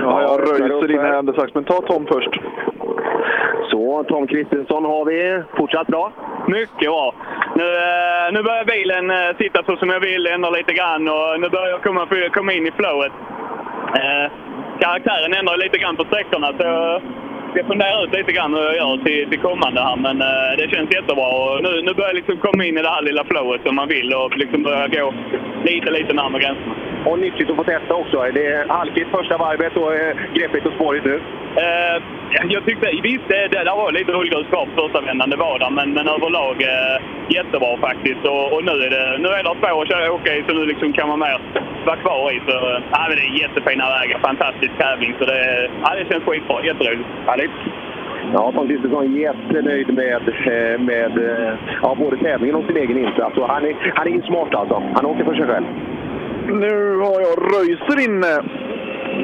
Ja, jag röjser dina händer strax, men ta Tom först. Så, Tom Kristensson har vi. Fortsatt bra. Mycket bra. Nu, eh, nu börjar bilen eh, sitta så som jag vill, ändra lite grann och nu börjar jag komma, komma in i flowet. Eh, karaktären ändrar lite grann på sträckorna så jag ska fundera ut lite grann hur jag gör till, till kommande här. Men eh, det känns jättebra och nu, nu börjar jag liksom komma in i det här lilla flowet som man vill och liksom börja gå lite, lite närmare gränserna. Och nyttigt att få testa också. Det är halkigt första varvet och eh, greppigt och spårigt nu. Eh, jag tyckte, visst, det, det där var lite rullgrus kvar på första vändan, det var där, men, men överlag eh, jättebra faktiskt. Och, och nu är det, nu är det spår att köra åka i, så nu liksom kan man mer vara kvar i. Så, eh, ja, men det är jättefina vägar, fantastisk tävling, så det, ja, det känns skitbra. Jätteroligt. Härligt. Ja, Tom Kristensson är jättenöjd med, eh, med eh, ja, både tävlingen och sin egen insats. Och han, är, han är ju smart alltså. Han åker för sig själv. Nu har jag Röiser inne.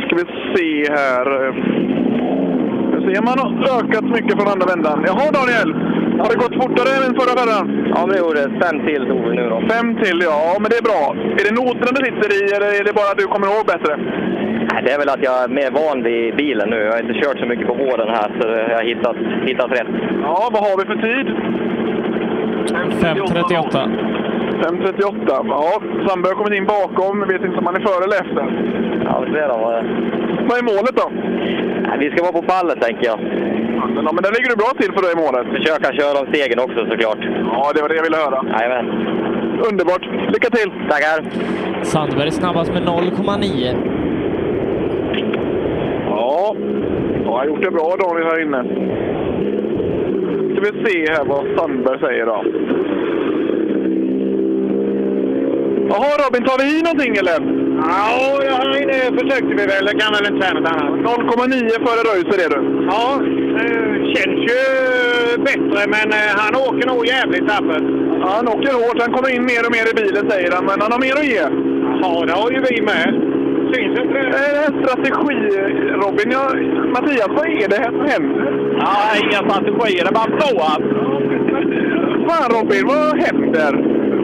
Ska vi se här. Nu ser man har ökat mycket från andra vändan. Jaha Daniel, har det gått fortare än förra världan? Ja, men det gjorde det. Fem till tog vi nu då. Fem till, ja. Men det är bra. Är det noterna du sitter i eller är det bara du kommer ihåg bättre? Nej, Det är väl att jag är mer van vid bilen nu. Jag har inte kört så mycket på våren här, så jag har hittat, hittat rätt. Ja, vad har vi för tid? 5.38. 5.38. Ja, Sandberg har kommit in bakom. Vet inte om han är före eller efter. Ja, det då var det. Vad är målet då? Nej, Vi ska vara på pallen, tänker jag. Ja, men där ligger du bra till för dig i målet. Försöka köra om stegen också såklart. Ja, det var det jag ville höra. Jajamän. Underbart. Lycka till! Tackar! Sandberg är snabbast med 0,9. Ja, ja, har gjort det bra Daniel här inne. Ska vi se här vad Sandberg säger då. Jaha Robin, tar vi i någonting eller? Ja, jag har inne försökte vi väl. Jag kan väl inte säga något annat. 0,9 före Reuser är du. Ja, eh, känns ju bättre, men eh, han åker nog jävligt tappert. Han åker hårt. Han kommer in mer och mer i bilen säger han, men han har mer att ge. Ja, det har ju vi med. Syns inte Eh, det? Är det här strategi, Robin? Jag, Mattias, vad är det här som händer? Ja, inga strategier. Det bara blåar. Fan Robin, vad händer?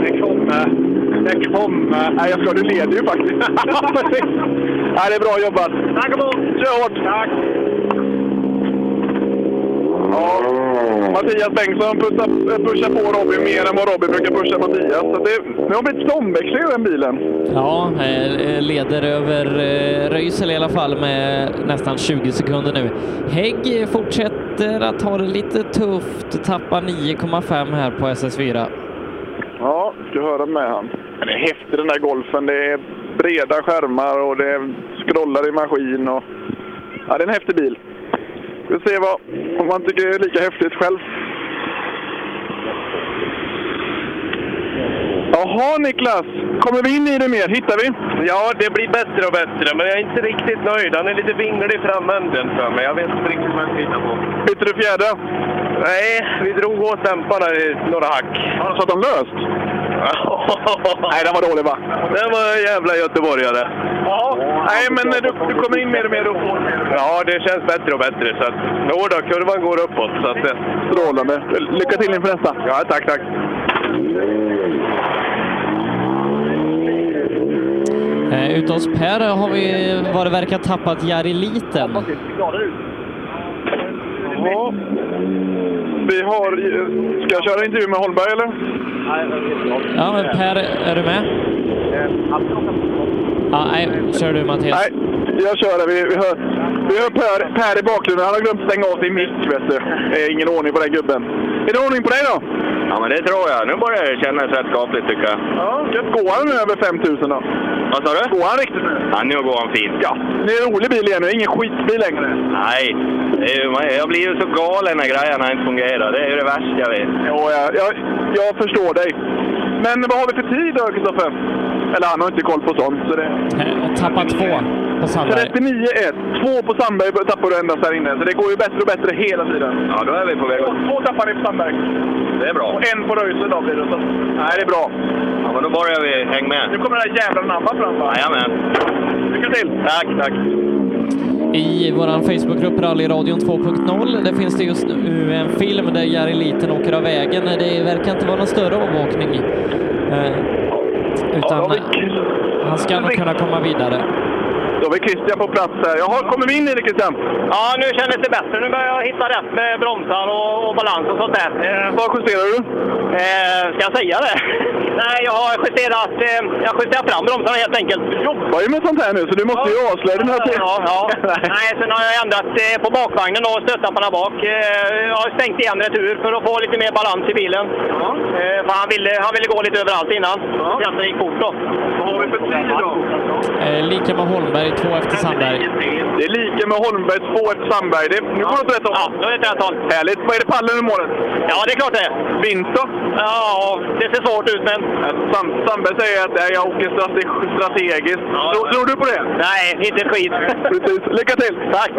Det kommer. Det kommer. Nej, jag ska, du leder ju faktiskt. Precis. Nej, det är bra jobbat. Tack och Kör hårt. Tack. Ja, Mattias Bengtsson pushar, pushar på Robin mer än vad Robin brukar pusha Mattias. Så det, nu har det blivit omväxling i den bilen. Ja, eh, leder över eh, Röisel i alla fall med nästan 20 sekunder nu. Hägg fortsätter att ha det lite tufft, tappar 9,5 här på SS4. Ja, ska höra med han. Den är häftig den där golfen. Det är breda skärmar och det scrollar i maskin. Och... Ja, det är en häftig bil. Vi får se vad, om man tycker det är lika häftigt själv. Jaha Niklas, kommer vi in i det mer? Hittar vi? Ja, det blir bättre och bättre, men jag är inte riktigt nöjd. Han är lite vinglig i framänden för mig. Jag vet inte riktigt vad jag ska hitta på. Bytte du fjädrar? Nej, vi drog åt dämparna i några hack. Så att de löst? Nej, den var dålig va? Den var en jävla göteborgare. Ja, nej men du, du kommer in mer och mer och får Ja, det känns bättre och bättre. Så att, jo då, kurvan går uppåt. Så att, det- Strålande. Lycka till inför nästa. ja, tack, tack. Eh, Ute hos Per har vi vad det verkar tappat Jari Liten. Ja. Vi har... Ska jag köra intervju med Holmberg eller? Ja, Eh, men Per, är du med? Eh, Ja, nej, kör du Mattias. Nej, jag kör det. Vi, vi hör, vi hör per, per i bakgrunden. Han har glömt stänga av sin mick, vet du. Det är ingen ordning på den gubben. Är det ordning på dig då? Ja, men det tror jag. Nu börjar det kännas rätt skapligt tycker jag. Ja. Går han nu över 5000 då? Vad sa du? Går han riktigt nu? Ja, nu går han fint. Ja. Det är en rolig bil igen nu. Ingen skitbil längre. Nej, det är ju, man- jag blir ju så galen när grejerna inte fungerar. Det är ju det värsta jag vet. Jo, jag, jag, jag förstår dig. Men vad har vi för tid då, Kristoffer? Eller han har inte koll på sånt. Så det... Tappar två på Sandberg. 39-1. Två på Sandberg tappar du endast här inne. Så det går ju bättre och bättre hela tiden. Ja, då är vi på väg. Två, två tappar ni på Sandberg. Det är bra. Och en på Röisel då blir det. Så. Nej, det är bra. Ja, men då börjar vi. Häng Nu med. kommer den här jävla namma fram va? Jajamän. Lycka till! Tack, tack. I vår Facebookgrupp Rallyradion 2.0, där finns det just nu en film där Jari Liten åker av vägen. Det verkar inte vara någon större avåkning. eh, Utan han ska nog kunna komma vidare. Då är Christian på plats här. Jaha, kommer vi in i det Christian? Ja, nu kändes det bättre. Nu börjar jag hitta rätt med bromsar och, och balans och sånt där. Vad justerar du? Eh, ska jag säga det? Nej, jag har justerat, eh, jag justerat fram bromsarna helt enkelt. Vad är med sånt här nu? Så du måste ju avslöja den här till. Ja, ja. Nej, sen har jag ändrat eh, på bakvagnen och stötdamparna bak. Eh, jag har stängt igen retur för att få lite mer balans i bilen. Eh, för han, ville, han ville gå lite överallt innan. Ja. Det gick fort då. Vad har vi för tid då? Eh, lika med Holmberg, två efter Sandberg. Det är lika med Holmberg, två efter Sandberg. Det, nu går det åt rätt håll. Ja, nu är det åt rätt håll. Härligt. Vad är det pallen i målet? Ja, det är klart det Vinst då? Ja, det ser svårt ut men... Sam, Sandberg säger att nej, jag åker strate- strategiskt. tror, tror du på det? Nej, inte ett skit. Precis. Lycka till! Tack!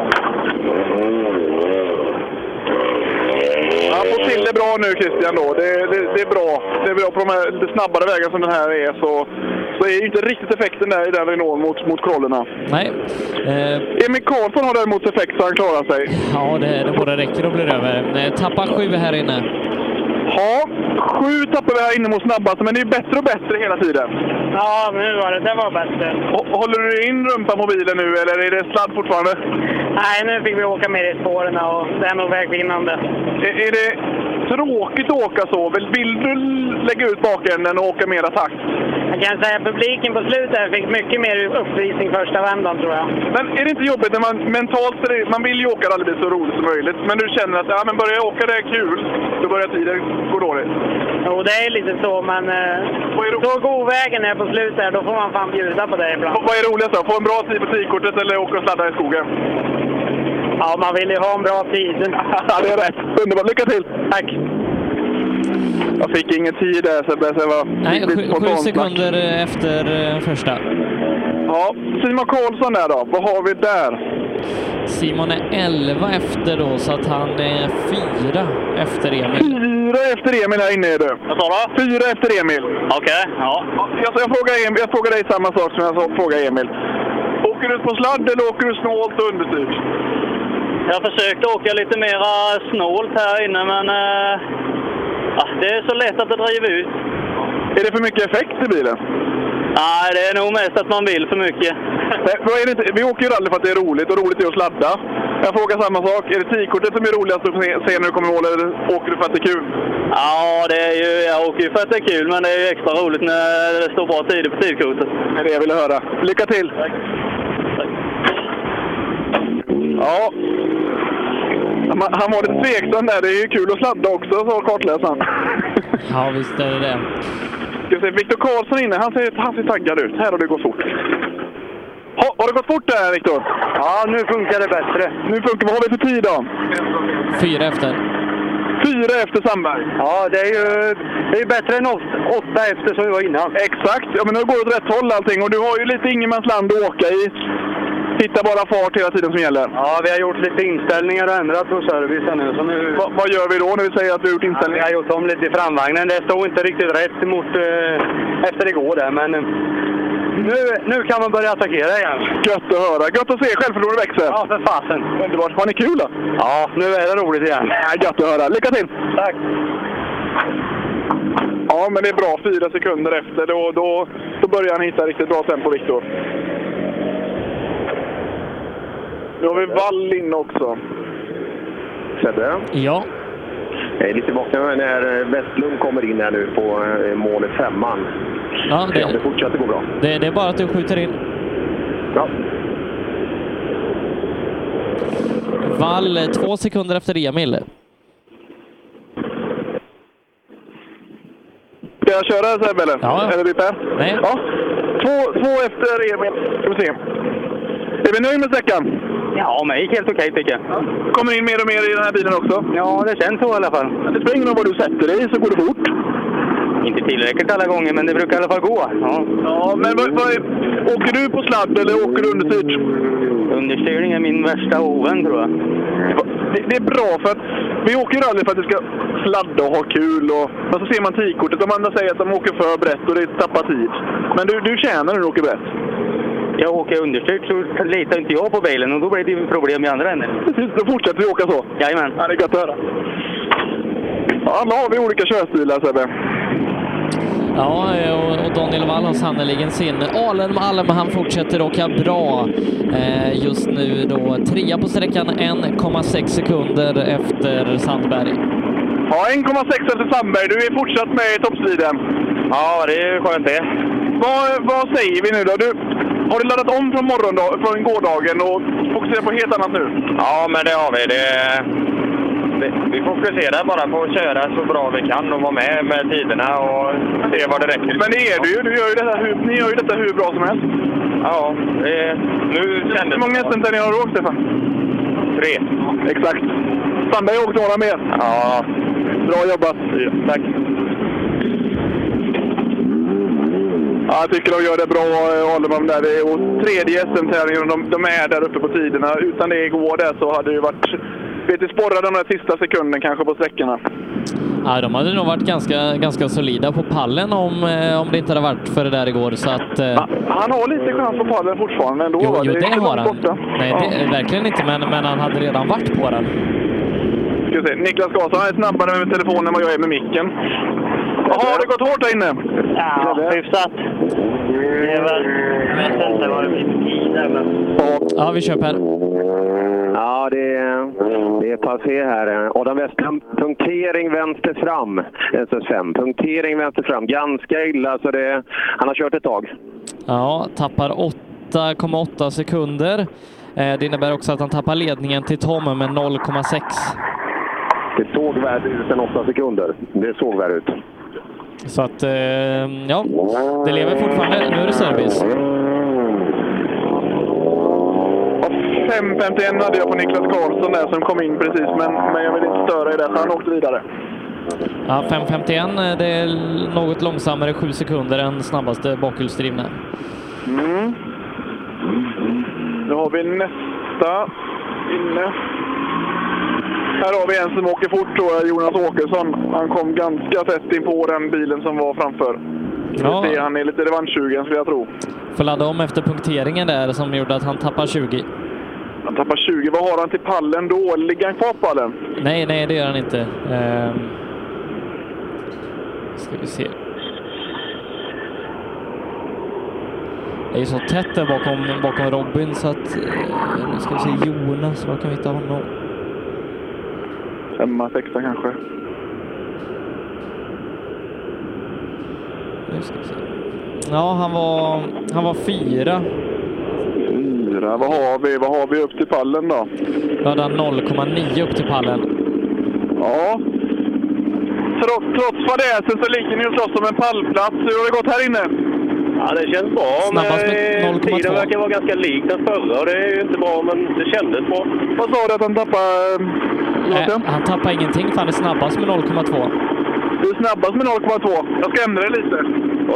Han får till det bra nu Christian då. Det, det, det är bra. Det är bra på de här lite snabbare vägarna som den här är så, så är ju inte riktigt effekten där i den Renault mot, mot krollerna. Nej. Eh, Emil Karlsson har däremot effekt så han klarar sig. ja, det, det både räcker och blir över. Eh, tappar sju här inne. Ja, sju tappar vi här inne mot snabbaste, men det är bättre och bättre hela tiden. Ja, nu var det. Det var bättre. Hå- Håller du in rumpan på bilen nu eller är det sladd fortfarande? Nej, nu fick vi åka mer i spåren och det är nog vägvinnande. Är, är det tråkigt att åka så? Vill, vill du l- lägga ut bakänden och åka mera takt? Jag kan säga att publiken på slutet fick mycket mer uppvisning första vändan, tror jag. Men är det inte jobbigt när man mentalt, så är det- man vill ju åka rallybil så roligt som möjligt, men du känner att ja, men börjar jag åka det är kul, då börjar tiden gå dåligt. Jo, det är lite så, men eh, så god vägen är på slutet, här, då får man fan bjuda på det ibland. Och vad är roligast då? Få en bra tid på tidkortet eller åka och sladda i skogen? Ja, man vill ju ha en bra tid. ja, det är rätt. Underbart. Lycka till! Tack! Jag fick ingen tid där Sebbe, så jag var Nej, lite sju, sju spontant. sekunder eh, efter eh, första. Ja, Simon Karlsson där då. Vad har vi där? Simon är 11 efter då, så att han är fyra efter Emil. Fyra efter Emil här inne är du. Vad sa du? Fyra efter Emil. Okej, ja. Jag, jag, frågar Emil, jag frågar dig samma sak som jag så- frågar Emil. Åker du på sladd eller åker du snålt och understyrt? Jag försökte åka lite mera snålt här inne, men eh, ah, det är så lätt att det driver ut. Är det för mycket effekt i bilen? Nej, det är nog mest att man vill för mycket. Nej, Eh, vad är det inte? Vi åker ju rally för att det är roligt och roligt är att sladda. Jag frågar samma sak. Är det tidkortet som är roligast att se- se när du kommer i mål eller åker du för att det är kul? Ja, det är ju, jag åker ju för att det är kul, men det är ju extra roligt när det står bra tider på tidkortet. Det är det jag ville höra. Lycka till! Ja. Han- Han var lite tveksam där. Det är ju kul att sladda också, sa kartläsaren. Ja, visst är det det. Ska se, Viktor Karlsson inne. Han ser, han ser taggad ut. Här har det gått fort. Ha, har det gått fort där, Viktor? Ja, nu funkar det bättre. Nu funkar Vad har vi för tid då? Fyra efter. Fyra efter Sandberg. Ja, det är ju det är bättre än åt- åtta efter som vi var innan. Exakt. Ja, men nu går det åt rätt håll allting. Och du har ju lite ingenmansland att åka i. Hitta bara fart hela tiden som gäller. Ja, vi har gjort lite inställningar och ändrat på servicen nu. Så nu... vad gör vi då när vi säger att vi har gjort inställningar? vi har gjort om lite i framvagnen. Det stod inte riktigt rätt mot eh, efter igår där, men eh, nu, nu kan man börja attackera igen. Gött att höra. Gött att se självförtroendet växer. Ja, för fasen. Underbart. Har ni kul då? Ja, nu är det roligt igen. Ja, gött att höra. Lycka till! Tack! Ja, men det är bra. Fyra sekunder efter. Då, då, då börjar han hitta riktigt bra tempo, Viktor. Nu har vi Wall inne också. Sebbe? Ja? Jag är lite bakom när Westlund kommer in här nu på eh, målet femman. Ja, Se om det det, fortsätter gå bra. det, det är bara att du skjuter in. Ja. Wall eh, två sekunder efter Emil. Ska jag köra Sebbe eller? Ja. Eller Bippe? Nej. Ja. Två, två efter Emil. Ska vi se. Är vi nöjda med sträckan? Ja, men det gick helt okej tycker jag. Kommer in mer och mer i den här bilen också? Ja, det känns så i alla fall. Det spelar ingen roll vad du sätter dig så går det fort. Inte tillräckligt alla gånger, men det brukar i alla fall gå. Ja. Ja, men vad, vad är, åker du på sladd eller åker du understyrt? Understyrning är min värsta ovän tror jag. Det, det är bra för att vi åker ju rally för att vi ska sladda och ha kul. Och, men så ser man tidkortet. De andra säger att de åker för brett och det tappar tid. Men du, du tjänar när du åker brett. Jag åker understyrt så litar inte jag på bilen och då blir det ju problem i andra änden. Precis, då fortsätter vi åka så. Jajamän. Ja, det är gött att höra. Ja, nu har vi olika körstilar Sebbe. Ja, eh, och och Daniel Wall har sannerligen sin. Alen Malm, han fortsätter åka bra eh, just nu då. Trea på sträckan, 1,6 sekunder efter Sandberg. Ja, 1,6 efter Sandberg. Du är fortsatt med i toppstriden. Ja, det är skönt det. Vad, vad säger vi nu då? Du, har du laddat om från, morgondag, från gårdagen och fokuserar på helt annat nu? Ja, men det har vi. Det, det, vi fokuserar bara på att köra så bra vi kan och vara med med tiderna och se vad det räcker. Men det är du ju. Du gör ju detta hur, ni gör ju detta hur bra som helst. Ja, det, Eh, nu kändes Hur många hästar ni har åkt, Stefan? Tre. Exakt. Sandberg åkte några mer. Ja. Bra jobbat. Tack. Ja, jag tycker de gör det bra, Alemam, där. Det är och tredje SM-tävlingen och de, de är där uppe på tiderna. Utan det igår där så hade det ju varit... Vet du, sporrade de där sista sekunden kanske på sträckorna. Ja, de hade nog varit ganska, ganska solida på pallen om, eh, om det inte hade varit för det där igår. Så att, eh, Han har lite chans på pallen fortfarande ändå, jo, va? jo, är det inte har långt han. borta. Nej, Ja. det, verkligen inte, men, men han hade redan varit på den. Ska vi se. Niklas Karlsson är snabbare med telefonen än vad jag är med micken. Jaha, har det gått hårt där inne? Ja, hyfsat. Det är väl... Jag vet inte vad det blir för tider, men... Ja, vi kör Per. Ja, det är, det är passé här. Adam Westlund, punktering vänster fram. SS5, punktering vänster fram. Ganska illa, så det, han har kört ett tag. Ja, tappar 8,8 sekunder. Eh, Det innebär också att han tappar ledningen till Tom med 0,6. Det såg värre ut än åtta sekunder. Det såg värre ut. Så att, eh, ja, det lever fortfarande. Nu är det service. 5.51 hade jag på Niklas Karlsson där som kom in precis, men, men jag vill inte störa er där, så han åkte vidare. Ja, 5.51, eh, det är något långsammare, 7 sekunder än snabbaste bakhjulsdrivna. Mm. Nu har vi nästa inne. Här har vi en som åker fort, tror jag, Jonas Åkesson. Han kom ganska tätt in på den bilen som var framför. Ja. Vi ser, han är lite revanschsugen skulle jag tro. Får ladda om efter punkteringen där som gjorde att han tappar 20. Han tappar 20. Vad har han till pallen då? Ligger han kvar på pallen? Nej, nej, det gör han inte. Ehm. Ska vi se. Det är ju så tätt där bakom, bakom Robin så att... eh, Nu ska vi se Jonas, var kan vi hitta honom? Femma, sexa kanske. Nu ska vi se. Ja, han var, han var fyra. Fyra. Vad har vi? Vad har vi upp till pallen då? Då hade han 0,9 upp till pallen. Ja. Trots, trots fadäsen så ligger ni och slåss om en pallplats. Hur har det gått här inne? Ja, det känns bra. Snabbast med men, eh, 0,2. Tiden verkar vara ganska lik den förra och det är ju inte bra, men det kändes bra. Vad sa du att han tappade? eh, Nej, Eh, han tappar ingenting för han är snabbast med 0,2. Du är snabbast med 0,2. Jag ska ändra det lite.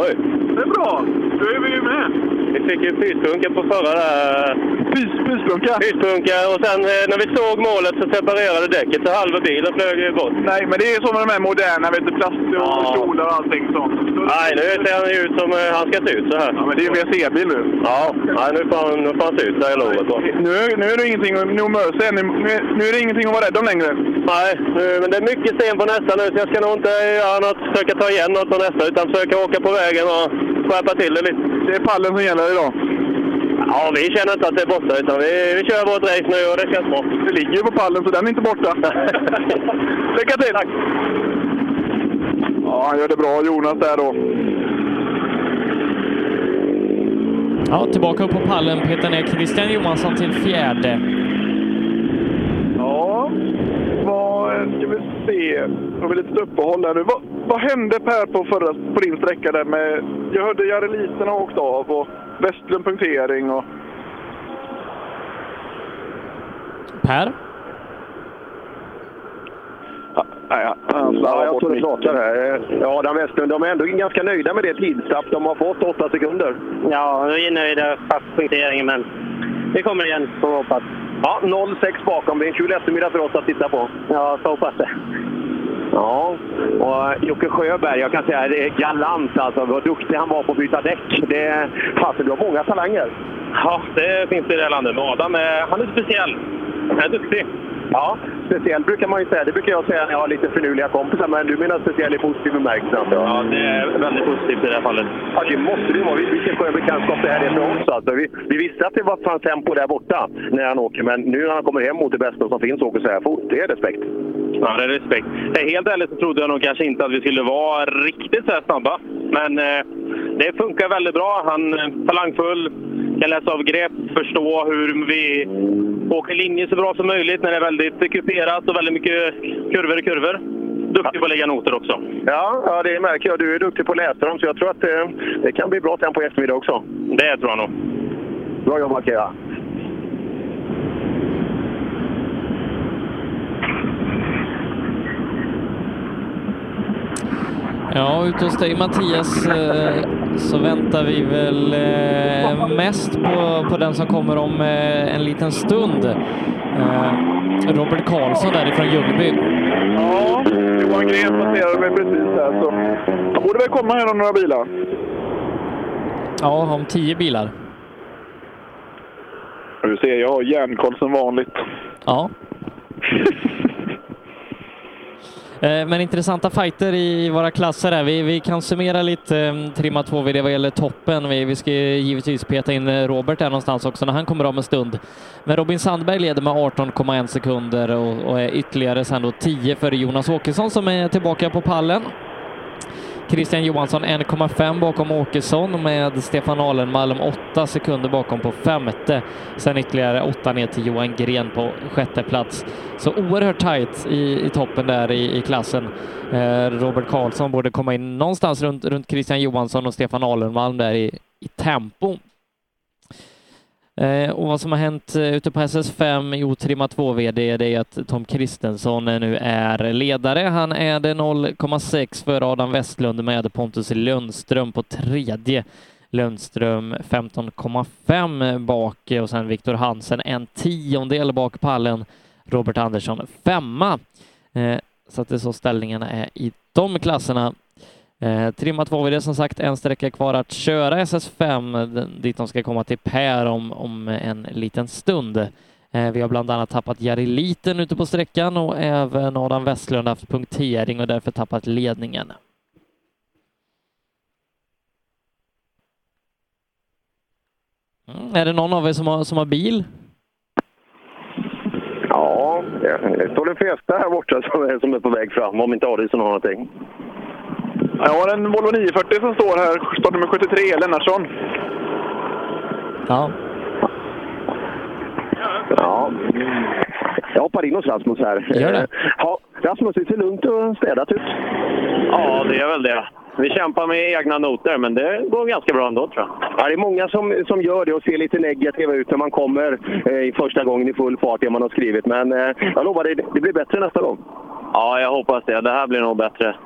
Oj. Det är bra. Då är vi ju med. Vi fick ju pyspunka på förra där. Pys, pyspunka? Pyspunka och sen eh, när vi såg målet så separerade däcket så halva bilen flög ju bort. Nej, men det är så med de här moderna, vet du, plast och kjolar och allting sånt. Nej, nu ser han ju ut som eh, han ska se ut så här. Ja, men det är ju WC-bil nu. Ja, nej, nu får han, nu får han se ut så här i lovet. va. Nu, nu är det ingenting att nu mösa än. Nu, nu är det ingenting att vara rädd om längre. Nej, nu- Eh, men det är mycket sten på nästa nu så jag ska nog inte göra något, försöka ta igen något på nästa utan försöka åka på vägen och skärpa till det lite. Det är pallen som gäller idag. Ja, vi känner inte att det är borta utan vi, vi kör vårt race nu och det känns bra. Det ligger ju på pallen så den är inte borta. Lycka till! Tack! Ja, han gör det bra, Jonas, där då. Ja, tillbaka upp på pallen petar ner Christian Johansson till fjärde. Ja, vad ska vi se. Då har vi lite uppehåll här nu. Vad, vad hände Per på, förra, på din sträcka där med... Jag hörde Jareliten har åkt av och Westlund punktering och... Per? Nej, Ja, Mm, jag tror det pratar här. Ja, Adam Westlund, de är ändå ganska nöjda med det tidstapp de har fått, åtta sekunder. Ja, vi är nöjda fast punkteringen, men vi kommer igen får vi hoppas. Ja, 0,6 bakom. Det är en kul eftermiddag för oss att titta på. Ja, så hoppas det. Ja, eh, och Jocke Sjöberg, jag kan säga det är galant alltså. Vad duktig han var på att byta däck. Det, fasen, du har många talanger. Ja, det finns det i det här landet. Men Adam, eh, han är speciell. Han är duktig. Ja, speciell brukar man ju säga. Det brukar jag säga när jag har lite finurliga kompisar. Men du menar speciell i positiv bemärkelse? Ja, det är väldigt positivt i det här fallet. Ja, det måste det vara. Vilken skön bekantskap det här är för oss. Alltså, vi, vi visste att det var fanns tempo där borta när han åker. Men nu när han kommer hem mot det bästa som finns och åker så här fort. Det är respekt. Ja, det är respekt. Eh, Helt ärligt så trodde jag nog kanske inte att vi skulle vara riktigt så här snabba. Men eh, det funkar väldigt bra. Han är talangfull, kan läsa av grepp, förstå hur vi åker linje så bra som möjligt när det är väldigt kuperat och väldigt mycket kurvor i kurvor. Duktig på att lägga noter också. Ja, ja, det märker jag. Du är duktig på att läsa dem, så jag tror att eh, det kan bli bra tempo i eftermiddag också. Det tror jag nog. Bra jobbat, Kea. Ja, ute hos dig Mattias eh, så väntar vi väl eh, mest på, på den som kommer om eh, en liten stund. Eh, Robert Karlsson därifrån Ljungby. Ja, Johan Gren passerade mig precis här. Så. Han borde väl komma här om några bilar. Ja, om tio bilar. Du ser, jag har järnkoll som vanligt. Ja. Eh, Men intressanta fighter i våra klasser här. Vi, vi kan summera lite eh, trimma 2VD vad gäller toppen. Vi, vi ska ju givetvis peta in eh, Robert där någonstans också när han kommer om en stund. Men Robin Sandberg leder med 18,1 sekunder och, och är ytterligare sen då 10 före Jonas Åkesson som är tillbaka på pallen. Christian Johansson 1,5 bakom Åkesson med Stefan Alenmalm 8 sekunder bakom på femte. Sen ytterligare 8 ner till Johan Gren på sjätte plats. Så oerhört tajt i, i toppen där i, i klassen. Eh, Robert Karlsson borde komma in någonstans runt, runt Christian Johansson och Stefan Alenmalm där i, i tempo. Eh, och vad som har hänt eh, ute på SS5 i Otrimma 2-VD det är att Tom Kristensson eh, nu är ledare. Han är det 0,6 före Adam Westlund med Pontus Lundström på tredje. Lundström 15,5 bak eh, och sen Viktor Hansen en tiondel bak pallen. Robert Andersson femma. Eh, så att det är så ställningarna är i de klasserna. Eh, trimma 2 VD som sagt, en sträcka kvar att köra SS5 den- dit de ska komma till Per om, om en liten stund. Eh, vi har bland annat tappat Jari Liten ute på sträckan och även Adam Westlund haft punktering och därför tappat ledningen. Mm, är det någon av er som har, som har bil? Ja, det står det flesta här borta som är, som är på väg fram, om inte Adielsson har någonting. Jag har en Volvo 940 som står här. Startnummer 73, Lennartsson. Ja. Ja. Jag hoppar in hos Rasmus här. Gör det. Ja, Rasmus, det ser lugnt och städat ut. Ja, det är väl det. Vi kämpar med egna noter, men det går ganska bra ändå tror jag. Ja, det är många som, som gör det och ser lite negativa ut när man kommer eh, i första gången i full fart, det man har skrivit. Men eh, jag lovar dig, det blir bättre nästa gång. Ja, jag hoppas det. Det här blir nog bättre.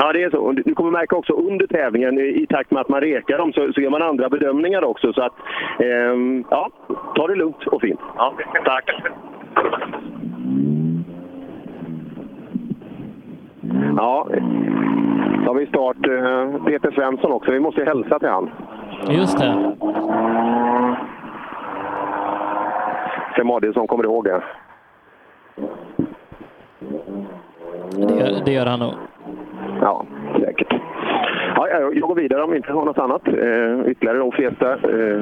Ja, det är så. Och Du du kommer märka också under tävlingen, i- i takt med att man rekar dem, så, så gör man andra bedömningar också. Så att, ehm, ja, ta det lugnt och fint. Ja, tack. Ja, då har vi start eh, Peter Svensson också. Vi måste ju hälsa till han. Just det. Sem Adielsson kommer ihåg det. Det gör, det gör han nog. Ja, säkert. Ja, ja, jag går vidare om vi inte har något annat. Eh, ytterligare då feta eh,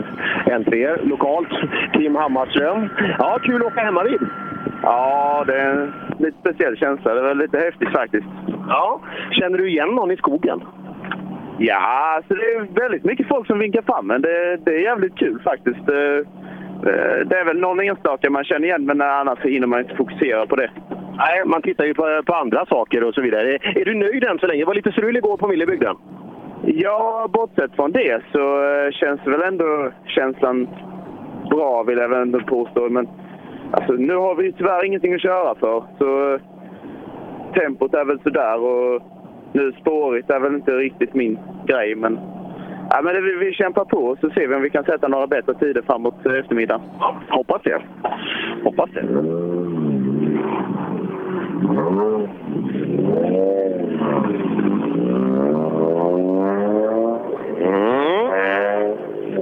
entréer lokalt. Kim Hammarström. Ja, kul att åka hemmavid. Ja, det är en lite speciell känsla. Det var lite häftigt faktiskt. Ja, känner du igen någon i skogen? Ja, alltså det är väldigt mycket folk som vinkar fram men det, det är jävligt kul faktiskt. Eh, eh, Det är väl någon enstaka man känner igen, men annars så hinner man inte fokusera på det. Nej, man tittar ju på, på andra saker och så vidare. Är, är du nöjd än så länge? Det var lite strul igår på Millebygden. Ja, bortsett från det så eh, känns väl ändå känslan bra, vill jag väl ändå påstå. Men alltså, nu har vi ju tyvärr ingenting att köra för, så eh, tempot är väl sådär och nu spårigt är väl inte riktigt min grej. Men, ja, men det, vi, vi kämpar på och så ser vi om vi kan sätta några bättre tider framåt eh, eftermiddagen. Hoppas det. Hoppas det.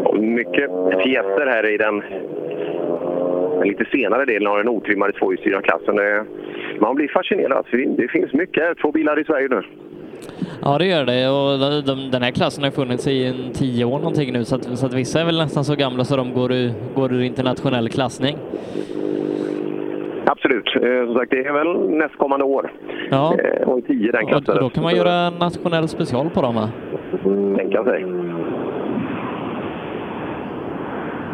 Och Mycket fjätter här i den, den lite senare delen av den otrimmade tvåhjulsdrivna klassen. Det är man blir fascinerad. Alltså, Det finns mycket två bilar i Sverige nu. Ja, det gör det. Och de- de- den här klassen har funnits i en tio år någonting nu, så att, så att vissa är väl nästan så gamla så de går ur, går ur internationell klassning. Absolut. Eh, Som sagt, det är väl nästkommande år. Ja. Eh, År 10 den Och klassen. då kan man göra en nationell special på dem, va? Tänka sig.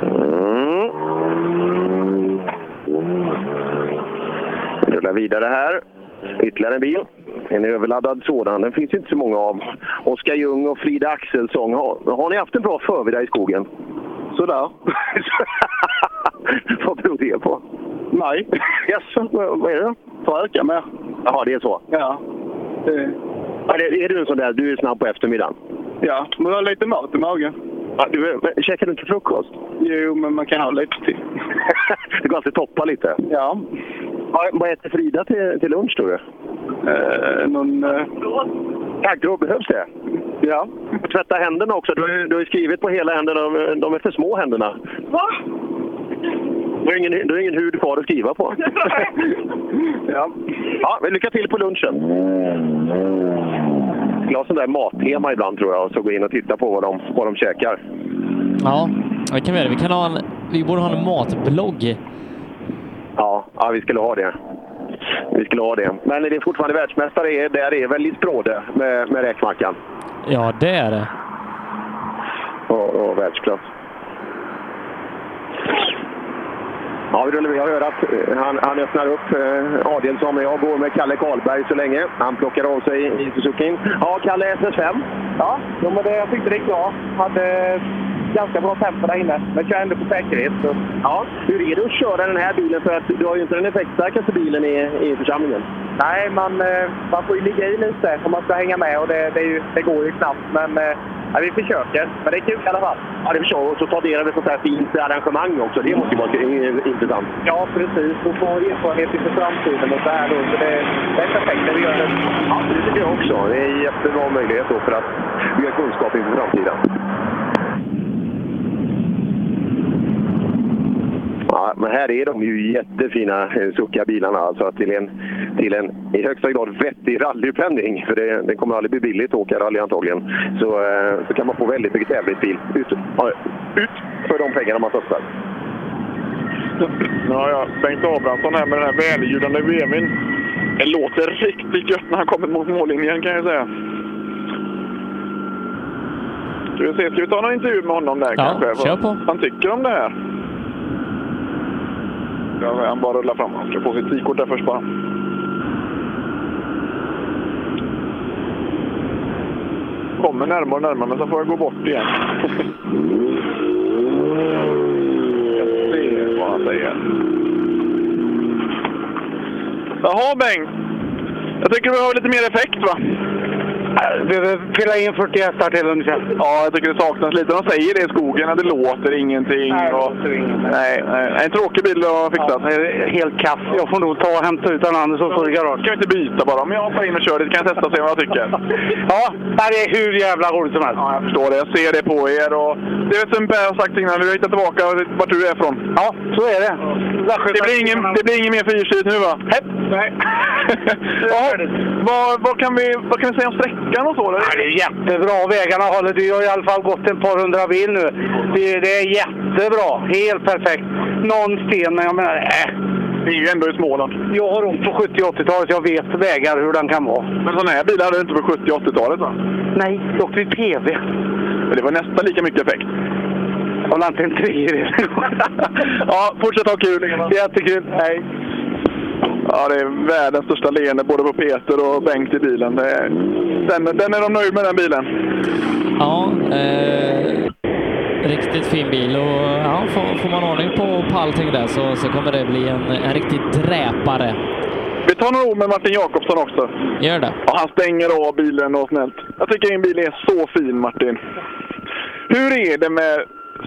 Mm. Vi rullar vidare här. Ytterligare en bil. En överladdad sådan. Den finns ju inte så många av. Oskar Ljung och Frida Axelsson. Har, har ni haft en bra förmiddag i skogen? Sådär. Vad beror det på? Nej. Jaså, vad vad är det då? Får med. Jaha, det är så? Ja. Är, är du en sån där, du är snabb på eftermiddagen? Ja, men jag har lite mat i magen. Ja, du, men käkar du inte frukost? Jo, men man kan ha lite till. det går alltid att toppa lite. Ja. Vad- Vad äter Frida till, till lunch tror du? Eh, någon... Eh... Taggtråd, behövs det? Ja. Tvätta händerna också. Du, har ju- du har ju skrivit på hela händerna. De- De är för små händerna. Va? Du har ingen, du har ingen hud kvar att skriva på. ja. ja, men lycka till på lunchen. Jag har sån där mattema ibland tror jag och så gå in och titta på vad de, vad de käkar. Ja, det kan vi göra. Vi, kan ha en, vi borde ha en matblogg. Ja, ja, vi skulle ha det. Vi skulle ha det. Men det är fortfarande världsmästare i- där är väl i Språde eh, med, med räkmackan. Ja, det är det. och, och världsklass. Ja, vi rullar. Vi har hört att eh, han, han öppnar upp. Eh, Adielsson och jag går med Kalle Karlberg så länge. Han plockar av sig i Suzuki. Ja, Kalle SS5. Ja, jo, men det, jag tyckte det gick bra. Hade ganska bra tempo där inne. Men kör ändå på säkerhet. Så. Ja, hur är det att köra den här bilen? För att du har ju inte den effektstarkaste bilen i, i församlingen. Nej, man, eh, man får ju ligga i lite om man ska hänga med. Och det, det, är ju, det går ju knappt, men eh, ja, vi försöker. Men det är kul i alla fall. Ja, det förstår jag. Och så tar del av ett sånt här fint arrangemang också. Det måste ju vara eh, intressant. Ja, precis. Och få erfarenhet inför framtiden och så här då. Så det, det är perfekt när vi gör det. Ja, det tycker jag också. Det är en jättebra möjlighet då för att bygga kunskap inför framtiden. Ja, men här är de ju jättefina eh, Suzuka-bilarna. Alltså till en, till en i högsta grad vettig rallypenning. För det, det kommer aldrig bli billigt att åka rally antagligen. Så, eh, så kan man få väldigt mycket tävlingsbil ut, ja, ut för de pengarna man satsar. Ja, ja. Bengt Abrahamsson här med den här väljudande VWn. Det låter riktigt gött när han kommer mot mållinjen kan jag säga. Ska vi, se, ska vi ta någon intervju med honom där Ja, kanske? Vad kör på. Han tycker om det här. Ja, han bara rullar fram. Han ska på sitt tidkort där först bara. Kommer närmare och närmare, men så får jag gå bort igen. Jag ser vad han säger. Jaha, Bengt. Jag tycker vi behöver lite mer effekt, va? Äh, Vi behöver fylla in 40 hästar till ungefär. Ja, jag tycker det saknas lite. De säger det i skogen, att det låter ingenting. Nej, och... nej, nej. En tråkig bil att fixa. helt kass. Jag får nog ta och hämta ut den andra som står i garaget. Kan vi inte byta bara? Om jag hoppar in och kör lite kan jag testa och se vad jag tycker. ja, det är hur jävla roligt som helst. Ja, jag förstår det. Jag ser det på er. Och... Det är som Per har sagt innan, vi har hittat tillbaka vart du är ifrån. Ja, så är det. Det blir ingen, det blir ingen mer fyrhjulsdrift nu, va? Nej. Ja, vad, vad, kan vi, vad kan vi säga om sträckan och så? Ja, det är jättebra. Vägarna håller. Du har i alla fall gått en par hundra mil nu. Det, det är jättebra. Helt perfekt. Någon sten, men jag menar... Äh. Det är ju ändå i Småland. Jag har ont på 70 och 80-talet. Jag vet vägar hur den kan vara. Men sådana här bilar hade du inte på 70 och 80-talet, va? Nej, jag åkte i PV. Men det var nästan lika mycket effekt. Jag lade inte en tredjedel. ja, fortsätt ha kul. Jättekul. Hej. Ja, det är världens största leende både på Peter och Bengt i bilen. Det är, den, den är de nöjda med, den bilen. Ja, eh, riktigt fin bil och ja, får, får man ordning på, på allting där så, så kommer det bli en, en riktig dräpare. Vi tar några ord med Martin Jakobsson också. Gör det. Ja, han stänger av bilen och snällt. Jag tycker din bil är så fin, Martin. Hur är det med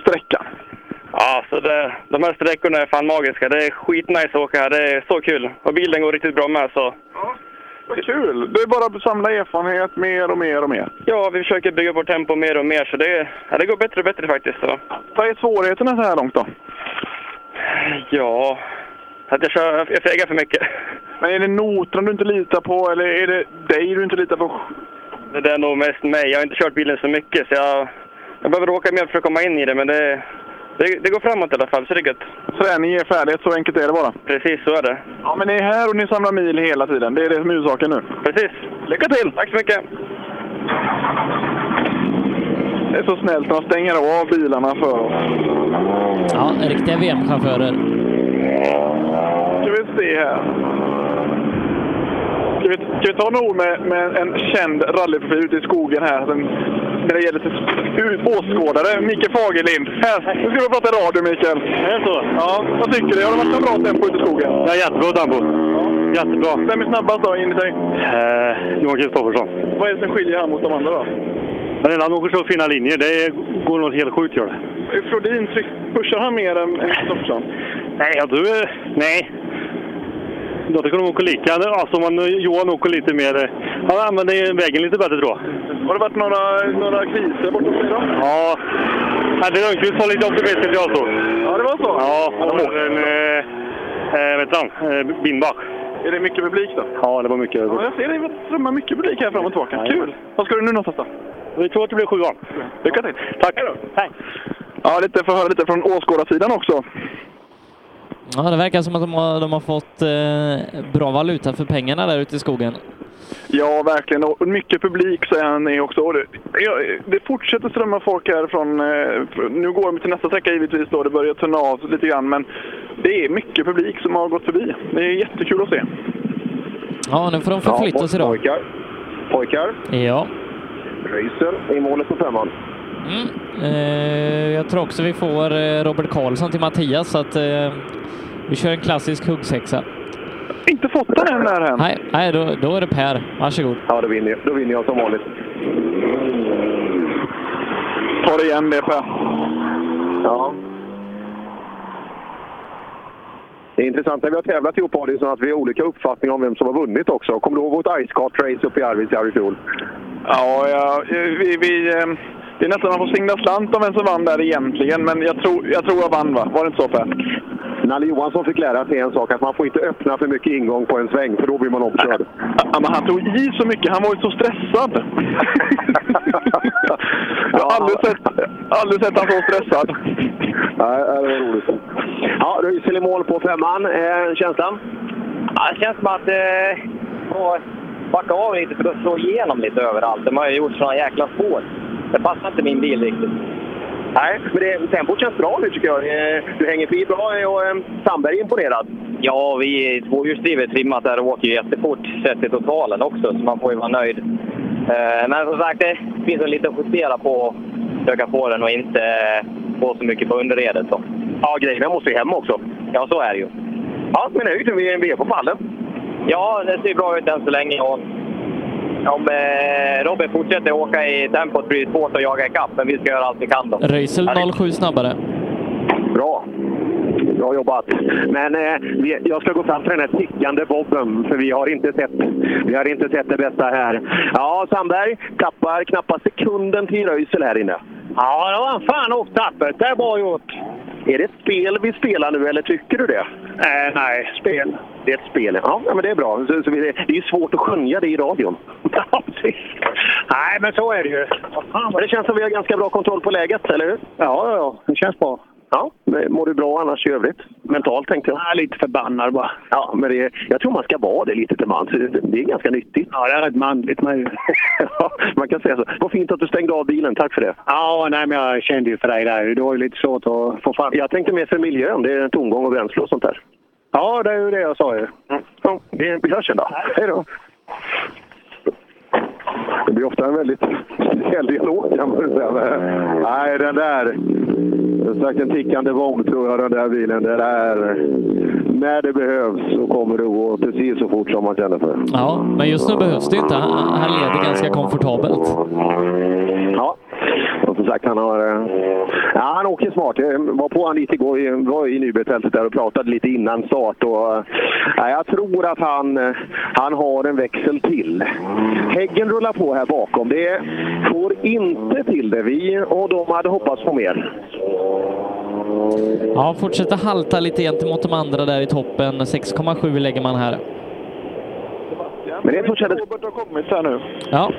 sträckan? Ja, så det, de här sträckorna är fan magiska. Det är skitnice att åka här. Det är så kul. Och bilen går riktigt bra med. Så. Vad kul! Det är bara att samla erfarenhet mer och mer och mer. Ja, vi försöker bygga på tempo mer och mer. Så det, ja, det går bättre och bättre faktiskt. Så. Vad är svårigheterna så här långt då? Ja, att jag, kör, jag fegar för mycket. Men är det noterna du inte litar på eller är det dig du inte litar på? Det där är nog mest mig. Jag har inte kört bilen så mycket så jag, jag behöver åka mer för att komma in i det. Men det, det, det går framåt i alla fall, så det är gött. Träning ger färdighet, så enkelt är det bara. Precis, så är det. Ja, men ni är här och ni samlar mil hela tiden. Det är det som är huvudsaken nu. Precis. Lycka till! Tack så mycket! Det är så snällt när de stänger av bilarna för oss. Ja, riktiga VM-chaufförer. Mm. Ska vi se här. Ska vi, ska vi ta några ord med, med en känd rallyprofil ute i skogen här? Sen, när det gäller till ut- åskådare, Mikael Fagerlind. Här, nu ska vi prata radio, Mikael. Är det så? Ja, vad tycker du? Har det varit en bra tempo ute i skogen? Ja, jättebra tempo. Jättebra. Vem är snabbast då, enligt dig? Eh, Johan Kristoffersson. Vad är det som skiljer han mot de andra då? Men han åker så fina linjer. Det går något helt sjukt gör det. Flodin, tryck- pushar han mer än än Kristoffersson? Nej, jag tror... Nej. Jag tycker de åker lika. Alltså, man, Johan åker lite mer... eh, Han använder ju vägen lite bättre tror jag. Har det varit några, några kriser bortom sig då? Ja. Hade Rönnqvist var lite optimistisk jag såg. Ja, det var så? Ja, han har en... Eh, eh, vet han? Eh, Bindbach. Är det mycket publik då? Ja, det var mycket. Ja, jag ser det strömmar mycket publik här fram och tillbaka. Kul! Vad ska du nu någonstans då? Vi tror att det blir sjuan. Lycka till! Tack! Hej! Ja, lite, få höra lite från åskådarsidan också. Ja, det verkar som att de har, de har fått eh, bra valuta för pengarna där ute i skogen. Ja, verkligen. Och mycket publik säger han är också. Och det, ja, det fortsätter strömma folk här från... eh, för- Nu går de till nästa sträcka givetvis då. Det börjar tunna av lite grann. Men det är mycket publik som har gått förbi. Det är jättekul att se. Ja, nu får de förflytta sig då. Pojkar. Pojkar. Ja. Röisel i målet på femman. Eh, jag tror också vi får eh, Robert Karlsson till Mattias, så att eh, vi kör en klassisk huggsexa. Inte fått den än där än. Nej, nej då, då är det Per. Varsågod. Ja, då vinner, jag- då vinner jag som vanligt. Ta det igen det, Per. Ja. Det är intressant när vi har tävlat ihop, Adielsson, att vi har olika uppfattningar om vem som har vunnit också. Kommer du ihåg vårt Ice Kart Race uppe i Arvidsjaur i fjol? Ja, ja vi, vi, eh, ehm, det är nästan man får singla slant om vem som vann där egentligen. Men jag tror jag, tror jag vann, va? Var det inte så, Per? Nalle Johansson fick lära sig en sak, att man får inte öppna för mycket ingång på en sväng, för då blir man omkörd. Ja, men han tog i så mycket. Han var ju så stressad. jag har aldrig sett, aldrig sett han så stressad. Nej, det var roligt. Ja, Röisel i mål på femman. Eh, känslan? Ja, det känns som att eh, få backa av lite för att slå igenom lite överallt. De har ju gjort såna jäkla spår. Det passar inte min bil riktigt. Nej, men det, tempot känns bra nu tycker jag. Eh, Du hänger på bra och eh, Sandberg är imponerad. Ja, vi är tvåhjulsdrivet trimmat där och åker ju jättefort sett i totalen också, så man får ju vara nöjd. Eh, men som sagt, det finns en lite att justera på och försöka få den och inte eh, få så mycket på underredet. Då. Ja, grejerna måste ju hem också. Ja, så är det ju. Ja, men nöjd. Vi är, vi är på pallen. Ja, det ser bra ut än så länge. Och om eh, Robin fortsätter åka i tempot blir det svårt att jaga ikapp, men vi ska göra allt vi kan. Då. Röisel 07 snabbare. Bra. Bra jobbat. Men eh, vi- jag ska gå fram till den här tickande bobben, för vi har inte sett, vi har inte sett det bästa här. Ja, Sandberg tappar knappast sekunden till Röisel här inne. Ja, det var en fan åkt tappert. Det är bra gjort. Är det ett spel vi spelar nu, eller tycker du det? Eh, nej, spel. Det är ett spel, ja. ja men det är bra. Så, så vi, det är ju svårt att skönja det i radion. Ja, precis. Nej, men så är det ju. Men det känns som vi har ganska bra kontroll på läget, eller hur? Ja, ja, ja. Det känns bra. Ja, men mår du bra annars i övrigt? Mentalt tänkte jag. Nej, lite förbannad bara. Ja, men det, jag tror man ska vara det lite till mans. Det- Det är ganska nyttigt. Ja, det är rätt manligt med ju. Ja, man kan säga så. Vad fint att du stängde av bilen. Tack för det. Ja, nej, men jag kände ju för dig där. Det var ju lite svårt att få fram. Jag tänkte mer för miljön. Det är tomgång och bränsle och sånt där. Mm. Ja, det är ju det jag sa ju. Ja, vi vi hörs sen då. Hej då! Det blir ofta en väldigt snäll dialog kan man säga. Men, Nej, den där... Det är sagt en tickande bomb tror jag, den där bilen. Det där... När det behövs så kommer det gå precis så fort som man känner för. Ja, men just nu behövs det ju inte. Han, han leder ganska komfortabelt. Ja, och som sagt han har... eh, Ja, han åker smart. Jag var på han lite igår, i- var i Nybergstältet där och pratade lite innan start. Och, eh, ja, jag tror att han, eh, han har en växel till. Häggen rullar på här bakom. Det får inte till det. Vi och de hade hoppats på mer. Ja, fortsätter halta lite gentemot de andra där i toppen. 6,7 lägger man här. Men det fortsätter... Robert har kommit här nu. Ja.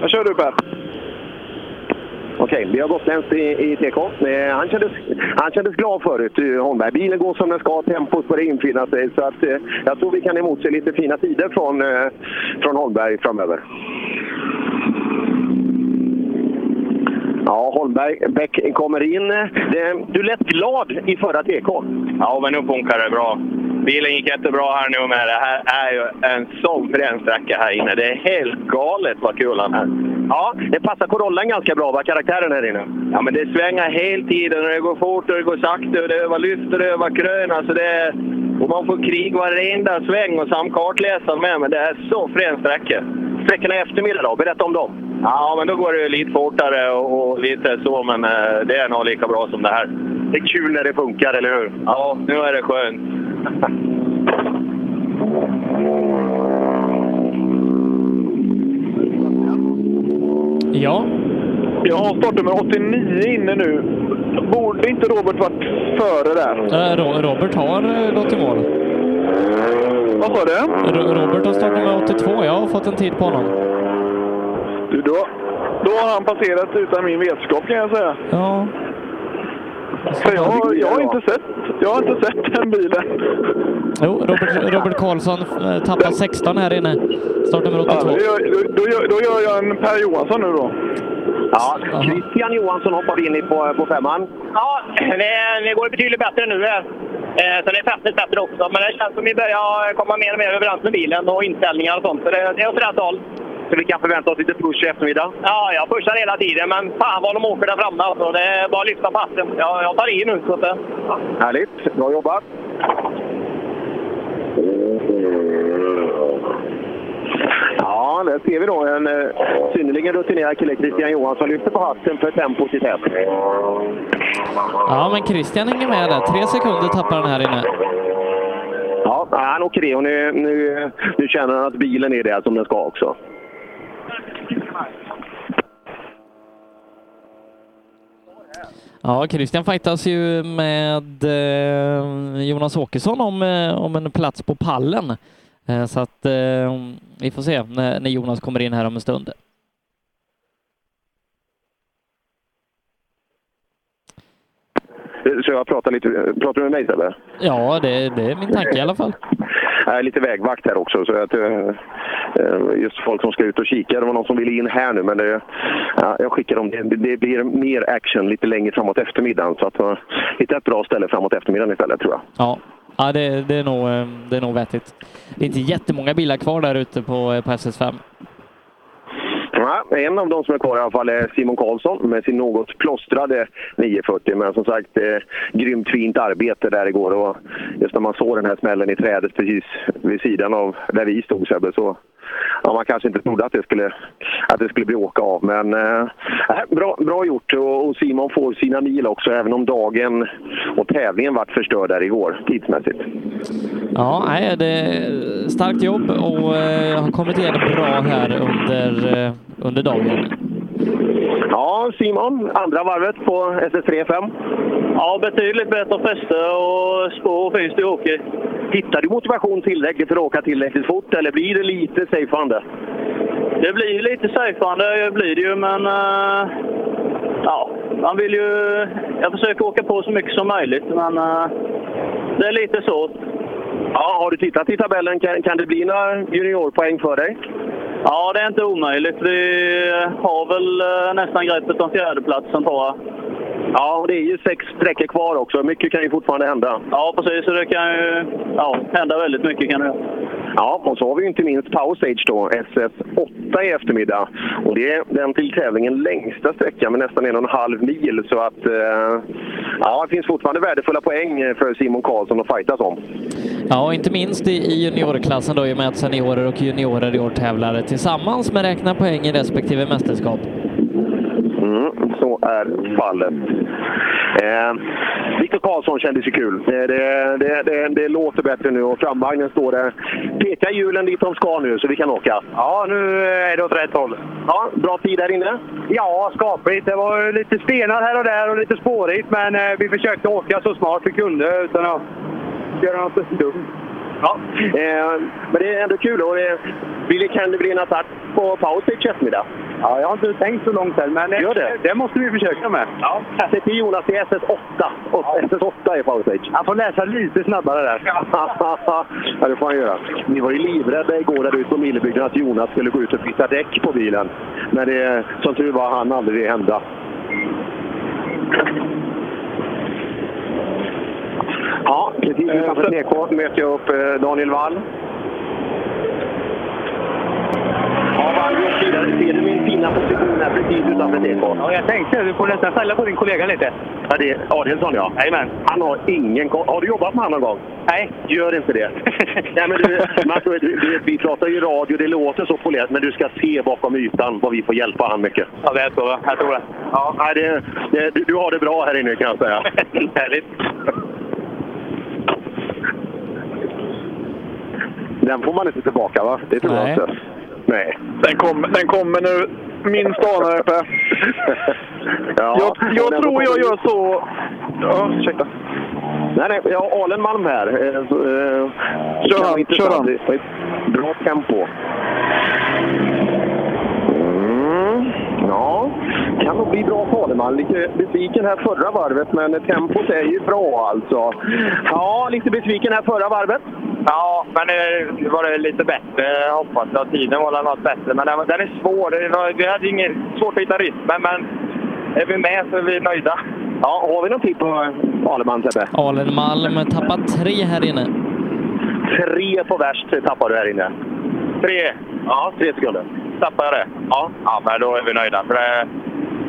Vad kör du Per? Okej, vi har gotländskt i, i TK. Eh, han, kändes, han kändes glad förut, eh, Holmberg. Bilen går som den ska, tempot börjar infinna sig. Så att, eh, jag tror vi kan emotse lite fina tider från, eh, från Holmberg framöver. Ja, Holmberg, Bäck kommer in. Eh, Du lät glad i förra TK. Ja, men nu funkar det bra. Bilen gick jättebra här nu med. Det här är ju en sån frän sträcka här inne. Det är helt galet vad kul han är. Ja, det passar Corollan ganska bra, va? Karaktären här inne. Ja, men det svänger hela tiden och det går fort och det går sakta och det övar lyft och det övar krön. Alltså det är, och man får krig varenda sväng och samt kartläsaren med. Men det är så frän sträcka. Sträckorna i eftermiddag då? Berätta om dem. Ja, men då går det ju lite fortare och, och lite så, men eh, det är nog lika bra som det här. Det är kul när det funkar, eller hur? Ja, nu är det skönt. Ja. Jag har startnummer 89 inne nu. Borde inte Robert varit före där? Eh, Ro- Robert har eh, gått i mål. Vad sa du? Robert har startnummer 82. Jag har fått en tid på honom. Du, då, då har han passerat utan min vetskap kan jag säga. Ja. För jag, jag, har inte sett, jag har inte sett den bilen. Jo, Robert, Robert Karlsson eh, tappar 16 här inne. Startnummer Ja, då, 82. gör, då, då, gör, då gör jag en Per Johansson nu då. Ja, Christian Johansson hoppar in i eh, på, på femman. Ja, det, det går betydligt bättre nu. Eh, så det är fästet bättre också. Men det känns som vi börjar komma mer och mer överens med bilen och inställningar och sånt. Så det, det är åt rätt håll. Så vi kan förvänta oss lite push i eftermiddag? Ja, jag pushar hela tiden, men fan vad de åker där framme alltså. Det är bara att lyfta på hatten. Jag, jag tar i nu. Så att, det- Härligt, bra jobbat. Ja, där ser vi då en eh, synnerligen rutinerad kille, Christian Johansson, lyfter på hatten för tempot i tät. Ja, men Christian hänger med där. Tre sekunder tappar han här inne. Ja, han åker i och nu, nu, nu känner han att bilen är där som den ska också. Ja, Christian fightas ju med eh, Jonas Åkesson om, eh, om en plats på pallen. Eh, så att eh, vi får se när, när Jonas kommer in här om en stund. Eh, Så jag pratar lite... Pratar du med mig Sebbe? Ja, det, det är min tanke i alla fall. Jag är lite vägvakt här också. Så att, eh, eh, just folk som ska ut och kika. Det var någon som ville in här nu, men det, ja, jag skickar dem. Det, det blir mer action lite längre framåt eftermiddagen. Så att, eh, hitta ett bra ställe framåt eftermiddagen istället, tror jag. Ja, ja det, det, är nog, eh, det är nog vettigt. Det är inte jättemånga bilar kvar där ute på, eh, på SS5. Ja, en av de som är kvar i alla fall är Simon Karlsson med sin något plåstrade 940. Men som sagt, eh, grymt fint arbete där igår. Och just när man såg den här smällen i trädet precis vid sidan av där vi stod Sebbe, så ja, man kanske inte trodde att det skulle, att det skulle bli åka av. Men eh, nej, bra, bra gjort och, och Simon får sina mil också, även om dagen och tävlingen vart förstörd där igår tidsmässigt. Ja, nej, det är starkt jobb och eh, jag har kommit igen bra här under, eh, under dagen. Ja, Simon, andra varvet på SS3 5. Ja, betydligt bättre fäste och spår finns det i åker. Hittar du motivation tillräckligt för att åka tillräckligt fort eller blir det lite safeande? Det blir ju lite safeande, blir det ju, men... eh, ja, man vill ju... Jag försöker åka på så mycket som möjligt, men... eh, det är lite så. Ja, har du tittat i tabellen? Kan, kan det bli några juniorpoäng för dig? Ja, det är inte omöjligt. Vi har väl eh, nästan greppet om fjärdeplatsen, tror jag. Ja, och det är ju sex sträckor kvar också. Mycket kan ju fortfarande hända. Ja, precis. Så det kan ju ja, hända väldigt mycket. kan det. Ja, och så har vi ju inte minst Power Stage då, SS8 i eftermiddag. Och det är den till tävlingen längsta sträckan med nästan en och en halv mil. Så att, eh, ja, det finns fortfarande värdefulla poäng för Simon Karlsson att fightas om. Ja, och inte minst i i juniorklassen då i och med att seniorer och juniorer i år tävlar tillsammans men räknar poäng i respektive mästerskap. Mm, så är fallet. Eh, Viktor Karlsson kändes ju kul. Eh, det, det, det, det låter bättre nu och framvagnen står där. Pekar hjulen dit de ska nu så vi kan åka? Ja, nu är det åt rätt håll. Ja, bra tid där inne? Ja, skapligt. Det var ju lite stenar här och där och lite spårigt, men eh, vi försökte åka så smart vi kunde utan att göra något dumt. Ja. Eh, men det är ändå kul och det blir, kan det bli en attack på Powertage i eftermiddag? Ja, jag har inte tänkt så långt än, men Gör det. det måste vi försöka med. Ja. Se till Jonas i SS8. Och SS8 är Powertage. Han får läsa lite snabbare där. ja, det får han göra. Ni var ju livrädda igår där ute på Millebygden att Jonas skulle gå ut och byta däck på bilen. Men det, som tur var han aldrig det hända. Ja, precis utanför TK möter jag upp eh, Daniel Wall. Ja, Wall går vidare. Ser du min fina position här precis utanför TK? Ja, jag tänkte Du får nästan skälla på din kollega lite. Ja, det är Adielsson ja. Amen. Han har ingen koll. Har du jobbat med honom någon gång? Nej. Gör inte det. Nej, men du, Mats, du, du, vet, vi pratar ju radio, det låter så polerat, men du ska se bakom ytan vad vi får hjälpa han mycket. Ja, det är så. va? Jag tror det. Ja, nej, det, det, du, du har det bra här inne kan jag säga. Härligt. Den får man inte tillbaka va? Det tror jag inte. Nej. Den, kom, den kommer nu. Minst anar jag Per. Ja. Jag, jag tror jag gör så... Ja, ursäkta. Nej, nej, jag har Alenmalm här. Eh, så, eh, det kan vara han, kör han. intressant. Det är ett Bra tempo. Mm, ja, kan nog bli bra på Alenmalm. Lite besviken här förra varvet, men tempot är ju bra alltså. Ja, lite besviken här förra varvet. Ja, men nu var det lite bättre. Jag hoppas att tiden var något bättre. Men den, den är svår. Det var, vi hade inget, svårt att hitta rytmen, men är vi med så är vi nöjda. Ja, har vi någon tid på Alenmalm, Sebbe? Alen Malm tappar tre här inne. Tre på värst tappar du här inne. Tre. Ja, tre sekunder. Tappade jag det? Ja. ja, men då är vi nöjda. För det,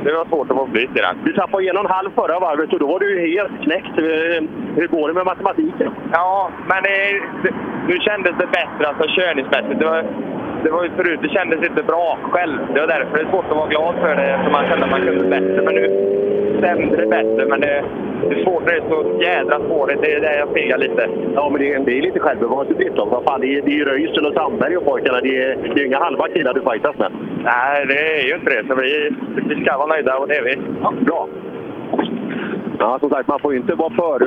det var svårt att få flyt i den. Du tappade en och en halv förra varvet och då var du ju helt knäckt. Eh, Hur går det med matematiken? Ja, men det, det, nu kändes det bättre, alltså körningsmässigt. Det var, det var ju förut, det kändes inte bra själv. Det var därför det är svårt att vara glad för det, eftersom man kände att man kunde bättre. Men nu stämde det bättre, men det, det är svårt när det är så jädra svårigt. Det är där jag fegar lite. Ja, men det, är- det är lite självbevarelsedrift också. Vad fan, det är det är ju Röisel och Sandberg och pojkarna. Det är, det är inga halva killar du fightas med. Nej, det är ju inte det. Så vi, vi ska vara nöjda och det är vi. Ja, bra. Ja, som sagt, man får ju inte vara för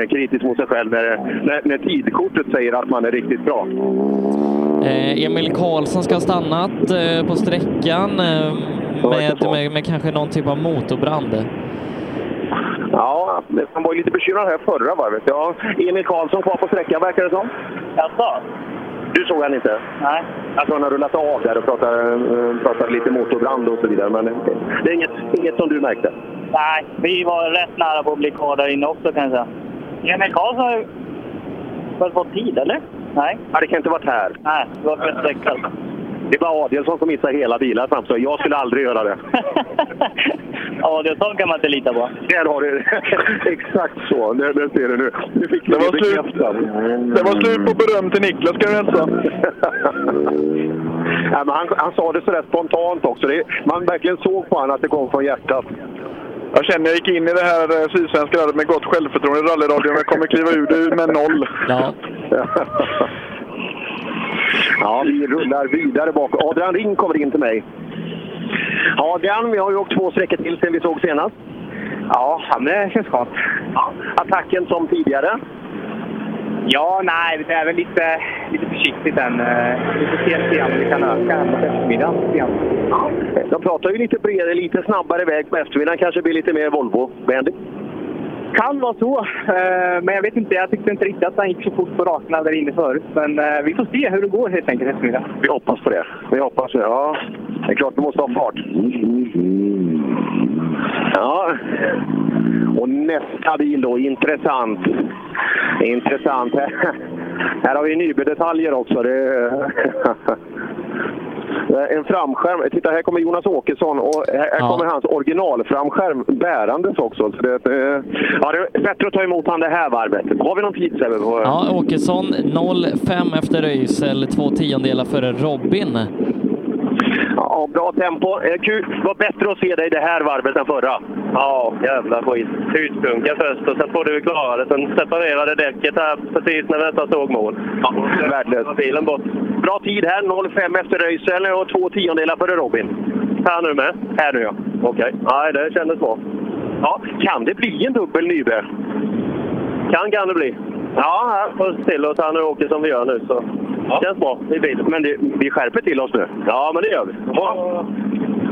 eh, kritisk mot sig själv när, när, när tidkortet säger att man är riktigt bra. Eh, Emil Karlsson ska ha stannat eh, på sträckan eh, med, med, med kanske någon typ av motorbrand. Ja, han var ju lite bekymrad här förra varvet. Ja, Emil Karlsson kvar på sträckan verkar det som. Jaså? Du såg han inte? Nej. Jag tror han har rullat av där och pratat, eh, pratat lite motorbrand och så vidare. Men det är inget, inget som du märkte? Nej, vi var rätt nära på att bli kvar där inne också kan jag säga. Emil Alltså. Karlsson har ju väl fått tid, eller? Nej. Ja, det kan inte varit här. Nej, det var för sträckat. alltså. Det var Adielsson som missade hela bilar fram, så jag skulle aldrig göra det. Adielsson kan man inte lita på. Där har du Exakt så, det, det ser du nu. Du fick Det var slut. Det var slut på beröm till Niklas kan du hälsa. Ja, men han, han sa det sådär spontant också. Det, man verkligen såg på honom att det kom från hjärtat. Jag känner jag gick in i det här eh, sydsvenska rallyt med gott självförtroende i rallyradion. Jag kommer kliva ur det med noll. Ja. Ja, vi rullar vidare bak. Adrian Ring kommer in till mig. Adrian, vi har ju åkt två sträckor till sen vi såg senast. Ja, han är sällskap. Ja, attacken som tidigare. Ja, nej, det är väl lite, lite försiktigt än. Eh, Vi får se lite grann om vi kan öka här på eftermiddagen. lite grann. De pratar ju lite bredare, lite snabbare väg på eftermiddagen. Kanske blir lite mer Volvo-vänligt. Kan vara så, eh, men jag vet inte. Jag tyckte inte riktigt att han gick så fort på rakorna där inne förut. Men eh, vi får se hur det går helt enkelt eftermiddag. Vi hoppas på det. Vi hoppas det. Ja, det är klart vi måste ha fart. Ja. Och nästa bil då, intressant. Intressant. Här har vi Nyby-detaljer också. Det... En framskärm. Titta, här kommer Jonas Åkesson och här, här kommer hans originalframskärm bärandes också. Så det, eh, ja, det är bättre att ta emot han det här varvet. Har vi någon tid, Sebbe? på- Ja, Åkesson 0,5 efter Röisel, två tiondelar före Robin. Ja, bra tempo. Eh, Kul. Det var bättre att se dig det här varvet än förra. Ja, jävla skit. Hutpunka först och sen trodde vi klarade det. Sen separerade däcket här precis när nästa såg mål. Ja, värdelöst. Bilen bort. Bra tid här, 0,5 efter Röisel och två tiondelar före Robin. Här nu med? Här nu ja. Okej. Nej, det kändes bra. Ja, kan det bli en dubbel Nyberg? Kan, kan det bli. Ja, här får se till att han åker som vi gör nu. Så. Det känns bra i bilen. Men vi skärper till oss nu. Ja, men det gör vi.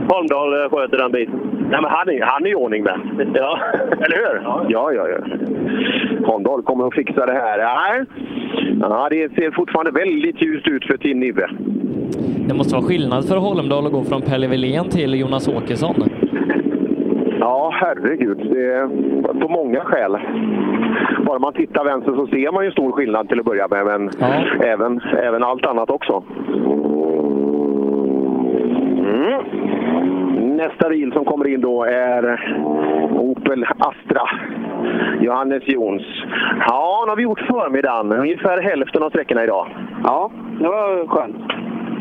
Holmdahl eh, sköter den biten. Nej, men han, är, han är i ordning med. Ja. Eller hur? Ja, ja, ja. Kondol kommer att fixa det här. Nej. Ja, det ser fortfarande väldigt ljust ut för Team Nibbe. Det måste vara skillnad för Holmdahl att gå från Pelle Wilén till Jonas Åkesson. Ja, herregud. Det är på många skäl. Bara man tittar vänster så ser man ju stor skillnad till att börja med, men även, även allt annat också. Mm. Nästa bil som kommer in då är Opel Astra. Johannes Jons. Ja, nu har vi gjort förmiddagen. Ungefär hälften av sträckorna idag. Ja, det var skönt.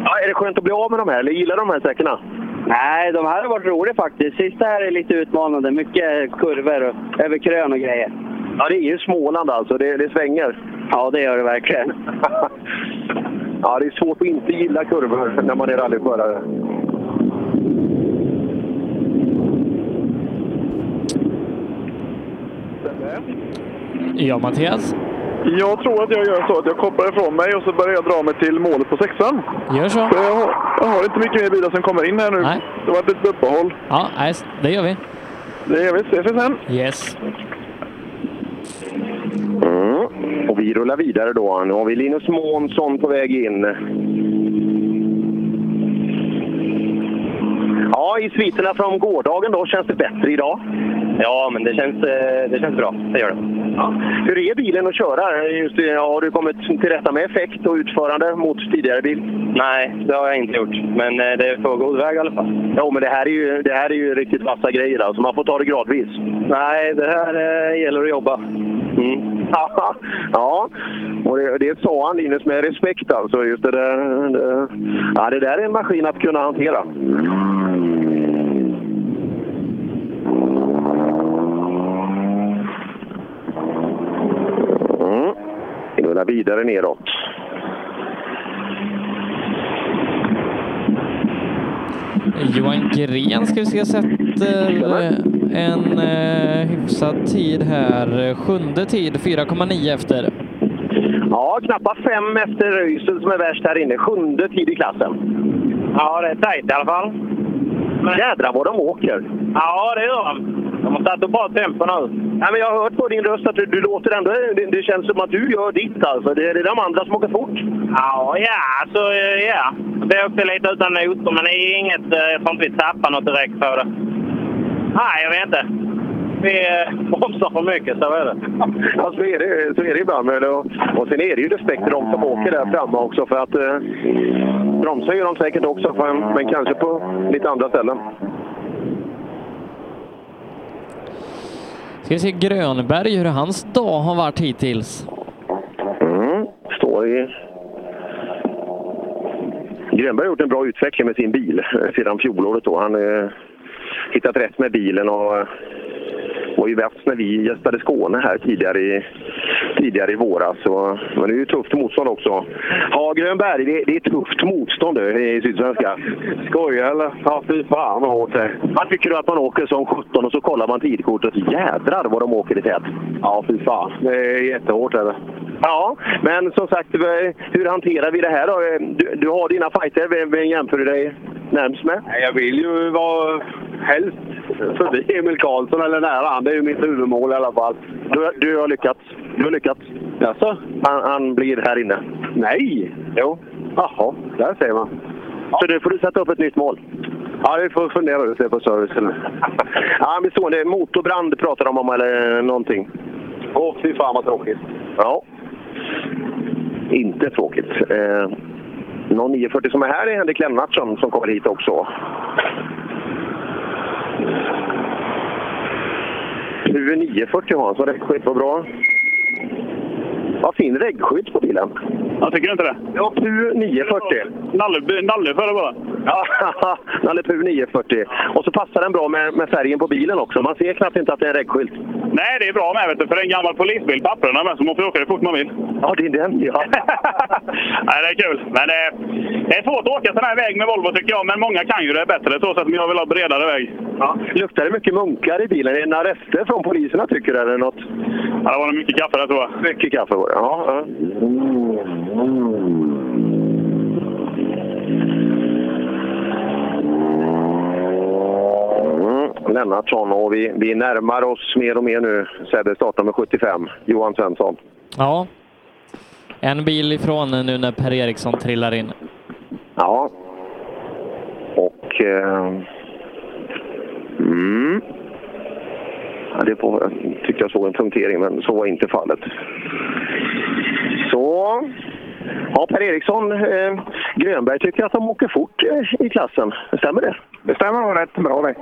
Ja, är det skönt att bli av med de här, eller gillar du de här sträckorna? Nej, de här har varit roliga faktiskt. Sista här är lite utmanande. Mycket kurvor och över krön och grejer. Ja, det är ju Småland alltså. Det, det svänger. Ja, det gör det verkligen. ja, det är svårt att inte gilla kurvor när man är rallyförare. Ja, Mattias. Jag tror att jag gör så att jag kopplar ifrån mig och så börjar jag dra mig till målet på sexan. Gör så. För Jag har, jag har inte mycket mer bilar som kommer in här nu. Det var ett litet uppehåll. Ja, nej, det gör vi. Det gör vi. Ses vi sen. Yes. Mm. Och vi rullar vidare då. Nu har vi Linus Månsson på väg in. Ja, i sviterna från gårdagen då. Känns det bättre idag? Ja, men det känns, eh, det känns bra. Det gör det. Ja. Hur är bilen att köra? Just, det, har du kommit till rätta med effekt och utförande mot tidigare bil? Nej, det har jag inte gjort. Men eh, det är på god väg i alla fall. Jo, men det här är ju, det här är ju riktigt vassa grejer. Alltså, man får ta det gradvis. Nej, det här eh, gäller att jobba. Mm. ja, och det, det sa han Linus med respekt alltså. Just det, där, det, ja, det där är en maskin att kunna hantera. Mm. Vi rullar vidare neråt. Johan Gren ska vi se sätter eh, en eh, hyfsad tid här. Sjunde tid, 4,9 efter. Ja, knappt fem efter Röisel som är värst här inne. Sjunde tid i klassen. Ja, det är tajt i alla fall. Men... Jädrar vad de åker! Ja, det gör de. De har satt upp bra tempo nu. Ja, men jag har hört på din röst att du, du låter ändå... Det, det känns som att du gör ditt alltså. Det, det är de andra som åker fort. Ja, ja, alltså, eh, ja. Det åkte lite utan noter, men det är inget... eh, Jag tror inte vi tappar något direkt på det. Nej, jag vet inte. Vi eh, bromsar för mycket, så är det. Ja, så Alltså, är det, så är det ibland. Men, och, och sen är det ju respekt för de som åker där framme också. För att eh, bromsar gör de säkert också, för, men kanske på lite andra ställen. Ska vi se Grönberg, hur hans dag har varit hittills. Mm. Står i... Grönberg har gjort en bra utveckling med sin bil eh, sedan fjolåret. Då. Han eh, hittat rätt med bilen och eh, var ju bäst när vi gästade Skåne här tidigare i, tidigare i våras. Så, men det är ju tufft motstånd också. Ja, Grönberg, det, det är tufft motstånd nu i Sydsvenska. Skojar eller? Ja, fy fan vad hårt det Man tycker du att man åker som 17 och så kollar man tidkortet. Jädrar vad de åker i tät. Ja, fy fan. Det är jättehårt. Eller? Ja, men som sagt, v- hur hanterar vi det här då? Du, du har dina fighter. Vem, vem jämför du dig närmst med? Nej, Jag vill ju vara helst förbi Emil Karlsson eller nära han. Det är ju mitt huvudmål i alla fall. Du, du har lyckats. Du har lyckats. Jaså? Han, han blir här inne. Nej! Jo. Jaha, där ser man. Så nu får du sätta upp ett nytt mål. Ja, vi får fundera lite på servicen. ja, men så, det är motorbrand pratar de om eller någonting. Åh, fy fan vad tråkigt. Ja. Inte tråkigt. Eh, någon 940 som är här är Henrik Lennartsson som kommer hit också. Nu är 940 har han, så räckskydd var bra. Vad fin räckskydd på bilen. Jag tycker inte det. Ja, PU 940. Nalle, nalle för det bara. Ja, Nalle PU 940. Och så passar den bra med, med färgen på bilen också. Man ser knappt inte att det är en räckskylt. Nej, det är bra med, vet du, för det är en gammal polisbil, papperna med, så man får åka hur fort man vill. Ja, det är den, ja. Nej, det är kul. Men det är, det är svårt att åka sån här väg med Volvo tycker jag, men många kan ju det bättre, trots att jag vill ha bredare väg. Ja. Luktar det mycket munkar i bilen? Är det några rester från poliserna tycker du, eller något? Ja, det var nog mycket kaffe där tror jag. Mycket kaffe var det, ja. ja. Mm, Lennartsson och vi, vi närmar oss mer och mer nu. Säde startar med 75, Johan Svensson. Ja. En bil ifrån nu när Per Eriksson trillar in. Ja. Och... Eh, mm. Ja, det var, jag tyckte jag såg en punktering, men så var inte fallet. Så... Ja, Per Eriksson, eh, Grönberg tycker att de åker fort eh, i klassen. Stämmer det? Det stämmer nog rätt bra det.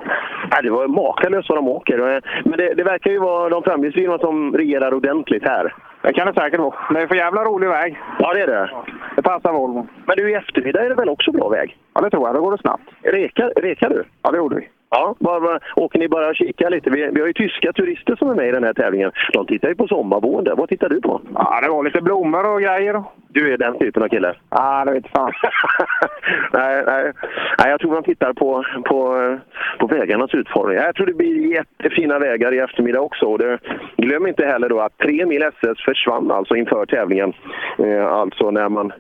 Ja, det var makalöst vad de åker. Eh, Men det, det verkar ju vara de framgångsrika att de regerar ordentligt här. Det kan det säkert vara. Det är för jävla rolig väg. Ja, det är det. Det passar Volvo. Men du, i eftermiddag är det väl också bra väg? Ja, det tror jag. Då går det snabbt. Rekar, rekar du? Ja, det gjorde vi. Ja, bara, bara, åker ni bara och kika lite? Vi, vi har ju tyska turister som är med i den här tävlingen. De tittar ju på sommarboende. Vad tittar du på? Ja, det var lite blommor och grejer. Du är den typen av kille? Ja, det vet fan. nej, nej. nej, jag tror man tittar på, på, på vägarnas utformning. Jag tror det blir jättefina vägar i eftermiddag också. Och det, glöm inte heller då att tre mil SS försvann alltså inför tävlingen. Eh, alltså när man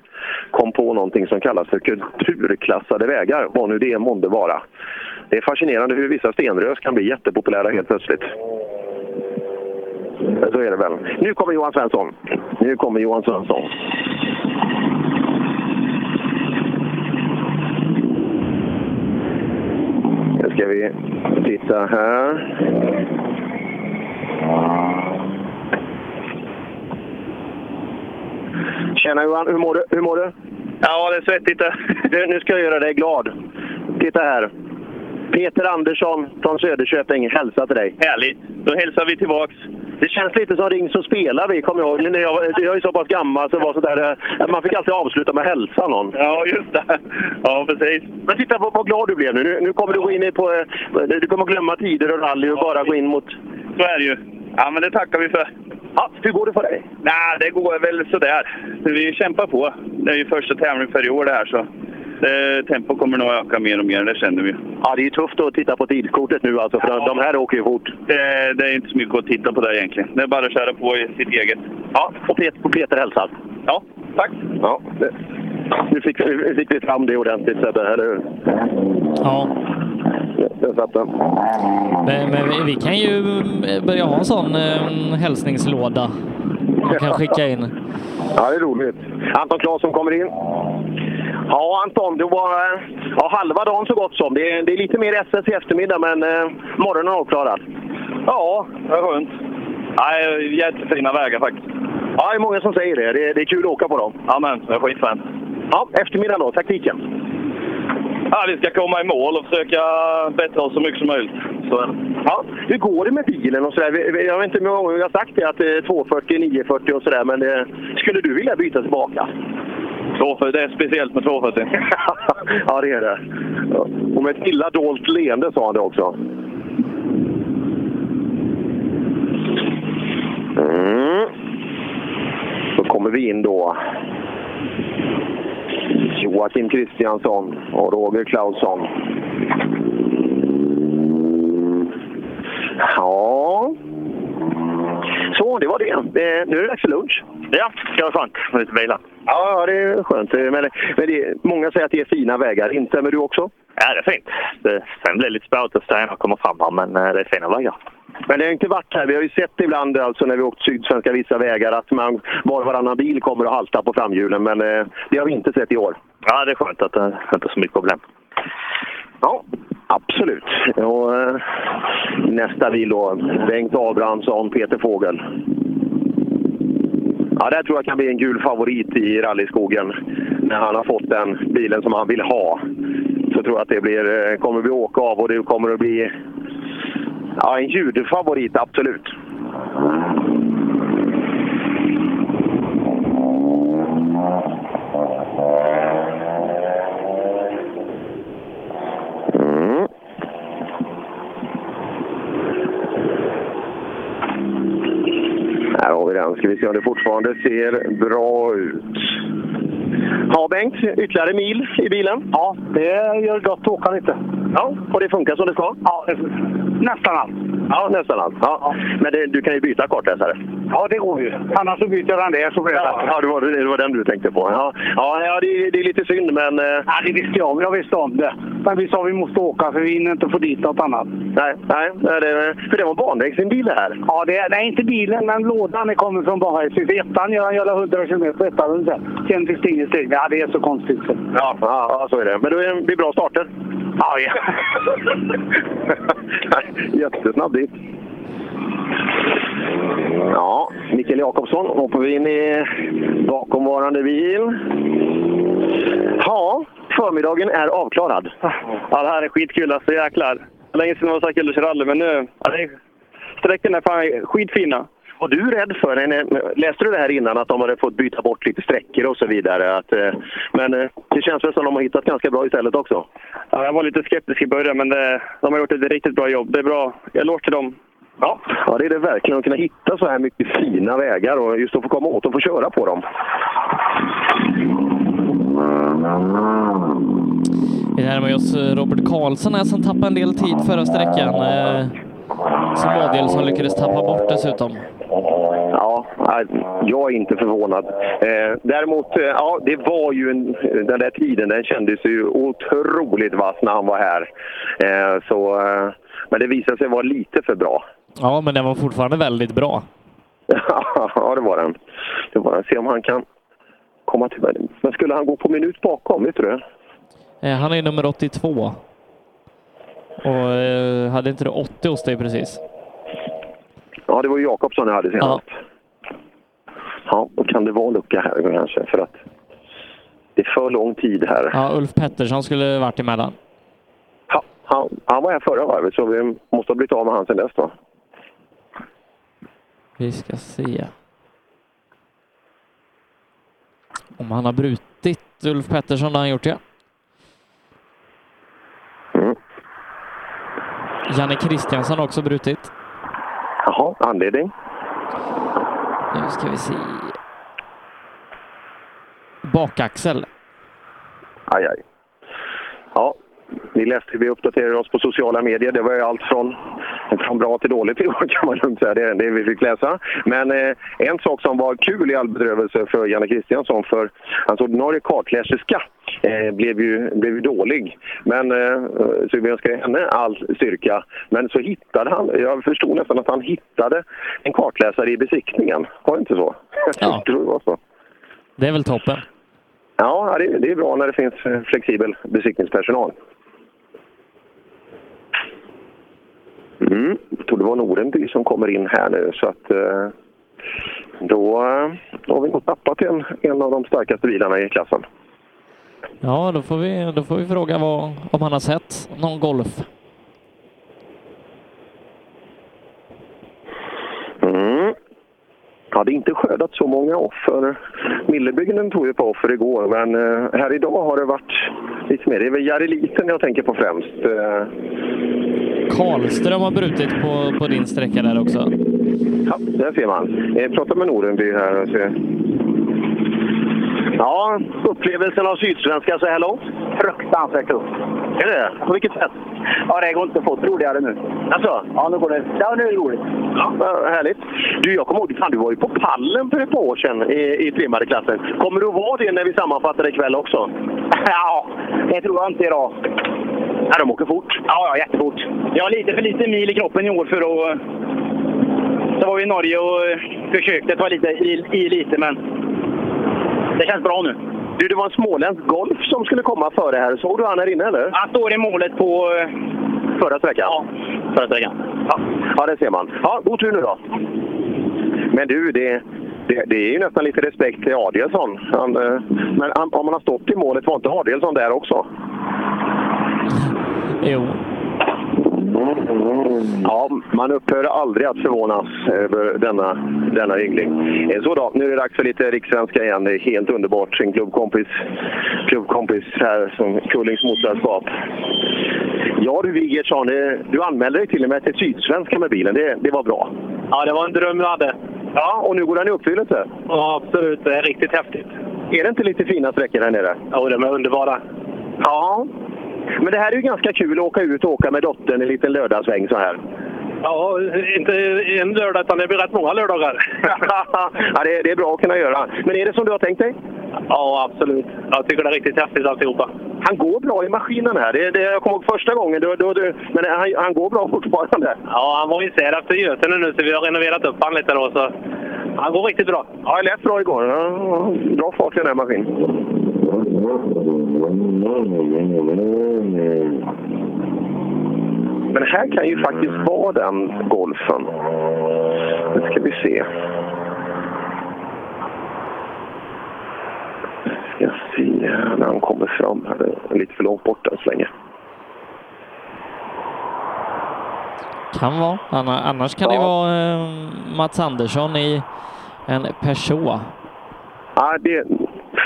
kom på någonting som kallas för kulturklassade vägar, vad nu det månde vara. Det är fascinerande hur vissa stenrös kan bli jättepopulära helt plötsligt. Så är det väl. Nu kommer Johan Svensson. Nu kommer Johan Svensson. Nu ska vi titta här. Tjena Johan, hur mår du? Hur mår du? Ja, det är svettigt. Nu, nu ska jag göra dig glad. Titta här. Peter Andersson från Söderköping hälsar till dig. Härligt. Då hälsar vi tillbaks. Det känns lite som Ring så spelar vi, kommer jag ihåg. När jag, var- jag är ju så pass gammal så det var sådär, eh, man fick alltid avsluta med att hälsa någon. Ja, just det. Ja, precis. Men titta på vad glad du blev nu. Nu, nu kommer du gå in i på... eh, Du kommer glömma tider och rally och bara gå in mot... Så är det ju. Ja, men det tackar vi för. Ja, hur går det för dig? Nej, det går väl sådär. Vi kämpar på. Det är ju första tävlingen för i år det här, så eh, tempo kommer nog öka mer och mer, det känner vi. Ja, det är ju tufft att titta på tidkortet nu alltså, för de här åker ju fort. Det, det är inte så mycket att titta på där egentligen. Det är bara att köra på i sitt eget. Ja, och Peter, och Peter hälsar. Ja, tack. Ja, det- nu fick, vi- nu fick vi fram det ordentligt Sebbe, eller hur? Ja. Jag satt den. Men, men vi, vi kan ju eh, börja ha en sån eh, hälsningslåda. Man kan skicka in. Ja, det är roligt. Anton Claesson kommer in. Ja, Anton, det var eh, ja, halva dagen så gott som. Det är, det är lite mer SS i eftermiddag, men eh, morgonen är avklarad. Ja, det är skönt. Nej, jättefina vägar faktiskt. Ja, det är många som säger det. Det är, det är kul att åka på dem. Ja, men jag är skitfan. Ja, eftermiddag då, taktiken. Ja, vi ska komma i mål och försöka bättra oss så mycket som möjligt. Så är det. Ja, hur går det med bilen och sådär? Vi- vi- Jag vet inte hur många gånger vi har sagt det, att det är 240, 940 och sådär, men eh, skulle du vilja byta tillbaka? Tvåfö- Det är speciellt med 240. ja, det är det. Ja. Och med ett illa dolt leende sa han det också. Mm. Då kommer vi in då. Joakim Kristiansson och Roger Clausson. Ja. Mm. Så, det var det. Eh, nu är det dags för lunch. Ja, det var skönt. Lite vila. Ja, det är skönt. Eh, Men, men det, många säger att det är fina vägar. Instämmer du också? Ja, det är fint. Det, sen blir det lite spårigt att säga när jag kommer fram här, men eh, det är fina vägar. Men det har inte varit här. Vi har ju sett ibland alltså, när vi åkt sydsvenska vissa vägar att man, var och varannan bil kommer att halta på framhjulen. Men eh, det har vi inte sett i år. Ja, det är skönt att det inte är så mycket problem. Ja, absolut. Och, eh, nästa bil då, Bengt Abrahamsson, Peter Fågel. Ja, det här tror jag kan bli en gul favorit i rallyskogen. När han har fått den bilen som han vill ha så tror jag att det blir, eh, kommer vi åka av och det kommer att bli ja, en ljudfavorit, absolut. Mm. på i den. Ska vi se om det fortfarande ser bra ut. Ja, Bengt, ytterligare mil i bilen? Ja, det gör gott att åka lite. Ja, och det funkar som det ska? Ja, nästan allt. Ja, nästan allt. Ja. Men det, du kan ju byta kartläsare. Ja, det går ju. Annars så byter jag den där så blir det Ja, det var, det var den du tänkte på. Ja, ja, ja det, det är lite synd, men... eh, Ja, det visste jag. Jag visste om det. Men vi sa vi måste åka för vi hinner inte få dit något annat. Nej, nej nej, det, för det var banvägsinbil det här. Ja, det, nej, inte bilen, men lådan är kommer från Bahrain. Ettan gör han göra 100 kilometer, ettan sen. Sen finns det inget steg. Ja, det är så konstigt. så. Ja, ja, ja, så är det. Men det blir bra starter. Ja, ja. Jättesnabb dit. Ja, Mikael Jakobsson hoppar vi in i bakomvarande bil. Ja, förmiddagen är avklarad. Ja, det här är skitkul alltså, jäklar. Det var länge sedan det var så här kul att köra rally, men nu... Ja, det är, sträckorna är fan skitfina. Var du rädd för, när- läste du det här innan, att de hade fått byta bort lite sträckor och så vidare? Att, eh, men eh, det känns väl som de har hittat ganska bra istället också? Ja, jag var lite skeptisk i början, men det, de har gjort ett riktigt bra jobb. Det är bra. Jag låter till dem. Ja. ja, det är det verkligen. Att kunna hitta så här mycket fina vägar och just att få komma åt och få köra på dem. Vi närmar oss eh, Robert Karlsson här som tappade en del tid förra sträckan. eh, Som var del som lyckades tappa bort dessutom. Ja, nej, jag är inte förvånad. Eh, däremot, eh, ja, det var ju en, den där tiden, den kändes ju otroligt vass när han var här. Eh, så, eh, men det visade sig vara lite för bra. Ja, men den var fortfarande väldigt bra. ja, det var den. Det var den. Se om han kan komma till... Men skulle han gå på minut bakom, vet du det? Eh, Han är nummer 82. Och eh, hade inte du 80 hos dig precis? Ja, det var ju Jakobsson jag hade senast. Ja. då kan det vara en lucka här kanske för att det är för lång tid här. Ja, Ulf Pettersson skulle varit emellan. Han, han var här förra varvet så vi måste ha blivit av med han sen dess då. Vi ska se. Om han har brutit Ulf Pettersson, det har han gjort ja. Janne Kristiansson har också brutit. Jaha, anledning? Nu ska vi se. Bakaxel. Aj, aj. Ja, ni läste vi uppdaterade oss på sociala medier. Det var ju allt från, från bra till dåligt i år kan man lugnt säga. Det är det vi fick läsa. Men eh, en sak som var kul i all bedrövelse för Janne Kristiansson, för hans ordinarie kartläserska eh, blev, ju, blev ju dålig. Men, eh, så vi önskar henne all styrka. Men så hittade han, jag förstod nästan att han hittade en kartläsare i besiktningen. Var det inte så? Jag tror det var så. Det är väl toppen. Ja, det, det är bra när det finns eh, flexibel besiktningspersonal. Mm, jag tror det var Nordenby som kommer in här nu så att eh, då, eh, då har vi nog tappat en, en av de starkaste bilarna i klassen. Ja, då får vi, då får vi fråga vad, om han har sett någon golf. Mm. Hade inte skördat så många offer. Millebygden tog ju på offer igår, men eh, här idag har det varit lite mer. Det är väl Jareliten jag tänker på främst. Eh, Karlström har brutit på, på din sträcka där också. Ja, där ser man. Eh, prata med Nordenby här. och se. Ja, upplevelsen av Sydsvenska så här långt? Fruktansvärt tufft. Är det På vilket sätt? Ja, det går inte att få det roligare nu. Alltså? Ja, nu går det. Ja, nu är det roligt. Ja, vad härligt. Du, jag kommer ihåg, fan, du var ju på pallen för ett par år sedan i, i trimmade klassen. Kommer du att vara det när vi sammanfattar ikväll också? Ja, det tror jag inte idag. Ja, de åker fort. Ja, ja, jättefort. Jag har lite för lite mil i kroppen i år för att... Så var vi i Norge och eh, försökte ta lite, i, i lite, men det känns bra nu. Du, det var en småländsk Golf som skulle komma före här. Såg du han här inne eller? Han står i målet på... eh, Förra sträckan? Ja, förra sträckan. Ja, ja det ser man. Ja, god tur nu då. Men du, det, det, det är ju nästan lite respekt till Adielsson. Han, eh, men han, om han har stått i målet, var inte Adielsson där också? Jo. Ja, man upphör aldrig att förvånas över denna, denna yngling. Eh, Så då, nu är det dags för lite rikssvenska igen. Det är helt underbart. En klubbkompis, klubbkompis här, som Kullings motståndarskap. Ja du Wigertsson, eh, du anmälde dig till och med till Sydsvenska med bilen. Det, det var bra. Ja, det var en dröm jag hade. Ja, och nu går den i uppfyllelse. Ja, absolut. Det är riktigt häftigt. Är det inte lite fina sträckor här nere? Ja, de är underbara. Ja. Men det här är ju ganska kul att åka ut och åka med dottern en liten lördagssväng så här. Ja, inte en lördag utan det blir rätt många lördagar. ja, det, det är bra att kunna göra. Men är det som du har tänkt dig? Ja, absolut. Jag tycker det är riktigt häftigt alltihopa. Han går bra i maskinen här. Det, det, jag kommer ihåg första gången. Då, då, då, men han, han går bra fortfarande. Ja, han var isär efter Götene nu så vi har renoverat upp han lite då. Så han går riktigt bra. Ja, jag lät bra igår. Ja, Bra fart i den här maskinen. Men här kan ju faktiskt vara den golfen. Nu ska vi se. Ska se när han kommer fram här. Det är lite för långt bort än så länge. Kan vara. Anna- Annars kan det vara eh, Mats Andersson i en Peugeot. Ja, det,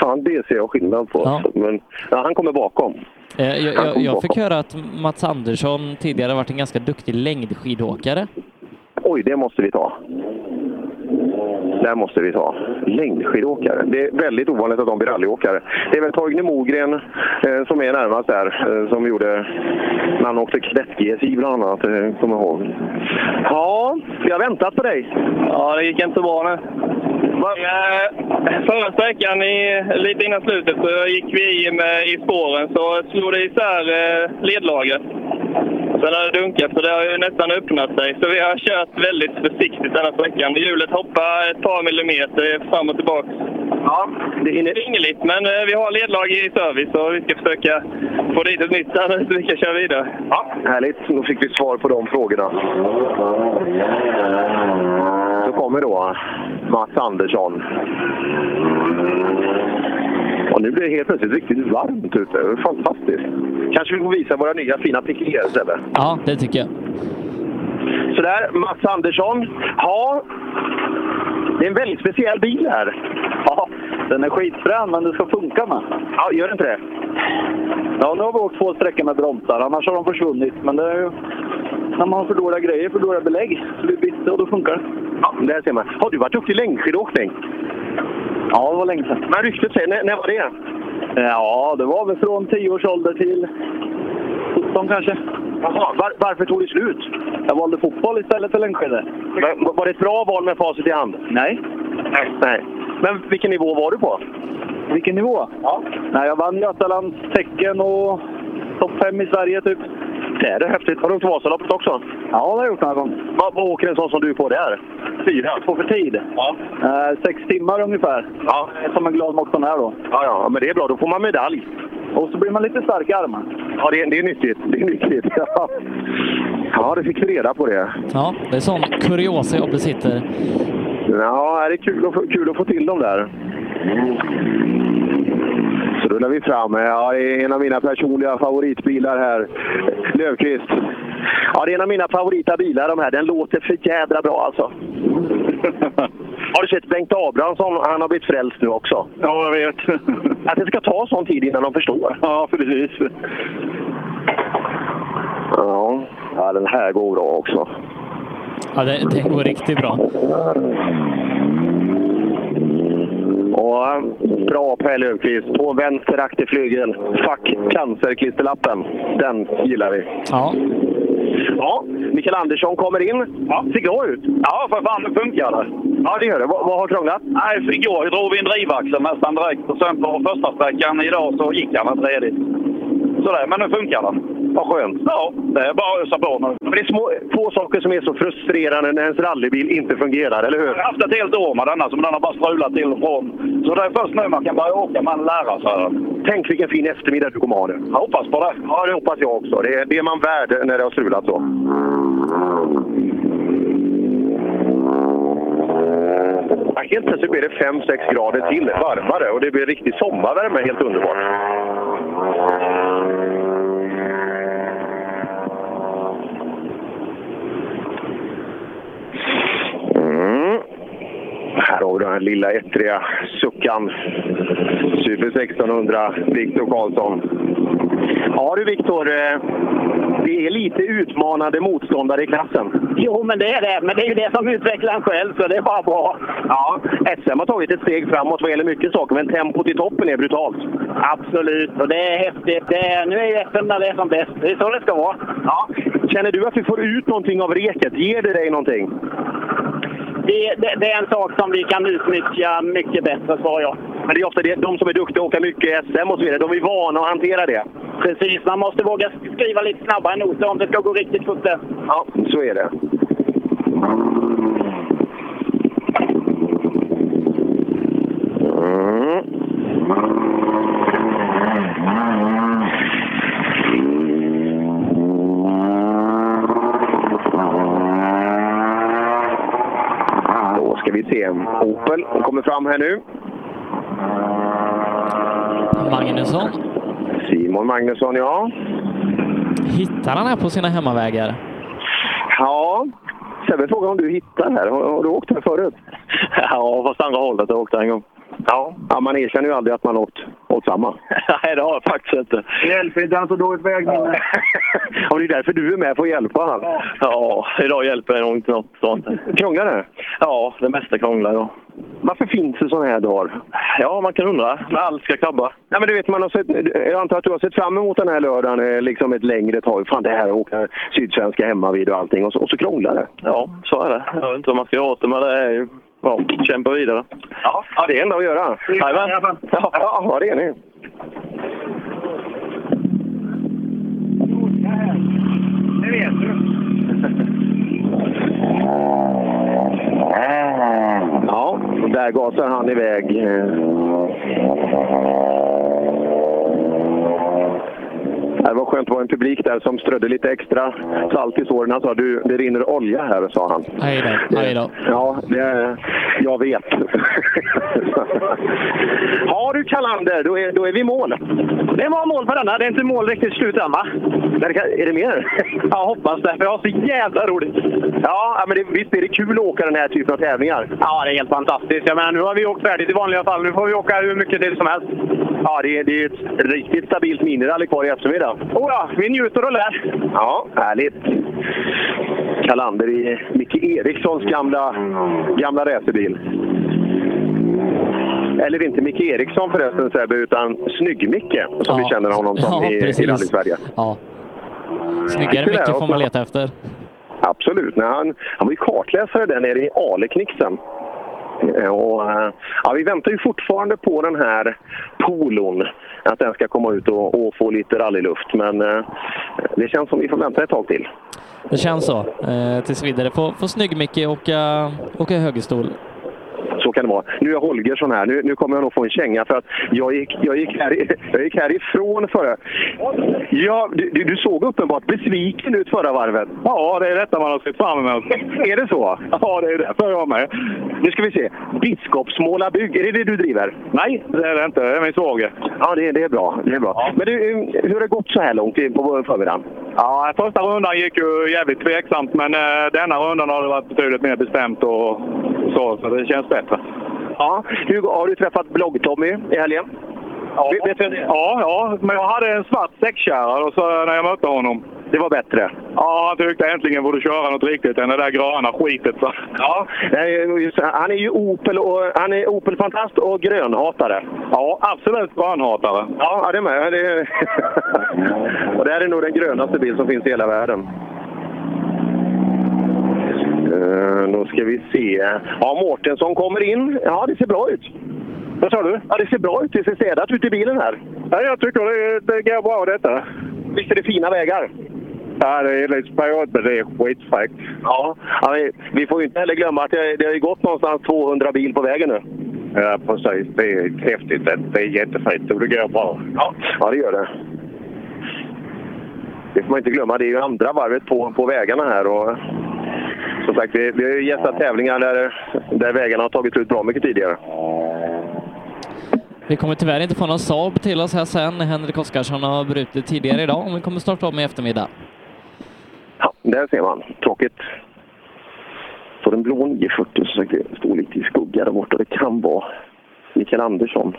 fan, det ser jag skillnad på. alltså. Men ja, han kommer bakom. Eh, jag, Han jag, kommer jag bakom. fick höra att Mats Andersson tidigare varit en ganska duktig längdskidåkare. Oj, det måste vi ta. Där måste vi ta. Längdskidåkare. Det är väldigt ovanligt att de blir rallyåkare. Det är väl Torgny Mogren eh, som är närmast där, eh, som gjorde när han åkte kadett-GSI bland annat, eh, kommer jag ihåg. Ja, vi har väntat på dig. Ja, det gick inte bra nu. Eh, Förra sträckan, i, lite innan slutet, så gick vi i, med, i spåren så slog det isär eh, ledlagret. Sen har det dunkat, så det har ju nästan öppnat sig. Så vi har kört väldigt försiktigt den här sträckan. Hjulet hoppar ett par millimeter fram och tillbaka. Ja, det är inget men eh, vi har ledlag i service och vi ska försöka få dit ett nytt här nu så vi kan köra vidare. Ja. Härligt, då fick vi svar på de frågorna. Så kommer då Mats Andersson. Och nu blir det helt plötsligt riktigt varmt ute. Det är Fantastiskt. Kanske vi får visa våra nya fina pikéer, Sebbe? Ja, det tycker jag. Sådär, Mats Andersson. Ja, det är en väldigt speciell bil här. Ja, den är skitfrän, men det ska funka med. Ja, gör det inte det? Ja, nu har vi åkt två sträckor med bromsar, annars har de försvunnit. Men det är ju när man har för dåliga grejer, för dåliga belägg. Så vi bytte och då funkar det. Ja, där ser man. Har du varit duktig i längdskidåkning? Ja, det var länge sedan. Men ryktet säger, när, när var det? Ja, det var väl från 10 års ålder till 17 kanske. Jaha, var, varför tog det slut? Jag valde fotboll istället för längdskidor. Men, var det ett bra val med facit i hand? Nej. Nej. Nej. Men vilken nivå var du på? Vilken nivå? Ja. Nej, jag vann Götalands tecken och topp 5 i Sverige typ. Det är häftigt. Har du åkt Vasaloppet också? Ja, det har jag gjort några gånger. Vad, vad åker en sån som du på där? Fyra? Två för tid? Ja. Eh, sex timmar ungefär. Ja. Som en glad motionär då. Ja, ja, men det är bra. Då får man medalj. Och så blir man lite stark i armarna. Ja, det, är- det är nyttigt. Det är nyttigt. Ja. ja, det fick vi reda på det. Ja, det är sån kuriosa jag besitter. Ja, det är kul att, få- kul att få till dem där. Mm. Så rullar vi fram. Ja, det är en av mina personliga favoritbilar här. Löfqvist. Ja, det är en av mina favorita bilar de här. Den låter för jädra bra alltså. Har du sett Bengt Abrahamsson? Han har blivit frälst nu också. Ja, jag vet. Att det ska ta sån tid innan de förstår. Ja, precis. Ja, ja den här går bra också. Ja, det, det går riktigt bra. Ja, eh, bra Per Löfqvist. På vänster akterflygel. Fuck cancerklisterlappen. Den gillar vi. Ja. Ja, Mikael Andersson kommer in. Ja. Ser bra ut. Ja, för fan, det funkar. Ja, det gör det. Vad, vad har krånglat? Nej, för igår drog vi en drivaxel nästan direkt och sen på första sträckan idag så gick han inte redigt. Sådär, men nu funkar den. Vad skönt. Ja, det är bara att ösa på nu. Men det är små, få saker som är så frustrerande när ens rallybil inte fungerar, eller hur? Jag har haft ett helt år med denna som den har bara strulat till och från. Så det är först nu man kan börja åka, man lära sig den. Tänk vilken fin eftermiddag du kommer ha nu. Jag hoppas på det. Ja, det hoppas jag också. Det är, det är man värd när det har strulat så. Ja, Helt plötsligt blir det 5-6 grader till varmare och det blir riktig sommarvärme. Helt underbart. Mm. Här har vi den här lilla ettriga suckan. Super 1600, Viktor Karlsson. Ja du Viktor, eh, det är lite utmanande motståndare i klassen. Jo, men det är det. Men det är ju det som utvecklar en själv, så det är bara bra. Ja, SM har tagit ett steg framåt vad gäller mycket saker, men tempot i toppen är brutalt. Absolut, och det är häftigt. Det är, nu är ju SM när det är som bäst. Det är så det ska vara. Ja. Känner du att du får ut någonting av reket? Ger det dig någonting? Det, det, det är en sak som vi kan utnyttja mycket bättre, svarar jag. Men det är ofta det, de som är duktiga och åker mycket i SM och så vidare, de är vana att hantera det. Precis, man måste våga skriva lite snabbare noter om det ska gå riktigt fort. där. Ja, så är det. Då ska vi se. Opel kommer fram här nu. Magnusson, Simon Magnusson, ja. hittar han här på sina hemmavägar? Ja, Sebbe frågar om du hittar här. Har, har du åkt här förut? Ja, fast andra hållet har jag åkt en gång. Ja. ja, man erkänner ju aldrig att man åkt åt samma. Nej, det har jag faktiskt inte. Hjälp inte, han har så dåligt vägminne. Och det är därför du är med, för att hjälpa han. Ja, idag hjälper det nog inte något sånt. Krånglar det? Ja, det mesta krånglar ja. Varför finns det sådana här dagar? Ja, man kan undra. När allt ska klabba. Ja, men du vet, man har sett, jag antar att du har sett fram emot den här lördagen eh, liksom ett längre tag. Fan, det här åker Sydsvenska hemma vid och allting. Och så, och så krånglar det. Ja, så är det. Jag vet inte vad man ska göra åt det, men det är ju... Ja, kämpa vidare. Ja, det är det enda att göra. Jajamän. Ja, ja, det är ni. Det vet du. Ja, och där gasar han iväg. eh. Det var skönt, det var en publik där som strödde lite extra salt i såren. Han sa du, det rinner olja här, sa han. Aj då, aj då. Ja, det, jag vet. Har du Kalander, då är, då är vi i mål. Det var mål på denna. Det är inte mål riktigt slut än, va? Men det kan- Är det mer? Jag hoppas det, för jag har så jävla roligt. Ja, men det, visst är det kul att åka den här typen av tävlingar? Ja, det är helt fantastiskt. Jag menar, nu har vi åkt färdigt i vanliga fall. Nu får vi åka hur mycket till som helst. Ja, det, är- det är ett riktigt stabilt minirally kvar i eftermiddag. Oh ja, vi njuter och lär. Ja, härligt. Kalander i Micke Erikssons gamla, gamla racerbil. Eller inte Micke Eriksson förresten Sebbe, utan Snygg-Micke som vi känner honom som Ja, i, i precis. rally-Sverige. Ja. Snyggare Tyvärr, mycket får man Osman. leta efter. Absolut. Nej, han, han var ju kartläsare där nere i Aleknixen. Eh, Och, eh, ja, vi väntar ju fortfarande på den här polon, att den ska komma ut och, och få lite rallyluft. Men eh, det känns som vi får vänta ett tag till. Det känns så. Eh, tills vidare får, får snygg-Micke åka, åka högerstol. Så kan det vara. Nu är Holgersson här. Nu, nu kommer jag nog få en känga för att jag gick, jag gick, här, jag gick härifrån förra... Ja, du, du du såg uppenbart besviken ut förra varvet. Ja, det är detta man har sett fram emot. är det så? Ja, det är därför jag med. Nu ska vi se. Biskopsmåla bygg, är det det du driver? Nej, det är det inte. Det är min svåger. Ja, det, det är bra. Det är bra. Men du, eh, hur har det gått så här långt in på förmiddagen? Ja, första rundan gick ju jävligt tveksamt, men eh, denna rundan har det varit betydligt mer bestämt och så, så det känns bättre. Ja, Hugo, har du träffat Blogg-Tommy i helgen? Ja, ja, ja, men jag hade en svart säckkärra och så när jag mötte honom. Det var bättre? Ja, han tyckte äntligen borde köra något riktigt än det där gröna skitet. Så. Ja, eh, just det. han är ju Opel och han är Opel-fantast och grönhatare. Ja, absolut grönhatare. Ja, ja, det med. Det är... och det här är nog den grönaste bil som finns i hela världen. Eh, Då ska vi se. Ja, Mårtensson kommer in. Ja, det ser bra ut. Vad sa du? Ja, det ser bra ut. Det ser städat ut i bilen här. Ja, jag tycker det, det går bra detta. Visst är det fina vägar? Ja, det är lite spårigt, men det är skitfräckt. Ja, ja, vi, vi får ju inte heller glömma att det, det har ju gått någonstans 200 bil på vägen nu. Ja, precis. Det är häftigt. Det- Det är jättefint och det går bra. Ja, ja det gör det. Det får man inte glömma. Det är ju andra varvet på, på vägarna här. Och, som sagt, vi, vi har ju gästat tävlingar där, där vägarna har tagit ut bra mycket tidigare. Vi kommer tyvärr inte få någon Saab till oss här sen. Henrik Oskarsson har brutit tidigare idag, men vi kommer starta om i eftermiddag. Ja, där ser man. Tråkigt. Så den blå 940 som sagt, det står lite i skugga där borta. Det kan vara Mikael Andersson.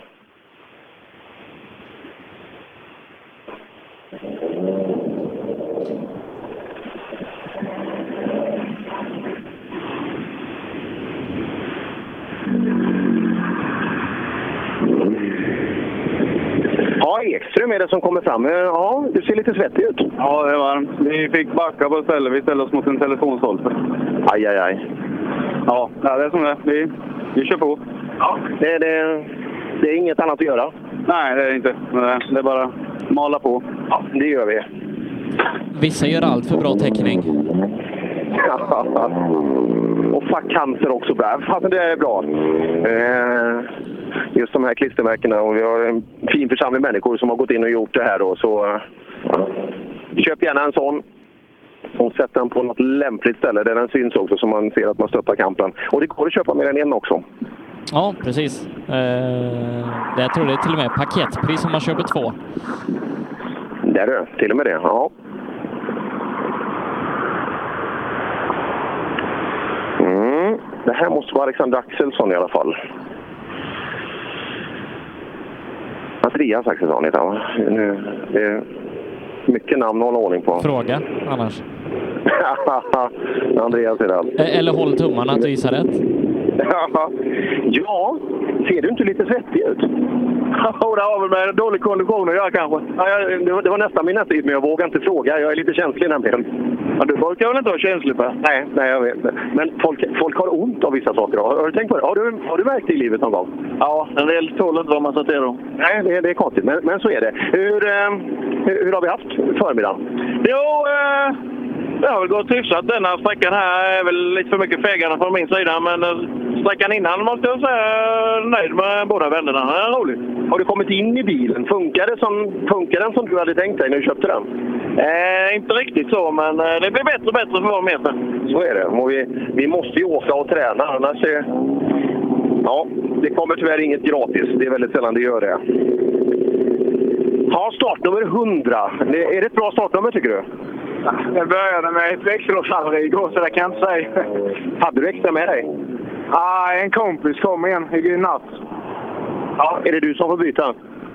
vem är det som kommer fram? Eh, Ja, du ser lite svettig ut. Ja, det är varmt. Vi fick backa på stället. Vi ställde oss mot en telefonstolpe. Aj, aj, aj. Ja, ja, det är som det är. Vi, vi kör på. Ja, det, det, det är inget annat att göra. Nej, det är det inte. Men det, det är bara att mala på. Ja, det gör vi. Vissa gör allt för bra täckning. och fuck cancer också. Bra. Fasen, det är bra. Eh, just de här klistermärkena. Och vi har en fin församling människor som har gått in och gjort det här. Då, så eh, köp gärna en sån. Och sätt den på något lämpligt ställe där den syns också så man ser att man stöttar kampen. Och det går att köpa mer än en också. Ja, precis. Eh, det jag tror det är till och med paketpris om man köper två. Där du, till och med det. Ja. Mm. Det här måste vara Alexander Axelsson i alla fall. Andreas Axelsson heter han va? Nu, det är mycket namn att hålla ordning på. Fråga annars. Andreas är det. allt. Eh, eller håll tummarna att du gissar rätt. ja, ser du inte lite svettig ut? Jo, det har väl med dålig kondition att göra kanske. Ja, jag, det var- det var nästan min nästa hit, men jag vågar inte fråga. Jag är lite känslig nämligen. Ja, du brukar väl inte vara känslig för? Nej, nej jag vet. Men folk, folk har ont av vissa saker. Har, har du tänkt på det? Har du, har du märkt det i livet någon gång? Ja, en del tål inte vad man sätter dem. Nej, det, det är konstigt, men, men så är det. Hur, eh, hur, hur har vi haft förmiddagen? Jo, eh, det har väl gått hyfsat. Den här sträckan här är väl lite för mycket fegande från min sida. Men eh, sträckan innan måste jag säga eh, nöjd med båda vännerna. Det är roligt. Har du kommit in i bilen? Funkar, det som, funkar den som du hade tänkt dig när du köpte den? Eh, inte riktigt så, men eh, det blir bättre och bättre för var meter. Så är det. Och vi, vi måste ju åka och träna, annars... Är, ja, det kommer tyvärr inget gratis. Det är väldigt sällan det gör det. Ja, startnummer 100. Det, är det ett bra startnummer, tycker du? Jag började med ett växellådshaveri igår, så det kan jag inte säga. Hade du extra med dig? Ah, en kompis kom igen i natt. Ja, är det du som får byta?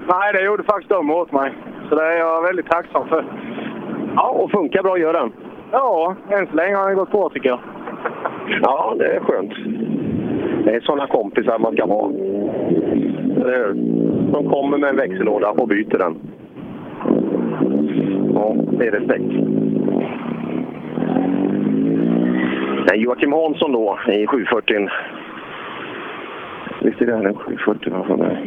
Nej, det gjorde faktiskt de åt mig. Så det är jag väldigt tacksam för. Ja, och funkar bra gör den? Ja, än så länge har den gått bra tycker jag. Ja, det är skönt. Det är sådana kompisar man ska ha. Eller hur? De kommer med en växellåda och byter den. Ja, det är respekt. Nej, Joakim Hansson då i 740. Visst är det här en 740? vad fan är det?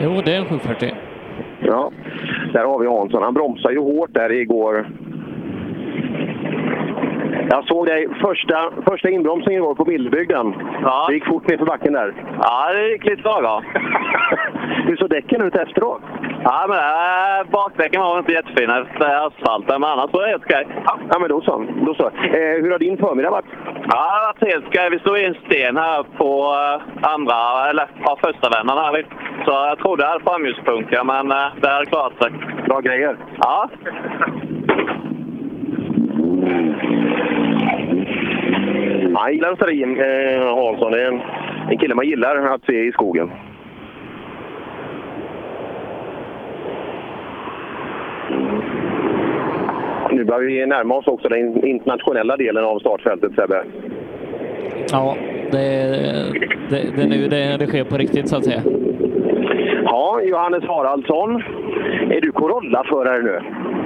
Jo, det är en 740. Ja, där har vi Hansson. Han bromsade ju hårt där igår. Jag såg dig första, första inbromsningen igår på Billbygden. Det gick fort ner för backen där. Ja, det gick lite svagare. Hur såg däcken ut efteråt? Ja, men äh, bakdäcken var väl inte jättefina efter asfalten, men annars var det helt okej. Ja, men då så. Då så. Eh, hur har din förmiddag varit? Ja, det har varit helt okej. Vi stod i en sten här på eh, andra, eller ja, första vändan här. vid. Så jag trodde jag hade framljuspunkter, men eh, det hade klarat sig. Bra grejer. Ja. Jag gillar Sarin eh, Hansson. Det är en, en kille man gillar att se i skogen. Nu börjar vi närma oss också den internationella delen av startfältet, Sebbe. Ja, det, det, det är nu det, det sker på riktigt så att säga. Ja, Johannes Haraldsson. Är du Corolla-förare nu?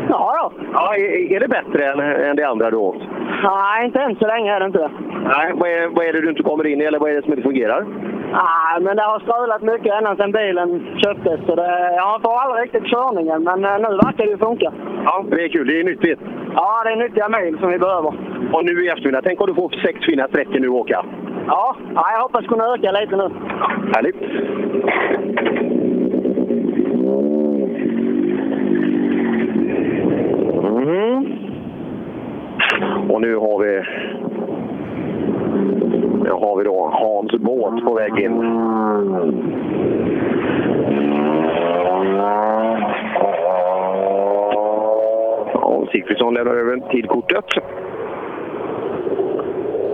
Ja, då. ja är, är det bättre än, än det andra du åkt? Nej, inte än så länge är det inte. Nej, vad är, vad är det du inte kommer in i eller vad är det som inte fungerar? Nej, Ah, men det har strulat mycket ända sedan bilen köptes. Så det, jag får aldrig riktigt körningen, men eh, nu verkar det ju funka. Ja, det är kul. Det är nyttigt. Ja, det är nyttiga mil som vi behöver. Och nu i eftermiddag, tänk om du får sex fina sträckor nu att åka. Ja, ja, jag hoppas kunna öka lite nu. Härligt. Mm. Och nu har vi... Nu har vi då Hans båt på väg in. Ja, Sigfridsson lämnar över tidkortet.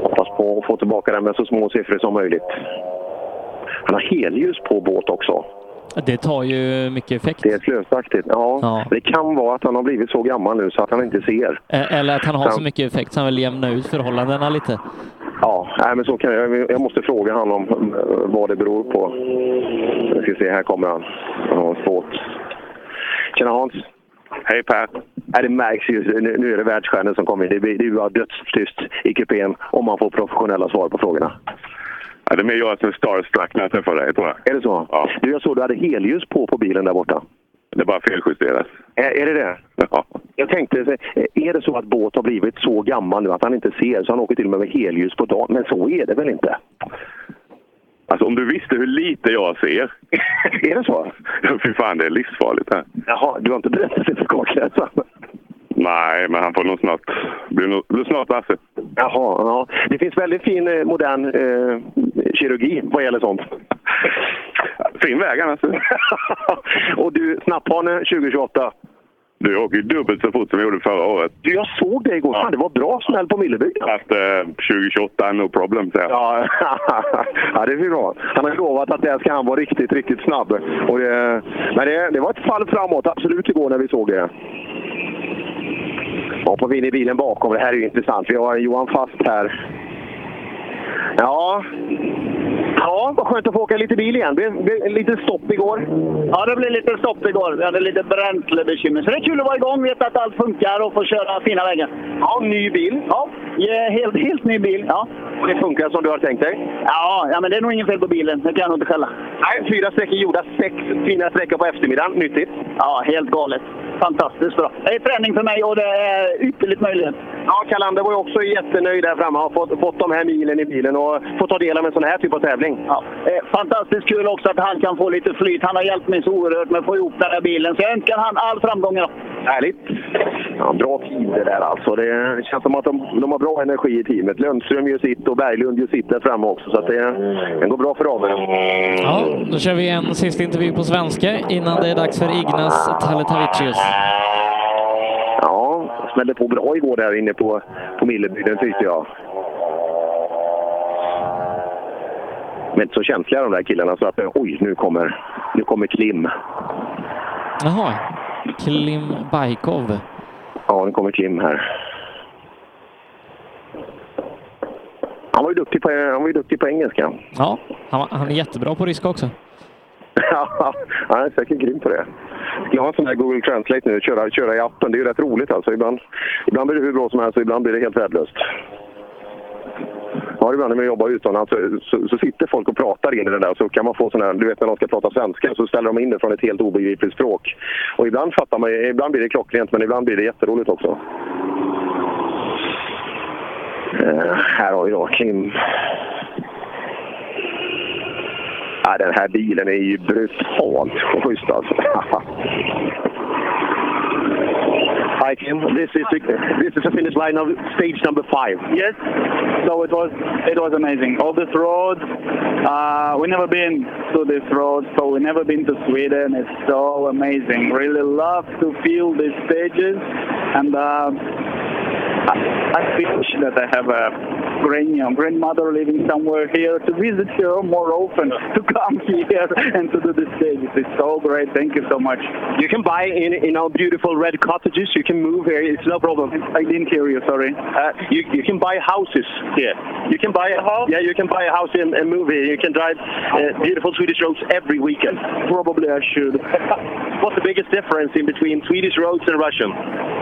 Hoppas på att få tillbaka den med så små siffror som möjligt. Han har helljus på båt också. Det tar ju mycket effekt. Det är slösaktigt. Ja. Ja. Det kan vara att han har blivit så gammal nu så att han inte ser. Eh, Eller att han har Ja. så mycket effekt så han vill jämna ut förhållandena lite. Ja, nej, men så kan jag. jag måste fråga han om eh, vad det beror på. Jag ska se, här kommer han. Han har en spåt. Tjena Hans! Hej Per! Nej, det märks ju. Nu, nu är det världsstjärnor som kommer in. Det blir det blir bara dödstyst i kupén om man får professionella svar på frågorna. Ja, det är mer jag som är starstruck när jag träffar dig, tror jag. Är det så? Ja. Du, jag såg du hade helljus på på bilen där borta. Det är bara feljusterat. Är, är det det? Ja. Jag tänkte, så här, är det så att båt har blivit så gammal nu att han inte ser så han åker till och med med helljus på dagen? Men så är det väl inte? Alltså, om du visste hur lite jag ser. är det så? Ja, Fy fan, det är livsfarligt här. Jaha, du har inte berättat det för kartläsaren? Nej, men han får nog snart... Blir, nog, blir snart Lasse. Jaha, ja. Det finns väldigt fin eh, modern eh, kirurgi vad gäller sånt. Fin väg annars. och du, Snapphane 2028. Du jag åker ju dubbelt så fort som jag gjorde förra året. Du, jag såg det igår. Fan, det var bra smäll på Millebygden. Så Att eh, 2028 är no problem, säger jag. Ja, ja, det är bra. Han har lovat att där ska han vara riktigt, riktigt snabb. Och det, men det, det var ett fall framåt, absolut, igår när vi såg det. Jag hoppar vi in i bilen bakom. Det här är ju intressant. Vi har Johan Fast här. Ja. Ja, vad skönt att få åka lite bil igen. Det blev lite stopp igår. Ja, det blev lite stopp igår. Vi hade lite bränslebekymmer. Så det är kul att vara igång, veta att allt funkar och få köra fina vägar. Ja, ny bil. Ja, ja, helt, helt ny bil. Ja. Och det funkar som du har tänkt dig? Ja, ja men det är nog inget fel på bilen. Det kan jag nog inte skälla. Nej, fyra sträckor gjorda. Sex fina sträckor på eftermiddagen. Nyttigt. Ja, helt galet. Fantastiskt bra. Det är träning för mig och det är ytterligt möjligt. Ja, Kalander var ju också jättenöjd där framme. Har fått, fått de här milen i bilen och fått ta del av en sån här typ av tävling. Ja, eh, fantastiskt kul också att han kan få lite flyt. Han har hjälpt mig så oerhört med att få ihop den här bilen. Så jag önskar han all framgång idag. Härligt! Ja, bra tider där alltså. Det känns som att de, de har bra energi i teamet. Lundström gör sitt och Berglund gör sitt där framme också. Så att det, det går bra för dem. Ja, då kör vi en sista intervju på svenska innan det är dags för Ignas Taletavicius. Ja, smällde på bra igår där inne på, på Millebygden tyckte jag. Men inte så känsliga de där killarna så att oj, nu kommer, nu kommer Klim. Jaha, Klim Bajkov. Ja, nu kommer Klim här. Han var ju duktig på, han var ju duktig på engelska. Ja, han, han är jättebra på ryska också. Ja, han är säkert grym på det. Jag har en sån där Google Translate nu, köra, köra i appen. Det är ju rätt roligt alltså. Ibland, ibland blir det hur bra som helst och ibland blir det helt värdelöst. Ja, ibland när man jobbar utomlands så, så, så sitter folk och pratar in i den där. Så kan man få sån här, du vet när de ska prata svenska, så ställer de in det från ett helt obegripligt språk. Och ibland fattar man ju- ibland blir det klockrent, men ibland blir det jätteroligt också. Eh, här har vi då Kim. Ja, Äh, den här bilen är ju brutalt schysst alltså. Hi Kim, this is the, this is the finish line of stage number five. Yes. So it was it was amazing. All this road, uh, we never been to this road, so we never been to Sweden. It's so amazing. Really love to feel these stages, and uh, I, I wish that I have a grand grandmother living somewhere here to visit her more often, to come here and to do the stages. It's so great. Thank you so much. You can buy in in our beautiful red cottages. You can move here. It's no problem. I didn't hear you. Sorry. Uh, you you can buy houses here. You can buy a house. Yeah, you can buy a house and, and move here. You can drive uh, beautiful Swedish roads every weekend. Probably I should. What's the biggest difference in between Swedish roads and Russian?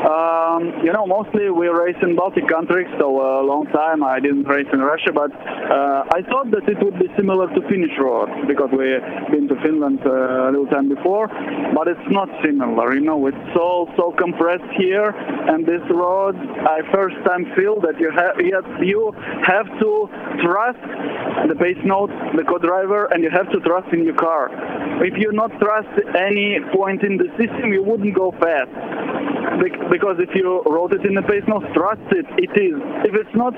Um, you know, mostly we race in Baltic countries, so uh, a long time I didn't race in Russia, but uh, I thought that it would be similar to Finnish road because we been to Finland uh, a little time before, but it's not similar. You know, it's so so compressed here, and this road I first time feel that you have you have to trust the base note, the co-driver, and you have to trust in your car. If you not trust any point in the system, you wouldn't go fast. Bec- because if you wrote it in the pace notes, trust it, it is. If it's not,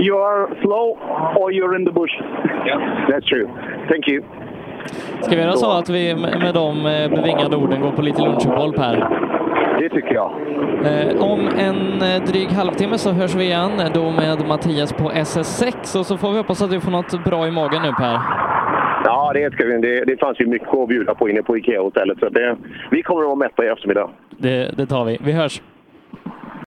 you are slow or you're in the bush. That's true. Thank you. Ska vi göra så att vi med med de eh, bevingade orden går på lite lunchuppehåll Per? Det tycker jag. Eh, Om en eh, dryg halvtimme så hörs vi igen, eh, då med Mattias på SS6 och så får vi hoppas att du får något bra i magen nu Per. Ja, det, ska vi, det, det fanns ju mycket att bjuda på inne på Ikea-hotellet. Så det, vi kommer att vara mätta i eftermiddag. Det, det tar vi. Vi hörs.